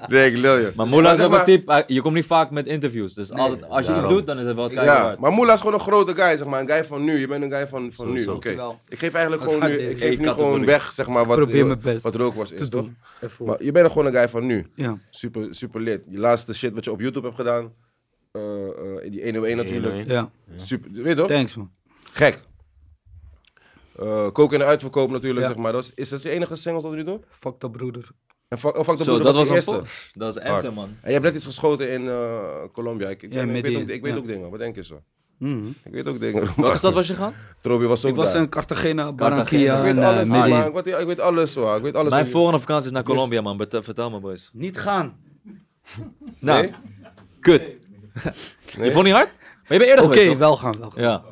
S1: nee, ik lul je.
S3: Maar Moela is
S1: zeg
S3: ook een tip, eh, je komt niet vaak met interviews. Dus altijd, als je iets
S2: daarom.
S3: doet, dan is het wel het kijken
S1: Ja,
S3: waard.
S1: maar Moela is gewoon een grote guy, zeg maar. Een guy van nu. Je bent een guy van, van nu.
S2: Sowieso.
S1: Oké.
S5: Wel.
S1: Ik geef eigenlijk
S5: Dat
S1: gewoon
S5: gaat
S1: nu,
S5: dit.
S1: ik geef
S5: Geen
S1: nu gewoon
S5: categorie.
S1: weg, zeg maar, wat,
S4: probeer mijn best
S1: wat rook was. Is, toch?
S5: doen. Ervoor.
S1: Maar je bent gewoon een guy van nu.
S5: ja.
S1: Super, super lid. Die laatste shit wat je op YouTube hebt gedaan. eh, eh, in die 101 natuurlijk.
S2: 101.
S5: ja,
S1: Super, weet je toch?
S5: thanks man.
S1: Gek. Eh koken en uitverkoop natuurlijk,
S5: Ja.
S1: zeg maar. Dat is, is dat je enige single tot nu toe?
S5: Fuck dat broeder.
S1: En fuck, oh, fuck de
S3: Zo,
S1: Broeder
S3: dat
S1: was
S3: was
S1: de
S3: een
S1: eerste.
S3: pop. Dat is Anthem, man.
S1: En je hebt net iets geschoten in eh, Colombia. Ik, ik,
S5: Ja,
S1: ben- ik
S5: met
S1: weet,
S5: die-
S1: ook, ik weet
S5: ja.
S1: ook dingen. Wat denk je zo?
S5: Mhm.
S1: Ik weet ook dingen.
S3: Welke stad was je gaan?
S1: Trobi was ook
S5: Ik was
S1: daar.
S5: in Cartagena,
S1: ik
S5: Barranquilla en
S1: weet
S5: eh,
S1: alles,
S5: Medellin.
S1: man. ik, weet, ik weet alles, zo. Ik weet alles. Dus-
S3: Mijn
S1: Ik-
S3: volgende vakantie is naar Colombia, man. Bet- Vertel me, boys.
S5: Niet gaan.
S3: Nou,
S1: Nee?
S3: kut.
S1: Nee?
S3: Je vond niet hard? Maar je bent eerder
S5: Oké,
S3: geweest, toch?
S5: wel gaan, wel gaan.
S3: Ja.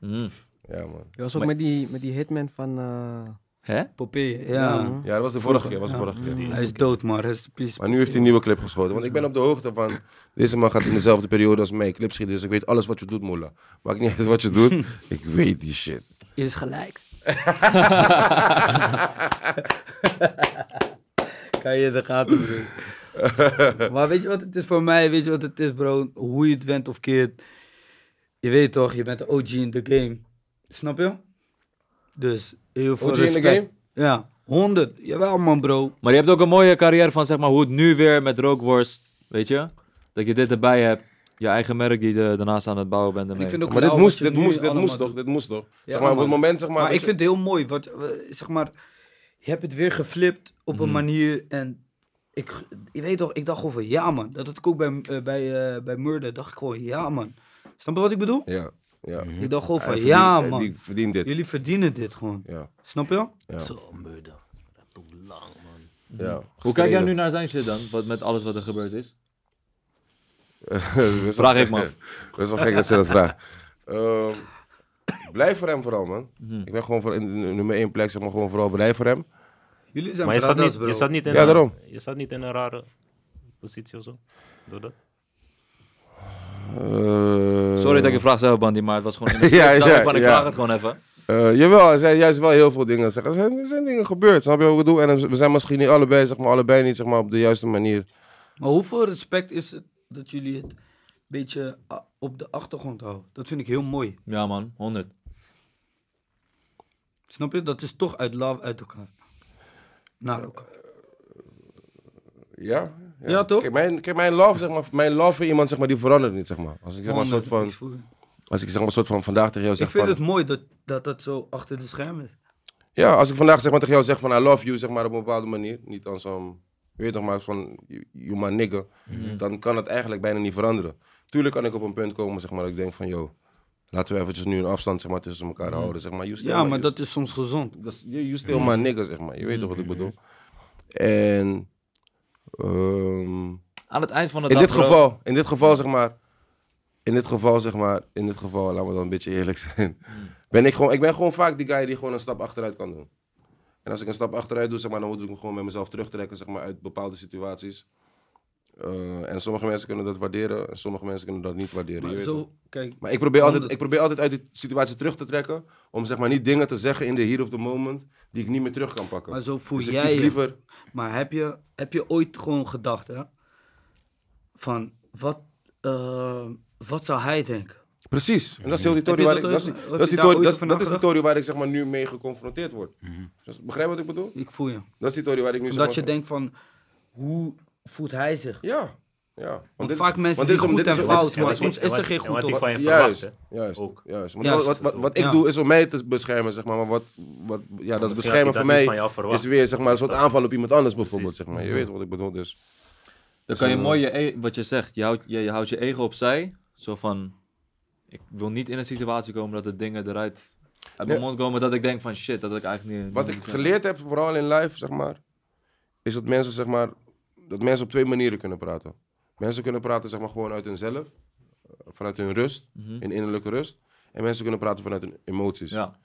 S3: Mm.
S1: Ja, man.
S4: Je was ook met die, met die hitman van... eh
S3: Hè?
S5: Popeye, ja.
S4: ja.
S1: Ja, dat was de vorige keer. Was de vorige keer.
S5: Hij is dood, maar rest in peace.
S1: Maar nu heeft hij een nieuwe clip geschoten. Want ik ben op de hoogte van. Deze man gaat in dezelfde periode als mij clip schieten. Dus ik weet alles wat je doet, Moela. Maakt niet uit wat je doet. Ik weet die shit.
S5: Is gelijk. kan je in de gaten doen. maar weet je wat het is voor mij? Weet je wat het is, bro? Hoe je het went of keert. Je weet toch, je bent de OG in de game. Snap je? Dus heel veel
S1: OG in de
S5: respect.
S1: game?
S5: Ja, 100. Jawel, man, bro.
S3: Maar je hebt ook een mooie carrière van zeg maar hoe het nu weer met rookworst, weet je? Dat je dit erbij hebt, je eigen merk die je daarnaast aan het bouwen bent. ermee.
S5: Ik vind ook
S1: Maar dit
S5: lauw
S1: moest,
S5: nou, wat
S1: dit
S5: je nu
S1: moest, dit
S5: allemaal
S1: moest toch?
S5: doet.
S1: Dit moest toch?
S5: Ja,
S1: zeg maar op het
S5: man.
S1: moment, zeg maar.
S5: Maar
S1: weet
S5: ik
S1: je-
S5: vind het heel mooi, wat, eh, zeg maar, je hebt het weer geflipt op
S1: Mhm.
S5: een manier en ik, g- je weet toch, ik dacht gewoon van ja man, dat had ik ook bij, eh, bij, eh, bij Murder, dacht ik gewoon ja man. Snap je wat ik bedoel?
S1: Ja, Mhm. ja.
S5: Ik dacht gewoon van
S1: Hij
S5: ja
S1: verdient-
S5: man,
S1: Die verdient dit.
S5: jullie verdienen dit gewoon,
S1: Ja.
S5: snap je?
S2: Zo, murder. Dat doet lang, man.
S1: ja.
S3: Hoe kijk jij nu naar zijn shit dan, wat, met alles wat er gebeurd is?
S1: naar...
S3: Vraag ik me af.
S1: Best wel gek dat ze dat vraagt. Ehm, blijf voor hem vooral, man.
S5: Mhm.
S1: Ik ben gewoon voor in, in- nummer één plek, zeg maar gewoon vooral blij voor hem.
S5: Jullie zijn
S2: Maar je staat,
S5: brothers,
S2: niet,
S5: bro.
S2: je, staat niet in
S1: Ja,
S2: een,
S1: daarom.
S2: je staat niet in een rare positie of zo. Door dat.
S1: Eh,
S3: Sorry dat ik je vraag zelf, Bandy, maar het was gewoon in de
S1: Ja,
S3: ja,
S1: ja,
S3: van ik
S1: ja.
S3: vraag het gewoon even.
S1: eh, jawel, er zijn juist wel heel veel dingen. Zeg, er, zijn, er zijn dingen gebeurd, snap je wat ik bedoel? En eh, we zijn misschien niet allebei, zeg maar, allebei niet zeg maar, op de juiste manier.
S5: Maar hoeveel respect is het dat jullie het een beetje ah, op de achtergrond houden? Dat vind ik heel mooi,
S3: Ja man, 100.
S5: snap je? Dat is toch uit love uit elkaar.
S1: Eh,
S5: Naar elkaar.
S1: Ja?
S5: Ja, toch?
S1: Kijk, mijn, kijk, mijn love, zeg maar, mijn love voor iemand, zeg maar, die verandert niet, zeg maar. Als ik zeg maar, een soort van,
S5: Niks eh, voelen.
S1: als ik, zeg maar, een soort van vandaag tegen jou zeg
S5: Ik vind
S1: van,
S5: het mooi dat, dat dat zo achter de schermen is.
S1: Ja, als ik vandaag zeg maar tegen jou zeg van I love you, zeg maar op een bepaalde manier, niet als zo'n, je weet toch maar, van you- you my nigga,
S5: Mhm.
S1: dan kan het eigenlijk bijna niet veranderen. Tuurlijk kan ik op een punt komen zeg maar dat ik denk van yo, laten we eventjes nu een afstand zeg maar tussen elkaar houden, zeg maar. You still
S5: Mhm. Ja,
S1: my-
S5: maar
S1: you-
S5: dat is soms gezond.
S1: dat is- you, you still my nigga, zeg maar. Je weet toch wat ik bedoel? En ehm,
S3: Aan het eind van de
S1: in
S3: dag...
S1: dit
S3: bro,
S1: geval, in dit geval zeg maar, in dit geval zeg maar, in dit geval, laten we dan een beetje eerlijk zijn.
S5: Hmm.
S1: Ben ik, gewoon, ik ben gewoon vaak die guy die gewoon een stap achteruit kan doen. En als ik een stap achteruit doe, zeg maar, dan moet ik me gewoon met mezelf terugtrekken zeg maar, uit bepaalde situaties. Eh, en sommige mensen kunnen dat waarderen en sommige mensen kunnen dat niet waarderen. je
S5: Maar
S1: weet het.
S5: zo, kijk,
S1: Maar ik probeer, altijd,
S5: Honderd.
S1: ik probeer altijd uit die situatie terug te trekken. Om zeg maar niet dingen te zeggen in de here of the moment. die ik niet meer terug kan pakken.
S5: maar zo voel
S1: dus ik
S5: jij
S1: kies
S5: je.
S1: liever.
S5: Maar heb je, heb je ooit gewoon gedacht, hè? Van, wat, eh, wat zou hij denken?
S1: Precies. En dat is heel die
S5: Heb
S1: tory
S5: je
S1: waar ik.
S5: dat
S1: Dat
S5: ooit-
S1: is,
S5: heb
S1: dat
S5: je
S1: is, die
S5: daar
S1: tory-
S5: ooit
S1: dat is,
S5: over
S1: dat is die
S5: nagedacht?
S1: tory waar ik zeg maar nu mee geconfronteerd word.
S2: Mhm.
S1: Dus begrijp je wat ik bedoel?
S5: Ik voel je.
S1: Dat is die tory waar ik nu zeg
S5: Omdat
S1: maar-
S5: je denkt van, hoe voelt hij zich?
S1: Ja. ja. Want, dit is-
S5: vaak mensen
S1: want dit
S5: zien
S1: is-
S5: goed
S1: dit
S5: en
S1: is-
S5: fout,
S2: En
S5: maar
S2: wat-
S5: soms
S2: en
S5: is
S2: wat-
S5: er geen
S2: en
S5: goed
S2: wat die
S5: op.
S2: van je verwacht,
S1: Juist,
S2: hè.
S1: juist,
S2: Ook.
S1: juist. Want
S5: Juist.
S1: Wat, wat, wat ik
S5: Ja.
S1: doe is om mij te beschermen, zeg maar. Maar wat, wat, ja, dat
S2: misschien
S1: beschermen
S2: had
S1: voor
S2: hij dat niet
S1: mij
S2: van jou verwacht.
S1: is weer zeg maar, een soort aanval op iemand anders bijvoorbeeld.
S2: Precies.
S1: Zeg
S5: Mhm.
S1: maar. Je weet wat ik bedoel dus.
S3: Dan kan je mooi je, e- wat je zegt, je houdt je, je houdt je ego opzij. Zo van, ik wil niet in een situatie komen dat de dingen eruit uit mijn
S1: Ja.
S3: mond komen dat ik denk van shit, dat ik eigenlijk niet...
S1: Wat
S3: niet
S1: ik
S3: zeg.
S1: geleerd heb, vooral in live, zeg maar, is dat mensen, zeg maar, dat mensen op twee manieren kunnen praten. Mensen kunnen praten, zeg maar, gewoon uit hunzelf, eh, vanuit hun rust,
S3: Mhm.
S1: hun innerlijke rust. En mensen kunnen praten vanuit hun emoties.
S3: Ja,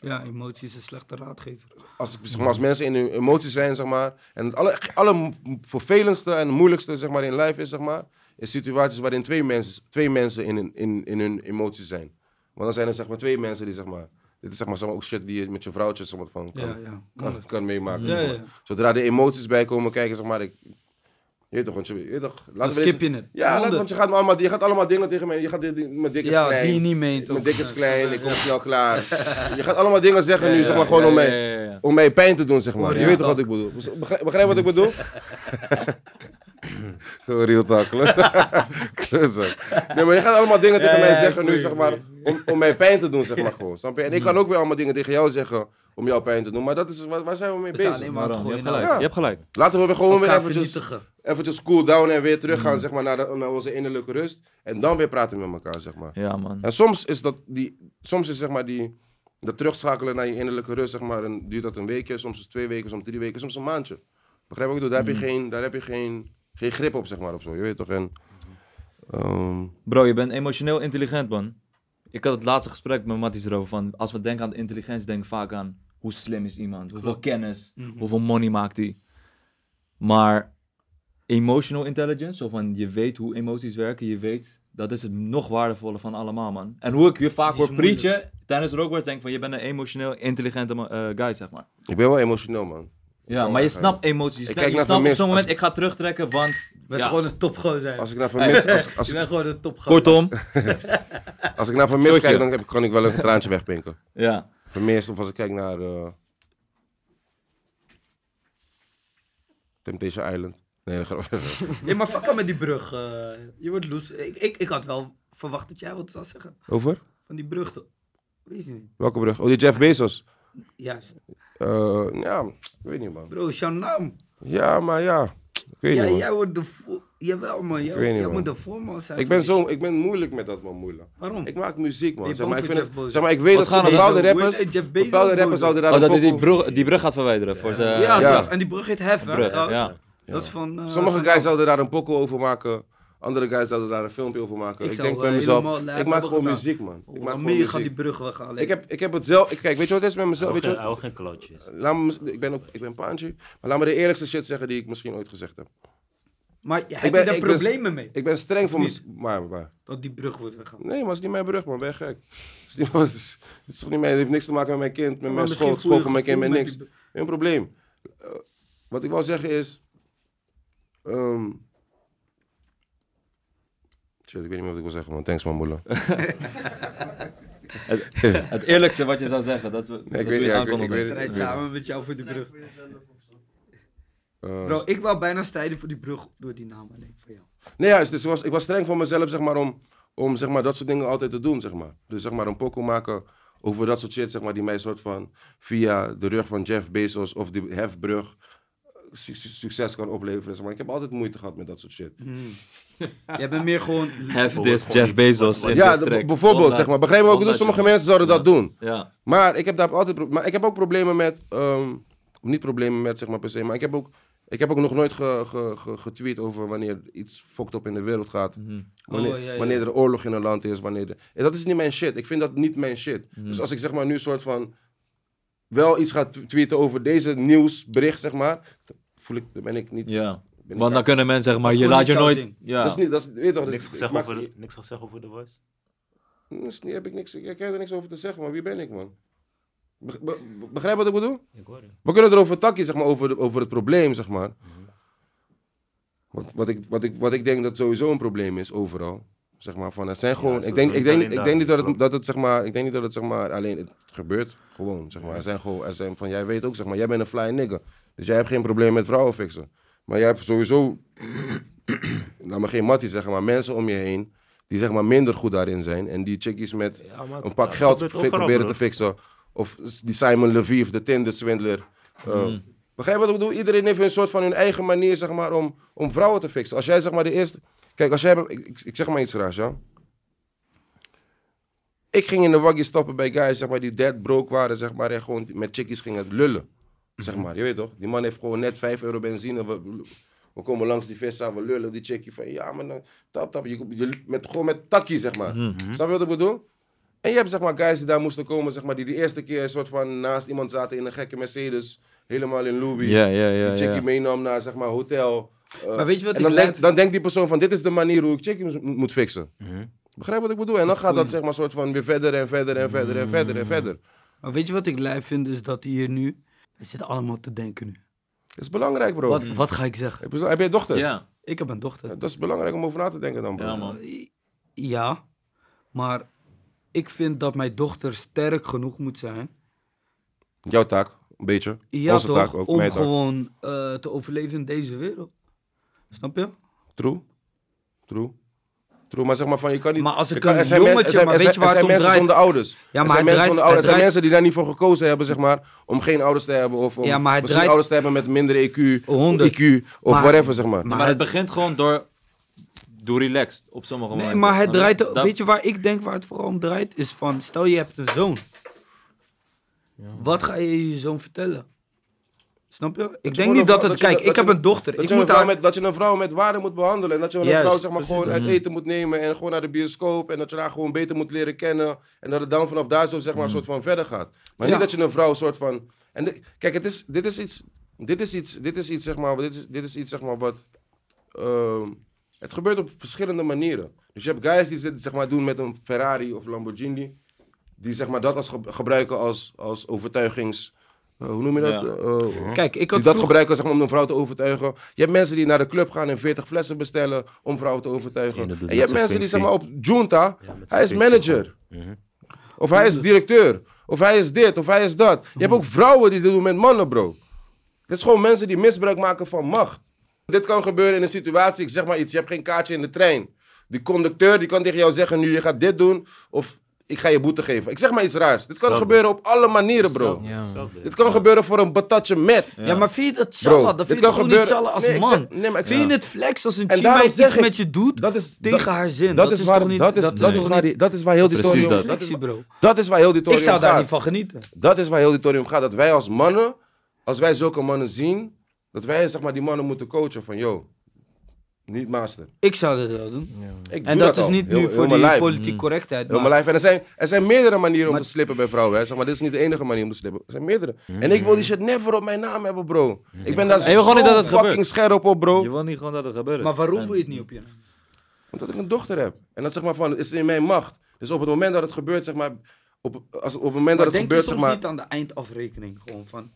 S5: Ja, emoties is een slechte raadgever.
S1: Als, ik- zeg maar, als mensen in hun emoties zijn, zeg maar, en het alle, alle m- vervelendste en moeilijkste, zeg maar, in live is, zeg maar, is situaties waarin twee mensen, twee mensen in, hun- in, in hun emoties zijn. Want dan zijn er, zeg maar, twee mensen die, zeg maar, dit is, zeg maar, zeg maar, ook shit die je met je vrouwtje, zeg maar, van kan,
S5: Ja, ja.
S1: kan, kan meemaken.
S5: Mm. Ja,
S1: zeg maar.
S5: ja.
S1: Zodra de emoties bij komen kijken, zeg maar, ik... Je weet toch, want je, je weet toch... laten
S5: Dan
S1: we
S5: skip
S1: deze-
S5: je het.
S1: Ja, laat,
S5: Honderd.
S1: want je gaat, me allemaal, je gaat allemaal dingen tegen mij... Je gaat dit, dit- mijn dik is
S5: Ja,
S1: klein.
S5: die je niet meent.
S1: mijn
S5: ook.
S1: dik is
S5: Ja,
S1: klein,
S5: ja,
S1: ik kom
S5: ja.
S1: snel klaar. je gaat allemaal dingen zeggen nu,
S3: Ja,
S1: zeg maar,
S3: ja,
S1: gewoon
S3: ja,
S1: om, mij,
S3: ja, ja, ja.
S1: om mij pijn te doen, zeg maar.
S5: Oh,
S1: je
S5: ja.
S1: weet toch wat ik bedoel? Begrijp, begrijp wat ik bedoel? Zo real talk, kle- klootzak. Nee, maar je gaat allemaal dingen tegen
S5: Ja,
S1: mij
S5: ja,
S1: zeggen nu,
S5: goeie,
S1: zeg maar, om, om mij pijn te doen, zeg maar, gewoon. Snap je? En ik
S5: Hmm.
S1: kan ook weer allemaal dingen tegen jou zeggen om jou pijn te doen, maar dat is, waar, waar zijn we mee
S5: We zijn
S1: bezig?
S5: alleen maar aan
S3: Waarom?
S5: het
S3: je hebt
S5: gooien.
S3: gelijk.
S1: Ja.
S3: Je hebt gelijk.
S1: Laten we weer gewoon weer
S5: Elkaar
S1: eventjes,
S5: vernietigen. Hmm.
S1: eventjes cool down en weer teruggaan zeg maar, naar, de- naar onze innerlijke rust. En dan weer praten met elkaar, zeg maar.
S3: Ja man.
S1: En Nou, soms is dat die, soms is zeg maar die, dat terugschakelen naar je innerlijke rust, zeg maar, en duurt dat een weekje, soms is het twee weken, soms drie weken, soms een maandje. Begrijp wat ik bedoel? Daar
S5: Mm.
S1: heb je, geen, daar heb je geen, geen grip op, zeg maar, of zo. Je weet toch? En, ehm,
S3: Bro, je bent emotioneel intelligent man. Ik had het laatste gesprek met Matties erover van, als we denken aan intelligentie, denk ik vaak aan hoe slim is iemand, hoeveel kennis,
S5: Mhm.
S3: hoeveel money maakt hij. Maar emotional intelligence, zo van je weet hoe emoties werken, je weet, dat is het nog waardevolle van allemaal, man. En hoe ik je vaak
S5: Die is
S3: hoor preachen tijdens Rockwords, denk ik van je bent een emotioneel intelligente ma- eh, guy, zeg maar.
S1: ik ben wel emotioneel, man.
S3: Ja,
S1: Oh,
S3: maar je
S1: echt,
S3: snapt emoties. Je,
S1: Ik
S3: snapt-
S1: kijk
S3: je
S1: naar
S3: snapt op
S1: vermist,
S3: zo'n moment,
S1: als-
S3: ik ga terugtrekken, want...
S5: Je bent
S3: ja.
S5: gewoon een topgozer.
S1: Als ik naar vermis, als, als,
S5: Je bent gewoon een topgozer.
S3: Kortom,
S1: als ik naar vermis
S3: Zoetje.
S1: kijk, dan heb ik- kan ik wel een traantje wegpinken.
S3: ja.
S1: Vermeerst of als ik kijk naar eh, Temptation Island. Nee, grap.
S5: Nee, maar fuck aan met die brug. eh. je wordt loes. Ik, ik, ik had wel verwacht dat jij wat zou zeggen.
S1: Over?
S5: Van die brug. toch? Weet je niet.
S1: Welke brug? Oh, die Jeff Bezos.
S5: Juist.
S1: Eh, ja, ik weet niet, man.
S5: Bro, is jouw naam.
S1: Ja, maar ja. Ik weet
S5: Ja,
S1: niet, man.
S5: jij wordt de vo- Jawel, man. Jij,
S1: Ik weet niet,
S5: jij
S1: man.
S5: moet de voorman zijn.
S1: Ik
S5: van
S1: ben,
S5: die
S1: zo, ik ben moeilijk met dat, man. Moeilijk.
S5: shit. Waarom?
S1: Ik maak muziek,
S5: Ben je
S1: man. Zeg
S5: bang
S1: maar, ik,
S5: voor
S1: vind
S5: Jeff Bezos?
S1: het, zeg maar, ik weet
S3: Wat
S1: dat
S3: gaan
S1: ze
S3: we-
S1: bepaalde
S5: Hoe heet
S1: rappers...
S5: hij? Jeff Bezos
S1: Bepaalde rappers
S5: boos.
S1: zouden daar
S3: Oh, dat
S1: een
S3: hij die
S1: kop-
S3: brug, die brug gaat verwijderen voor zijn...
S5: ja,
S1: Ja.
S5: toch. En die brug heet Hef, hè?
S3: Eh, Brug,
S5: trouwens.
S3: ja.
S5: Dat is van... eh,
S1: Sommige
S5: van
S1: guys
S5: jou.
S1: zouden daar een pokoe over maken. Andere guys zouden daar een filmpje over maken.
S5: Ik
S1: Ik,
S5: zou,
S1: denk
S5: eh,
S1: bij
S5: helemaal
S1: mezelf,
S5: lijp
S1: ik maak
S5: hebben
S1: gewoon
S5: gedaan.
S1: muziek, man. Ik maak
S5: Oh,
S1: gewoon
S5: meer gaat die
S1: muziek.
S5: brug weghalen.
S1: Ik heb, ik heb het zelf... ik- Kijk, weet je wat het is met
S2: Hij
S1: mezelf?
S2: wil
S1: Weet je
S2: geen-
S1: wat-
S2: hij wil geen klootjes.
S1: Laat me, mis- ik ben ook, ik ben paantje, maar laat me de eerlijkste shit zeggen die ik misschien ooit gezegd heb.
S5: Maar heb
S1: ben-
S5: je daar
S1: ik ben-
S5: problemen mee?
S1: Ik ben streng voor
S5: Of niet?
S1: mezelf. Maar, maar-
S5: Dat die brug wordt weggehaald.
S1: nee, maar het is niet mijn brug, man. Ben je gek? Het is niet, het is, het is toch niet mijn, het heeft niks te maken met mijn kind, met
S5: Maar
S1: mijn
S5: misschien
S1: school,
S5: voel je
S1: school van mijn kind, met
S5: gevoel
S1: niks.
S5: met die
S1: Geen probleem. Eh, wat ik wil zeggen is, ehm shit, ik weet niet meer wat ik wil zeggen, man. Thanks, man, moeder.
S3: Het eerlijkste wat je zou zeggen, dat is dat
S1: weet
S3: is hoe
S1: niet,
S3: je
S1: ja, ik
S3: aankondigt.
S1: weet- ik weet-
S5: Strijd samen met jou voor die brug.
S1: Eh,
S5: Bro, ik wou bijna strijden voor die brug door die naam alleen voor jou.
S1: Nee, juist. Dus ik, was, ik was streng voor mezelf, zeg maar, om, om zeg maar, dat soort dingen altijd te doen, zeg maar. Dus zeg maar, een pokoe maken over dat soort shit, zeg maar, die mij soort van via de rug van Jeff Bezos of die hefbrug su- su- succes kan opleveren, zeg maar. Ik heb altijd moeite gehad met dat soort shit.
S5: Jij bent meer gewoon...
S3: Have this Jeff Bezos in
S1: ja,
S3: this
S1: de-
S3: track.
S1: bijvoorbeeld, zeg maar. Begrijp me ook,
S3: Omdat
S1: dus
S3: je-
S1: sommige mensen zouden dat doen.
S3: Ja,
S1: Maar ik heb daar altijd pro- maar ik heb ook problemen met. ehm, niet problemen met, zeg maar per se. Maar ik heb ook, ik heb ook nog nooit ge, ge- ge- getweet over wanneer iets fokt op in de wereld gaat.
S3: Mhm.
S1: Wanneer,
S5: Oh, ja, ja.
S1: wanneer er oorlog in een land is. Wanneer de- en dat is niet mijn shit. Ik vind dat niet mijn shit. Dus als ik zeg maar nu soort van. wel iets ga tw- tweeten over deze nieuwsbericht, zeg maar. dan Voel ik, dan ben ik niet
S3: ja.
S1: ben
S3: Want
S1: ik
S3: dan kunnen mensen zeggen, maar
S5: Dat is
S3: je
S5: gewoon
S3: laat je
S5: niet jouw
S3: nooit...
S5: ding.
S3: Ja.
S1: Dat is niet, dat is, weet je toch, dat is-
S2: Niks
S1: ik
S2: gezegd
S1: maak-
S2: over de- niks gezegd over The Voice?
S1: Dat is niet- heb ik, niks, ik heb er niks over te zeggen, maar wie ben ik, man? Be- be- begrijp wat ik bedoel?
S2: Ik hoor je.
S1: We kunnen erover takkie, zeg maar, over, de- over het probleem, zeg maar. Wat, wat, ik, wat, ik, wat ik denk dat sowieso een probleem is, overal. Zeg maar, van, het zijn gewoon,
S2: zo-
S1: ik, denk,
S2: zo
S1: ik, denk,
S2: alleen
S1: ik
S2: daar
S1: denk niet dat het,
S2: klopt.
S1: dat het, zeg maar, ik denk niet dat het, zeg maar, alleen, het gebeurt gewoon, zeg maar. Er zijn gewoon, er zijn van, jij weet ook, zeg maar, jij bent een fly nigger. Dus jij hebt geen probleem met vrouwen fixen. Maar jij hebt sowieso, laat me geen mattie zeggen, maar mensen om je heen, die zeg maar minder goed daarin zijn. En die chickies met
S2: Ja, maar
S1: een pak
S2: dat
S1: geld
S2: gebeurt
S1: fi-
S2: overal,
S1: proberen
S2: bro.
S1: te fixen. Of s- die Simon Leviev, de Tinder-swindler. Uh, Begrijp je wat ik bedoel? Iedereen heeft een soort van hun eigen manier zeg maar, om, om vrouwen te fixen. Als jij zeg maar de eerste... Kijk, als jij... Ik, ik- ik zeg maar iets raars, ja? Ik ging in de waggie stappen bij guys zeg maar, die dead broke waren zeg maar, en gewoon met chickies gingen lullen. Zeg
S3: Mhm.
S1: maar, je weet toch? Die man heeft gewoon net 5 euro benzine. We, we komen langs die vissa, we lullen die chickie van ja, maar dan, tap, tap. Je, je- met, gewoon met takkie, zeg maar.
S3: Mhm.
S1: Snap je wat ik bedoel? En je hebt zeg maar guys die daar moesten komen, zeg maar, die de eerste keer een soort van naast iemand zaten in een gekke Mercedes, helemaal in Louis.
S3: Ja, ja, ja,
S1: die chickie
S3: ja.
S1: meenam naar zeg maar hotel. eh,
S5: Maar weet je wat
S1: en dan,
S5: ik
S1: denkt-
S5: lijp-
S1: dan denkt die persoon van dit is de manier hoe ik chickie moet- moet fixen. Begrijp wat ik bedoel? En dan gaat dat zeg maar soort van weer verder en verder en verder en verder en verder.
S5: Maar weet je wat ik lijf vind, is dat hier nu... We zitten allemaal te denken nu.
S1: Dat is belangrijk, bro.
S5: Wat, wat ga ik zeggen?
S1: Heb je, heb je een dochter?
S3: Ja,
S5: Ik heb een dochter.
S1: Dat is belangrijk om over na te denken dan, bro.
S3: ja man.
S5: Ja, maar ik vind dat mijn dochter sterk genoeg moet zijn.
S1: Jouw taak, een beetje.
S5: Ja,
S1: Onze
S5: toch?
S1: taak ook,
S5: om
S1: mijn taak.
S5: gewoon eh, te overleven in deze wereld. Snap je?
S1: True. True. True, maar zeg maar van, je kan niet...
S5: Maar als
S1: je
S5: ik
S1: kan-
S5: een
S1: er zijn men- er
S5: jongetje-
S1: zijn-
S5: maar
S1: er
S5: weet
S1: zijn-
S5: je waar
S1: Er zijn
S5: het om
S1: mensen
S5: draait?
S1: zonder ouders. er
S5: maar het
S1: zijn, mensen,
S5: draait-
S1: zonder ouders.
S5: het
S1: er zijn
S5: draait-
S1: mensen die daar niet voor gekozen hebben, zeg maar. Om geen ouders te hebben. Of om
S5: Ja, maar het
S1: misschien
S5: draait-
S1: ouders te hebben met minder E EQ,
S5: Honderd.
S1: IQ of
S5: Maar-
S1: whatever, zeg maar.
S3: Maar,
S5: Maar
S3: het
S5: het-
S3: begint gewoon door, door relaxed op sommige
S5: Nee,
S3: momenten.
S5: maar het
S3: Snap je?
S5: draait...
S3: Dat-
S5: Weet je waar ik denk waar het vooral om draait? Is van, stel je hebt een zoon. Wat ga je je zoon vertellen? Snap je? Ik
S1: je
S5: denk
S1: gewoon
S5: niet
S1: een
S5: dat
S1: vrouw-
S5: het...
S1: dat je-
S5: Kijk,
S1: dat
S5: ik
S1: je-
S5: heb een dochter.
S1: dat,
S5: Ik
S1: je een
S5: moet
S1: vrouw
S5: haar...
S1: met, dat je een vrouw met waarde moet behandelen. En dat je een
S5: Juist,
S1: vrouw zeg maar,
S5: precies. Mm-hmm.
S1: gewoon uit eten moet nemen. En gewoon naar de bioscoop. En dat je haar gewoon beter moet leren kennen. En dat het dan vanaf daar zo zeg maar, een soort van verder gaat. Maar
S5: Mm-hmm. Ja.
S1: niet dat je een vrouw soort van... En dit- kijk, het is, dit is iets... Dit is iets, dit is iets, zeg maar, dit is, dit is iets zeg maar, wat... ehm, het gebeurt op verschillende manieren. Dus je hebt guys die het zeg maar, doen met een Ferrari of Lamborghini. Die zeg maar, dat als ge- gebruiken als, als overtuigings... eh, hoe noem je dat?
S3: Ja.
S1: Eh, eh,
S5: Kijk,
S1: die
S5: ik had
S1: dat
S5: vroeger-
S1: gebruiken zeg maar, om een vrouw te overtuigen. Je hebt mensen die naar de club gaan en 40 flessen bestellen om vrouwen te overtuigen.
S2: Ja, dat
S1: en
S2: doet
S1: je
S2: met
S1: hebt
S2: zijn
S1: mensen die
S2: functie.
S1: zeg maar, op Junta, hij is
S2: functie Mhm.
S1: manager. Of hij is directeur. Of hij is dit, of hij is dat. Je hebt ook vrouwen die dit doen met mannen, bro. Dit is gewoon mensen die misbruik maken van macht. Dit kan gebeuren in een situatie, ik zeg maar iets, je hebt geen kaartje in de trein. Die conducteur die kan tegen jou zeggen, nu je gaat dit doen, of ik ga je boete geven. Ik zeg maar iets raars. Dit kan
S2: Hetzelfde.
S1: gebeuren op alle manieren, bro.
S4: Ja.
S1: Dit kan gebeuren voor een patatje met.
S5: Ja, maar vind je dat
S1: Bro,
S5: challa?
S1: dit
S5: Dat vind je
S1: kan
S5: toch niet
S1: gebeuren-
S5: challa als
S1: Nee, ik
S5: man?
S1: zeg- nee, maar ik
S5: vind
S1: zeg-
S5: je het flex als een
S1: En daarom
S5: chima iets
S1: zeg ik-
S5: met je doet
S1: dat is-
S5: tegen
S1: dat-
S5: haar zin?
S1: Dat is waar-
S5: toch niet...
S1: dat is- dat is waar die- dat is waar heel die
S3: Precies
S1: story
S5: Precies
S1: om
S3: dat.
S5: dat.
S1: gaat.
S5: bro.
S1: Dat is waar heel die
S5: Ik
S1: tory om
S5: zou daar niet
S1: gaat.
S5: van genieten.
S1: Dat is waar heel die tory om gaat. Dat wij als mannen, als wij zulke mannen zien, dat wij zeg maar, die mannen moeten coachen van, yo, niet master.
S5: Ik zou dat wel doen.
S1: Ik
S5: En
S1: doe
S5: dat is
S1: al.
S5: niet
S1: Heel-
S5: nu
S1: heel
S5: voor
S1: mijn
S5: die
S1: lijf. Mm.
S5: politiek correctheid.
S1: Heel
S5: maar-
S1: mijn lijf. En er zijn, er zijn meerdere manieren om
S5: Maar-
S1: te slippen bij vrouwen. Hè. Zeg maar, dit is niet de enige manier om te slippen. Er zijn meerdere. En
S5: Mm.
S1: ik wil die shit never op mijn naam hebben, bro. Ik ben daar
S3: En je wil
S1: zo
S3: gewoon niet dat het
S1: fucking
S3: gebeurt.
S1: scherp op, bro.
S3: Je wil niet gewoon dat het gebeurt.
S5: Maar waarom wil je
S3: je...
S5: het niet op je? naam?
S1: Omdat ik een dochter heb. En dat zeg maar van, het is in mijn macht. Dus op het moment dat het gebeurt, zeg maar... Op, als, op het moment
S5: Maar
S1: dat het
S5: denk je
S1: gebeurt, zeg
S5: soms
S1: maar...
S5: niet aan de eindafrekening gewoon van...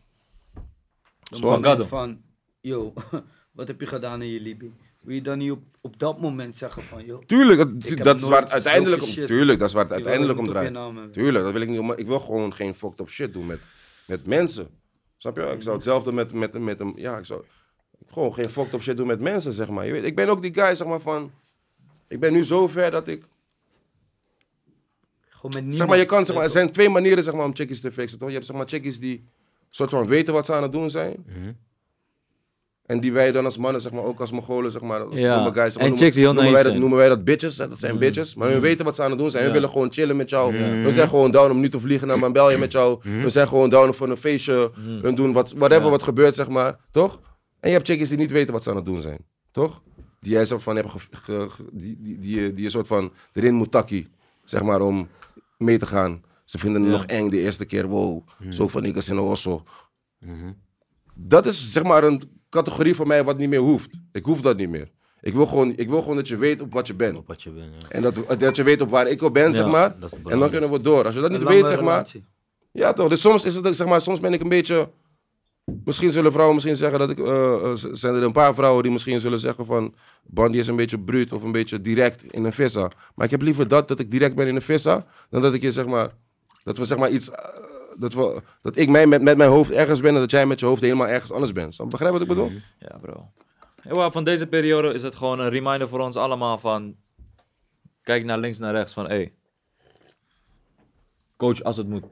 S3: Van Gaddo.
S5: Van, yo, wat heb je gedaan in je Libi? Wil je dan niet op, op dat moment zeggen van, yo...
S1: Tuurlijk, dat,
S5: Ik heb
S1: dat is waar het
S5: nooit
S1: uiteindelijk om,
S5: zulke shit.
S1: tuurlijk, dat is waar het
S5: wil
S1: uiteindelijk
S5: het
S1: om
S5: niet op je
S1: draait.
S5: naam hebben.
S1: Tuurlijk, dat wil ik niet. Maar ik wil gewoon geen fucked up shit doen met, met mensen. Snap je?
S5: Mm-hmm.
S1: Ik zou hetzelfde met, met, met een... Ja, ik zou gewoon geen fucked up shit doen met mensen, zeg maar. Je weet, ik ben ook die guy, zeg maar, van... Ik ben nu zo ver dat ik...
S5: Gewoon met niemand.
S1: Zeg maar, je kan, zeg maar, er zijn twee manieren zeg maar, om chickies te fixen, toch? Je hebt zeg maar, chickies die soort van weten wat ze aan het doen zijn. En die wij dan als mannen, zeg maar, ook als Mongolen, zeg maar, als
S3: Ja.
S1: domme guys, zeg maar,
S3: En chicks die heel
S1: noemen,
S3: naïef
S1: wij dat,
S3: zijn.
S1: noemen wij dat bitches, hè? dat zijn bitches. Maar hun weten wat ze aan het doen zijn. Hun willen gewoon chillen met jou. Hun zijn gewoon down om nu te vliegen naar Mambelje met jou. Hun zijn gewoon down voor een feestje.
S3: Mm.
S1: Hun doen wat, whatever wat gebeurt, zeg maar, toch? En je hebt chickies die niet weten wat ze aan het doen zijn, toch? Die jij soort van hebt, ge- ge- ge- die, die, die, je- die je soort van erin moet takkie, zeg maar, om mee te gaan. Ze vinden het nog eng de eerste keer. Wow, zo van ik in een osso. Dat is zeg maar een categorie voor mij wat niet meer hoeft. Ik hoef dat niet meer. Ik wil gewoon, ik wil gewoon dat je weet op wat je bent.
S2: Op wat je bent. ja.
S1: En dat, dat je weet op waar ik op ben, zeg maar.
S2: dat is het
S1: En dan kunnen
S2: belangrijkste.
S1: we door. Als je dat niet weet, zeg maar. Ja, toch. Dus soms is het, ook, zeg maar, soms ben ik een beetje. Misschien zullen vrouwen misschien zeggen dat ik. eh, eh, z- zijn er een paar vrouwen die misschien zullen zeggen van. Bandy is een beetje bruut of een beetje direct in een vissa. Maar ik heb liever dat, dat ik direct ben in een vissa. Dan dat ik je zeg maar. Dat we zeg maar iets. eh, dat, we, dat ik mij met, met mijn hoofd ergens ben en dat jij met je hoofd helemaal ergens anders bent. Snap je? Begrijp je wat ik bedoel?
S3: Ja, bro. Heel waar, van deze periode is het gewoon een reminder voor ons allemaal van... Kijk naar links, naar rechts, van hé. Hey, coach als het moet.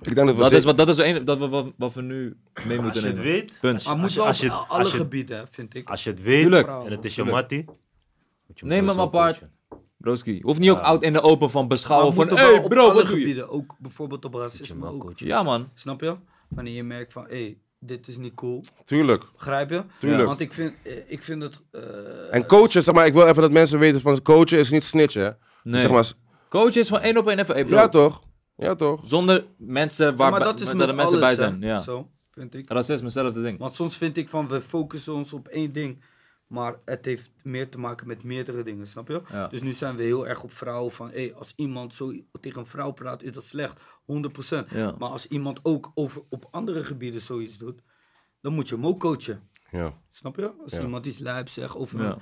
S1: Ik denk dat we.
S3: Dat is,
S1: zeker-
S3: wat, dat is een, dat we, wat, wat we nu mee
S2: Als
S3: moeten
S2: je het
S3: nemen.
S2: weet,
S3: Punt.
S5: Maar moet
S2: je-
S5: wel
S2: als
S5: als
S2: je-
S5: alle
S2: als je-
S5: gebieden, hè, vind ik.
S2: als je het weet
S3: Tuurlijk.
S2: en het is je
S3: Tuurlijk.
S2: mattie. moet je hem
S3: Neem hem
S2: sowieso
S3: apart.
S2: coachen.
S3: Broski, hoeft niet ook oud in de open van beschouwen
S5: Maar
S3: van...
S5: moeten wel
S3: Hé hey,
S5: op
S3: bro,
S5: alle
S3: wat doe je?
S5: gebieden, ook bijvoorbeeld op racisme.
S2: Maar
S5: ook.
S2: coachen.
S3: Ja man,
S5: Snap je? Wanneer je merkt van, hé, dit is niet cool.
S1: Tuurlijk.
S5: Begrijp je?
S1: Tuurlijk.
S5: Ja, Want ik vind, eh, ik vind het... eh,
S1: En coachen, zeg maar. Ik wil even dat mensen weten van. Coachen is niet snitchen. hè.
S3: Nee.
S1: Zeg maar.
S3: coach is van één op één even... Hey, bro.
S1: Ja, toch? Ja, toch?
S3: Zonder mensen
S5: ja,
S3: waar
S5: maar
S3: bij-
S5: dat is
S3: dat
S5: met
S3: er mensen bij
S5: alles,
S3: zijn.
S5: hè,
S3: Ja.
S5: Zo, vind ik.
S3: Racisme, hetzelfde ding.
S5: Want soms vind ik van, we focussen ons op één ding. Maar het heeft meer te maken met meerdere dingen, snap je?
S3: Ja.
S5: Dus nu zijn we heel erg op vrouwen van... Hé, als iemand zo tegen een vrouw praat, is dat slecht. 100%.
S3: Ja.
S5: Maar als iemand ook over, op andere gebieden zoiets doet... dan moet je hem ook coachen.
S1: Ja.
S5: Snap je? Als
S1: Ja.
S5: iemand iets lijp zegt over...
S3: Ja.
S5: een-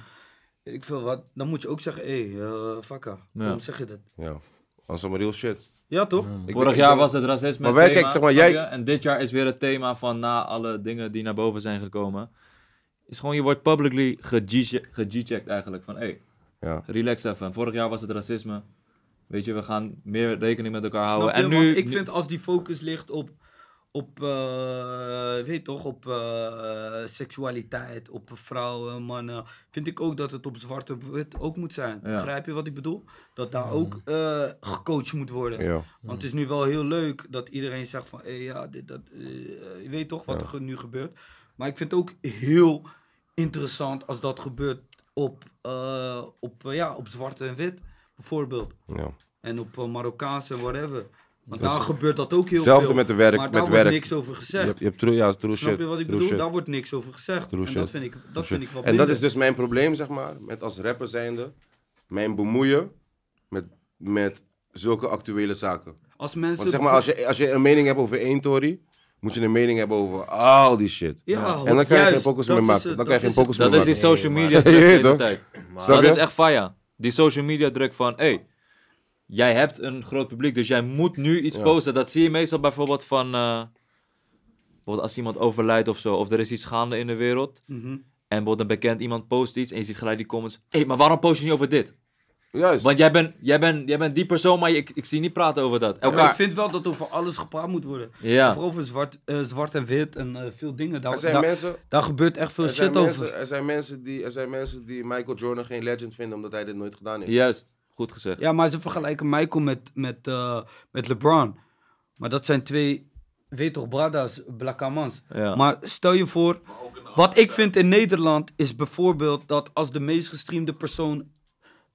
S5: weet ik veel wat, dan moet je ook zeggen... Hé, hey, eh fakka, waarom zeg je dat?
S1: Ja. Anders allemaal real shit.
S5: Ja, toch?
S1: Ik
S3: Vorig
S1: ben- ik
S3: jaar
S1: ben-
S3: was het racisme
S1: Maar wij-
S3: thema,
S1: kijk, zeg maar,
S3: snap
S1: jij-
S3: je? En dit jaar is weer het thema van na alle dingen die naar boven zijn gekomen. Is gewoon, je wordt publicly ge-G- ge-G-checked eigenlijk. Van, hé, hey,
S1: Ja.
S3: relax even. Vorig jaar was het racisme. Weet je, we gaan meer rekening met elkaar
S5: Snap
S3: houden.
S5: je?
S3: En
S5: Want
S3: nu...
S5: ik vind als die focus ligt op, op eh, weet toch, op eh, seksualiteit, op vrouwen, mannen, vind ik ook dat het op zwarte wit ook moet zijn.
S3: Ja. Mhm.
S5: Begrijp je wat ik bedoel? Dat daar ook eh, gecoacht moet worden.
S1: Ja.
S5: Want het is nu wel heel leuk dat iedereen zegt van, hé ja, dit, dat, eh, je weet toch wat er ge- nu gebeurt. Maar ik vind het ook heel interessant als dat gebeurt op, eh, op, eh, ja, op zwart en wit, bijvoorbeeld.
S1: ja.
S5: En op eh, Marokkaans en whatever. Want daar gebeurt dat ook heel
S1: Hetzelfde
S5: veel.
S1: met de werk.
S5: maar daar
S1: met
S5: wordt
S1: werk.
S5: niks over
S1: Je
S5: gezegd.
S1: hebt, je hebt true, ja, true
S5: Snap
S1: shit.
S5: je wat ik
S1: true
S5: bedoel?
S1: shit,
S5: Daar wordt niks over gezegd.
S1: True
S5: en
S1: shit.
S5: dat vind ik,
S1: true
S5: dat vind
S1: shit.
S5: ik wel
S1: En dat is
S5: minder.
S1: dus mijn probleem, zeg maar. Met als rapper zijnde. Mijn bemoeien met, met zulke actuele zaken.
S5: Als mensen...
S1: Want zeg maar, als je, als je een mening hebt over één Tory. Moet je een mening hebben over al die shit.
S5: Ja, hoor,
S1: en dan kan je geen
S5: juist,
S1: focus
S5: dat
S1: meer
S5: is
S1: maken.
S5: het,
S1: Dan kan je geen
S5: dat is het.
S1: focus meer
S3: Dat
S1: maken.
S3: is die social
S2: Nee,
S3: media
S1: maar-
S3: druk
S1: Je weet
S3: deze
S1: toch?
S3: tijd.
S1: Snap
S3: Dat
S1: je?
S3: is echt faya. Die social media druk van, hé, hey, jij hebt een groot publiek, dus jij moet nu iets
S1: Ja.
S3: posten. Dat zie je meestal bijvoorbeeld van, eh, bijvoorbeeld als iemand overlijdt of zo, of er is iets gaande in de wereld.
S5: Mhm.
S3: En bijvoorbeeld een bekend iemand post iets en je ziet gelijk die comments. Hé, hey, maar waarom post je niet over dit?
S1: Juist.
S3: Want jij bent jij bent jij bent die persoon, maar je- ik, ik zie je niet praten over dat.
S5: Ja, maar ik
S3: Elkaar.
S5: vind wel dat over alles gepraat moet worden.
S3: Ja,
S5: Vooral over zwart, eh, zwart en wit en eh, veel dingen. Daar,
S1: Er zijn
S5: daar,
S1: mensen.
S5: daar gebeurt echt veel
S1: Er zijn,
S5: shit
S1: mensen,
S5: over.
S1: er, zijn mensen die, er zijn mensen die Michael Jordan geen legend vinden omdat hij dit nooit gedaan heeft.
S3: juist. Goed gezegd.
S5: Ja, maar ze vergelijken Michael met, met, eh, met LeBron. Maar dat zijn twee, weet toch, bradas, blakamans.
S3: Ja.
S5: Maar stel je voor, wat ik vind in Nederland is bijvoorbeeld dat als de meest gestreamde persoon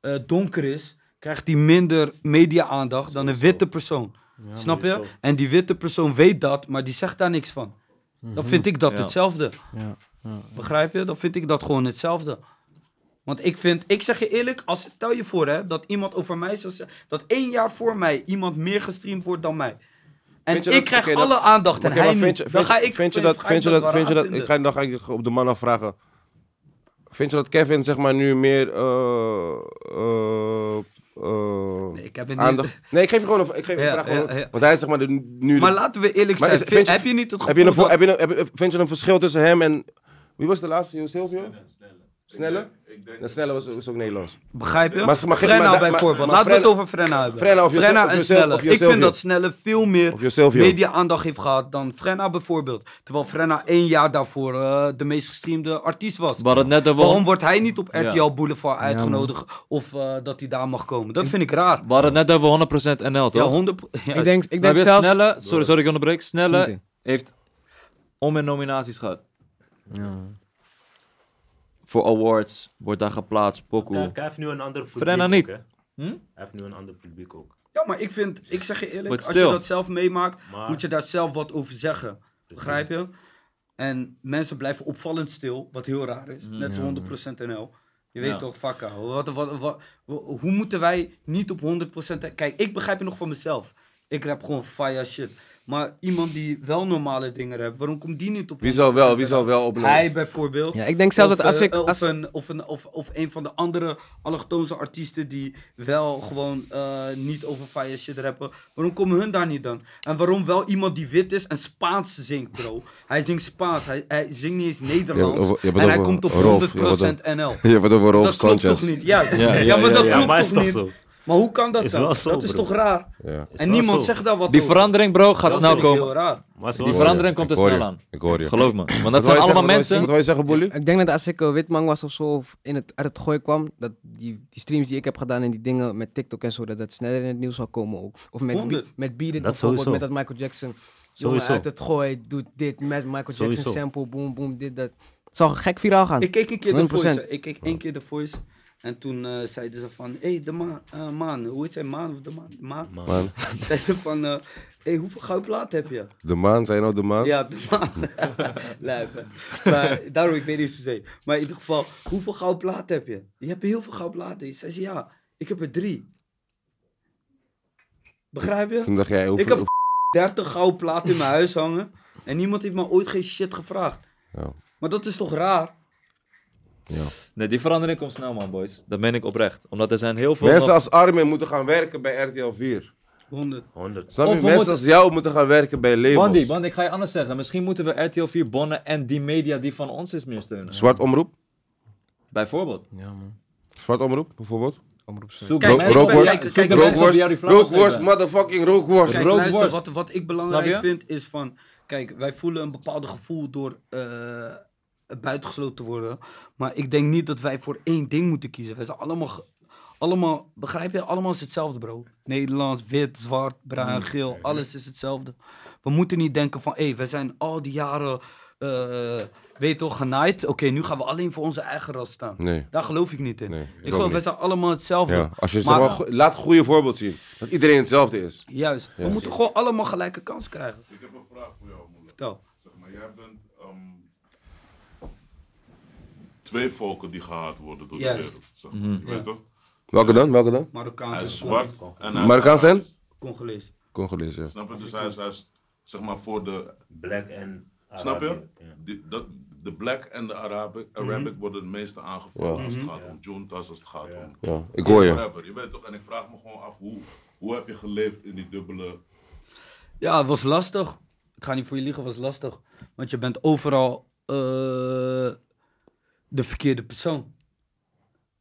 S5: eh, donker is, krijgt die minder media-aandacht dan een witte persoon. Snap je? En die witte persoon weet dat, maar die zegt daar niks van. Dan vind ik dat
S3: Ja.
S5: hetzelfde.
S4: Mhm. Ja,
S5: Begrijp je? Dan vind ik dat gewoon hetzelfde. Want ik vind, ik zeg je eerlijk, als, stel je voor hè, dat iemand over mij zou zeggen, dat één jaar voor mij iemand meer gestreamd wordt dan mij. En ik
S1: Vind je dat-
S5: krijg
S1: oké, dat-
S5: alle aandacht en
S1: Oké, maar
S5: hij
S1: vind
S5: niet.
S1: je-
S5: dan
S1: vind-
S5: ga ik
S1: vind je dat,
S5: ga
S1: vind je dat,
S5: wel
S1: vind je dat,
S5: raar
S1: ik ga, dan ga ik op de man afvragen. Vind je dat Kevin zeg maar nu meer eh, eh, eh,
S5: Nee, ik heb het niet-
S1: aandacht? Nee, ik geef je gewoon een, ik geef je een
S5: Ja,
S1: vraag.
S5: ja,
S1: gewoon-
S5: ja.
S1: Want hij is zeg maar de, nu. de-
S5: Maar laten we eerlijk
S1: Maar
S5: zijn.
S1: is- vind je-
S5: heb je niet het
S1: heb
S5: gevoel
S1: je een, vo-
S5: dat...
S1: heb je een, heb, je- vind je een verschil tussen hem en wie was de laatste? Joost Silvio? Snelle?
S6: Ik denk
S1: Ja, Snelle was, was ook Nederlands.
S5: Begrijp je?
S1: Maar- maar-
S5: Frenna
S1: maar- maar-
S5: bijvoorbeeld.
S1: maar- maar
S5: laten we het
S1: Frenna-
S5: over Frenna hebben.
S1: Frenna of Josef- of
S5: en
S1: Josef-
S5: Snelle.
S1: of
S5: Ik
S1: Joselvio.
S5: vind dat Snelle veel
S1: Of
S5: meer
S1: Joselvio.
S5: media-aandacht heeft gehad dan Frenna bijvoorbeeld. Terwijl Frenna één jaar daarvoor eh, de meest gestreamde artiest was.
S3: We hadden het net over,
S5: Waarom wordt hij niet op RTL
S3: Ja.
S5: Boulevard uitgenodigd of eh, dat hij daar mag komen? Dat vind ik raar.
S3: we hadden het net over 100% NL,
S5: Ja,
S3: toch?
S5: 100 juist.
S4: Ik denk, ik
S3: Maar
S4: denk
S3: weer
S4: zelfs...
S3: Snelle, sorry, sorry, ik onderbreek. Snelle
S4: Oké.
S3: heeft om in nominaties gehad.
S4: Ja.
S3: Voor awards wordt daar geplaatst, pokoe.
S2: Kijk, hij heeft nu een ander publiek
S3: Frenna
S2: ook,
S3: niet.
S2: hè.
S3: Hm?
S5: Hmm?
S2: Hij heeft nu een ander publiek ook.
S5: Ja, maar ik vind, ik zeg je eerlijk,
S3: Wordt
S5: als je
S3: stil.
S5: dat zelf meemaakt,
S2: Maar-
S5: moet je daar zelf wat over zeggen. Begrijp je? En mensen blijven opvallend stil, wat heel raar is. Net zo 100% NL. Je weet
S3: Ja.
S5: toch, fuck ouwe, wat, wat, wat- hoe moeten wij niet op 100%... Kijk, ik begrijp het nog van mezelf. Ik rap gewoon fire shit. Maar iemand die wel normale dingen rapt, waarom komt die niet op
S1: Wie zou wel,
S5: 100%
S1: wie zou wel opnemen?
S5: Hij bijvoorbeeld.
S4: Ja, ik denk zelfs
S5: Of,
S4: dat als
S5: eh,
S4: ik-
S5: Of,
S4: als-
S5: Een, of, een, of, of een van de andere allochtonse artiesten die wel gewoon eh, niet over fire shit rappen. Waarom komen hun daar niet dan? En waarom wel iemand die wit is en Spaans zingt, bro? Hij zingt Spaans, hij, hij zingt niet eens Nederlands.
S1: Je hebt over- je hebt
S5: en
S1: het
S5: hij
S1: over
S5: komt op
S1: Rolf,
S5: 100% NL.
S1: Je hebt het over Rolf
S5: Dat klopt
S1: Sanchez.
S5: toch niet? Juist. Ja,
S3: Ja, ja,
S5: maar dat
S3: ja,
S2: Ja,
S5: klopt
S2: maar is
S5: toch
S2: toch
S5: niet?
S2: zo?
S5: Maar hoe kan dat
S2: Is
S5: dan?
S2: wel zo,
S5: dat is
S2: bro.
S5: toch raar?
S1: Ja.
S2: Is
S5: en
S2: wel
S5: niemand
S2: zo.
S5: zegt daar wat
S3: Die
S5: over.
S3: verandering, bro, gaat
S5: Dat
S3: snel
S5: vind ik
S3: komen.
S5: heel raar.
S2: Maar is wel
S3: Die
S1: Ik
S2: zo.
S1: hoor
S3: verandering
S1: je.
S3: komt
S1: Ik
S3: er
S1: hoor
S3: snel
S1: je.
S3: aan.
S1: Ik hoor je.
S3: Geloof me. Want
S1: Wat
S3: dat
S1: wil
S3: zijn
S1: je
S3: allemaal
S1: zeggen? Wat wil je-
S3: mensen.
S1: Wat wil je zeggen, Bully?
S4: Ik denk dat als ik eh, witmang was of zo, of in het, uit het gooi kwam, dat die, die streams die ik heb gedaan en die dingen met TikTok en zo, dat dat sneller in het nieuws zou komen ook. Of met, Be-
S5: Honderd.
S4: met Beat It
S2: Dat
S4: bijvoorbeeld,
S2: sowieso.
S4: met dat Michael Jackson. Jongen,
S2: Sowieso.
S4: uit het gooi doet dit met Michael Jackson
S2: Sowieso.
S4: sample, boom, boom, dit, dat. Het zou gek viraal gaan.
S5: Ik keek een keer de
S4: 100%.
S5: voice. Ik keek één keer de voice. En toen eh, zeiden ze van, hé, hey, de maan, eh, maan, hoe heet zij, maan of de maan? De maan.
S1: Man,
S5: Zeiden ze van, hé, hey, hoeveel goudplaten heb je?
S1: de maan, zijn nou de maan?
S5: Ja, de maan. Lijp, hè. Maar daarom, ik weet niet eens hoe ze heet. Maar in ieder geval, hoeveel goudplaten heb je? Je hebt heel veel goudplaten. Zei ze, ja, ik heb er drie. Begrijp je?
S1: Toen dacht jij, hoeveel...
S5: Ik heb 30 goudplaten in mijn huis hangen. En niemand heeft me ooit geen shit gevraagd.
S1: Ja.
S5: Maar dat is toch raar?
S3: Nee, die verandering komt snel, man, boys. Dat meen ik oprecht. Omdat er zijn heel veel.
S1: Mensen
S3: nog-
S1: als Armin moeten gaan werken bij RTL 4.
S5: 100.
S2: 100.
S1: Snap je?
S3: Of we
S1: Mensen
S3: moeten-
S1: als jou moeten gaan werken bij labels.
S3: Wandy, want ik ga je anders zeggen. Misschien moeten we RTL 4 bonnen en die media die van ons is meer steunen.
S1: Zwart omroep.
S3: Bijvoorbeeld.
S4: Ja man,
S1: Zwart omroep, bijvoorbeeld.
S4: omroep zo.
S3: Zoek
S5: Kijk,
S1: Ro-
S3: mensen bij-
S1: rookworst.
S3: zoek de
S5: kijk,
S3: mensen die
S1: Rookworst,
S3: jou die flauwekul
S1: rookworst,
S3: hebben.
S1: motherfucking rookworst.
S5: Kijk,
S3: Rookworst.
S5: luister, wat, wat ik belangrijk
S3: Snap je?
S5: vind is van... Kijk, wij voelen een bepaald gevoel door eh, buitengesloten te worden. Maar ik denk niet dat wij voor één ding moeten kiezen. Wij zijn allemaal, ge- allemaal begrijp je? Allemaal is hetzelfde, bro. Nederlands, wit, zwart,
S3: Hmm.
S5: bruin, geel. Alles is hetzelfde. We moeten niet denken van... Hé, wij zijn al die jaren... eh, weet je toch, genaaid. Oké, nu gaan we alleen voor onze eigen ras staan.
S1: Nee.
S5: Daar geloof ik niet in.
S1: Nee, ik ook
S5: ik geloof, wij
S1: niet.
S5: zijn allemaal hetzelfde.
S1: Ja, als je
S5: Maar-
S1: zeg maar, go- laat een goede voorbeeld zien. Dat iedereen hetzelfde is.
S5: Juist. We moeten gewoon allemaal gelijke kans krijgen.
S6: Ik heb een vraag voor jou, Moela.
S5: Vertel.
S6: Zeg maar, jij bent ehm, twee volken die gehaat worden door
S5: Juist.
S6: de wereld. Zeg maar. Je weet toch?
S1: Welke dan? Welke dan?
S5: Marokkaanse
S6: Hij is zwart en hij is
S1: Marokkaans en?
S6: Arabisch.
S5: Congolees.
S1: Congolees, ja.
S6: Snap je? Dus hij is, hij is, zeg maar voor de
S2: Black en
S6: Snap je?
S2: Arabië. Ja.
S6: Die- dat, de black en de Arabic, Arabic worden het meeste aangevallen
S1: Ja.
S6: als het gaat om juntas, als het gaat om...
S1: ja. Ik hoor je.
S6: Whatever. Je weet toch? En ik vraag me gewoon af, hoe, hoe heb je geleefd in die dubbele...
S5: Ja, het was lastig. Ik ga niet voor je liegen, het was lastig. Want je bent overal eh, de verkeerde persoon.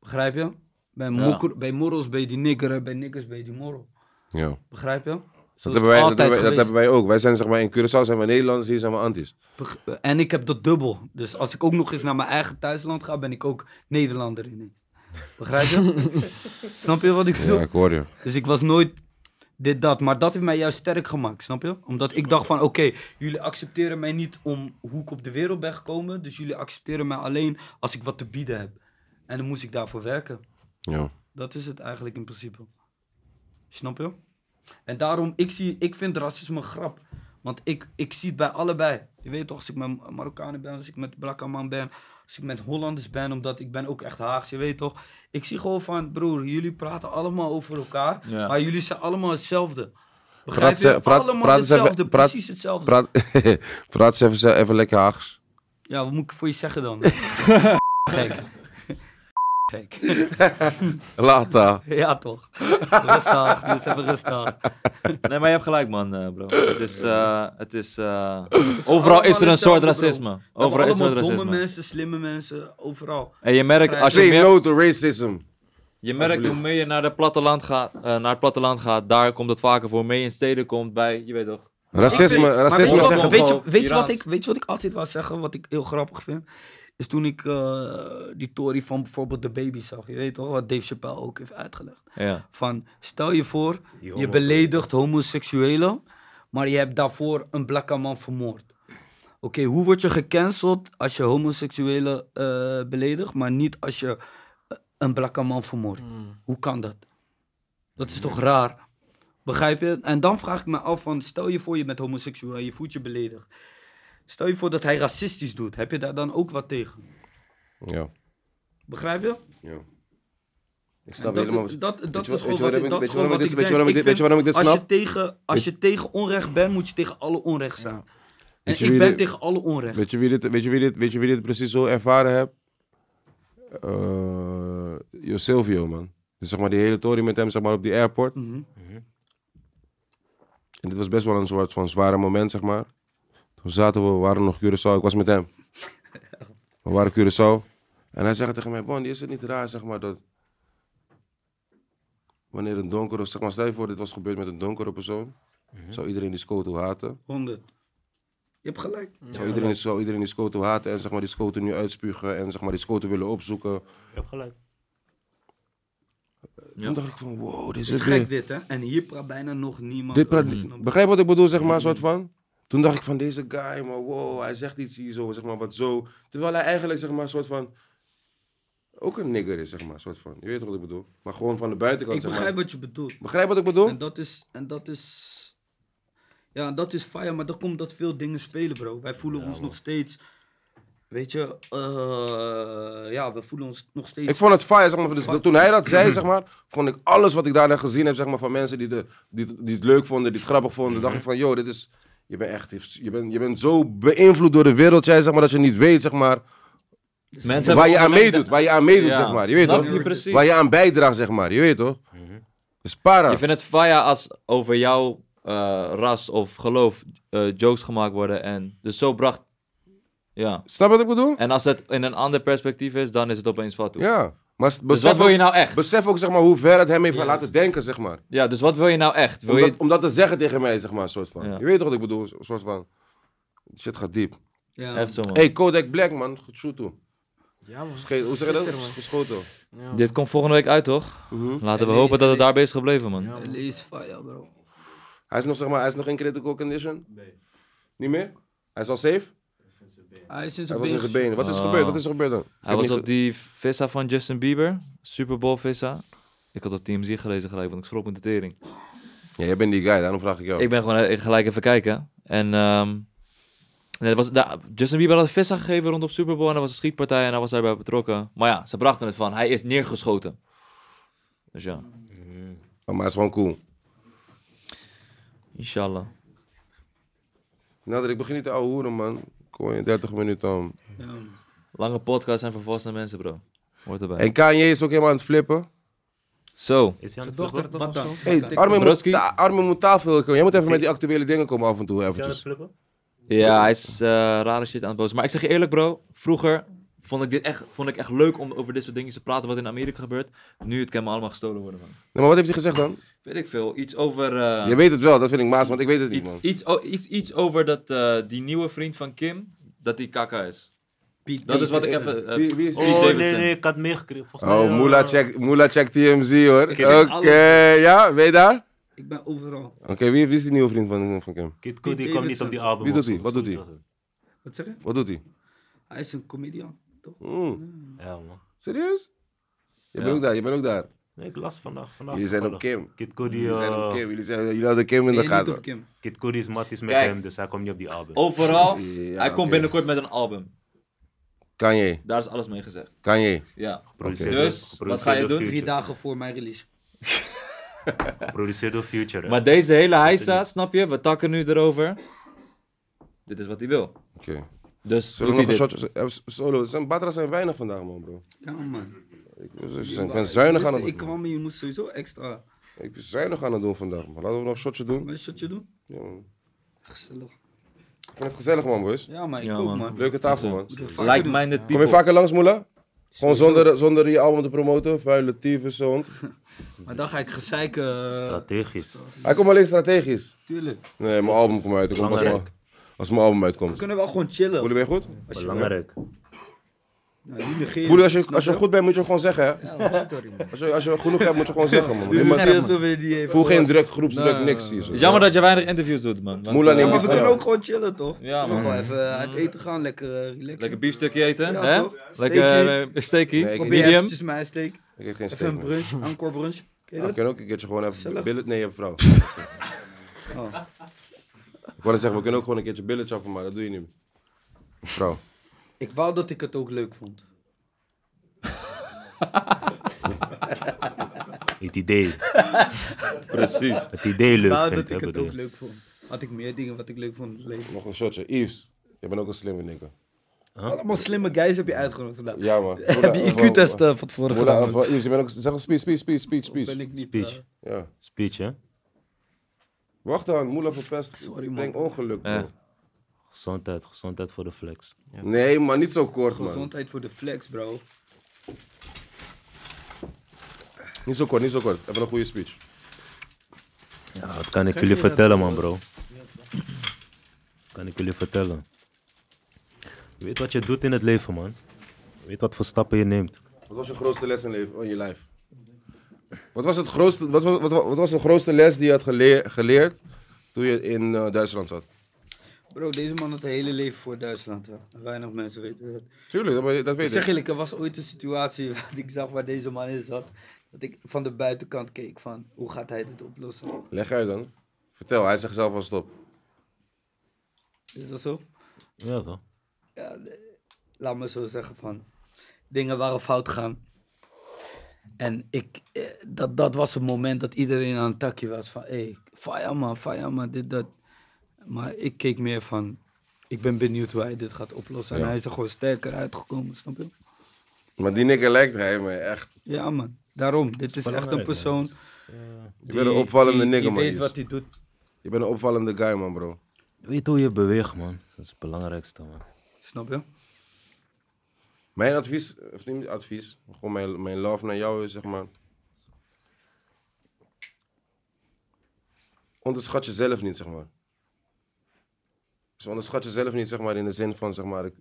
S5: Begrijp je? Bij, mokker- bij morrels ben je die nigger en bij niggers ben je die morrel.
S1: Ja.
S5: Begrijp je? Zo
S1: Dat,
S5: is
S1: hebben wij,
S5: het
S1: dat, hebben wij,
S5: altijd
S1: dat
S5: geweest.
S1: hebben wij ook. Wij zijn zeg maar in Curaçao zijn we Nederlanders, hier zijn we antis.
S5: Beg- En ik heb dat dubbel. Dus als ik ook nog eens naar mijn eigen thuisland ga, ben ik ook Nederlander ineens. Begrijp je? Snap je wat ik bedoel?
S1: Ja, ik hoor je.
S5: Dus ik was nooit dit, dat. Maar dat heeft mij juist sterk gemaakt, snap je? Omdat ik dacht van, oké, jullie accepteren mij niet om hoe ik op de wereld ben gekomen. Dus jullie accepteren mij alleen als ik wat te bieden heb. En dan moest ik daarvoor werken.
S1: Ja.
S5: Dat is het eigenlijk in principe. Snap je? En daarom, ik, zie, ik vind racisme een grap. Want ik, ik zie het bij allebei. Je weet toch, als ik met Marokkanen ben, als ik met Blakkaman ben, als ik met Hollanders ben, omdat ik ben ook echt Haags, je weet toch. Ik zie gewoon van, broer, jullie praten allemaal over elkaar,
S3: Ja.
S5: maar jullie zijn allemaal hetzelfde. Begrijp
S1: Praat,
S5: je?
S1: ze- praat,
S5: allemaal
S1: praat, eens
S5: hetzelfde,
S1: even, praat,
S5: precies hetzelfde.
S1: praat, praat eens even, ze- even lekker Haags.
S5: Ja, wat moet ik voor je zeggen dan? Gek. Gek.
S1: Lata.
S5: Ja, toch. Rustig, dus even rustig.
S3: Nee, maar je hebt gelijk, man, eh, bro. Het is. eh, het is eh, overal is er een soort
S5: hetzelfde,
S3: racisme.
S5: We hebben
S3: Overal is er een
S5: allemaal domme
S3: racisme.
S5: mensen, slimme mensen, overal.
S3: En je merkt, als je
S1: Say
S3: meer,
S1: no to racism.
S3: je merkt hoe meer je naar, de platteland gaat, eh, naar het platteland gaat, daar komt het vaker voor. Meer in steden komt bij, je weet toch.
S1: Racisme,
S5: Maar weet
S1: racisme
S5: je wat-
S1: zeggen.
S5: Weet je,
S3: gewoon
S5: weet, je wat ik,
S3: Iraans.
S5: weet je wat ik altijd wil zeggen, wat ik heel grappig vind? Is toen ik eh, die tory van bijvoorbeeld de baby zag. Je weet toch, wat Dave Chappelle ook heeft uitgelegd.
S3: Ja.
S5: Van, stel je voor, je beledigt homoseksuelen, maar je hebt daarvoor een blakke man vermoord. Oké, hoe word je gecanceld als je homoseksuelen eh, beledigt, maar niet als je eh, een blakke man vermoordt?
S1: Hmm.
S5: Hoe kan dat? Dat is toch raar? Begrijp je? En dan vraag ik me af van, stel je voor je bent homoseksueel en je voelt je beledigd. Stel je voor dat hij racistisch doet. Heb je daar dan ook wat tegen?
S1: Ja.
S5: Begrijp je?
S1: ja. Ik
S5: En
S1: snap
S5: dat,
S1: helemaal
S5: dat, dat,
S1: Weet je
S5: is
S1: wat- weet je
S5: gewoon wat
S1: waarom
S5: ik
S1: ik-
S5: dat
S1: weet je
S5: is gewoon
S1: waarom
S5: wat
S1: ik dit- weet je
S5: ik denk.
S1: waarom ik
S5: Ik
S1: dit- weet je waarom ik
S5: vind,
S1: dit
S5: Als je
S1: snap?
S5: tegen, als je tegen onrecht bent, moet je tegen alle onrecht zijn. En
S1: Weet je
S5: ik
S1: wie
S5: ben
S1: dit-
S5: tegen alle onrecht.
S1: Weet je wie dit, weet je wie dit, weet je wie dit precies zo ervaren heb? Eh Jo Silvio, man. Dus zeg maar die hele tory met hem zeg maar, op die airport.
S5: Mhm.
S1: En dit was best wel een soort van zware moment, zeg maar. Toen zaten we, we waren nog Curaçao, ik was met hem. We waren Curaçao. En hij zegt tegen mij, Bonnie, is het niet raar, zeg maar, dat... Wanneer een donkere, zeg maar, stel je voor, dit was gebeurd met een donkere persoon. Zou iedereen die Scoto haten?
S5: 100. Je hebt gelijk.
S1: Zou iedereen, die- zou iedereen die Scoto haten en zeg maar, die Scoto nu uitspugen en zeg maar, die Scoto willen opzoeken?
S2: Je hebt gelijk.
S1: Toen dacht ik van, wow, dit is,
S5: Het is
S1: het weer.
S5: gek dit, hè? En hier praat bijna nog niemand.
S1: Dit praat,
S5: over, snap je?
S1: begrijp wat ik bedoel, zeg maar, soort van. Toen dacht ik van deze guy, maar wow, hij zegt iets hier zo, zeg maar, wat zo. Terwijl hij eigenlijk, zeg maar, soort van. Ook een nigger is, zeg maar, soort van. Je weet toch wat ik bedoel? Maar gewoon van de buitenkant,
S5: Ik
S1: zeg
S5: begrijp
S1: maar.
S5: wat je bedoelt.
S1: Begrijp wat ik bedoel?
S5: En dat is. En dat is ja, en dat is fire, maar dan komt dat veel dingen spelen, bro. Wij voelen ons nog steeds. Weet je, eh, ja, we voelen ons nog steeds.
S1: Ik vond het fire, zeg maar. Dus toen hij dat zei, zeg maar, vond ik alles wat ik daarna gezien heb, zeg maar, van mensen die, de, die, het- die het leuk vonden, die het grappig vonden, dacht ik van, yo, dit is, je bent echt, je bent, je bent zo beïnvloed door de wereld, jij, zeg maar, dat je niet weet, zeg maar,
S3: Mensen
S1: waar
S3: hebben
S1: je aan
S3: online-
S1: meedoet, waar je aan meedoet,
S3: Ja,
S1: zeg maar. Je weet
S3: snap
S1: toch?
S3: je precies.
S1: Waar je aan bijdraagt, zeg maar. Je weet toch? Dus para.
S3: Mhm. Je vindt het faya als over jouw eh, ras of geloof eh, jokes gemaakt worden. En dus zo bracht. Ja.
S1: Snap wat ik bedoel?
S3: En als het in een ander perspectief is, dan is het opeens fatu.
S1: Ja. Maar s-
S3: Dus
S1: besef,
S3: wat wil je
S1: ook,
S3: nou echt?
S1: besef ook, zeg maar, hoe ver het hem heeft laten denken, zeg maar.
S3: Ja, dus wat wil je nou echt? Wil
S1: Om
S3: je...
S1: dat, om dat te zeggen tegen mij, zeg maar, soort van.
S3: Ja.
S1: Je weet toch wat ik bedoel? Een soort van, shit gaat diep.
S5: Ja.
S3: Echt zo, man.
S1: Hey, Kodak Black, man. Goed shoot, toe.
S4: Ja, man.
S1: Ge- Hoe zeg je dat?
S4: Gisteren, man.
S1: Geschoten.
S3: Dit komt volgende week uit, toch?
S1: Mhm.
S3: Laten we hopen dat het daarbij is gebleven, man.
S5: LA is fire, bro.
S1: Hij is nog, zeg maar, hij is nog in critical condition? Nee. Niet meer? Hij is al safe?
S5: Hij is in
S1: Hij
S5: zijn
S1: was in
S5: been.
S1: zijn benen. Wat is er
S3: Ah.
S1: gebeurd? Wat is er gebeurd dan? Ik
S3: Hij
S1: heb
S3: was
S1: niet
S3: op
S1: ge-
S3: die visa van Justin Bieber. Super Bowl visa. Ik had op TMZ gelezen gelijk, want ik schrok met de tering.
S1: Ja, jij bent die guy, daarom vraag ik jou.
S3: Ik ben gewoon eh, gelijk even kijken. En ehm, nee, dat was, daar- Justin Bieber had een visa gegeven rondom Super Bowl. En er was een schietpartij en hij was daarbij betrokken. Maar ja, ze brachten het van. Hij is neergeschoten. Dus ja,
S1: Oh, maar hij is gewoon cool.
S3: inshallah.
S1: Nader, ik begin niet te ouwe hoeren, man. Ik hoor je 30 minuten om.
S3: Lange podcasts zijn voor volwassene mensen, bro. Hoort erbij.
S1: En Kanye is ook helemaal aan het flippen.
S3: Zo.
S2: Is hij aan
S4: Zijn
S2: het flippen?
S4: dochter toch of zo?
S1: Hey, Armin, moet
S3: Broski.
S1: ta- Armin moet tafel komen. Jij moet even met die actuele dingen komen af en toe,
S2: Is hij aan het
S1: eventjes.
S2: flippen?
S3: Ja, hij is eh, rare shit aan het posten. Maar ik zeg je eerlijk, bro. Vroeger vond ik, dit echt, vond ik echt leuk om over dit soort dingen te praten wat in Amerika gebeurt. Nu het kan me allemaal gestolen worden, man.
S1: Nee, maar wat heeft hij gezegd dan?
S3: Weet ik veel. Iets over... eh,
S1: Je weet het wel, dat vind ik maas, want ik weet het niet,
S3: iets,
S1: man.
S3: iets, o- iets, iets over dat eh, die nieuwe vriend van Kim, dat die kaka is. dat is wat ik even... eh,
S1: Wie- wie is-
S3: Pete
S2: Oh, nee,
S3: Davidson.
S2: nee, ik had meegekregen. Volgens mij,
S1: Oh,
S2: eh,
S1: Moela check, Moela check TMZ, hoor.
S5: ken alles.
S1: Oké, ja, weet je daar?
S5: Ik ben overal.
S1: Oké, wie, wie is die nieuwe vriend van, van Kim?
S2: Kid Cudi
S5: Pete
S2: kwam niet op die album.
S1: Wie doet
S2: of zo,
S1: hij? Wat doet hij?
S2: zoiets was
S5: Wat zeg je?
S1: Wat doet hij?
S5: Hij is een comedian. Toch?
S1: Mm,
S2: het. Ja, man.
S1: serieus? Je bent ook daar, je bent ook daar.
S2: Nee, ik las vandaag. vandaag
S1: Jullie zijn op
S2: toevallig.
S1: Kim.
S2: Kid Cudi,
S1: Jullie zijn
S2: eh,
S1: op Kim, jullie, zijn, jullie hadden Kim in
S5: Nee,
S1: de
S5: niet
S1: gaten.
S5: op Kim.
S2: Kid Cudi is matties met
S3: Kijk.
S2: hem, dus hij komt niet op die album.
S3: Overal,
S1: Ja,
S3: hij komt
S1: oké.
S3: binnenkort met een album.
S1: Kanye,
S3: Daar is alles mee gezegd.
S1: Kanye.
S3: Ja.
S2: Geproduceerd
S3: Oké.
S2: door-
S3: Dus, wat
S2: geproduceerd
S3: ga je
S2: door
S3: doen?
S2: Future.
S5: Drie dagen voor mijn release.
S2: Geproduceerd door Future. hè.
S3: Maar deze hele heisa, snap je? We takken nu erover. Dit is wat hij wil.
S1: Oké.
S3: Dus
S1: Zullen
S3: doet
S1: we
S3: hij
S1: nog een
S3: dit.
S1: shotje... eh, Solo, zijn, Batra zijn weinig vandaag, man, bro.
S5: Ja, man.
S1: Ik, ik- ik ben zuinig aan het
S5: Ik kwam en je moest sowieso extra.
S1: Ik ben zuinig aan het doen vandaag, man. Laten we nog een shotje doen.
S5: Wat shotje doen?
S1: Ja, man.
S5: Gezellig.
S1: Ik vind het gezellig, man, boys.
S5: Ja, maar ik
S3: Ja,
S5: ook,
S3: man.
S5: man.
S1: Leuke tafel, man.
S5: Moet het vaker doen.
S3: Like-minded people.
S1: Kom je vaker langs, Moela? Gewoon zonder, zonder je album te promoten. Vuile tyfus, zo'n hond.
S5: Maar dan ga ik gezeiken. eh,
S2: Strategisch.
S1: Hij komt alleen strategisch.
S5: Tuurlijk.
S1: Nee, mijn album komt uit. Ik kom pas
S2: Belangrijk.
S1: maar- als mijn album
S5: We
S1: uitkomt.
S5: kunnen wel gewoon chillen.
S1: Voelen ben je goed?
S5: Als je,
S2: Belangrijk.
S5: Nou, die negeren.
S1: Voelen, als je,
S5: Snap
S1: als je goed bent, moet je gewoon zeggen, hè?
S5: Ja, maar sorry, man.
S1: Als je, als je genoeg hebt, moet je gewoon zeggen, man.
S5: Dit
S1: Nee,
S5: is
S1: maar
S5: niet alsof je die heeft.
S1: voel geen druk, groepsdruk, niks hier. zo.
S3: Het is jammer dat je weinig interviews doet, man. Want,
S1: Moela
S3: eh,
S1: neemt
S5: Ja, maar we
S1: Ja.
S5: kunnen ook gewoon chillen, toch?
S3: Ja,
S5: We kunnen
S3: man.
S5: Gewoon even uit eten gaan, lekker eh, relaxen.
S3: Lekker biefstukje eten,
S5: Ja,
S3: hè?
S5: toch?
S3: Lekker eh, steakie.
S1: Nee, ik-
S5: Probeer
S3: Medium.
S5: eventjes mijn
S1: Ik
S5: steak.
S1: geef geen
S5: Even een
S1: statement.
S5: brunch, encore brunch. Ken je
S1: Ik
S5: dat?
S1: Ah, kan ook een keertje gewoon even
S5: Gezellig.
S1: billet... Nee, je hebt vrouw. Oh.
S5: Oh.
S1: Ik wou net zeggen, we kunnen ook gewoon een keertje billet chappen, maar dat doe je niet meer. Vrouw.
S5: Ik wou dat ik het ook leuk vond.
S2: Het idee.
S1: Precies.
S2: Het idee
S5: Ik
S2: leuk vindt,
S5: wou Nou, dat ik
S2: hè,
S5: het ook
S2: bedoel.
S5: leuk vond. Had ik meer dingen wat ik leuk vond in het leven.
S1: Nog een shotje. Yves, je bent ook een slimme denker.
S5: Allemaal slimme guys heb je uitgenodigd vandaag.
S1: Ja, man.
S5: heb je IQ-test eh, van tevoren
S1: Moeder,
S5: gedaan?
S1: of, eh, Yves, je bent ook... Zeg een speech, speech, speech, speech, speech.
S5: Ben ik niet...
S2: Speech.
S5: eh,
S1: Ja.
S2: Speech, hè?
S1: Wacht dan, moeder verpest.
S5: Sorry, man.
S1: Breng ongeluk,
S3: Ja.
S1: bro.
S2: Gezondheid, gezondheid voor de flex.
S1: Nee, maar niet zo kort, man.
S5: gezondheid voor de flex, bro.
S1: Niet zo kort, niet zo kort. Even een goede speech.
S2: Ja, wat kan ik jullie vertellen, man, bro? kan ik jullie vertellen? Je weet wat je doet in het leven, man. Je weet wat voor stappen je neemt.
S1: Wat was je grootste les in, leven, in je lijf? Wat was, het grootste, wat, was, wat, wa- wat was de grootste les die je had geleer- geleerd toen je in eh, Duitsland zat?
S5: Bro, deze man had het hele leven voor Duitsland. Ja. Weinig mensen weten dat.
S1: Tuurlijk, dat, weet- dat
S5: Ik
S1: weet
S5: zeg
S1: ik.
S5: eerlijk, er was ooit een situatie waar ik zag waar deze man in zat. Dat ik van de buitenkant keek van, hoe gaat hij dit oplossen?
S1: Leg uit dan. Vertel, hij zegt zelf al stop.
S5: Is dat zo?
S2: Ja, toch?
S5: Ja, de- laat me zo zeggen van, dingen waren fout gaan. En ik, eh, dat, dat was het moment dat iedereen aan het takje was van, hé, hey, fire man, fire man, dit, dat. Maar ik keek meer van, ik ben benieuwd hoe hij dit gaat oplossen. En hij is er gewoon sterker uitgekomen, snap je?
S1: Maar die nikker lijkt hij me echt.
S5: Ja man, daarom. Dit is echt een
S2: Belangrijk,
S5: persoon.
S1: Je bent een opvallende
S5: die,
S1: nigger,
S5: die
S1: man.
S5: weet
S1: Yves.
S5: wat hij doet.
S1: Je bent een opvallende guy, man, bro.
S2: Je weet hoe je beweegt, man. Dat is het belangrijkste, man.
S5: Snap je?
S1: Mijn advies, of niet advies, gewoon mijn, mijn love naar jou is, zeg maar. Onderschat jezelf niet, zeg maar. Dus onderschat jezelf niet, zeg maar, in de zin van, zeg maar, ik,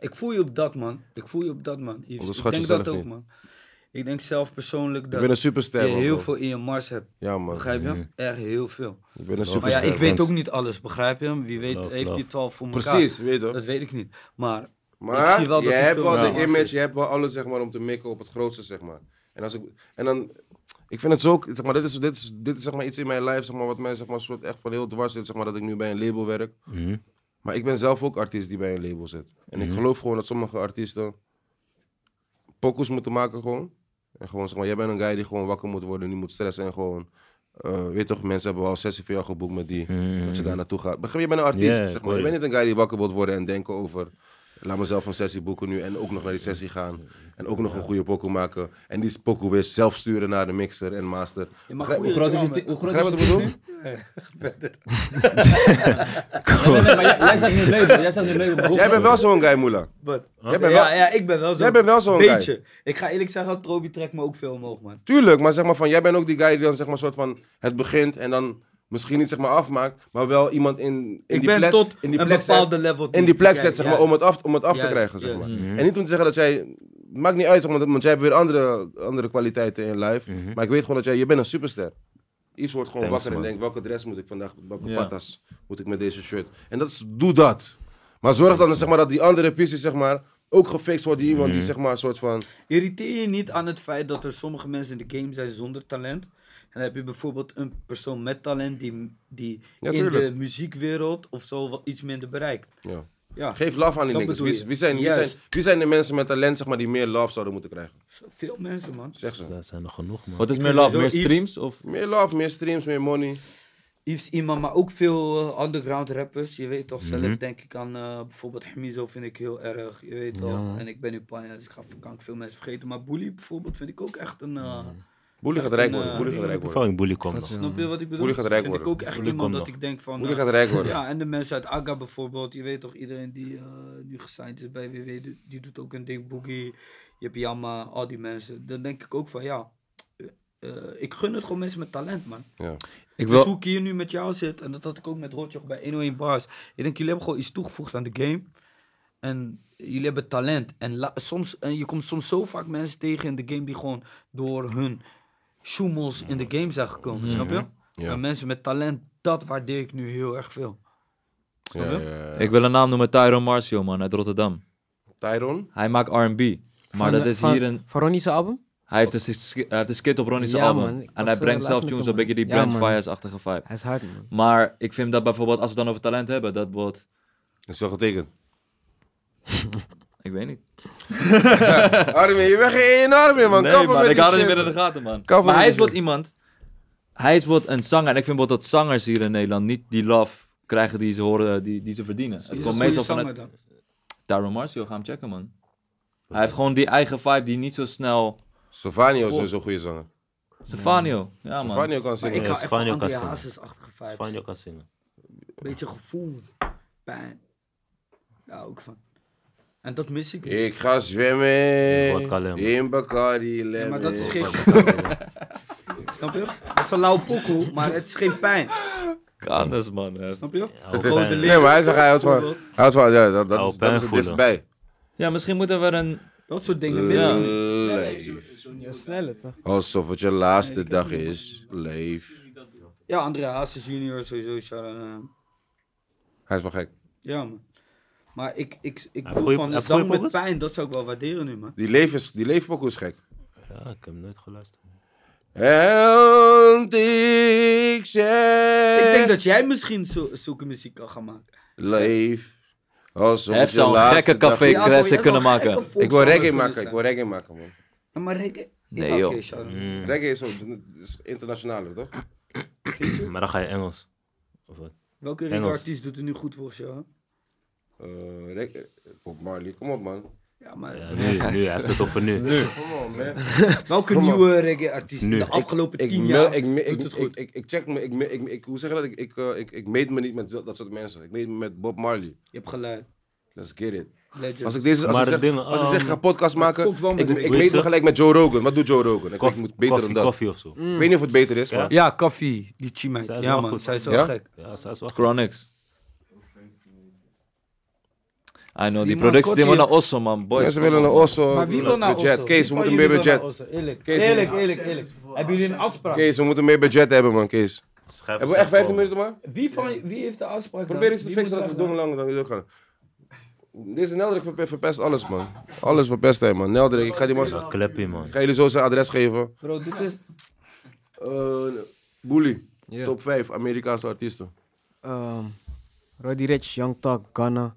S5: Ik voel je op dat, man. Ik voel je op dat, man. Yves.
S1: Onderschat
S5: Ik denk
S1: jezelf
S5: dat ook,
S1: niet.
S5: man. Ik denk zelf persoonlijk
S1: ik
S5: dat
S1: ben een
S5: je
S1: superster, man.
S5: heel
S1: bro.
S5: veel in je mars hebt.
S1: Ja, man.
S5: Begrijp je? Echt heel veel.
S1: Ik ben een
S5: Maar ja,
S1: superster.
S5: ik weet
S1: man.
S5: ook niet alles, begrijp je? Wie weet
S2: Love,
S5: heeft
S2: love.
S5: hij het wel voor elkaar.
S1: Precies, weet je.
S5: Dat weet ik niet. Maar
S1: Maar
S5: zie wel dat
S1: je
S5: er
S1: hebt
S5: veel
S1: wel
S5: meer
S1: de
S5: massa
S1: image,
S5: is.
S1: je hebt wel alles zeg maar, om te mikken op het grootste, zeg maar. En, als ik, en dan, ik vind het zo, zeg maar, dit is, dit is, dit is zeg maar, iets in mijn lijf, zeg maar, wat mij zeg maar, soort echt van heel dwars zit, zeg maar, dat ik nu bij een label werk.
S2: Mhm.
S1: Maar ik ben zelf ook artiest die bij een label zit. En ik geloof gewoon dat sommige artiesten pokus moeten maken gewoon. En gewoon zeg maar, jij bent een guy die gewoon wakker moet worden, niet moet stressen en gewoon... eh, weet toch, mensen hebben al een sessie voor jou geboekt met die, dat je daar naartoe gaat. Begrijp je, je bent een artiest,
S2: Mhm. Ja, ik
S1: zeg maar.
S2: hoor
S1: Je
S2: je.
S1: bent niet een guy die wakker wilt worden en denken over... Laat mezelf een sessie boeken nu en ook nog naar die sessie gaan. En ook nog een goede pokoe maken. En die pokoe weer zelf sturen naar de mixer en master.
S5: je mag
S1: Begrijp-
S5: goede reclame-
S1: Begrijp je wat ik bedoel?
S7: Nee, nee, nee, maar jij, jij zegt nu leuk, jij zegt nu leuk. maar hoe-
S1: Jij bent wel zo'n guy, Moela.
S5: Wat?
S1: Jij bent
S5: ja,
S1: wel-
S5: ja, ik ben wel zo'n
S1: Jij bent wel zo'n guy.
S5: beetje. Ik ga eerlijk zeggen, dat Trobi trekt me ook veel omhoog, man.
S1: Tuurlijk, maar zeg maar van, jij bent ook die guy die dan zeg maar soort van het begint en dan misschien niet zeg maar afmaakt, maar wel iemand in, in
S5: Ik
S1: die
S5: ben
S1: plek,
S5: tot
S1: in die
S5: een
S1: plek zet-
S5: bepaalde level.
S1: in die plek
S5: Ja,
S1: zet zeg maar
S5: juist.
S1: om het af, om het af te
S5: Juist,
S1: krijgen zeg
S5: juist. Mm-hmm.
S1: maar. En niet om te zeggen dat jij maakt niet uit zeg maar, dat- want jij hebt weer andere, andere kwaliteiten in life, maar ik weet gewoon dat jij je bent een superster. Iets wordt gewoon
S2: Mm-hmm. Thanks,
S1: wakker en
S2: man.
S1: denkt welke dress moet ik vandaag, welke
S3: Ja.
S1: patas moet ik met deze shirt. En dat is doe dat. Maar zorg dan zeg maar dat die andere pistes zeg maar ook gefixt wordt die iemand die
S2: Mm-hmm.
S1: zeg maar een soort van
S5: Irriteer je niet aan het feit dat er sommige mensen in de game zijn zonder talent. En dan heb je bijvoorbeeld een persoon met talent die, die
S1: Ja,
S5: in de
S1: tuurlijk.
S5: muziekwereld of zo wel iets minder bereikt.
S1: ja.
S5: Ja,
S1: Geef love aan die
S5: Dat
S1: niggas.
S5: bedoel
S1: Wie,
S5: je.
S1: wie zijn, wie, zijn,
S5: Juist.
S1: wie zijn de mensen met talent zeg maar, die meer love zouden moeten krijgen?
S5: veel mensen, man.
S1: Zeg ze.
S2: Dus Daar zijn er genoeg, man.
S3: Wat is
S5: Ik
S3: meer
S5: vind
S3: love? Meer
S5: sowieso iets-
S3: streams? Of?
S1: Meer love, meer streams, meer money.
S5: Yves iemand, maar ook veel eh, underground rappers. Je weet toch zelf, denk ik aan eh, bijvoorbeeld Hamizo vind ik heel erg. Je weet toch. En ik ben nu Panja, dus ik ga, kan ik veel mensen vergeten. Maar Bully bijvoorbeeld vind ik ook echt een... eh,
S1: Boelie gaat
S5: Echt
S1: rijk
S5: een,
S1: worden.
S5: eh,
S1: Boelie gaat rijk worden.
S2: Fucking bully komt nog.
S5: Snap je wat ik bedoel?
S1: Bully gaat rijk
S5: vind
S1: worden.
S5: ik ook echt
S2: Bully
S5: iemand
S2: komt
S5: dat
S2: nog.
S5: ik denk van...
S1: Boelie
S5: eh,
S1: gaat rijk worden.
S5: Ja, en de mensen uit Aga bijvoorbeeld. Je weet toch, iedereen die eh, nu gesigned is bij WW, die, die doet ook een ding. Boogie, je hebt Yamma, al die mensen. Dan denk ik ook van, ja, eh, eh, ik gun het gewoon mensen met talent, man.
S1: Ja.
S3: Ik
S5: Dus hoe ik hier nu met jou zit, en dat had ik ook met Rotjoch bij 101 Bars. Ik denk, jullie hebben gewoon iets toegevoegd aan de game. En jullie hebben talent. En, la- soms, en je komt soms zo vaak mensen tegen in de game die gewoon door hun sjoemels in de game zijn gekomen, snap je?
S1: Ja.
S5: En mensen met talent, dat waardeer ik nu heel erg veel.
S1: Ja, ja, ja.
S3: Ik wil een naam noemen, Tyron Marcio, man, uit Rotterdam.
S1: Tyron?
S3: Hij maakt R&B. Maar dat is
S4: van,
S3: hier een...
S4: Van Ronnie's album?
S3: Hij heeft, een, sk- hij heeft een skit op Ronnie's
S4: Ja,
S3: album.
S4: man, ik
S3: en
S4: was,
S3: hij
S4: eh,
S3: brengt
S4: laatst
S3: zelf
S4: met
S3: tunes,
S4: hem,
S3: een beetje die
S4: man. Ja,
S3: Brand
S4: man.
S3: Fires-achtige vibe.
S4: Hij is hard, man.
S3: Maar ik vind dat bijvoorbeeld, als we het dan over talent hebben, dat wordt
S1: is wel getekend.
S3: Ik weet niet.
S1: Armin, je bent geen één Armin, man.
S3: nee,
S1: Kappen
S3: man,
S1: met
S3: ik
S1: die
S3: had het niet
S1: shit,
S3: meer in de gaten, man.
S1: Kappen met
S3: maar hij is
S1: die
S3: wat iemand... Hij is wat een zanger. En ik vind wat dat zangers hier in Nederland niet die love krijgen die ze, horen, eh, die, die ze verdienen. Het
S5: Is
S3: komt
S5: een
S3: meestal
S5: goede
S3: vanuit...
S5: zanger
S3: Tyron Marcio, ga hem checken, man. Hij heeft gewoon die eigen vibe die niet zo snel...
S1: Savanio is sowieso een goede zanger.
S3: Savanio. Ja, man.
S1: Savanio kan
S5: dan.
S1: zingen.
S5: Ik
S2: Ja,
S5: hou echt van
S2: Spanje
S5: André
S2: kan zingen.
S5: Hazes-achtige vibes.
S2: Spanje kan zingen.
S5: Beetje gevoel, pijn. Daar hou ik van. En dat mis ik niet.
S1: Ik ga zwemmen
S2: Vodka lemon.
S1: in Bacardi lemon.
S5: maar dat is geen- Snap je? Dat is een lauw pokoe, maar het is geen pijn.
S3: Kan dus, man. hè.
S5: Snap je?
S2: Oude
S5: Gewoon
S2: pijn.
S5: de
S1: Nee, maar hij zegt, hij houdt van... Hij
S5: Bijvoorbeeld.
S1: houdt van... Ja, dat, dat,
S2: Oude
S1: is, dat is
S2: pijn
S1: het
S2: voelen.
S1: dichtstbij.
S3: Ja, misschien moeten we een...
S5: Dat soort dingen mis ik niet.
S1: Leef.
S8: Sneller toch?
S1: Alsof het je laatste dag is. Leef.
S5: Ja, André Hazes junior sowieso, Sharon. eh,
S1: Hij is wel gek.
S5: ja, man. Maar ik, ik, ik
S2: Hij
S5: voel
S2: goeie-
S5: van
S2: hij
S5: de zang
S2: goeie
S5: met
S2: pokus?
S5: pijn, dat zou ik wel waarderen nu, man.
S1: Die leef is, die leefpokoe is gek.
S2: Ja, ik heb hem nooit geluisterd.
S1: En ik zeg...
S5: Ik denk dat jij misschien zo, zulke muziek kan gaan maken.
S1: Leef. Alsof
S3: Hij
S1: het
S3: heeft
S1: je
S3: zo'n
S1: laatste
S3: gekke
S1: dag
S3: café
S1: is.
S5: Ja, toch, jij
S3: kunnen
S5: zou
S3: maken.
S5: gekke
S1: Ik wil
S5: volkszanger
S1: reggae
S5: kunnen
S1: maken. Ik
S5: zijn.
S1: wil reggae maken, man.
S5: Ja, maar reggae...
S3: Nee,
S5: ja, oké,
S3: joh.
S5: Sharon.
S2: Mm.
S1: Reggae is, zo, is internationaler, toch?
S2: Maar dan ga je Engels. Of wat?
S5: Welke
S2: Engels.
S5: reggae-artiest doet er nu goed voor jou?
S1: Eh reggae... Bob Marley, kom op, man.
S5: Ja, maar
S2: Ja, nu, nu, hij heeft het over nu.
S1: Kom op, man.
S5: welke
S1: Kom maar.
S5: nieuwe reggae-artiest
S2: Nu.
S5: de afgelopen
S1: Ik,
S5: tien
S1: me-
S5: jaar
S1: ik, me-
S5: doet
S1: ik, ik,
S5: het goed?
S1: ik, ik check me, ik, me- ik, ik, hoe zeg je dat? Ik, ik, eh, ik, ik meet me niet met dat dat soort mensen. Ik meet me met Bob Marley.
S5: Je hebt geluid.
S1: Let's get it.
S5: Legend.
S1: Als ik deze, als
S2: Maar
S1: ik zeg,
S2: dingen,
S1: als ik zeg, ik
S2: ehm,
S1: ga podcast maken,
S5: fokt wel met
S1: ik,
S5: de-
S1: ik
S2: Hoe heet
S1: meet me
S2: ze?
S1: gelijk met Joe Rogan. Wat doet Joe Rogan? Ik,
S2: Koffie,
S1: ik moet beter
S2: koffie,
S1: dan dat.
S2: koffie of zo.
S1: Ik weet niet of het beter is,
S2: Ja.
S1: maar...
S5: Ja, Kaffie, die Chima.
S2: Zij is
S5: Ja,
S2: wel
S5: man,
S2: goed,
S5: zij is wel
S1: Ja?
S5: gek.
S2: Ja, zij is wel goed.
S3: Chronics. I know, die
S5: man
S3: productie die
S5: Kotti-
S3: wordt naar Osso, man. Boys,
S1: Mensen
S3: kom
S1: willen een
S3: op.
S1: osso,
S5: Maar wie
S1: we
S5: wil
S1: moeten
S5: nou
S1: budget.
S5: Osso?
S1: Kees, we
S5: Wie
S1: moeten
S5: van
S1: meer
S5: jullie wil nou
S1: budget.
S5: naar Osso? Eerlijk,
S1: Kees,
S5: eerlijk, eerlijk, eerlijk. Hebben jullie een afspraak?
S1: Kees, we moeten meer budget hebben, man, Kees.
S2: Schrijf
S1: Hebben we echt
S2: eens
S1: 15
S2: even
S1: minuten, maar?
S5: Wie, van, wie heeft de afspraak?
S1: Probeer
S5: dan?
S1: eens te
S5: Wie
S1: fixen
S5: moet
S1: dat we
S5: er
S1: doen langer dan we doorgaan. Deze Neldrik verpe- verpest alles, man. Alles verpest hij, man. Neldrik, ik ga die man...
S2: Wel kleppie, man.
S1: Ik ga jullie zo zijn adres geven.
S5: Bro, dit is...
S1: Eh Boelie,
S4: Ja.
S1: top 5 Amerikaanse artiesten.
S4: Ehm, Roddy Rich, Young Talk, Ghana,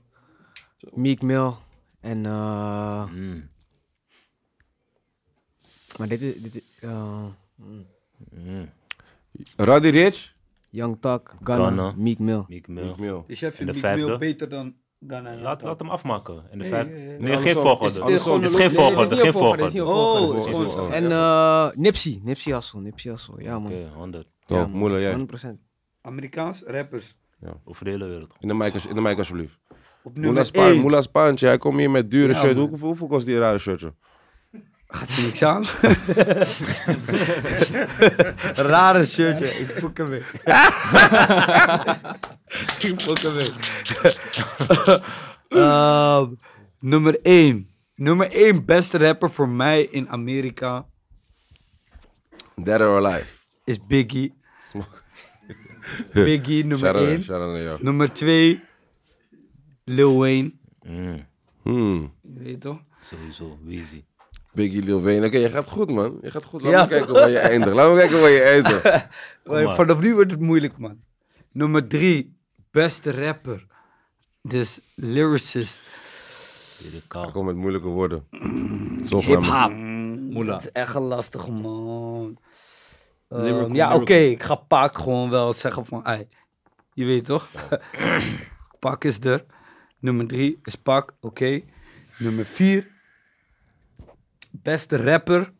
S4: Meek Mill en... eh,
S2: Mm.
S4: maar dit is... Dit is eh,
S2: Mm.
S1: Roddy Rich.
S4: Young Talk, Ghana,
S2: Ghana.
S4: Meek Mill.
S2: Meek Mill.
S1: Mio.
S5: Dus jij vindt
S2: de
S5: Big Mail
S2: vijfde?
S5: beter dan Ghana?
S2: Laat, laat hem afmaken. En de
S5: Nee,
S2: vijf...
S5: nee, nee.
S2: Nee, geen
S1: Andersom. Is
S2: volgorde.
S1: het gewoon
S2: Het is
S1: een
S2: geen
S1: lo- nee,
S2: volgorde, geen volgorde.
S5: Oh,
S1: is gewoon zo.
S4: En eh, Nipsey, Nipsey Hassel, Nipsey Hassel. Ja man,
S2: Oké, 100.
S1: Toch,
S4: Ja, man.
S1: moeilijk jij.
S4: 100%.
S5: Amerikaans rappers.
S2: Over de hele wereld.
S1: In de mic, als- in de mic alsjeblieft.
S5: Op
S1: Moela
S5: nummer
S1: Spaan,
S5: 1.
S1: Moela Spaantje. Hij komt hier met dure
S5: Ja,
S1: shirt.
S5: man.
S1: Hoeveel, hoeveel kost die rare shirtje?
S5: Gaat je niks aan? Rare shirtje. Ik fuck hem weer. ik fuck hem weer. Ehm, nummer 1. Nummer 1 beste rapper voor mij in Amerika
S1: Dead or Alive.
S5: is Biggie. Biggie, nummer
S1: Shout-out
S5: 1.
S1: shout-out naar jou.
S5: Nummer 2, Lil Wayne.
S2: Mm.
S1: Hmm.
S5: Je weet toch?
S2: Sowieso, Weezy.
S1: Biggie Lil Wayne. Oké, je gaat goed, man. Je gaat goed. Laten
S5: Ja,
S1: we kijken waar je eindigt. Laten we kijken waar je eindigt.
S5: Maar
S2: maar.
S5: Eh, Vanaf nu wordt het moeilijk, man. Nummer 3, beste rapper. Dus lyricist.
S1: Ik
S2: Lyricaal.
S1: kom met moeilijke woorden. Zo gaan
S5: Hip-hop.
S3: Moela.
S5: Het is echt een lastig, man. Ehm,
S3: Lyrical,
S5: ja, oké,
S3: lyrical.
S5: ik ga Paak gewoon wel zeggen van, ei, je weet toch? Paak is er. Nummer drie is Paak, oké. Nummer vier, beste rapper,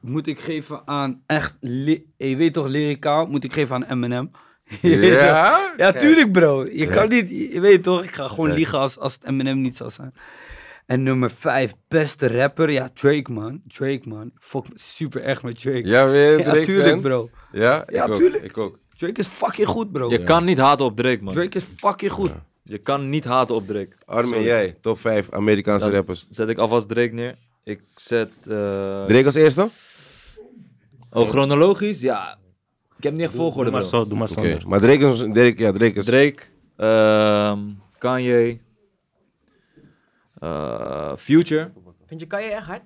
S5: moet ik geven aan echt, li- je weet toch, lyricaal, moet ik geven aan Eminem. Je
S1: we.
S5: weet toch?
S1: Ja?
S5: Ja, tuurlijk, bro. Je kan niet, je weet toch, ik ga gewoon liegen als, als het Eminem niet zou zijn. En nummer vijf, beste rapper. Ja, Drake, man. Drake, man. Ik Fuck me super echt met Drake.
S1: Ja, weer Drake
S5: Ja, tuurlijk,
S1: fan?
S5: bro.
S1: Ja?
S5: Ja,
S1: ik ook.
S5: tuurlijk.
S1: Ik ook.
S5: Drake is fucking goed, bro.
S3: Je kan niet haten op Drake, man.
S5: Drake is fucking goed.
S3: Je kan niet haten op Drake.
S1: Armin,
S3: Sorry.
S1: jij. Top 5 Amerikaanse
S3: Dan
S1: rappers.
S3: Zet ik alvast Drake neer. Ik zet... eh,
S1: Drake als eerste?
S3: Oh, chronologisch? Ja. Ik heb niet echt
S2: Doe
S3: volgorde,
S2: maar
S3: bro.
S2: zo, doe maar
S1: Oké.
S2: zonder.
S1: Maar Drake is... Drake, ja, Drake is...
S3: Drake, ehm, Kanye, eh, Future.
S4: Vind je Kanye echt hard?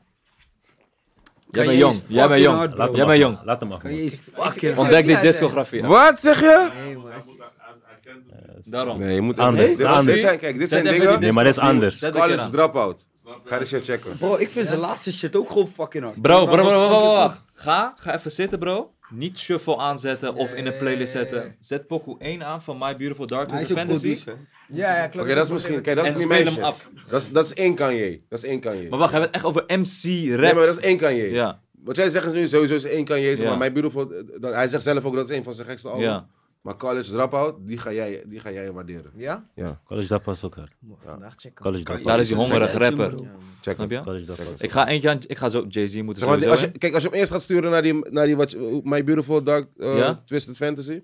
S3: Jij
S5: Kanye
S3: bent
S5: is
S3: jong, jij bent
S5: fucking
S3: jong.
S5: hard, bro.
S2: Laat hem afmaken.
S3: Jij bent jong.
S2: Laat hem afmaken.
S5: Kanye is fucking
S3: Ontdek die discografie.
S1: Wat zeg je?
S6: Hij, moet- hij- hij- hij kent het niet.
S2: is-
S3: Daarom.
S1: Nee, je moet
S2: Anders.
S1: Dit- dit-
S2: Anders.
S1: Dit zijn, kijk, dit
S3: Zet
S1: zijn
S3: even
S1: dingen.
S2: Nee, maar dat is anders.
S3: Zet een keer
S1: College
S3: aan.
S1: drop-out. Ga die shit checken.
S5: Bro, ik vind zijn laatste shit ook gewoon fucking hard.
S3: Bro, bro, bro, bro, bro, wacht. Ga, ga even zitten, bro. Niet shuffle aanzetten of in een playlist zetten. Zet Poku 1 aan van My Beautiful Dark
S5: Hij
S3: Twisted
S5: is ook
S3: Fantasy.
S5: producer.
S4: Ja, ja, klopt.
S1: Oké, dat is misschien. Kijk, dat is
S3: En
S1: niet
S3: speel
S1: mijn
S3: hem
S1: shit.
S3: af.
S1: Dat is, dat is één Kanye. Dat is één Kanye.
S3: Maar wacht, hebben we het echt over MC
S1: Nee, maar
S3: rap?
S1: dat is één Kanye.
S3: Ja,
S1: Wat jij zegt is nu sowieso is één Kanye.
S3: Ja.
S1: Maar mijn beautiful. dat- hij zegt zelf ook oh, dat is één van zijn gekste albums.
S3: ja.
S1: Maar College Dropout, die ga jij, die ga jij waarderen.
S4: Ja?
S2: College dat was ook hard.
S4: Vandaag checken.
S2: College dat
S3: Daar is hij hongerig
S5: Check dat,
S3: rapper.
S5: bro.
S1: Check
S3: Snap
S1: hem.
S3: je?
S2: College dat was
S3: Ik ga eentje aan, ik ga zo Jay-Z moeten
S1: Zeg maar, die-
S3: sowieso,
S1: als
S3: hè?
S1: je, kijk, als je hem eerst gaat sturen naar die, naar die wat, je- My Beautiful Dark eh,
S3: Ja?
S1: Twisted Fantasy,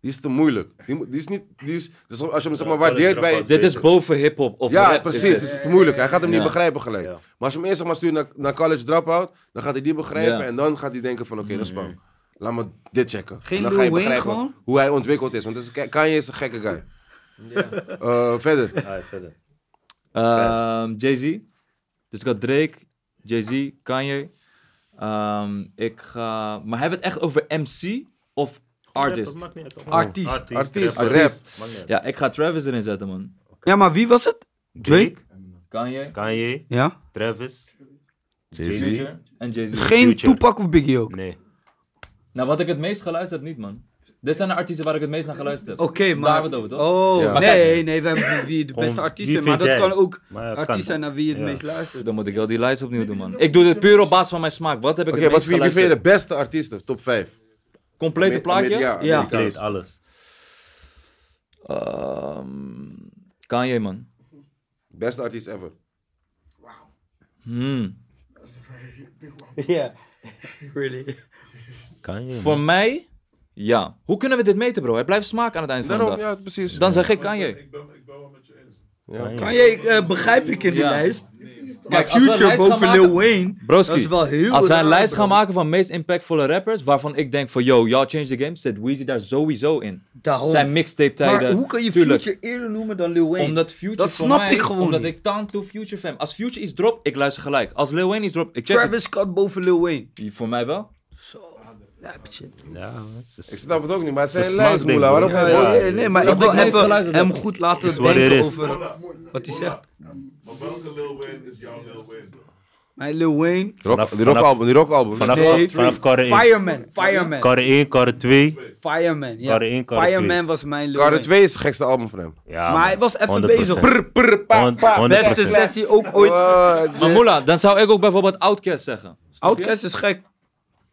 S1: die is te moeilijk. Die, moet- die is niet, die is, dus als je hem zeg maar
S2: Ja, College
S1: waardeert bij...
S2: Dropout.
S3: Dit is boven hip-hop of
S1: Ja,
S3: rap, is
S1: precies.
S3: het.
S1: Dus het is te moeilijk. Hij gaat hem
S3: Ja.
S1: niet begrijpen gelijk.
S2: Ja.
S1: Maar als je hem eerst zeg maar stuurt naar, naar College Dropout, dan gaat hij die begrijpen
S3: Ja.
S1: en dan gaat hij denken van oké, dat is bang. Laat me dit checken.
S5: Geen
S1: En dan
S5: Lil
S1: ga je
S5: Wayne
S1: begrijpen
S5: gewoon?
S1: hoe hij ontwikkeld is. Want dus, Kanye is een gekke guy. Eh, verder.
S2: Ah, verder.
S3: Ehm, Jay-Z. Dus ik had Drake, Jay-Z, Kanye. Ehm, ik ga... Maar hebben we het echt over MC of artist?
S2: Maakt niet uit.
S5: Artiest.
S1: Artiest,
S2: rapper.
S1: rap.
S2: Maakt niet uit.
S3: Ja, ik ga Travis erin zetten, man.
S5: Ja, maar wie was het? Drake?
S3: Kanye,
S2: Kanye,
S5: Ja.
S2: Travis.
S1: Jay-Z.
S3: Future en Jay-Z.
S5: Geen
S2: Future.
S5: Tupac of Biggie ook.
S2: Nee.
S3: Nou, wat ik het meest geluisterd heb, niet, man. Dit zijn de artiesten waar ik het meest naar geluisterd heb.
S5: Oké, maar...
S3: Daar hebben we het over, toch?
S5: Oh,
S1: Ja.
S5: nee, nee, we hebben wie de beste
S2: Gewoon,
S5: artiest
S2: wie
S5: is. Maar
S2: vind
S5: dat
S2: jij?
S5: kan ook
S2: Maar het
S5: artiest
S2: kan.
S5: zijn naar wie je het
S2: Ja.
S5: meest luistert.
S3: Dan moet ik wel die lijst opnieuw doen, man. Ik doe dit puur op basis van mijn smaak. Wat heb ik
S1: Oké,
S3: het
S1: wat
S3: meest
S1: vind je- wie
S3: geluisterd?
S1: vind je de beste artiesten? Top 5.
S3: Complete plaatje?
S1: Ja,
S5: Ja.
S1: Amerikaans.
S2: Kleed, alles.
S3: Ehm, Kanye, man.
S1: Beste artiest ever.
S3: Hmm.
S5: Ja. Really.
S2: Kanye.
S3: Voor mij, ja. Hoe kunnen we dit meten, bro? Hij blijft smaak aan het eind van de
S1: Daarom,
S3: dag.
S1: ja, precies.
S3: Dan zeg ik Kanye.
S6: Ik ben, ik ben wel met je eens.
S1: Ja.
S5: Kan jij, eh, begrijp ik in die
S3: Ja.
S5: lijst. Maar
S3: Kijk, als we een
S5: Future
S3: lijst gaan
S5: boven
S3: maken-
S5: Lil Wayne, dat is
S3: Broski,
S5: wel heel
S3: als wij een
S5: raar,
S3: lijst
S5: bro.
S3: gaan maken van meest impactvolle rappers, waarvan ik denk van, yo, y'all change the game, zit Weezy daar sowieso in.
S5: Daarom.
S3: Zijn mixtape tijden.
S5: Maar hoe kan je
S3: tuurlijk.
S5: Future eerder noemen dan Lil Wayne?
S3: Omdat Future
S5: Dat
S3: voor
S5: snap
S3: mij,
S5: ik gewoon
S3: Omdat
S5: niet.
S3: ik tanto Future fan. Als Future iets drop, ik luister gelijk. Als Lil Wayne iets drop, ik check
S5: Travis Scott boven Lil Wayne.
S3: het. Voor mij wel.
S2: Ja, het is-
S1: Ik snap het ook niet, maar het zijn
S2: Het is
S1: lijst,
S2: smaakding,
S1: Moela. Waarom
S2: broer.
S1: ga
S2: Ja,
S1: je...
S2: ja,
S5: Nee, nee, maar
S3: dat
S5: ik wil
S3: ik niks
S5: even
S3: geluisterd heb.
S5: hem goed laten
S2: Is wat
S5: denken
S2: het is.
S5: over wat hij zegt.
S6: Maar welke Lil Wayne is jouw Lil Wayne? bro?
S5: Mijn Lil Wayne.
S1: Rock,
S2: Vanaf-
S1: die rockalbum, die rockalbum.
S2: Vanaf,
S5: Nee.
S2: vanaf karre 1.
S5: Fireman, Fireman,
S2: Karre 1, karre 2.
S5: Fireman. Ja.
S2: Karre één, karre
S5: Fireman was mijn Lil
S1: Carter
S5: Wayne.
S1: 2 is het gekste album van hem.
S2: Ja,
S5: Maar
S2: man.
S5: hij was even
S2: 100%.
S5: bezig.
S1: Prr, prr, pa,
S2: Hond-
S1: pa.
S2: honderd
S5: Beste
S2: procent.
S5: sessie ook ooit.
S1: Eh,
S3: Maar Moela, dan zou ik ook bijvoorbeeld Outkast zeggen. Snap je?
S5: Outkast is gek.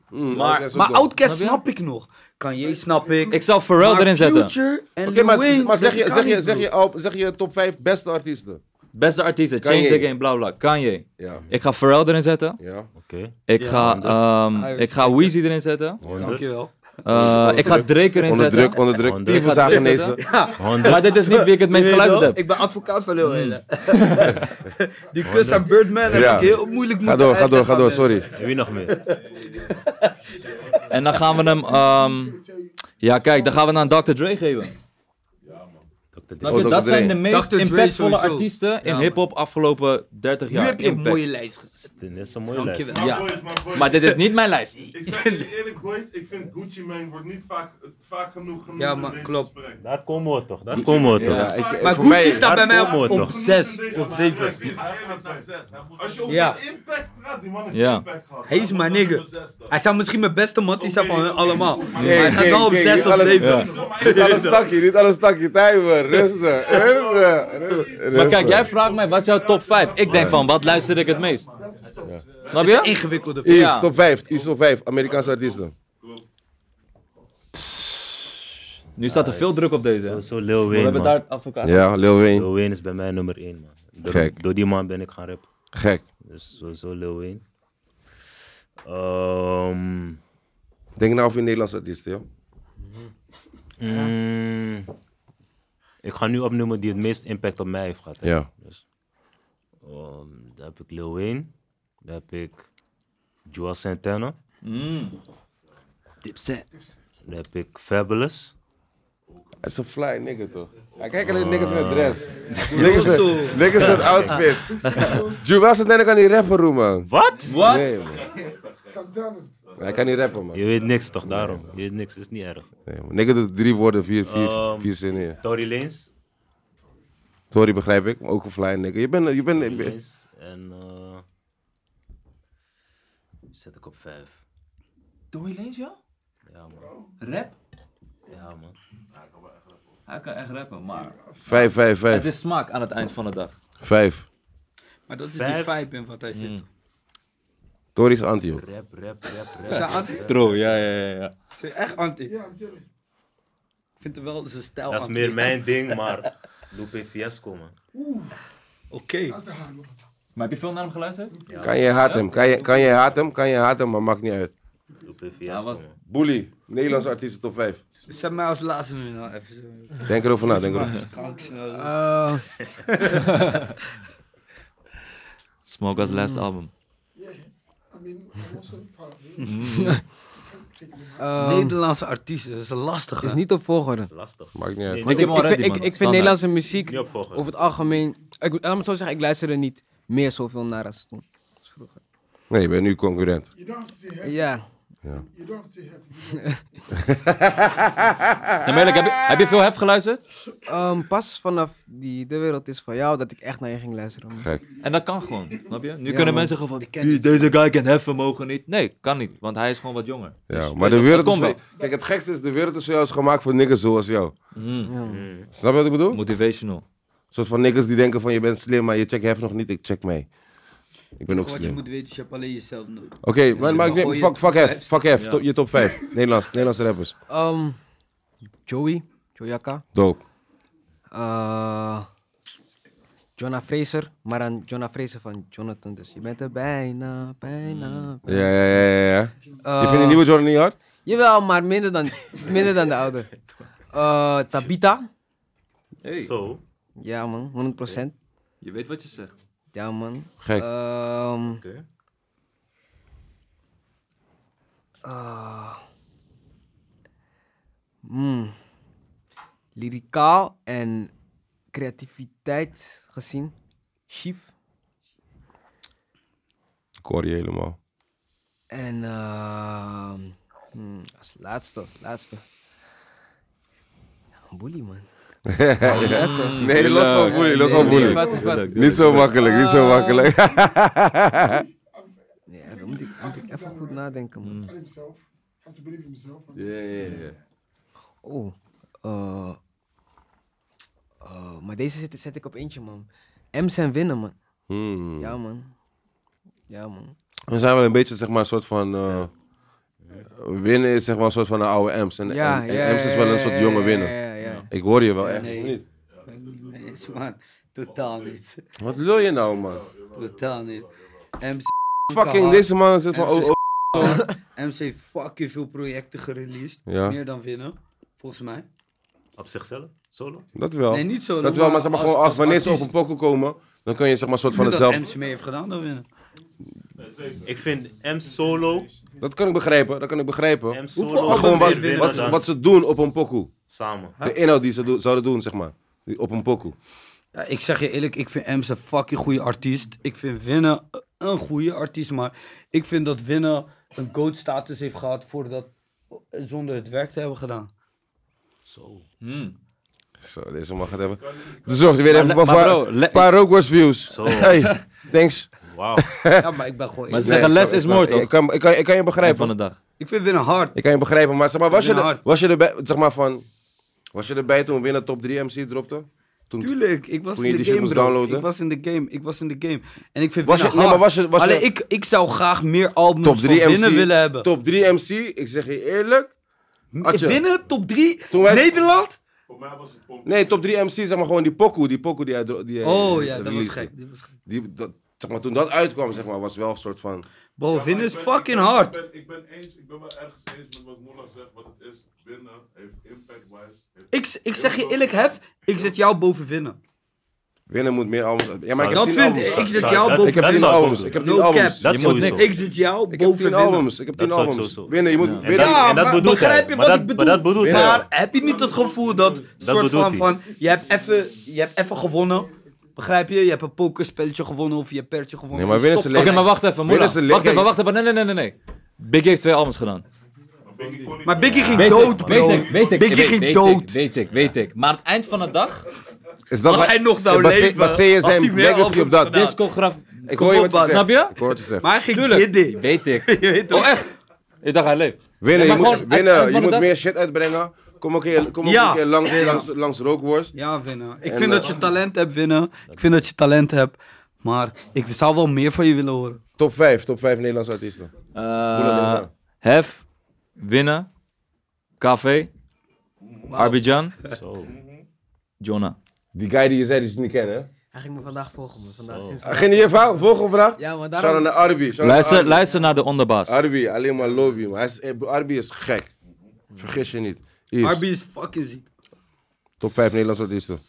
S1: mm,
S3: Maar-
S1: dat is ook
S5: Maar
S1: dom.
S5: Outkast
S3: Snap je?
S5: snap ik nog. Kanye snap ik.
S3: Ik zou Pharrell
S5: Maar
S3: erin zetten.
S5: Future en
S1: Oké,
S5: Lil
S1: maar,
S5: Wayne,
S1: maar zeg,
S5: dat
S1: je,
S5: kan
S1: zeg, je,
S5: niet,
S1: zeg,
S5: bro.
S1: je, al- zeg je top 5 beste artiesten.
S3: Beste artiesten, change
S1: Kanye.
S3: the game, bla bla. Kanye.
S1: Ja.
S3: Ik ga Pharrell erin zetten.
S1: ja.
S2: Oké.
S3: Ik
S5: Ja,
S3: ga, ehm,
S5: Hij is
S3: ik ga
S5: gek,
S3: Weezy erin zetten.
S5: Dankjewel.
S3: Eh, ik ga Drake erin
S1: Onder druk,
S3: zetten.
S1: onder druk.
S2: Onder-
S1: Tieven
S3: Ik ga
S1: zagen
S3: druk
S1: nezen.
S3: Maar dit is niet wie ik het meest
S5: Weet je
S3: geluisterd
S5: wel?
S3: heb.
S5: Ik ben advocaat van Lil Wayne. Die kus aan Birdman heb
S1: Hmm. Ja.
S5: ik heel moeilijk
S1: Ga
S5: moeten
S1: door, ga door,
S5: uitleggen
S1: ga
S5: aan
S1: door,
S5: mensen.
S1: sorry.
S2: Wie nog meer?
S3: En dan gaan we hem... ehm, ja, kijk, dan gaan we naar Dr. Dre geven.
S2: Dr.
S3: Snap
S2: Dre.
S3: je?
S1: Oh, Dr.
S3: dat
S1: Dre.
S3: zijn de meest
S5: Dr. Dre
S3: impactvolle
S5: sowieso.
S3: artiesten in
S5: Ja,
S3: hip-hop afgelopen 30
S5: Nu
S3: jaar.
S5: heb je een
S3: Impact.
S5: mooie lijst gezet.
S2: Dit is een mooie
S5: Dankjewel.
S2: lijst.
S6: My
S3: Ja.
S6: boys, my boys.
S3: Maar dit is niet mijn lijst.
S6: Ik zeg je eerlijk, boys, ik vind Gucci Mane wordt niet vaak, vaak genoeg genoemd
S5: Ja,
S6: in
S5: maar
S6: deze
S5: klopt.
S6: gesprekken.
S2: Daar komen we toch, daar komen we toch.
S1: Ja, ik-
S5: Maar
S1: voor
S5: Gucci
S1: mij-
S5: staat bij mij
S2: Daar komen
S5: op,
S2: we
S5: op
S2: toch.
S5: zes,
S6: Genoemd in
S5: op
S6: deze
S5: zeven.
S6: gesprekken. Hij gaat naar zes. Hij moet- Als je over
S5: Ja.
S6: de impact praat, die man heeft
S3: Ja.
S6: impact gehad.
S5: Hij is
S6: moet
S5: mijn
S6: naar
S5: nigger.
S6: nummer zes dan.
S5: Hij zou misschien mijn beste mattie zijn van hun allemaal. Maar hij gaat
S1: nee,
S5: wel op
S1: nee,
S5: zes
S1: nee,
S5: of
S1: alles-
S5: zeven.
S6: Zo, maar
S1: Niet
S6: ik-
S1: alles takkie, niet alles takkie. Timer, rustig, rustig, rustig.
S3: Maar kijk, jij vraagt mij wat jouw top 5. Ik denk van, wat luister ik het meest? Snap je?
S5: Ingewikkelde
S1: Yves,
S3: Ja.
S1: top 5. Yves, top 5. Amerikaanse artiesten.
S3: Nu staat er veel druk op deze. hè?
S2: Zo Lil
S3: We hebben
S2: Wayne, man.
S3: daar advocaat.
S1: Ja, Lil Wayne.
S2: Lil Wayne is bij mij nummer 1, man. Door,
S1: Gek.
S2: door die man ben ik gaan rappen.
S1: Gek.
S2: Dus sowieso Lil Wayne. Ehm,
S1: Denk nou over een Nederlandse artiesten, joh.
S2: mm, ik ga nu opnoemen die het meest impact op mij heeft gehad. hè.
S1: Ja.
S2: Dus, ehm, daar heb ik Lil Wayne. Daar heb ik Joel Santana. Daar heb ik Fabulous.
S1: Hij is een fly nigga toch? Hij kijkt alleen niggas met dress. Niggas, met- nou? niggas met outfit. Juwel zit net aan die rapper room, man.
S2: Wat?
S3: Wat?
S1: Nee, man.
S8: I'm telling.
S1: Hij kan niet rappen, man.
S2: Je weet niks toch, daarom. Je weet niks, is niet erg.
S1: Nee, man. Nigga doet drie woorden, vier, vier,
S2: Ehm.
S1: vier zinnen. ja.
S2: Tory Lanez.
S1: Sorry, begrijp ik. Maar ook een fly, nigga. Je bent... Je bent
S2: Tory
S1: je bent-
S2: Lanez En... eh zet ik op vijf.
S7: Doe je eens, ja?
S2: Ja, man.
S7: Rap?
S2: Ja, man.
S3: Hij kan echt rappen, maar
S1: vijf, vijf,
S3: het
S1: vijf.
S3: is smaak aan het eind van de dag.
S1: Vijf.
S5: Maar dat is
S2: Vijf.
S5: die vibe in wat hij zit.
S1: Hmm. Tori is anti, joh.
S2: Rap, rap, rap,
S5: Is Dus hij
S2: rap.
S5: anti?
S3: Tro, ja, ja, ja. ja.
S5: Is hij echt anti?
S8: Yeah, I'm telling.
S5: Ik vind hem wel zijn stijl
S2: Dat is
S5: anti.
S2: meer mijn ding, maar... Lupe Fiasco, man.
S5: Oké.
S8: That's a hard one.
S3: Maar heb je veel naar hem geluisterd?
S1: Kan je haat hem? Kan je, kan je haat hem? Kan je haat hem? Maar maakt niet uit.
S2: Lupe Fiasco,
S3: was-
S2: man.
S1: Bully. Nederlandse artiesten top 5.
S5: Zet mij Dus als laatste nu nou even zo.
S1: Denk erover na, denk erover.
S5: Kank snel.
S4: Eh,
S3: Smoke was last album.
S8: Yeah. I mean, I'm also part of it.
S4: ehm,
S5: Nederlandse artiesten, dat is lastig.
S4: is
S5: hè?
S4: niet op volgorde.
S2: Dat is lastig.
S1: Maakt niet uit.
S2: Nee,
S4: Want
S3: heb
S4: ik,
S3: hem
S4: ik,
S3: already,
S4: vind- ik,
S3: man.
S4: ik vind
S3: Standaard.
S4: Nederlandse muziek
S2: Niet opvolgen.
S4: over het algemeen. Ik, laat me het zo zeggen, ik luister er niet meer zoveel naar als toen. als vroeger.
S1: Nee, je bent nu concurrent.
S8: You don't have to say heavy.
S4: Ja,
S8: You don't have to say heavy.
S3: Nee, maar eerlijk, heb, je, heb je veel hef geluisterd?
S4: ehm, pas vanaf die De Wereld is van jou dat ik echt naar je ging luisteren. man.
S3: En dat kan gewoon, snap je? Nu
S4: Ja,
S3: kunnen
S4: man.
S3: mensen gewoon van,
S4: Ik ken-
S3: deze guy kan heffen, mogen niet. Nee, kan niet, want hij is gewoon wat jonger.
S1: Ja,
S3: Dus,
S1: maar de
S3: dat-
S1: wereld
S3: dat
S1: is...
S3: komt
S1: voor- Kijk, het gekste is, de wereld is voor jou is gemaakt voor niggas zoals jou.
S3: Hmm.
S1: Snap je wat ik bedoel? Een
S3: Motivational.
S1: soort van niggas die denken van, je bent slim, maar je check heft nog niet. Ik check mee. Ik ben ook
S5: Wat je
S1: slim.
S5: moet weten, is je hebt alleen jezelf nodig.
S1: Oké, maar, maar ik
S5: maar
S1: neem-
S5: gooi
S1: fuck,
S5: je
S1: fuck
S5: top
S1: hef,
S5: vijf.
S1: fuck hef, to- je top 5. Nederlands, Nederlandse rappers.
S4: Ehm, Joey, Joyaka.
S1: Dope.
S4: eh Jonah Fraser, maar dan Jonah Fraser van Jonathan. Dus je bent er bijna, bijna.
S1: Ja, ja, ja, ja, ja. Je
S4: Eh,
S1: vindt de nieuwe Jordan niet hard?
S4: Jawel, maar minder dan, minder dan de oude. Eh, Tabita.
S2: Zo.
S4: Ja man, 100%.
S3: Je weet wat je zegt.
S4: Ja man.
S1: Gek.
S5: eh,
S4: Ehm,
S2: Oké.
S4: ah, mm, lyricaal en creativiteit gezien. Chief.
S1: Ik hoor je helemaal.
S4: En ehm, hmm, als laatste, als laatste. Ja, Bully, man.
S5: eh,
S1: Nee, los van boelie, los van boelie.
S4: Wat, wat?
S1: Niet zo makkelijk, niet
S5: Ah.
S1: zo makkelijk.
S4: Ja, dan moet ik, moet ik even goed nadenken, man.
S8: And himself. Have to believe in himself.
S1: Ja, ja, ja.
S4: Oh. eh, eh, maar deze zet, zet ik op eentje, man. M's en winnen, man.
S1: Hmm.
S4: Ja, man. Ja, man.
S1: We zijn wel een beetje, zeg maar, een soort van... eh, winnen is zeg maar een soort van een oude Ems. En,
S4: Ja,
S1: en- en
S4: ja,
S1: Ems is wel
S4: ja,
S1: een soort
S4: ja,
S1: jonge
S4: ja,
S1: winnen.
S4: Ja, ja, ja.
S1: Ik hoor je wel echt.
S5: Nee, nee, eens, man. Totaal niet.
S1: Wat wil je nou, man?
S5: Totaal niet. MC,
S1: Fucking,
S5: hard.
S1: deze man zit van...
S5: Ems
S1: Oh,
S5: is-
S1: oh.
S5: MC heeft fucking veel projecten gereleased.
S1: Ja.
S5: Meer dan winnen, volgens mij.
S2: Op zichzelf? Solo?
S1: Dat wel.
S5: Nee, niet zo.
S1: dat wel, maar zeg maar gewoon, als, wanneer ze op een pokkel komen, dan kun je zeg maar een soort van
S5: dezelfde.
S1: hetzelfde...
S5: MC mee heeft gedaan, dan winnen.
S2: Ik vind M solo.
S1: Dat kan ik begrijpen, dat kan ik begrijpen.
S2: M
S5: Hoeveel
S2: solo.
S1: Maar
S5: albums
S1: gewoon
S5: weer
S1: wat,
S2: meer
S5: winnen
S1: wat, ze,
S2: dan
S1: wat ze doen op een pokkel.
S2: Samen.
S1: De inhoud die ze do- zouden doen, zeg maar. Die- Op een pokkel.
S5: Ja, ik zeg je eerlijk, ik vind Ems een fucking goede artiest. Ik vind Winnen een goede artiest, maar ik vind dat Winnen een goat status heeft gehad voordat, zonder het werk te hebben gedaan.
S2: Zo.
S1: Zo, deze man gaat hebben. Dus zorg, weer even
S3: Maar-
S1: een
S3: maar
S1: paar,
S3: bro, le-
S1: een paar Rookworst views.
S2: Zo.
S1: Hey, thanks.
S2: Wauw.
S5: Ja, maar ik ben gewoon...
S3: Maar
S5: ik,
S3: ze zeggen
S1: Nee,
S3: les
S1: ik
S3: is
S1: snap-
S3: moord,
S1: ik- Ik
S3: toch?
S1: kan, ik, kan, ik kan je
S3: Eind van
S1: begrijpen.
S3: de dag.
S5: ik vind Winnen hard.
S1: Ik kan je begrijpen, maar zeg maar, was je,
S5: Ik ben
S1: er,
S5: hard.
S1: was je erbij, zeg maar van, was je erbij toen Winner Top 3 MC dropte? Toen,
S5: Tuurlijk, ik was
S1: Toen je
S5: in de
S1: die shit
S5: game,
S1: moest
S5: bro.
S1: downloaden?
S5: Ik was in de game, ik was in de game. En ik vind
S1: Was
S5: Winnen
S1: je- nee,
S5: hard.
S1: maar was je- was je-
S5: Alleen ik, ik zou graag meer albums
S1: top
S5: top
S1: 3
S5: van
S1: MC,
S5: Winnen willen hebben.
S1: Top 3 MC, ik zeg je eerlijk. Atje.
S5: Winnen, top 3,
S1: Toen wij-
S5: Nederland?
S6: Voor mij was het pomp.
S1: Nee, top 3 MC, zeg maar gewoon die pokoe, die pokoe die hij dro- die hij-
S5: Oh
S1: die
S5: ja,
S1: hij
S5: dat was
S1: released.
S5: gek. Dat was gek.
S1: Die, dat, zeg maar, toen dat uitkwam, zeg maar, was wel een soort van,
S5: Bro,
S6: Ja, maar
S5: Winnen
S6: ik
S5: is
S6: ben-
S5: fucking
S6: ik ben-
S5: hard.
S6: Ik ben, ik ben eens, ik ben wel ergens eens met wat Moela zegt, wat het is. Winnen heeft impact-wise. heeft-
S5: Ik, ik zeg je eerlijk, Hef, ik zet jou boven Winnen.
S1: Winnen moet meer albums uit- Ja, maar ik heb
S5: Dat
S1: tien
S5: vind
S1: albums.
S5: ik- ik zit
S2: zou-
S5: jou
S2: dat-
S5: boven-
S1: Ik heb
S2: dat
S1: tien
S2: zou ik ook
S1: albums,
S2: doen.
S1: ik heb
S5: No
S1: tien
S5: cap.
S1: albums.
S2: Dat
S3: Je moet
S2: sowieso.
S3: niks.
S5: Ik zit jou
S1: Ik heb
S5: boven
S1: tien
S5: Winnen.
S1: albums, ik heb
S2: Dat
S1: tien
S2: zou ik
S1: albums.
S2: zo zo-
S1: Winnen, je moet
S2: En dat,
S1: winnen.
S5: Ja,
S2: en dat
S5: maar
S2: bedoelt hij.
S5: begrijp je
S2: maar
S5: wat
S2: dat,
S5: ik
S2: maar dat bedoelt
S1: Ja.
S2: hij.
S5: Maar heb je niet het gevoel dat, soort
S2: bedoelt
S5: van,
S2: hij.
S5: van je hebt even je hebt even gewonnen, begrijp je? Je hebt een pokerspelletje gewonnen of je hebt pertje gewonnen.
S1: Nee, maar winnen is
S5: Stop.
S1: een
S3: Oké,
S1: Lekker.
S3: maar wacht even,
S1: Willen
S3: moeder.
S1: ze
S3: Wacht
S1: lekker-
S3: even, wacht even. Nee, nee, nee, nee, nee. Big heeft twee albums gedaan.
S5: Maar Biggie ging
S3: Weet
S5: dood,
S3: ik,
S5: bro.
S3: Weet ik, weet ik.
S5: Biggie
S3: weet-
S5: ging
S3: weet
S5: dood.
S3: Ik, weet ik, weet ik. Maar aan het eind van de dag,
S1: Is dat
S5: Als
S1: wat-
S5: hij nog zou
S1: base-
S5: leven,
S1: baseer je
S5: had hij
S1: zijn
S5: meer
S1: legacy
S5: albums
S1: op dat.
S5: gedaan.
S1: Ik
S3: discograaf...
S1: hoor je
S5: Kom
S1: wat
S5: op,
S1: je
S5: man.
S1: zegt.
S3: Snap je?
S1: Ik hoor wat je zegt.
S5: Maar hij ging
S3: Tuurlijk.
S5: dit.
S3: Weet ik.
S5: Je weet toch?
S3: Oh, echt? Ik dacht hij leeft.
S1: Winnen,
S3: Nee,
S1: je
S3: maar
S1: moet,
S3: gewoon, eind-
S1: winnen,
S3: eind
S1: je
S3: van de
S1: moet
S3: dag-
S1: meer shit uitbrengen. Kom ook een keer, kom ook
S5: Ja.
S1: een keer langs,
S5: Ja.
S1: langs, langs rookworst.
S5: Ja, winnen. Ik
S1: En,
S5: vind dat
S1: eh,
S5: je talent hebt, winnen. Ik vind dat je talent hebt. Maar ik zou wel meer van je willen horen.
S1: Top 5, top 5 Nederlandse artiesten. Hoe dat
S3: Eh
S1: is,
S3: Hef, Winnen, KV, Arbidjan,
S2: Zo.
S3: Jonna.
S1: Die guy die je zei, die je niet kent, hè?
S4: Hij ging me vandaag volgen, man. Vandaag, sinds
S1: Ah, Ging je vraag? Volgende vraag?
S4: Ja, maar
S1: Shout-out
S4: daarom...
S1: naar Arby. Shout-out
S3: Luister,
S1: naar Arby.
S3: luister naar de onderbaas.
S1: Arby, alleen maar lobby. man. Hij is, eh, bro, Arby is gek. Vergis je niet. Is.
S5: Arby is fucking ziek.
S1: Top 5 Nederlandse artiesten.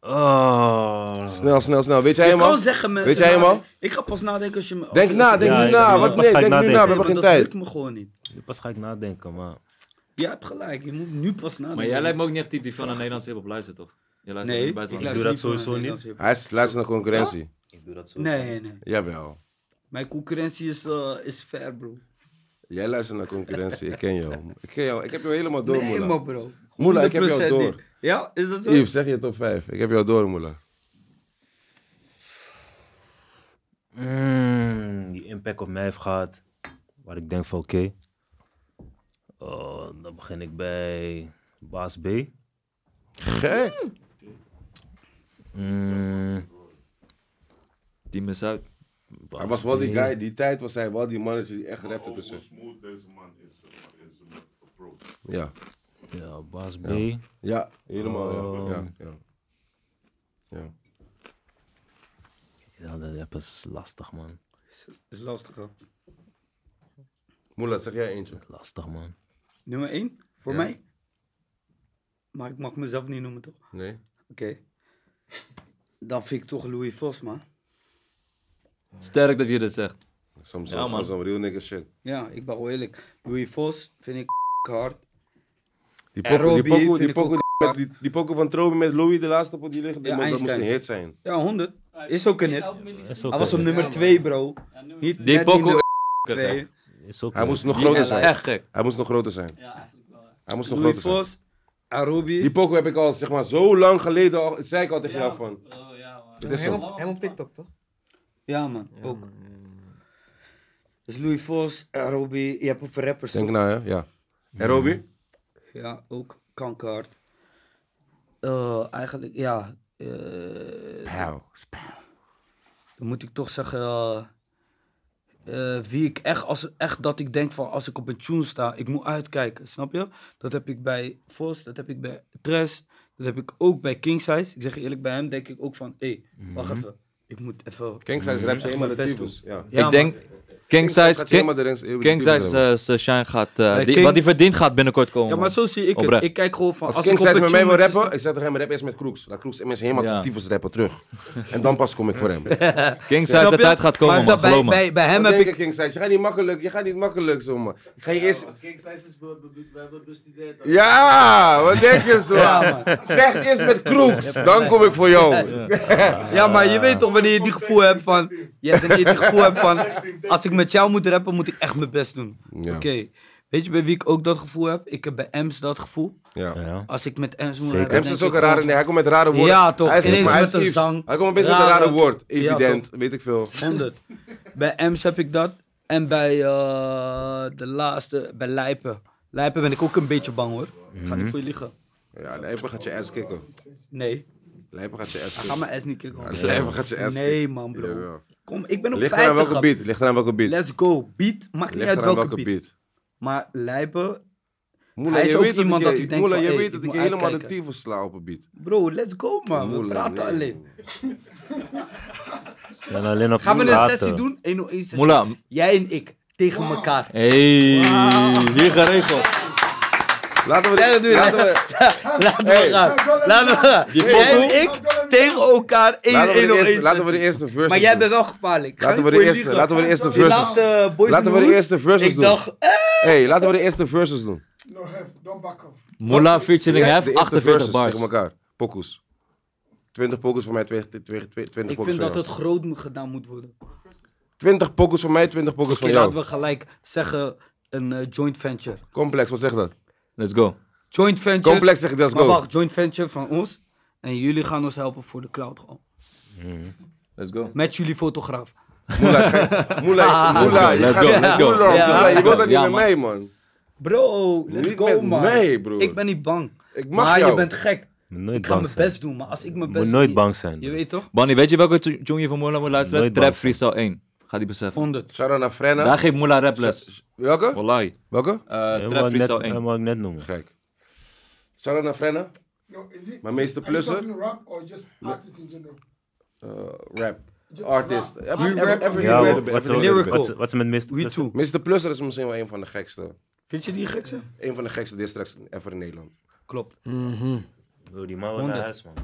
S2: Oh.
S1: Snel, snel, snel. Weet jij
S5: Ik
S1: helemaal?
S5: kan zeggen, mensen.
S1: Weet jij hem
S5: maar
S1: al?
S5: Ik ga pas nadenken als je me... als
S1: Denk
S5: je-
S1: na, denk
S2: Ja,
S1: nu
S2: ik
S1: na.
S2: zeg,
S1: Wat
S2: ja,
S1: nee, denk
S2: waarschijnlijk
S1: nu na. We
S2: nadenken.
S1: hebben geen
S5: dat
S1: tijd.
S5: lukt me gewoon niet.
S2: Pas ga ik nadenken, maar...
S5: Jij hebt gelijk. Je moet nu pas nadenken.
S3: Maar jij lijkt me ook niet echt type die van een Nederlandse hip-hop luistert, toch? Je luistert
S5: Nee,
S3: naar
S5: ik
S3: buitenland.
S5: luister
S2: dat
S5: niet van
S2: sowieso
S5: een
S2: niet.
S5: Nederlandse
S1: Hij is luister naar concurrentie.
S2: Ik doe dat zo.
S5: hip-hop. Nee, nee.
S1: Jawel.
S5: Mijn concurrentie is, eh, is fair, bro.
S1: Jij luistert naar concurrentie. Ik ken jou. Ik ken jou. Ik heb jou helemaal door,
S5: Nee, maar
S1: Moela.
S5: bro.
S1: Moela, ik heb jou
S5: 100%
S1: door.
S5: niet. Ja, is dat zo?
S1: Yves, zeg je top 5. Ik heb jou door, Moela.
S2: Mm, die impact op mij heeft gehad. Waar ik denk van oké. Oh, dan begin ik bij Baas B.
S1: Gek.
S2: Mm,
S3: Team is uit.
S2: Baas
S1: Hij was wel die
S2: B.
S1: guy. Die tijd was hij wel die mannetje die echt rapte
S6: Over hoe
S1: tussen.
S6: smooth deze man is, zeg maar, in zijn approach.
S1: Ja.
S2: Ja, Baas B.
S1: Ja, helemaal. ja.
S2: Oh.
S1: Ja, ja. Ja.
S2: Ja, dat rap is lastig man.
S5: is lastig, hoor.
S1: Moela, zeg jij eentje.
S2: Lastig man.
S5: Nummer 1 voor
S1: Ja.
S5: mij. Maar ik mag mezelf niet noemen, toch? Oké.
S1: Nee?
S5: Dan vind ik toch Louis Vos, man.
S3: Sterk dat je dit zegt.
S1: Soms
S3: Ja, man.
S1: some real nigga shit.
S5: Ja, ik ben wel eerlijk. Louis Vos vind ik hard.
S1: Die
S5: En
S1: pokoe, die
S5: Robbie
S1: pokoe,
S5: vind
S1: die
S5: ik
S1: pokoe,
S5: ook
S1: die met- die, die pokoe van Trobi met Louis de laatste pot die ligt,
S5: Ja,
S1: man, dat moest een
S5: Einstein.
S1: hit zijn.
S5: Ja, 100. Is ook een hit.
S2: Is
S7: hit.
S2: ook
S5: Hij was op
S2: een-
S5: nummer 2, bro. Niet
S3: Die
S5: net
S3: pokoe
S5: niet
S3: is
S5: nummer 2.
S2: is ook
S1: Hij
S2: een-
S1: moest nog
S3: Die
S1: groter
S3: is
S1: zijn.
S3: echt gek.
S1: Hij moest nog groter zijn.
S7: Ja, eigenlijk wel. ja.
S1: Hij moest nog
S5: Louis
S1: groter zijn.
S5: Vos, Arobi.
S1: Die pokoe heb ik al zeg maar zo lang geleden al, zei ik al tegen jou van.
S7: Oh, ja, man.
S1: Het is zo.
S4: Hem op, hem op TikTok, toch?
S5: Ja, man. ook. Dus Louis Vos, Arobi. Je hebt over rappers.
S1: Denk
S5: toch?
S1: nou hè, ja. En Robbie?
S5: Ja, ook kankerhard. Eh, eigenlijk, ja. eh,
S1: Pauw.
S5: dan moet ik toch zeggen eh, eh, wie ik echt, als, echt dat ik denk van als ik op een tune sta, ik moet uitkijken, snap je? Dat heb ik bij Vos, dat heb ik bij Tres, dat heb ik ook bij King Size. Ik zeg je eerlijk, bij hem denk ik ook van, hé, wacht
S3: Mhm.
S5: even, ik moet even...
S1: King Size rapt
S5: Echt
S1: helemaal de
S5: mijn best
S1: tyfus. Ja.
S5: Ja,
S3: ik denk, King Size,
S1: Gaat je helemaal de
S3: King,
S1: ranks- de
S3: King
S1: tyfus
S3: Size,
S1: hebben.
S3: eh, zijn shine gaat, eh,
S5: Nee,
S3: die-
S5: King-
S3: wat hij verdient gaat binnenkort komen.
S5: Ja, maar
S3: man.
S5: zo zie ik het.
S3: Oprecht.
S5: Ik kijk gewoon van...
S1: Als,
S5: ik
S1: King
S5: op
S1: Size
S5: een
S1: met mij wil
S5: tune moet
S1: rappen,
S5: staan-
S1: ik zeg tegen hem rap eerst met Kroeks. Laat Kroeks mensen helemaal
S3: Ja.
S1: de tyfus rappen terug. En dan pas kom ik voor hem.
S3: King
S5: Snap
S3: Size, de
S5: je?
S3: tijd gaat komen,
S5: Maar
S3: man.
S5: dat-
S3: Geloof
S5: bij,
S3: me.
S5: bij, bij hem
S1: Wat
S5: heb
S1: denk
S5: ik...
S1: je, King Size? Je gaat niet makkelijk, je gaat niet makkelijk zomaar. Ik Ga je eerst...
S9: King Size is be- be- be- we hebben dus bestudeerd.
S1: Ja, wat denk je zo?
S5: Ja, man.
S1: Vecht eerst met Kroeks, dan kom ik voor jou.
S5: Ja, maar je weet toch wanneer je die gevoel hebt van... Je hebt wanneer je die gevoel hebt van... Als ik met jou moet rappen, moet ik echt mijn best doen.
S1: Ja.
S5: Oké. Weet je bij wie ik ook dat gevoel heb? Ik heb bij Ems dat gevoel.
S1: Ja.
S2: Ja.
S5: Als ik met Ems moet
S2: Zeker.
S5: rappen...
S1: Hems
S5: denk
S1: is ook
S5: ik
S1: een rare,
S5: gewoon
S1: nee, hij komt met rare woorden.
S5: Ja, toch.
S1: Hij is,
S5: Ineens
S1: maar hij
S5: met
S1: is
S5: een
S1: Yves.
S5: zang.
S1: Hij komt best met een rare
S5: Rare-
S1: woord.
S5: Ja,
S1: Evident, weet ik veel.
S5: van 100. Bij Ems heb ik dat. En bij eh, de laatste, bij Lijpen. Lijpen ben ik ook een beetje bang hoor. Ik
S1: Mhm.
S5: ga niet voor je liegen.
S1: Ja, Lijpen gaat je ass kicken.
S5: Nee,
S1: Lijpen gaat je ass
S5: ga
S1: kicken.
S5: mijn ass niet kicken.
S1: Lijpen gaat je ass kicken.
S5: Nee man bro.
S1: Jawel.
S5: Kom, ik ben op
S1: Ligt eraan
S5: 50.
S1: welke
S5: grap.
S1: beat, ligt eraan welke beat.
S5: Let's go. Beat, maakt niet
S1: Ligt
S5: uit
S1: eraan
S5: welke
S1: welke
S5: beat.
S1: beat.
S5: Maar Lijpen,
S1: Moela,
S5: Hij is
S1: je
S5: ook
S1: weet dat
S5: iemand
S1: ik je-
S5: dat u denkt
S1: Moela,
S5: van,
S1: je
S5: hey,
S1: weet
S5: ik
S1: dat ik
S5: moet
S1: je helemaal de
S5: uitkijken.
S1: tyfus sla op een beat.
S5: bro, let's go man. We
S1: Moela,
S5: praten
S1: nee.
S5: alleen.
S2: Zijn alleen op
S5: Gaan we een
S2: praten.
S5: sessie doen? 101 sessie.
S3: Moela.
S5: Jij en ik. Tegen elkaar.
S3: Hey, hier geregeld.
S1: Laten we dit
S5: Ja, dat doe je.
S1: laten we-
S5: Laten
S1: Hey.
S5: we gaan. Laten we gaan. Jij en ik tegen elkaar. 1
S1: laten we de eerste-
S5: 1
S1: laten we de eerste verse
S5: Maar jij bent wel gevaarlijk. Ga
S1: Laten
S5: niet
S1: we de
S5: voor je
S1: eerste-
S5: liegen.
S1: laten we de eerste
S5: Die
S1: verses-
S5: laatste Boys
S1: Laten
S5: in
S1: we
S5: the
S1: de
S5: Hood,
S1: eerste verses
S5: Ik
S1: doen.
S5: dacht, eh,
S1: Hey, laten we de eerste verses doen.
S8: No hef, don't back off.
S3: Moela
S1: Ja,
S3: featuring
S1: de
S3: Hef,
S1: eerste
S3: 48
S1: verses
S3: bars.
S1: tegen elkaar. Pokus. 20 pokus voor mij, 20 pokus
S5: ik
S1: voor
S5: vind dat
S1: jou.
S5: het groot moet gedaan moet worden.
S1: 20 pokus van mij, 20 pokus van
S5: Misschien hadden
S1: jou.
S5: we gelijk zeggen een eh, joint venture.
S1: Complex, wat zegt dat?
S3: Let's go.
S5: Joint venture.
S1: Complex zeg ik, let's
S5: maar
S1: go.
S5: wacht, joint venture van ons. En jullie gaan ons helpen voor de cloud gewoon.
S3: Let's go.
S5: Met jullie fotograaf.
S1: Moela, ga- Moela, Moela, je
S3: Let's
S1: gaat-
S3: go, let's go.
S1: Moela,
S5: Ja,
S1: Moela, je
S3: let's
S1: wilt
S3: go.
S1: dat niet
S3: Ja,
S1: met
S3: man.
S1: mij, man.
S5: Bro, let's
S1: Niet
S5: go
S1: met
S5: man.
S1: mij, broer.
S5: Ik ben niet bang.
S1: Ik mag
S5: maar
S1: jou.
S5: je bent gek.
S2: Moet nooit
S5: Ik ga
S2: bang
S5: mijn
S2: zijn.
S5: best doen, maar als ik mijn
S2: Moet
S5: best
S2: nooit
S5: doe-
S2: bang zijn,
S5: Je
S2: bro.
S5: weet toch?
S3: Banny, weet je welke to- tune je van Moela moet luisteren?
S2: Nooit
S3: Trap
S2: bang
S3: Freestyle 1. Ga die beseffen.
S5: Honderd.
S1: Shout-out naar Frenna.
S3: Daar geeft Moela raples.
S1: Welke?
S3: Wallahi.
S1: Welke?
S3: Eh,
S2: Dat
S3: Trap
S2: wou ik net-
S3: Freestyle 1.
S2: dat wou ik net noemen.
S1: Gek. Shout-out naar Frenna.
S8: No, is it?
S1: Maar meeste
S8: Are you
S1: plussen? Eh,
S8: talking rap or just artists in general?
S1: Rap. Artist.
S8: rap.
S1: Every-
S8: You
S1: every-
S8: rap.
S1: every-
S2: Ja,
S1: every-
S2: wat-
S1: every-
S2: wat ze-
S1: every-
S5: lyrical.
S2: wat ze- Wat ze met Mist...
S5: We too.
S1: Mr. Plusser is misschien wel een van de gekste.
S5: Vind je die gekse?
S1: Een van de gekste districts ever in Nederland.
S5: Klopt.
S2: Bro, Oh, die man wil naar
S5: Honderd.
S2: huis, man.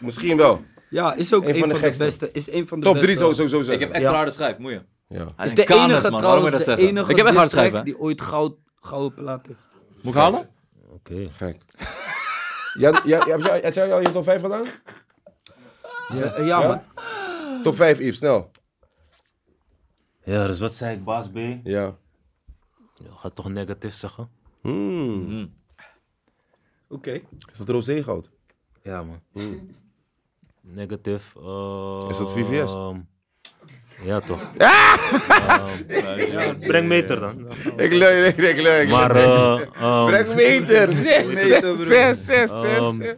S1: Misschien wel.
S5: Ja, is ook
S1: Eén
S5: een,
S1: van
S5: van,
S1: de
S5: de,
S1: gekste.
S5: beste. Is een van de
S1: Top
S5: beste.
S1: 3 sowieso. sowieso.
S3: Ik heb extra harde schijf, moeie.
S1: Ja.
S3: Hij
S5: Is
S3: is
S5: de
S3: een kanus,
S5: enige
S3: man. Waarom moet
S5: trouwens,
S3: je dat
S5: de
S3: zeggen?
S5: enige
S3: Ik heb echt hard
S5: distrack
S3: schrijven.
S5: die ooit goud, gouden plaat heeft.
S3: Moet ik halen?
S2: Oké.
S1: Gek. Jij- jij- Heb jij had jij al je top 5 gedaan?
S5: Ja, eh, ja, man.
S1: Top 5, Yves, snel.
S2: Ja, dus wat zei ik, baas B? Je
S1: Ja.
S2: gaat toch negatief zeggen?
S1: Hmm.
S5: Mm-hmm. Oké.
S1: Is dat rosé goud?
S2: Ja, man. Negatief. eh,
S1: Is dat VVS?
S2: ehm, ja, toch.
S1: Ah!
S2: Ehm, ja, breng meter dan.
S1: Ik leuk, ik leuk, ik leuk.
S2: Maar, eh, ehm,
S1: Breng meter. Zes,
S5: Meter, broer.
S1: zes, zes, zes,
S2: Ehm.
S1: zes.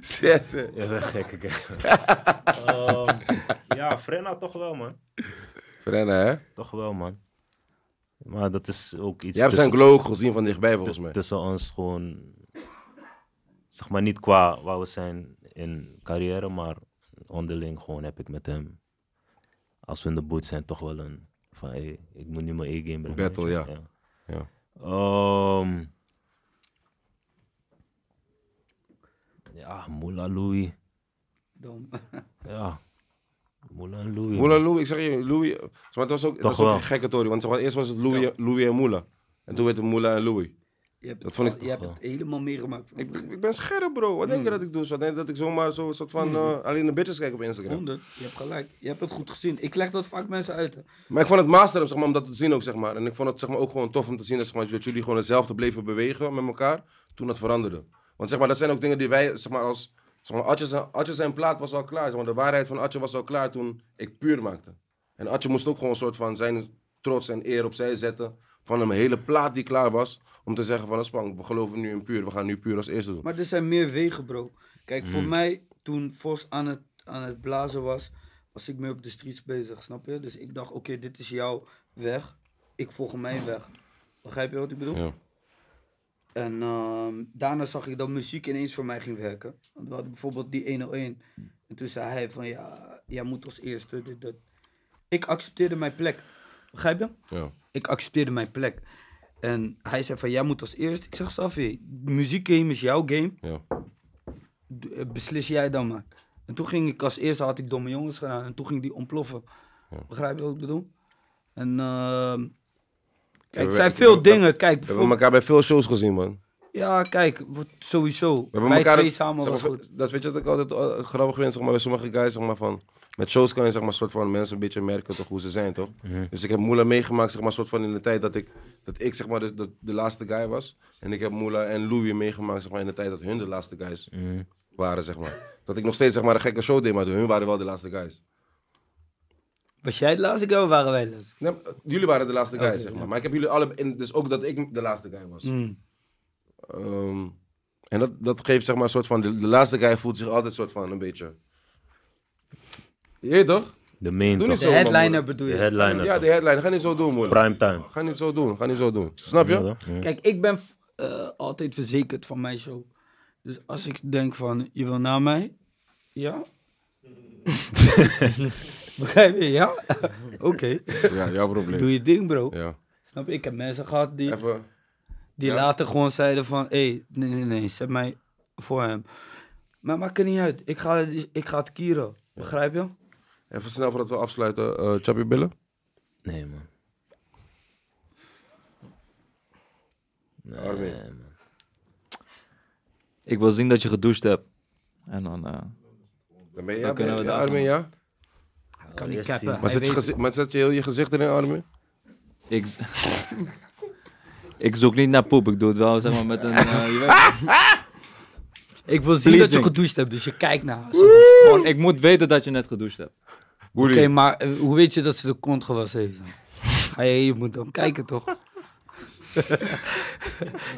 S1: Zes, zes.
S2: ja, ben gek, ik Ehm, ja, Frenna toch wel, man.
S1: Frenna, hè?
S2: Toch wel, man. Maar dat is ook iets
S1: Jij hebt zijn
S2: tussen,
S1: glow gezien van dichtbij, volgens
S2: tu-
S1: mij.
S2: tussen ons gewoon... Zeg maar niet qua waar we zijn in carrière, maar onderling gewoon heb ik met hem... Als we in de boot zijn, toch wel een... Van, hey, ik moet nu mijn E-game brengen.
S1: Battle,
S2: weet je.
S1: ja. Ja.
S2: Ehm, ja, Moula Louis.
S5: Dom.
S2: Ja. Moula Louis.
S1: Moula en Louis, ik zeg je, Louis. eh, Maar het was ook, het
S2: Toch
S1: was ook
S2: wel.
S1: een gekke tory. Want zeg maar, eerst was het Louis, Louis en Moula. En toen werd het Moula en Louis.
S5: Je hebt
S1: Dat
S5: het,
S1: vond ik
S5: al- je hebt het helemaal meegemaakt.
S1: Ik, ik ben scherp, bro. Wat
S2: Hmm.
S1: denk je dat ik doe? Zo, denk je dat ik zomaar zo, een soort van eh, alleen de bitches kijk op Instagram.
S5: 100. Je hebt gelijk. Je hebt het goed gezien. Ik leg dat vaak mensen uit. hè.
S1: Maar ik vond het master zeg maar, om dat te zien ook, zeg maar. En ik vond het zeg maar, ook gewoon tof om te zien dat, zeg maar, dat jullie gewoon hetzelfde bleven bewegen met elkaar toen dat veranderde. Want zeg maar, dat zijn ook dingen die wij, zeg maar, als... Zeg maar, Atje, zijn, Atje zijn plaat was al klaar. Zeg maar, de waarheid van Atje was al klaar toen ik puur maakte. En Atje moest ook gewoon een soort van zijn trots en eer opzij zetten van een hele plaat die klaar was. Om te zeggen van, "Oh, Spang, we geloven nu in puur. We gaan nu puur als eerste doen.
S5: Maar er zijn meer wegen, bro. Kijk, voor mij, toen Vos aan het, aan het blazen was, was ik meer op de streets bezig, snap je? Dus ik dacht, oké, dit is jouw weg. Ik volg mijn weg. Begrijp je wat ik bedoel?
S1: Ja.
S5: En ehm, daarna zag ik dat muziek ineens voor mij ging werken. Want we hadden bijvoorbeeld die 101. En toen zei hij van, ja, jij moet als eerste dit, dat. Ik accepteerde mijn plek. Begrijp je?
S1: Ja.
S5: Ik accepteerde mijn plek. En hij zei van, jij moet als eerst. Ik zeg, Safi, muziekgame is jouw game.
S1: Ja.
S5: D- eh, beslis jij dan maar. En toen ging ik als eerste, had ik domme jongens gedaan. En toen ging die ontploffen. Begrijp je wat ik bedoel? En ehm, kijk,
S1: we-
S5: het zijn
S1: ik-
S5: veel
S1: ik-
S5: dingen. Kijk,
S1: We hebben
S5: bijvoorbeeld-
S1: elkaar bij veel shows gezien, man.
S5: ja, kijk, wat- sowieso.
S1: We
S5: Wij
S1: hebben elkaar
S5: twee
S1: ook-
S5: samen
S1: zeg
S5: was
S1: maar,
S5: goed.
S1: Dat weet je dat ik altijd eh, grappig vind, zeg maar, bij sommige guys, zeg maar, van... Met shows kan je, zeg maar, soort van mensen een beetje merken, toch, hoe ze zijn, toch? Dus ik heb Moela meegemaakt, zeg maar, soort van in de tijd dat ik... Dat ik, zeg maar, de, de, de laatste guy was. En ik heb Moela en Louie meegemaakt, zeg maar, in de tijd dat hun de laatste guys waren, zeg maar. Dat ik nog steeds, zeg maar, een gekke show deed, maar hun waren wel de laatste guys.
S5: Was jij het laatste keer of waren wij het laatste?
S1: Nee, maar, eh, jullie waren de laatste guys, zeg maar. Maar ik heb jullie alle... en dus ook dat ik de laatste guy was. Ehm, en dat, dat geeft zeg maar een soort van... De, de laatste guy voelt zich altijd soort van een beetje... Je weet toch?
S2: De
S1: Doe
S2: main toch.
S1: niet
S5: De
S1: zo, man,
S5: headliner
S1: broer.
S5: bedoel
S2: De
S5: je?
S2: headliner
S1: Ja,
S2: toch.
S1: de headline. Ga niet zo doen, moeilijk.
S2: Prime time.
S1: Ga niet zo doen. Ga niet zo doen. Snap je?
S2: Ja, ja.
S5: Kijk, ik ben v- eh, altijd verzekerd van mijn show. Dus als ik denk van, je wil naar mij? Ja. Begrijp je? Ja? Oké.
S1: Ja, jouw probleem.
S5: Doe je ding, bro.
S1: Ja.
S5: Snap je? Ik heb mensen gehad die,
S1: Even.
S5: die
S1: ja.
S5: later gewoon zeiden van... Hé, hey, nee, nee, nee, zet mij voor hem. Maar maakt het niet uit. Ik ga, ik ga het kieren. Begrijp je?
S1: Even snel voordat we afsluiten. eh Chappie Billen.
S2: Nee, man. Nee,
S1: Armin.
S2: man.
S3: Ik wil zien dat je gedoucht hebt. En dan... eh,
S1: Dan ben je. ja,
S3: Dan
S1: ben je-
S3: kunnen we
S1: ja,
S3: dat
S1: Armin, ja?
S5: kan
S2: Yes,
S5: niet cappen.
S2: zie.
S1: Maar
S5: Hij
S1: zet, je
S5: weet-
S1: gezi- maar zet je heel je gezicht erin, Armin?
S3: Ik, z- ik zoek niet naar poep, ik doe het wel zeg maar met een... eh, je weet-
S5: Ik wil zien dat je
S3: Pleasing.
S5: gedoucht hebt, dus je kijkt naar haar.
S3: Gewoon, ik moet weten dat je net gedoucht hebt.
S5: Oké, maar eh, hoe weet je dat ze de kont gewassen heeft? dan? Ga je, je moet dan kijken, toch?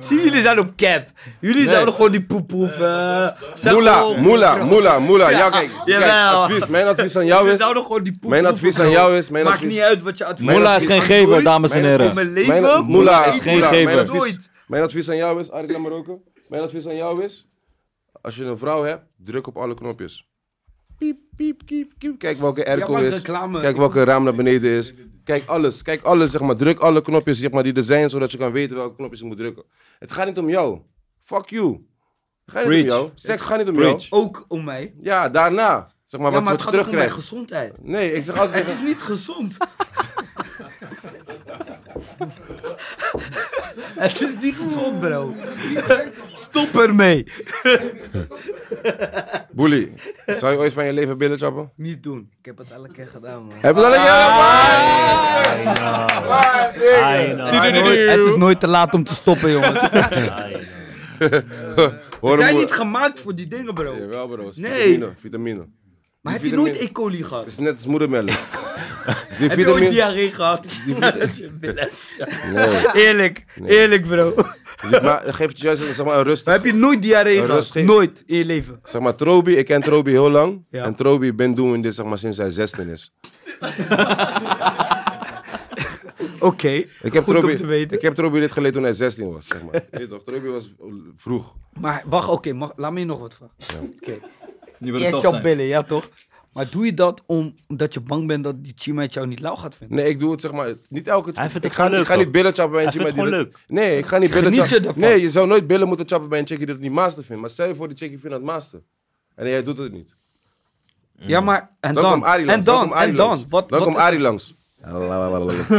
S5: Zie, jullie zijn op cap. Jullie zouden gewoon die poepoef...
S1: Eh,
S5: Uh,
S1: Moela, moela, moela, moela. Ja, kijk. kijk
S5: jawel.
S1: advies, mijn advies aan jou
S5: Jullie
S1: is...
S5: zouden gewoon die poepoef...
S1: Mijn advies aan jou is... Mijn
S5: Maakt
S1: advies,
S5: niet uit wat je advies...
S1: Mijn
S3: Moela is
S1: advies-
S3: geen gever, dames en
S5: Voor
S3: heren.
S5: mijn leven?
S1: Mijn, moela
S3: is geen
S1: moela, Mijn
S3: gever.
S1: advies,
S5: Nooit.
S1: mijn advies aan jou is, Arik laat maar roken. Mijn advies aan jou is... Als je een vrouw hebt, druk op alle knopjes. Piep, piep, kiep, kiep. Kijk welke airco
S5: maar
S1: is.
S5: reclame.
S1: Kijk welke raam naar beneden is. Kijk alles. Kijk alles, zeg maar. Druk alle knopjes zeg maar, die er zijn, zodat je kan weten welke knopjes je moet drukken. Het gaat niet om jou. Fuck you. Het gaat niet om
S3: Preach.
S1: jou. Seks gaat niet om jou.
S3: Preach.
S5: Ook om mij.
S1: Ja, daarna. Zeg maar
S5: Ja,
S1: wat, wat
S5: maar het
S1: je
S5: gaat ook om mijn
S1: terugkrijgt.
S5: gezondheid.
S1: Nee, ik zeg altijd
S5: Het
S1: tegen...
S5: is niet gezond. Het is niet gezond, bro. Stop ermee.
S1: Boelie, zou je ooit van je leven billen chappen?
S5: Niet doen. Ik heb het elke keer gedaan, man.
S1: Heb je dat al
S2: I know.
S5: Het is, nooit, het is nooit te laat om te stoppen, jongens. We
S1: Hoor
S5: zijn
S1: hem,
S5: niet
S1: hoor.
S5: gemaakt voor die dingen, bro.
S1: Jawel bro, is
S5: Nee.
S1: vitamine, vitamine.
S5: Maar heb
S1: Die
S5: je nooit
S1: vitamine-
S5: E. coli
S1: Het
S5: gehad?
S1: is net als moedermelk. Die
S5: Heb je ooit
S1: vitamine...
S5: diarree gehad? Dat je billen-
S1: Nee,
S5: Eerlijk, eerlijk, bro.
S1: die- maar het geeft je juist zeg maar, een rust.
S5: Maar heb je nooit diarree
S1: Een
S5: gehad?
S1: rustgeving.
S5: Nooit in je leven.
S1: Zeg maar, Trobi, ik ken Trobi heel lang.
S5: Ja.
S1: En Trobi ben doen dit zeg maar, sinds hij 16 is.
S5: Oké.
S1: Ik heb,
S5: Goed om
S1: Trobi,
S5: te weten.
S1: ik heb Trobi dit geleerd toen hij 16 was. Zeg maar. Je weet toch, Trobi was vroeg.
S5: Maar wacht, oké, mag- laat me je nog wat vragen. Oké.
S3: Nu
S5: Je hebt jouw billen, ja toch? Maar doe je dat om, omdat je bang bent dat die chima het jou niet lauw gaat vinden?
S1: Nee, ik doe het zeg maar niet elke
S2: Hij vindt het
S1: ik ga,
S2: gewoon
S1: ik ga
S2: leuk,
S1: niet billen chappen bij een
S2: Hij
S1: chick.
S2: vindt
S1: maar
S2: het
S1: die dat- Nee, ik ga niet billen
S5: Geniet je
S1: chappen.
S5: ervan.
S1: Nee, je zou nooit billen moeten chappen bij een chick die dat niet master vindt. Maar zij voor die chick die vindt dat master. En jij doet het niet.
S5: Ja, maar, en
S1: Dan,
S5: dan?
S1: komt Mm. Arie
S5: en
S1: langs.
S5: dan?
S1: komt Arie
S5: en dan?
S1: langs.
S5: Wat,
S1: dan
S5: wat
S1: komt
S5: is-
S1: Arie langs.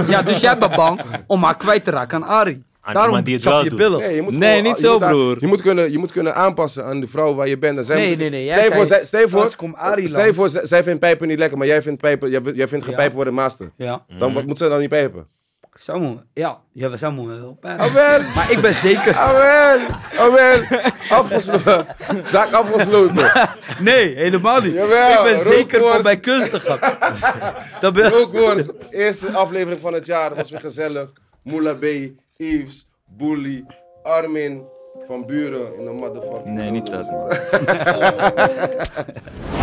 S5: Ja, dus jij bent bang om haar kwijt te raken aan Arie.
S2: Aan
S5: Daarom
S2: iemand Ah, die het
S5: chap
S2: wel
S5: je
S2: doet.
S5: billen.
S1: Nee, je moet
S3: Nee,
S1: gewoon-
S3: niet
S1: je
S3: zo,
S1: moet haar-
S3: broer.
S1: Je moet, kunnen, je moet kunnen aanpassen aan de vrouw waar je bent. En zij
S5: Nee,
S1: moet-
S5: nee, nee, jij
S1: Stel je
S5: zei-
S1: voor, zij- stel je
S5: Straks
S1: voor,
S5: komt Arie
S1: stel je
S5: langs.
S1: voor zij, zij vindt pijpen niet lekker, maar jij vindt, pijpen, jij, jij vindt
S5: Ja. Mm.
S1: gepijpen worden master.
S5: Ja,
S1: Dan wat moet zij dan niet pijpen?
S5: zou moeten. Ja, ja, we zouden moeten wel pijn.
S1: Ah, wel.
S5: Maar ik ben zeker...
S1: Ah, wel. Ah, wel. Afgesloten. Zaak afgesloten.
S5: Nee, helemaal niet.
S1: Jawel,
S5: ik ben zeker
S1: rookworst.
S5: van mijn kunstig. Snap je?
S1: Rookworst, eerste aflevering van het jaar. Was weer gezellig. Moula B, Yves, Bully, Armin, Van Buren in de motherfucking.
S3: Nee, niet dat.